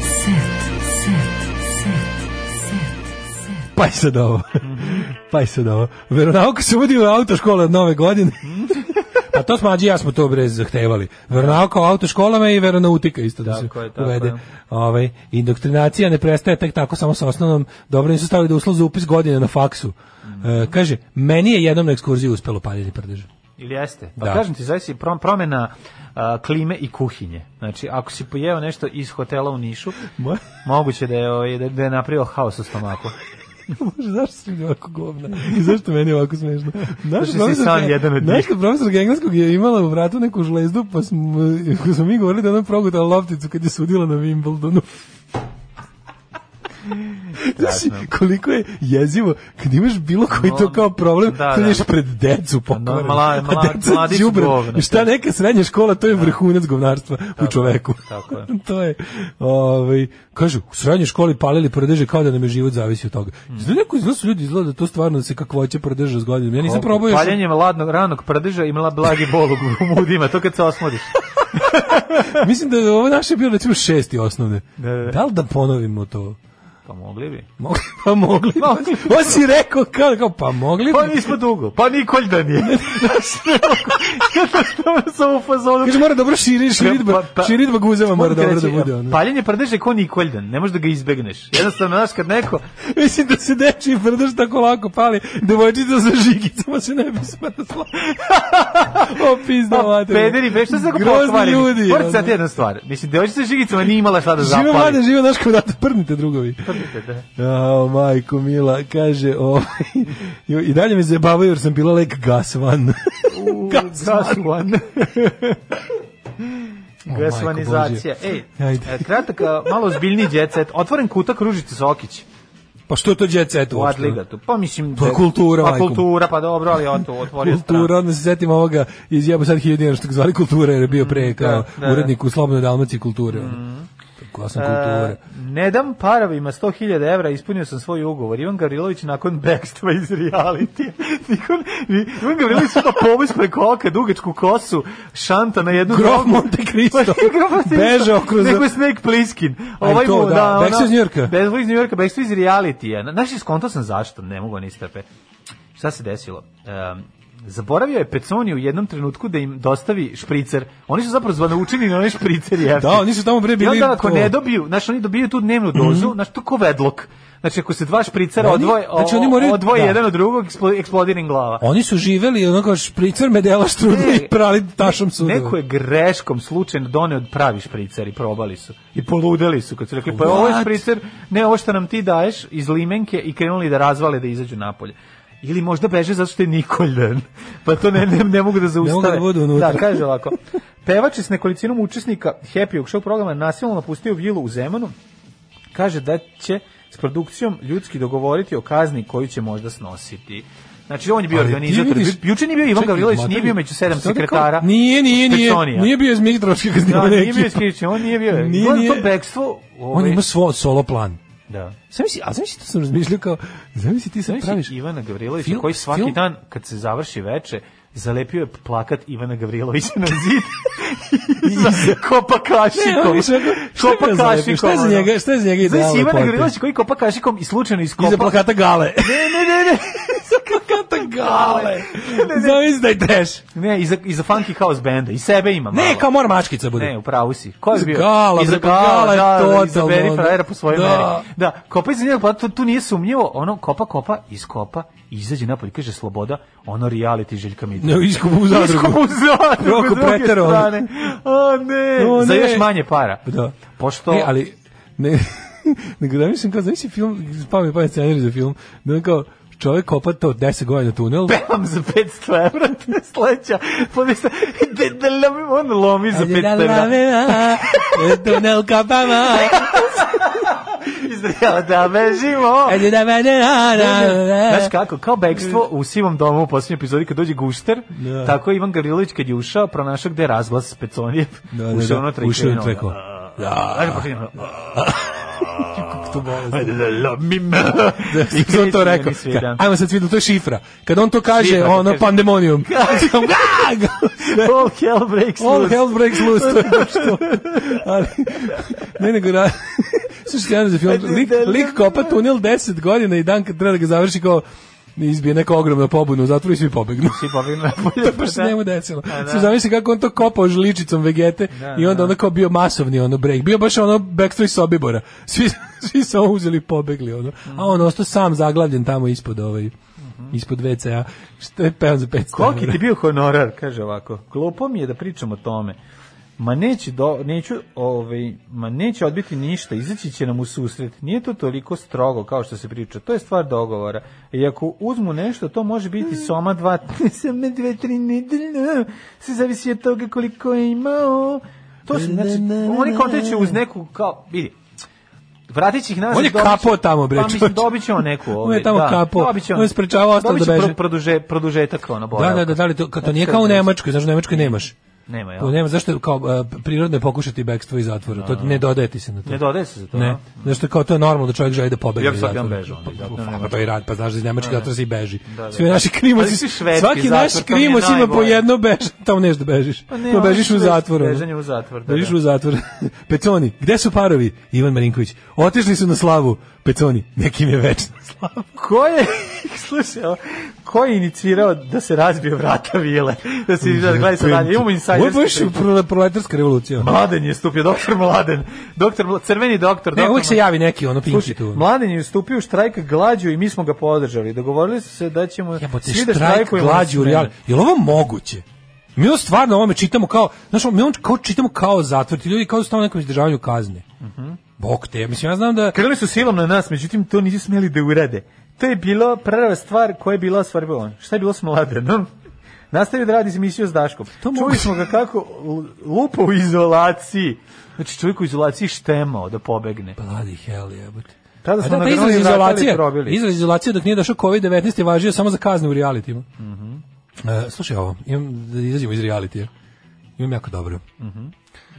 [SPEAKER 8] set. Set. Set. Set. Set.
[SPEAKER 5] Pa i sad ovo. pa i sad ovo. Veronauka se uvodi u autoškole od nove godine. Pa to smo Ađi i ja smo to bre zahtevali. Veronauka u autoškolama i veronautika isto da se
[SPEAKER 6] Tako je, tako
[SPEAKER 5] uvede.
[SPEAKER 6] je.
[SPEAKER 5] Ovaj, indoktrinacija ne prestaje tek tako samo sa osnovnom. Dobro nisu stavili da uslov za upis godine na faksu. E, kaže, meni je jednom na ekskurziji uspelo paljenje prdeža.
[SPEAKER 6] Ili jeste? Pa
[SPEAKER 5] Da.
[SPEAKER 6] kažem ti, zavisi prom- promena a, klime i kuhinje. Znači, ako si pojeo nešto iz hotela u Nišu,
[SPEAKER 5] Mo-
[SPEAKER 6] moguće da je, ovaj, da, da je napravio haos u stomaku.
[SPEAKER 5] zašto si mi ovako govna? I zašto meni ovako smešno? Naš
[SPEAKER 6] Zato što si sam jedan od njih.
[SPEAKER 5] naša profesorka engleskog je imala u vratu neku žlezdu, pa smo, pa smo mi govorili da ona progutala lopticu kad je sudila na Wimbledonu. Znači, koliko je jezivo kad imaš bilo koji to kao problem,
[SPEAKER 6] Da,
[SPEAKER 5] da, da.
[SPEAKER 6] da.
[SPEAKER 5] pred decu pokvarenu.
[SPEAKER 6] mla-
[SPEAKER 5] a
[SPEAKER 6] mla-
[SPEAKER 5] deca
[SPEAKER 6] mladić
[SPEAKER 5] đubre.
[SPEAKER 6] govna.
[SPEAKER 5] Šta neka srednja škola, to je vrhunac govnarstva u čoveku.
[SPEAKER 6] tako je.
[SPEAKER 5] to je, ovaj, kažu, u srednjoj školi palili prdeže kao da nam je život zavisi od toga.
[SPEAKER 6] Mm.
[SPEAKER 5] Znači, neko iz nas ljudi izgleda da to stvarno da se kakvoće prdeže s godinama. Ja nisam probao još...
[SPEAKER 6] Paljenjem ladnog, ranog prdeža i mla blagi bol u mudima, to kad se osmodiš.
[SPEAKER 5] Mislim da je ovo naše bilo recimo šesti osnovne.
[SPEAKER 6] Da, da, da.
[SPEAKER 5] Da li da ponovimo to?
[SPEAKER 6] Pa mogli bi.
[SPEAKER 5] Mo- Pa mogli.
[SPEAKER 6] Mogli.
[SPEAKER 5] On si rekao kao, kao pa mogli.
[SPEAKER 6] Pa nismo dugo, pa Nikolj da nije. Znaš, ne mogu. Ja sam u fazonu.
[SPEAKER 5] Kaže mora dobro
[SPEAKER 6] Pa,
[SPEAKER 5] širi, širidba, širidba guzeva mora dobro da bude ono.
[SPEAKER 6] Paljenje prdeža je ko Nikoljdan, ne možeš da ga izbegneš. Jednostavno, znaš, kad neko...
[SPEAKER 5] Mislim da se dečiji prdež tako lako pali, devojčica sa žigicama se ne bi smrzla. o pizda
[SPEAKER 6] Pa,
[SPEAKER 5] mater.
[SPEAKER 6] pederi, be, što se tako
[SPEAKER 5] Grozni
[SPEAKER 6] pokvarili?
[SPEAKER 5] ljudi.
[SPEAKER 6] Moram ti
[SPEAKER 5] ono.
[SPEAKER 6] sad jedna stvar. Mislim, devojčica sa žigicama nije imala šta da zapali.
[SPEAKER 5] Žive mlade, žive naš kvadrata, prdnite drugovi.
[SPEAKER 6] Da.
[SPEAKER 5] Jao, majko mila, kaže, ovaj, joj, i dalje me zabavaju jer sam bila lek gas van.
[SPEAKER 6] Gas one. Gasvanizacija.
[SPEAKER 5] Božje.
[SPEAKER 6] Ej,
[SPEAKER 5] Ajde.
[SPEAKER 6] e, kratak, a, malo ozbiljniji jet set. Otvoren kutak Ružice Sokić
[SPEAKER 5] pa što je to jet set
[SPEAKER 6] u
[SPEAKER 5] uopšte?
[SPEAKER 6] Adligatu. Pa mislim...
[SPEAKER 5] To je
[SPEAKER 6] da-
[SPEAKER 5] kultura,
[SPEAKER 6] Pa
[SPEAKER 5] majko.
[SPEAKER 6] kultura, pa dobro, ali on to otvorio
[SPEAKER 5] Pa, Kultura, onda se setim ovoga iz jeba sad hiljadu dinara što ga zvali kultura jer je bio pre kao
[SPEAKER 6] da, da.
[SPEAKER 5] urednik u Slobodnoj Dalmaciji kulture. Mm. Koja sam kultura.
[SPEAKER 6] E, ne dam paravima 100.000 evra, ispunio sam svoj ugovor. Ivan Gavrilović nakon bekstva iz reality. Nikon, ni- Ivan Gavrilović ima pomis preko oka, dugačku kosu, šanta na jednu...
[SPEAKER 5] Grof
[SPEAKER 6] nogu. Pa,
[SPEAKER 5] Monte Cristo.
[SPEAKER 6] Grof Monte Cristo.
[SPEAKER 5] Bežao kroz...
[SPEAKER 6] Neko je Snake Plissken.
[SPEAKER 5] A i to,
[SPEAKER 6] mu,
[SPEAKER 5] da.
[SPEAKER 6] ono,
[SPEAKER 5] Backstreet iz New Yorka.
[SPEAKER 6] Backstreet iz New Yorka, Backstreet iz reality. Znaš, skonto sam zašto, ne mogu ni strpe. Šta se desilo? Um, zaboravio je Peconi u jednom trenutku da im dostavi špricer. Oni su zapravo zvanoučeni na onaj špricer jeftin.
[SPEAKER 5] Da, oni su tamo bre
[SPEAKER 6] I
[SPEAKER 5] bili...
[SPEAKER 6] onda ako
[SPEAKER 5] to- Mhm.
[SPEAKER 6] ne dobiju, znači oni dobiju tu dnevnu dozu, znači to ko vedlok. Znači ako se dva špricera
[SPEAKER 5] Oni-
[SPEAKER 6] odvoje,
[SPEAKER 5] znači, oni moraju-
[SPEAKER 6] odvoje
[SPEAKER 5] da.
[SPEAKER 6] jedan od drugog, eksplo- eksplodira im glava.
[SPEAKER 5] Oni su živeli ono onako špricer medela štrudli
[SPEAKER 6] Ne,
[SPEAKER 5] i prali tašom sudova.
[SPEAKER 6] Neko je greškom slučajno doneo od pravi špricer i probali su. I poludeli su kad su rekli, pa ovo je
[SPEAKER 5] What?
[SPEAKER 6] špricer, ne ovo što nam ti daješ iz limenke i krenuli da razvale da izađu napolje. Ili možda beže zato što je Nikoljan. Pa to ne, ne, ne mogu da zaustave.
[SPEAKER 5] mogu da budu unutra.
[SPEAKER 6] Da, kaže ovako. Pevač je s nekolicinom učesnika Happy Show programa nasilno napustio vilu u Zemanu. Kaže da će s produkcijom ljudski dogovoriti o kazni koju će možda snositi. Znači, on je bio
[SPEAKER 5] Ali ti
[SPEAKER 6] organizator.
[SPEAKER 5] vidiš-
[SPEAKER 6] Bi- Juče nije bio Ivan
[SPEAKER 5] Čekaj, Pa
[SPEAKER 6] Gavrilović,
[SPEAKER 5] ma,
[SPEAKER 6] nije
[SPEAKER 5] ti-
[SPEAKER 6] bio među sedam
[SPEAKER 5] sad rekao-
[SPEAKER 6] sekretara.
[SPEAKER 5] Nije, nije, nije.
[SPEAKER 6] Pečonija.
[SPEAKER 5] Nije bio iz Mitrovske
[SPEAKER 6] Da,
[SPEAKER 5] kaznivane
[SPEAKER 6] nije bio skričan, on nije bio. Nije, nije. To bekstvo, ovaj,
[SPEAKER 5] On ima svoj solo plan.
[SPEAKER 6] Da.
[SPEAKER 5] Sam si, a sam si to sam razmišljao kao, znam si ti sad praviš.
[SPEAKER 6] Ivana Gavrilovića
[SPEAKER 5] Film-
[SPEAKER 6] koji svaki
[SPEAKER 5] film-
[SPEAKER 6] dan kad se završi veče zalepio je plakat Ivana Gavrilovića na zid i za- kopa
[SPEAKER 5] Ne,
[SPEAKER 6] kašikom.
[SPEAKER 5] on je sve- šta
[SPEAKER 6] kopa
[SPEAKER 5] ga zalepi,
[SPEAKER 6] kašikom.
[SPEAKER 5] šta je za
[SPEAKER 6] ono.
[SPEAKER 5] njega- šta je za njega
[SPEAKER 6] Znaš,
[SPEAKER 5] idealna
[SPEAKER 6] Ivana
[SPEAKER 5] poenta?
[SPEAKER 6] Gavrilovića koji kopa kašikom i slučajno iskopa.
[SPEAKER 5] Iza plakata gale.
[SPEAKER 6] Ne, ne, ne, ne.
[SPEAKER 5] Iza plakata gale. Zavis da je trash.
[SPEAKER 6] Ne, iza, iza Funky House benda. I sebe ima malo.
[SPEAKER 5] Ne, kao mora mačkica bude.
[SPEAKER 6] Ne, u pravu si. Ko je
[SPEAKER 5] Iza
[SPEAKER 6] bio?
[SPEAKER 5] Gala,
[SPEAKER 6] iza
[SPEAKER 5] bre, Gala je totalno,
[SPEAKER 6] Izaberi
[SPEAKER 5] ono.
[SPEAKER 6] frajera po svojoj
[SPEAKER 5] Da.
[SPEAKER 6] meri. Da, kopa iza njega, pa tu, tu nije sumnjivo. Ono, kopa, kopa, iskopa, izađe napolje, kaže sloboda, ono reality Željka Mitrovića.
[SPEAKER 5] Ne, iskopa u zadrugu.
[SPEAKER 6] Iskopa u zadrugu,
[SPEAKER 5] Roko
[SPEAKER 6] s druge
[SPEAKER 5] pretero, ono.
[SPEAKER 6] strane. O ne,
[SPEAKER 5] O,
[SPEAKER 6] za
[SPEAKER 5] ne.
[SPEAKER 6] još manje para.
[SPEAKER 5] Da.
[SPEAKER 6] Pošto...
[SPEAKER 5] Ne, ali, ne, nego da mislim kao, zamisli film, spavim mi pa scenarij za film, da on kao, čovjek kopa to 10 godina tunel,
[SPEAKER 6] pevam za 500 evra, te sleća, pa mi se, de, de, lomi, on lomi za 500 evra.
[SPEAKER 5] tunel kopama,
[SPEAKER 6] Izdrava da bežimo.
[SPEAKER 5] ajde da me ne "E."
[SPEAKER 6] Znaš kako, kao bekstvo u sivom domu u posljednjoj epizodi kad dođe Gušter,
[SPEAKER 5] Da.
[SPEAKER 6] tako Ivan Gavrilović kad je ušao, pronašao gde je razglas Speconijev,
[SPEAKER 5] Da, da,
[SPEAKER 6] ušao
[SPEAKER 5] da,
[SPEAKER 6] ono treko.
[SPEAKER 5] ušao je treko. Da.
[SPEAKER 6] Ajde, počinje ono,
[SPEAKER 5] kako to bolest.
[SPEAKER 6] Ajde da lomim.
[SPEAKER 5] Da,
[SPEAKER 6] I
[SPEAKER 5] sam
[SPEAKER 6] kreće
[SPEAKER 5] to
[SPEAKER 6] meni
[SPEAKER 5] rekao.
[SPEAKER 6] sve, da.
[SPEAKER 5] Ajmo sad vidim, to je šifra. Kad on to kaže,
[SPEAKER 6] Šifra, kad
[SPEAKER 5] ono
[SPEAKER 6] kaže-
[SPEAKER 5] pandemonium. Gag!
[SPEAKER 6] All hell breaks
[SPEAKER 5] All
[SPEAKER 6] loose.
[SPEAKER 5] hell breaks loose, to je ono što. Ali, ne nego ra... Slušajte, jedan za film,
[SPEAKER 6] Znači,
[SPEAKER 5] lik, lik kopa tunel 10 godina i dan kad treba da ga završi kao izbije neka ogromna pobuna u zatvoru i svi pobegnu.
[SPEAKER 6] Svi pobegnu napolje,
[SPEAKER 5] to je baš se
[SPEAKER 6] da.
[SPEAKER 5] njemu desilo.
[SPEAKER 6] A, da.
[SPEAKER 5] Sve zamisli kako on to kopao žličicom vegete
[SPEAKER 6] Da,
[SPEAKER 5] i onda
[SPEAKER 6] da.
[SPEAKER 5] ono kao bio masovni ono break. Bio baš ono backstreet sobibora. Svi, svi su ovo uzeli i pobegli ono. A on ostao sam zaglavljen tamo ispod ovaj ispod WC-a. Što je pevan za 500
[SPEAKER 6] Mhm. Koliki
[SPEAKER 5] evra.
[SPEAKER 6] ti bio honorar, kaže ovako. Glupo mi je da pričam o tome. Ma neće do, neću, ovaj, ma neće odbiti ništa, izaći će nam u susret. Nije to toliko strogo kao što se priča. To je stvar dogovora. I ako uzmu nešto, to može biti soma dva, soma dve, tri nedeljno. Se zavisi od toga koliko je imao. To su, znači, oni kontaće uz neku, kao, vidi, Vratit će ih nazad.
[SPEAKER 5] On je
[SPEAKER 6] dobit će-
[SPEAKER 5] kapo tamo, bre,
[SPEAKER 6] Pa mislim,
[SPEAKER 5] čoveče.
[SPEAKER 6] dobit će on neku. ovaj,
[SPEAKER 5] On je tamo
[SPEAKER 6] da,
[SPEAKER 5] kapo.
[SPEAKER 6] dobit će
[SPEAKER 5] On je sprečavao ostalo
[SPEAKER 6] dobit
[SPEAKER 5] da
[SPEAKER 6] će
[SPEAKER 5] beže.
[SPEAKER 6] pro- produže, produžetak ono
[SPEAKER 5] Da,
[SPEAKER 6] boravka.
[SPEAKER 5] da, da, da li to, kad to
[SPEAKER 6] Znači,
[SPEAKER 5] nije
[SPEAKER 6] to
[SPEAKER 5] kao u
[SPEAKER 6] je-
[SPEAKER 5] Nemačkoj, znaš u Nemačkoj nemaš.
[SPEAKER 6] Nema,
[SPEAKER 5] To
[SPEAKER 6] jel?
[SPEAKER 5] nema, zašto kao a, prirodno je pokušati bekstvo iz zatvora, to ne dodaje ti se na to.
[SPEAKER 6] Ne dodaje se za to,
[SPEAKER 5] Ne,
[SPEAKER 6] a?
[SPEAKER 5] znaš to je kao to je normalno da čovjek želi da pobegne
[SPEAKER 6] Ja bi
[SPEAKER 5] iz
[SPEAKER 6] svaki dan
[SPEAKER 5] zatvora.
[SPEAKER 6] bežao onda iz
[SPEAKER 5] Pa,
[SPEAKER 6] zatvora,
[SPEAKER 5] pa,
[SPEAKER 6] nema
[SPEAKER 5] pa to i rad, pa znaš da iz Nemačke zatvora se i beži.
[SPEAKER 6] Da, da.
[SPEAKER 5] Svi naši
[SPEAKER 6] Ali
[SPEAKER 5] krimosi,
[SPEAKER 6] svi švedski
[SPEAKER 5] svaki naš
[SPEAKER 6] zatvor, to mi je
[SPEAKER 5] krimos ima po
[SPEAKER 6] najgore.
[SPEAKER 5] jedno bež, tamo nešto da bežiš.
[SPEAKER 6] Pa ne,
[SPEAKER 5] to bežiš u
[SPEAKER 6] ono,
[SPEAKER 5] zatvor. ono.
[SPEAKER 6] Bežanje u zatvor, da.
[SPEAKER 5] Bežiš
[SPEAKER 6] da.
[SPEAKER 5] u zatvor. Peconi, gde su parovi? Ivan Marinković. Otišli su na slavu. Peconi, nekim je večna slava.
[SPEAKER 6] Ko je, slušaj, ovo, ko je inicirao da se razbije vrata vile? Da se da gledaj sad dalje, imamo
[SPEAKER 5] Ovo je baš
[SPEAKER 6] insajderski.
[SPEAKER 5] pro- proletarska revolucija. ono.
[SPEAKER 6] Mladen je stupio, doktor Mladen. Doktor, Mla- crveni doktor.
[SPEAKER 5] Ne,
[SPEAKER 6] doktor
[SPEAKER 5] uvijek se
[SPEAKER 6] Mladen.
[SPEAKER 5] javi neki ono pinki
[SPEAKER 6] Slušaj,
[SPEAKER 5] tu.
[SPEAKER 6] Mladen je ustupio u štrajk glađu i mi smo ga podržali. Dogovorili su se da ćemo
[SPEAKER 5] Jebote,
[SPEAKER 6] svi ono da
[SPEAKER 5] štrajk
[SPEAKER 6] štrajkujemo.
[SPEAKER 5] glađu u
[SPEAKER 6] na
[SPEAKER 5] reali. Je li ovo moguće? Mi ovo stvarno ovome čitamo kao, znaš, ono, mi ovo kao čitamo kao zatvor, ti ljudi kao su tamo u nekom izdržavanju kazne. Bog te, mislim, ja znam da...
[SPEAKER 6] Krili su silom na nas, međutim to nisu smeli da urade. To je bilo prva stvar koja je bila osvarbila. Šta je bilo s mladenom? Nastavio da radi emisiju s Daškom.
[SPEAKER 5] To mogu-
[SPEAKER 6] Čuli smo ga kako l- lupa u izolaciji. Znači čovjek u izolaciji štemao da pobegne.
[SPEAKER 5] Bloody hell, jebote.
[SPEAKER 6] Tada
[SPEAKER 5] A
[SPEAKER 6] smo
[SPEAKER 5] da,
[SPEAKER 6] na
[SPEAKER 5] taj izraz
[SPEAKER 6] grani vratili
[SPEAKER 5] izolacije,
[SPEAKER 6] i probili.
[SPEAKER 5] izraz izolacije dok nije došao COVID-19 je važio samo za kazne u realitima.
[SPEAKER 6] Mhm.
[SPEAKER 5] E, slušaj ovo, imam, da izađemo iz realitija. Imam jako dobro.
[SPEAKER 6] Mhm.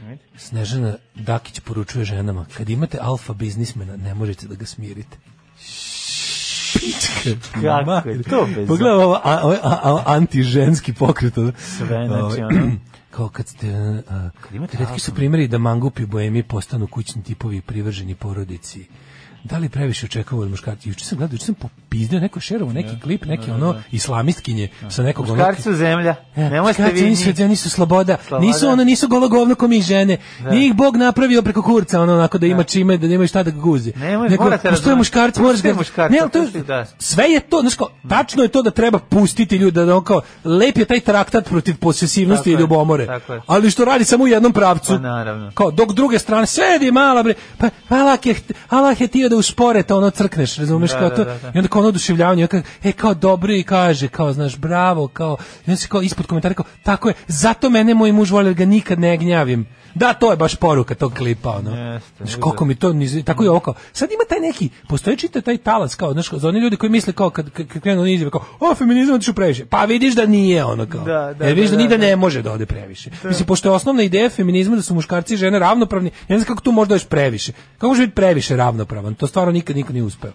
[SPEAKER 6] Ajde.
[SPEAKER 5] Snežana Dakić poručuje ženama, kad imate alfa biznismena, ne možete da ga smirite. Pička.
[SPEAKER 6] Kako
[SPEAKER 5] mater.
[SPEAKER 6] je to bez-
[SPEAKER 5] Pogledaj ovo, a- ovo je a- a- antiženski pokret. ono.
[SPEAKER 6] Sve, znači,
[SPEAKER 5] Ovaj,
[SPEAKER 6] ono.
[SPEAKER 5] Kao kad ste... a, a,
[SPEAKER 6] imate
[SPEAKER 5] retki su primjeri da mangupi i boemi postanu kućni tipovi i privrženi porodici. Da li previše očekavali muškarci? Juče sam gledao, juče sam popizdeo neko je šerovo, neki klip, neki ono islamistkinje sa nekog ono-
[SPEAKER 6] Muškarci su zemlja.
[SPEAKER 5] E,
[SPEAKER 6] Nemojte
[SPEAKER 5] muškarci
[SPEAKER 6] vi
[SPEAKER 5] nisu,
[SPEAKER 6] njih.
[SPEAKER 5] oni su sloboda.
[SPEAKER 6] Sloboda.
[SPEAKER 5] Nisu ono, nisu golo govno ko mi žene. Nije ih Bog napravio preko kurca, ono onako da ima čime, da nemaju šta da ga guzi.
[SPEAKER 6] Ne može, morate
[SPEAKER 5] postoje
[SPEAKER 6] razumeti.
[SPEAKER 5] muškarci, moraš
[SPEAKER 6] Postoje
[SPEAKER 5] ga-
[SPEAKER 6] muškarci,
[SPEAKER 5] Ne, ali to je-
[SPEAKER 6] pusti da.
[SPEAKER 5] sve je to, znači kao, tačno je to da treba pustiti ljude, da on kao, lep je taj traktat protiv posesivnosti
[SPEAKER 6] Tako
[SPEAKER 5] i
[SPEAKER 6] je,
[SPEAKER 5] ljubomore.
[SPEAKER 6] tako je.
[SPEAKER 5] Ali što radi samo u jednom pravcu.
[SPEAKER 6] Pa naravno.
[SPEAKER 5] Kao, dok druge strane, sedi mala bre, pa Allah pa je, ht- Allah je tio da uspore to ono crkneš, razumeš
[SPEAKER 6] Da,
[SPEAKER 5] kao
[SPEAKER 6] da,
[SPEAKER 5] to.
[SPEAKER 6] da, da.
[SPEAKER 5] I onda kao ono oduševljavanje, kao, e kao dobro i kaže, kao znaš, bravo, kao i onda se kao ispod komentara kao tako je, zato mene moj muž voli jer ga nikad ne gnjavim. Da, to je baš poruka tog klipa, ono.
[SPEAKER 6] Jeste,
[SPEAKER 5] Znaš, koliko mi to niz... tako je ovo kao. Sad ima taj neki, postoji čitav taj talac kao, znaš, za one ljudi koji misle kao kad kad kad krenu oni izjave kao, o feminizam otišao previše. Pa vidiš da nije ono kao.
[SPEAKER 6] Da, da,
[SPEAKER 5] Jer vidiš
[SPEAKER 6] da,
[SPEAKER 5] da, ni
[SPEAKER 6] da,
[SPEAKER 5] da ne može da ode previše. Mislim pošto je osnovna ideja feminizma da su muškarci i žene ravnopravni, ja ne znam kako tu možda još previše. Kako može biti previše ravnopravan? To stvarno nikad niko nije uspeo.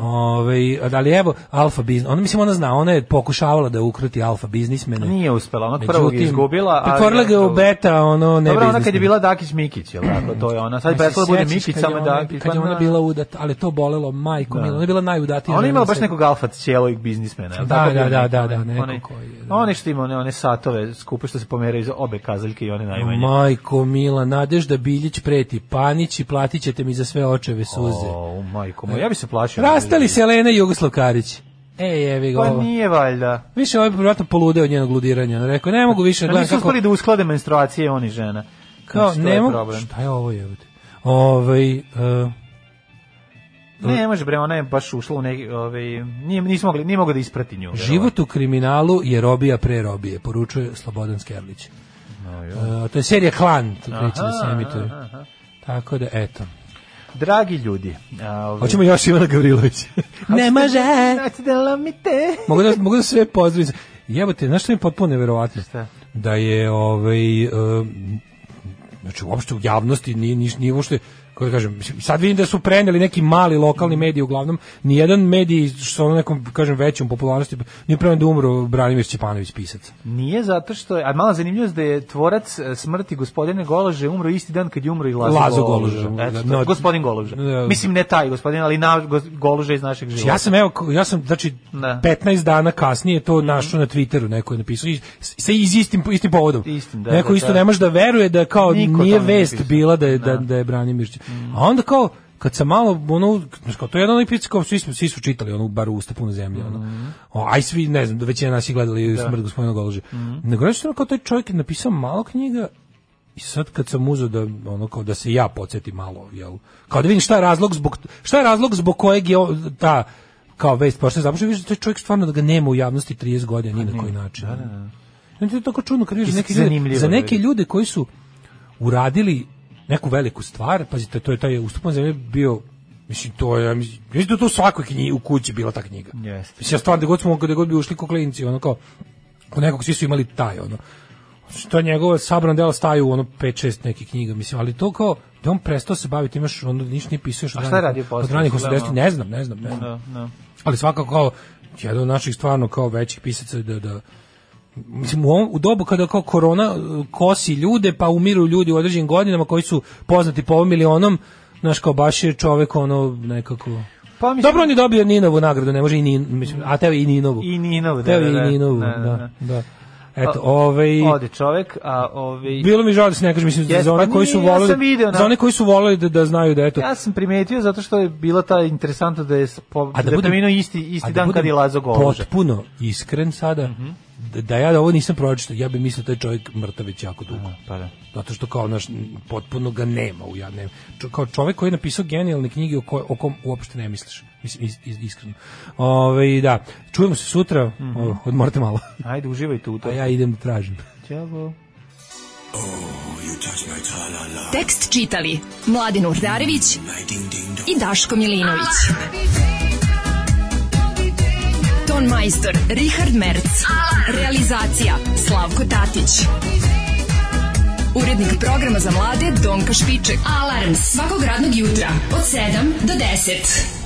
[SPEAKER 5] Ove, ali evo, alfa biznis, ona mislim ona zna, ona je pokušavala da ukruti alfa biznismene.
[SPEAKER 6] Nije uspela, ona prvog je
[SPEAKER 5] Međutim,
[SPEAKER 6] izgubila. ali-
[SPEAKER 5] Pretvorila ga je u beta, ono, ne
[SPEAKER 6] Dobro, ona kad je
[SPEAKER 5] biznismena.
[SPEAKER 6] bila Dakić Mikić, jel tako? To je ona. Sad
[SPEAKER 5] Aj,
[SPEAKER 6] je
[SPEAKER 5] se
[SPEAKER 6] prestala da bude
[SPEAKER 5] sjećaš
[SPEAKER 6] Mikić,
[SPEAKER 5] kad je
[SPEAKER 6] samo
[SPEAKER 5] ona-
[SPEAKER 6] Dakić.
[SPEAKER 5] Kad je
[SPEAKER 6] pa
[SPEAKER 5] ona
[SPEAKER 6] na-
[SPEAKER 5] bila udata, ali to bolelo majko,
[SPEAKER 6] Da.
[SPEAKER 5] mila, ona je bila najudatija.
[SPEAKER 6] A Ona je
[SPEAKER 5] žena
[SPEAKER 6] imala
[SPEAKER 5] na
[SPEAKER 6] baš
[SPEAKER 5] svetu.
[SPEAKER 6] nekog alfa cijelovih biznismena. jel
[SPEAKER 5] Da,
[SPEAKER 6] tako?
[SPEAKER 5] da, da, da, da,
[SPEAKER 6] Onaj-
[SPEAKER 5] neko
[SPEAKER 6] onaj-
[SPEAKER 5] koji je,
[SPEAKER 6] One što ima one, one satove skupe što se pomeraju iz obe kazaljke i one najmanje.
[SPEAKER 5] Majko mila, Nadežda Biljić preti, Panić i platit ćete mi za sve očeve suze.
[SPEAKER 6] O, majko moja, ja bi se plašio.
[SPEAKER 5] Rastali se Elena i Jugoslav Karić. E, jevi ga
[SPEAKER 6] Pa
[SPEAKER 5] ovo.
[SPEAKER 6] nije valjda.
[SPEAKER 5] Više ovaj vjerojatno polude od njenog ludiranja. On rekao, ne mogu više,
[SPEAKER 6] Da
[SPEAKER 5] gledam
[SPEAKER 6] Pa nisu
[SPEAKER 5] kako...
[SPEAKER 6] uspeli da usklade menstruacije oni žena.
[SPEAKER 5] Kao,
[SPEAKER 6] Znači, to
[SPEAKER 5] ne
[SPEAKER 6] je
[SPEAKER 5] mogu...
[SPEAKER 6] problem.
[SPEAKER 5] Šta je ovo jebote? Ovaj, e,
[SPEAKER 6] Ne, može bre, ona je baš ušla u neki, ovaj, nije, nismo mogli, nije mogao da isprati nju.
[SPEAKER 5] život u kriminalu je robija pre robije, poručuje Slobodan Skerlić. E, to je serija Klan, to kreće da se
[SPEAKER 6] Aha,
[SPEAKER 5] emituje.
[SPEAKER 6] aha, aha.
[SPEAKER 5] Tako da, eto.
[SPEAKER 6] Dragi ljudi, a, ovaj,
[SPEAKER 5] Hoćemo još Ivana Gavrilović. ne može!
[SPEAKER 6] Znači da lomite.
[SPEAKER 5] mogu, da, mogu da sve pozdravim. Jebote, znaš što mi je potpuno neverovatno?
[SPEAKER 6] Šta?
[SPEAKER 5] Da je, ovaj, em, znači uopšte u javnosti nije, niš, nije uopšte, kako da kažem, mislim, sad vidim da su preneli neki mali lokalni mediji, uglavnom, nijedan medij što ono nekom, kažem, većom popularnosti, nije preneli da umro Branimir Ćepanović pisac.
[SPEAKER 6] Nije zato što je, a mala zanimljivost da je tvorac e, smrti gospodine Golože umro isti dan kad je umro i Lazo,
[SPEAKER 5] Lazo
[SPEAKER 6] Goloža.
[SPEAKER 5] Goloža.
[SPEAKER 6] Eto,
[SPEAKER 5] No,
[SPEAKER 6] to, gospodin Golože.
[SPEAKER 5] da.
[SPEAKER 6] Mislim ne taj gospodin, ali na, gos- Golože iz našeg života.
[SPEAKER 5] Ja sam evo, ko- ja sam znači
[SPEAKER 6] Znači, Da.
[SPEAKER 5] 15 dana kasnije to našao na Twitteru, neko je napisao i s- sa iz istim istim povodom.
[SPEAKER 6] Istim, da,
[SPEAKER 5] neko
[SPEAKER 6] da,
[SPEAKER 5] isto
[SPEAKER 6] da.
[SPEAKER 5] ne može da veruje da kao
[SPEAKER 6] Niko
[SPEAKER 5] nije
[SPEAKER 6] to nije
[SPEAKER 5] vest
[SPEAKER 6] napisao.
[SPEAKER 5] bila da je da, da je Branimir. Ć- A onda kao kad sam malo ono znaš, kao to je jedan onaj pic kao svi smo svi su čitali ono bar u usta puno zemlje ono.
[SPEAKER 6] Mhm.
[SPEAKER 5] O, aj svi ne znam, da većina nas je gledali smrt gospodina Golože.
[SPEAKER 6] Mhm.
[SPEAKER 5] Nego reći sam kao taj čovjek je napisao malo knjiga i sad kad sam uzeo da ono kao da se ja podsjetim malo, jel? Kao da vidim šta je razlog zbog šta je razlog zbog kojeg je o- ta kao vest pošto zapravo vidiš da taj čovjek stvarno da ga nema u javnosti 30 godina ni na koji način. Da, to je tako čudno kad vidiš
[SPEAKER 6] I
[SPEAKER 5] neke ljude,
[SPEAKER 6] zanimljivo
[SPEAKER 5] za
[SPEAKER 6] je
[SPEAKER 5] neke
[SPEAKER 6] vidjeti.
[SPEAKER 5] ljude koji su uradili neku veliku stvar, pazite, to je taj ustupan zemlje bio Mislim, to je, ja mislim ja mislim da je to u svakoj knjigi, u kući bila ta knjiga.
[SPEAKER 6] Jeste.
[SPEAKER 5] Mislim, ja stvarno, gde god smo, gde god bi ušli ko klinci, ono kao, kod nekog svi su imali taj, ono, što je njegovo sabrano delo staju u ono 5 6 nekih knjiga mislim ali to kao da on prestao se baviti imaš onda ništa nije pisao što
[SPEAKER 6] A šta je radio posle?
[SPEAKER 5] od ranih 80 ne znam ne znam ne znam
[SPEAKER 6] Da, da.
[SPEAKER 5] ali svakako kao jedan od naših stvarno kao većih pisaca da da mislim u, ovom, u dobu kada kao korona e, kosi ljude pa umiru ljudi u određenim godinama koji su poznati po ovom milionom Znaš, kao baš je čovek ono nekako...
[SPEAKER 6] Pa, mislim-
[SPEAKER 5] Dobro, on je dobio Ninovu nagradu, ne može i Nin, mislim, a teo i Ninovu.
[SPEAKER 6] I Ninovu, da,
[SPEAKER 5] Teo
[SPEAKER 6] da, da.
[SPEAKER 5] i Ninovu,
[SPEAKER 6] Da,
[SPEAKER 5] da,
[SPEAKER 6] da,
[SPEAKER 5] da.
[SPEAKER 6] da.
[SPEAKER 5] Eto,
[SPEAKER 6] O-
[SPEAKER 5] ovaj...
[SPEAKER 6] Ode čovjek, a ovaj
[SPEAKER 5] Bilo mi žao da se ne kaže, mislim,
[SPEAKER 6] Jes,
[SPEAKER 5] za one
[SPEAKER 6] pa
[SPEAKER 5] koji
[SPEAKER 6] nije,
[SPEAKER 5] su
[SPEAKER 6] ja
[SPEAKER 5] volili,
[SPEAKER 6] sam video,
[SPEAKER 5] za
[SPEAKER 6] na-
[SPEAKER 5] one koji su volili da, da znaju da eto,
[SPEAKER 6] Ja sam primetio zato što je bila ta interesantno da je po, da, da
[SPEAKER 5] budem-
[SPEAKER 6] preminuo isti isti
[SPEAKER 5] a da
[SPEAKER 6] dan kad
[SPEAKER 5] budem
[SPEAKER 6] je Lazo Mhm. Golože.
[SPEAKER 5] Potpuno iskren sada, da, da ja ovo nisam pročitao, ja bih mislio da je čovjek mrtav već jako dugo.
[SPEAKER 6] Pa da.
[SPEAKER 5] Zato što kao naš potpuno ga nema u ja ne, čo- kao čovjek koji je napisao genijalne knjige o, koj, o kom uopšte ne misliš. Mislim is- is- iskreno. Ovaj da, čujemo se sutra,
[SPEAKER 6] Mhm.
[SPEAKER 5] o, odmorite malo.
[SPEAKER 6] Ajde, uživajte u to.
[SPEAKER 5] A ja idem da tražim.
[SPEAKER 6] Ćao.
[SPEAKER 4] Tekst čitali Mladin Urdarević i Daško Milinović. Ton majstor Richard Merc. Realizacija Slavko Tatić. Urednik programa za mlade Donka Špiček. Alarms svakog radnog jutra od 7 do 10.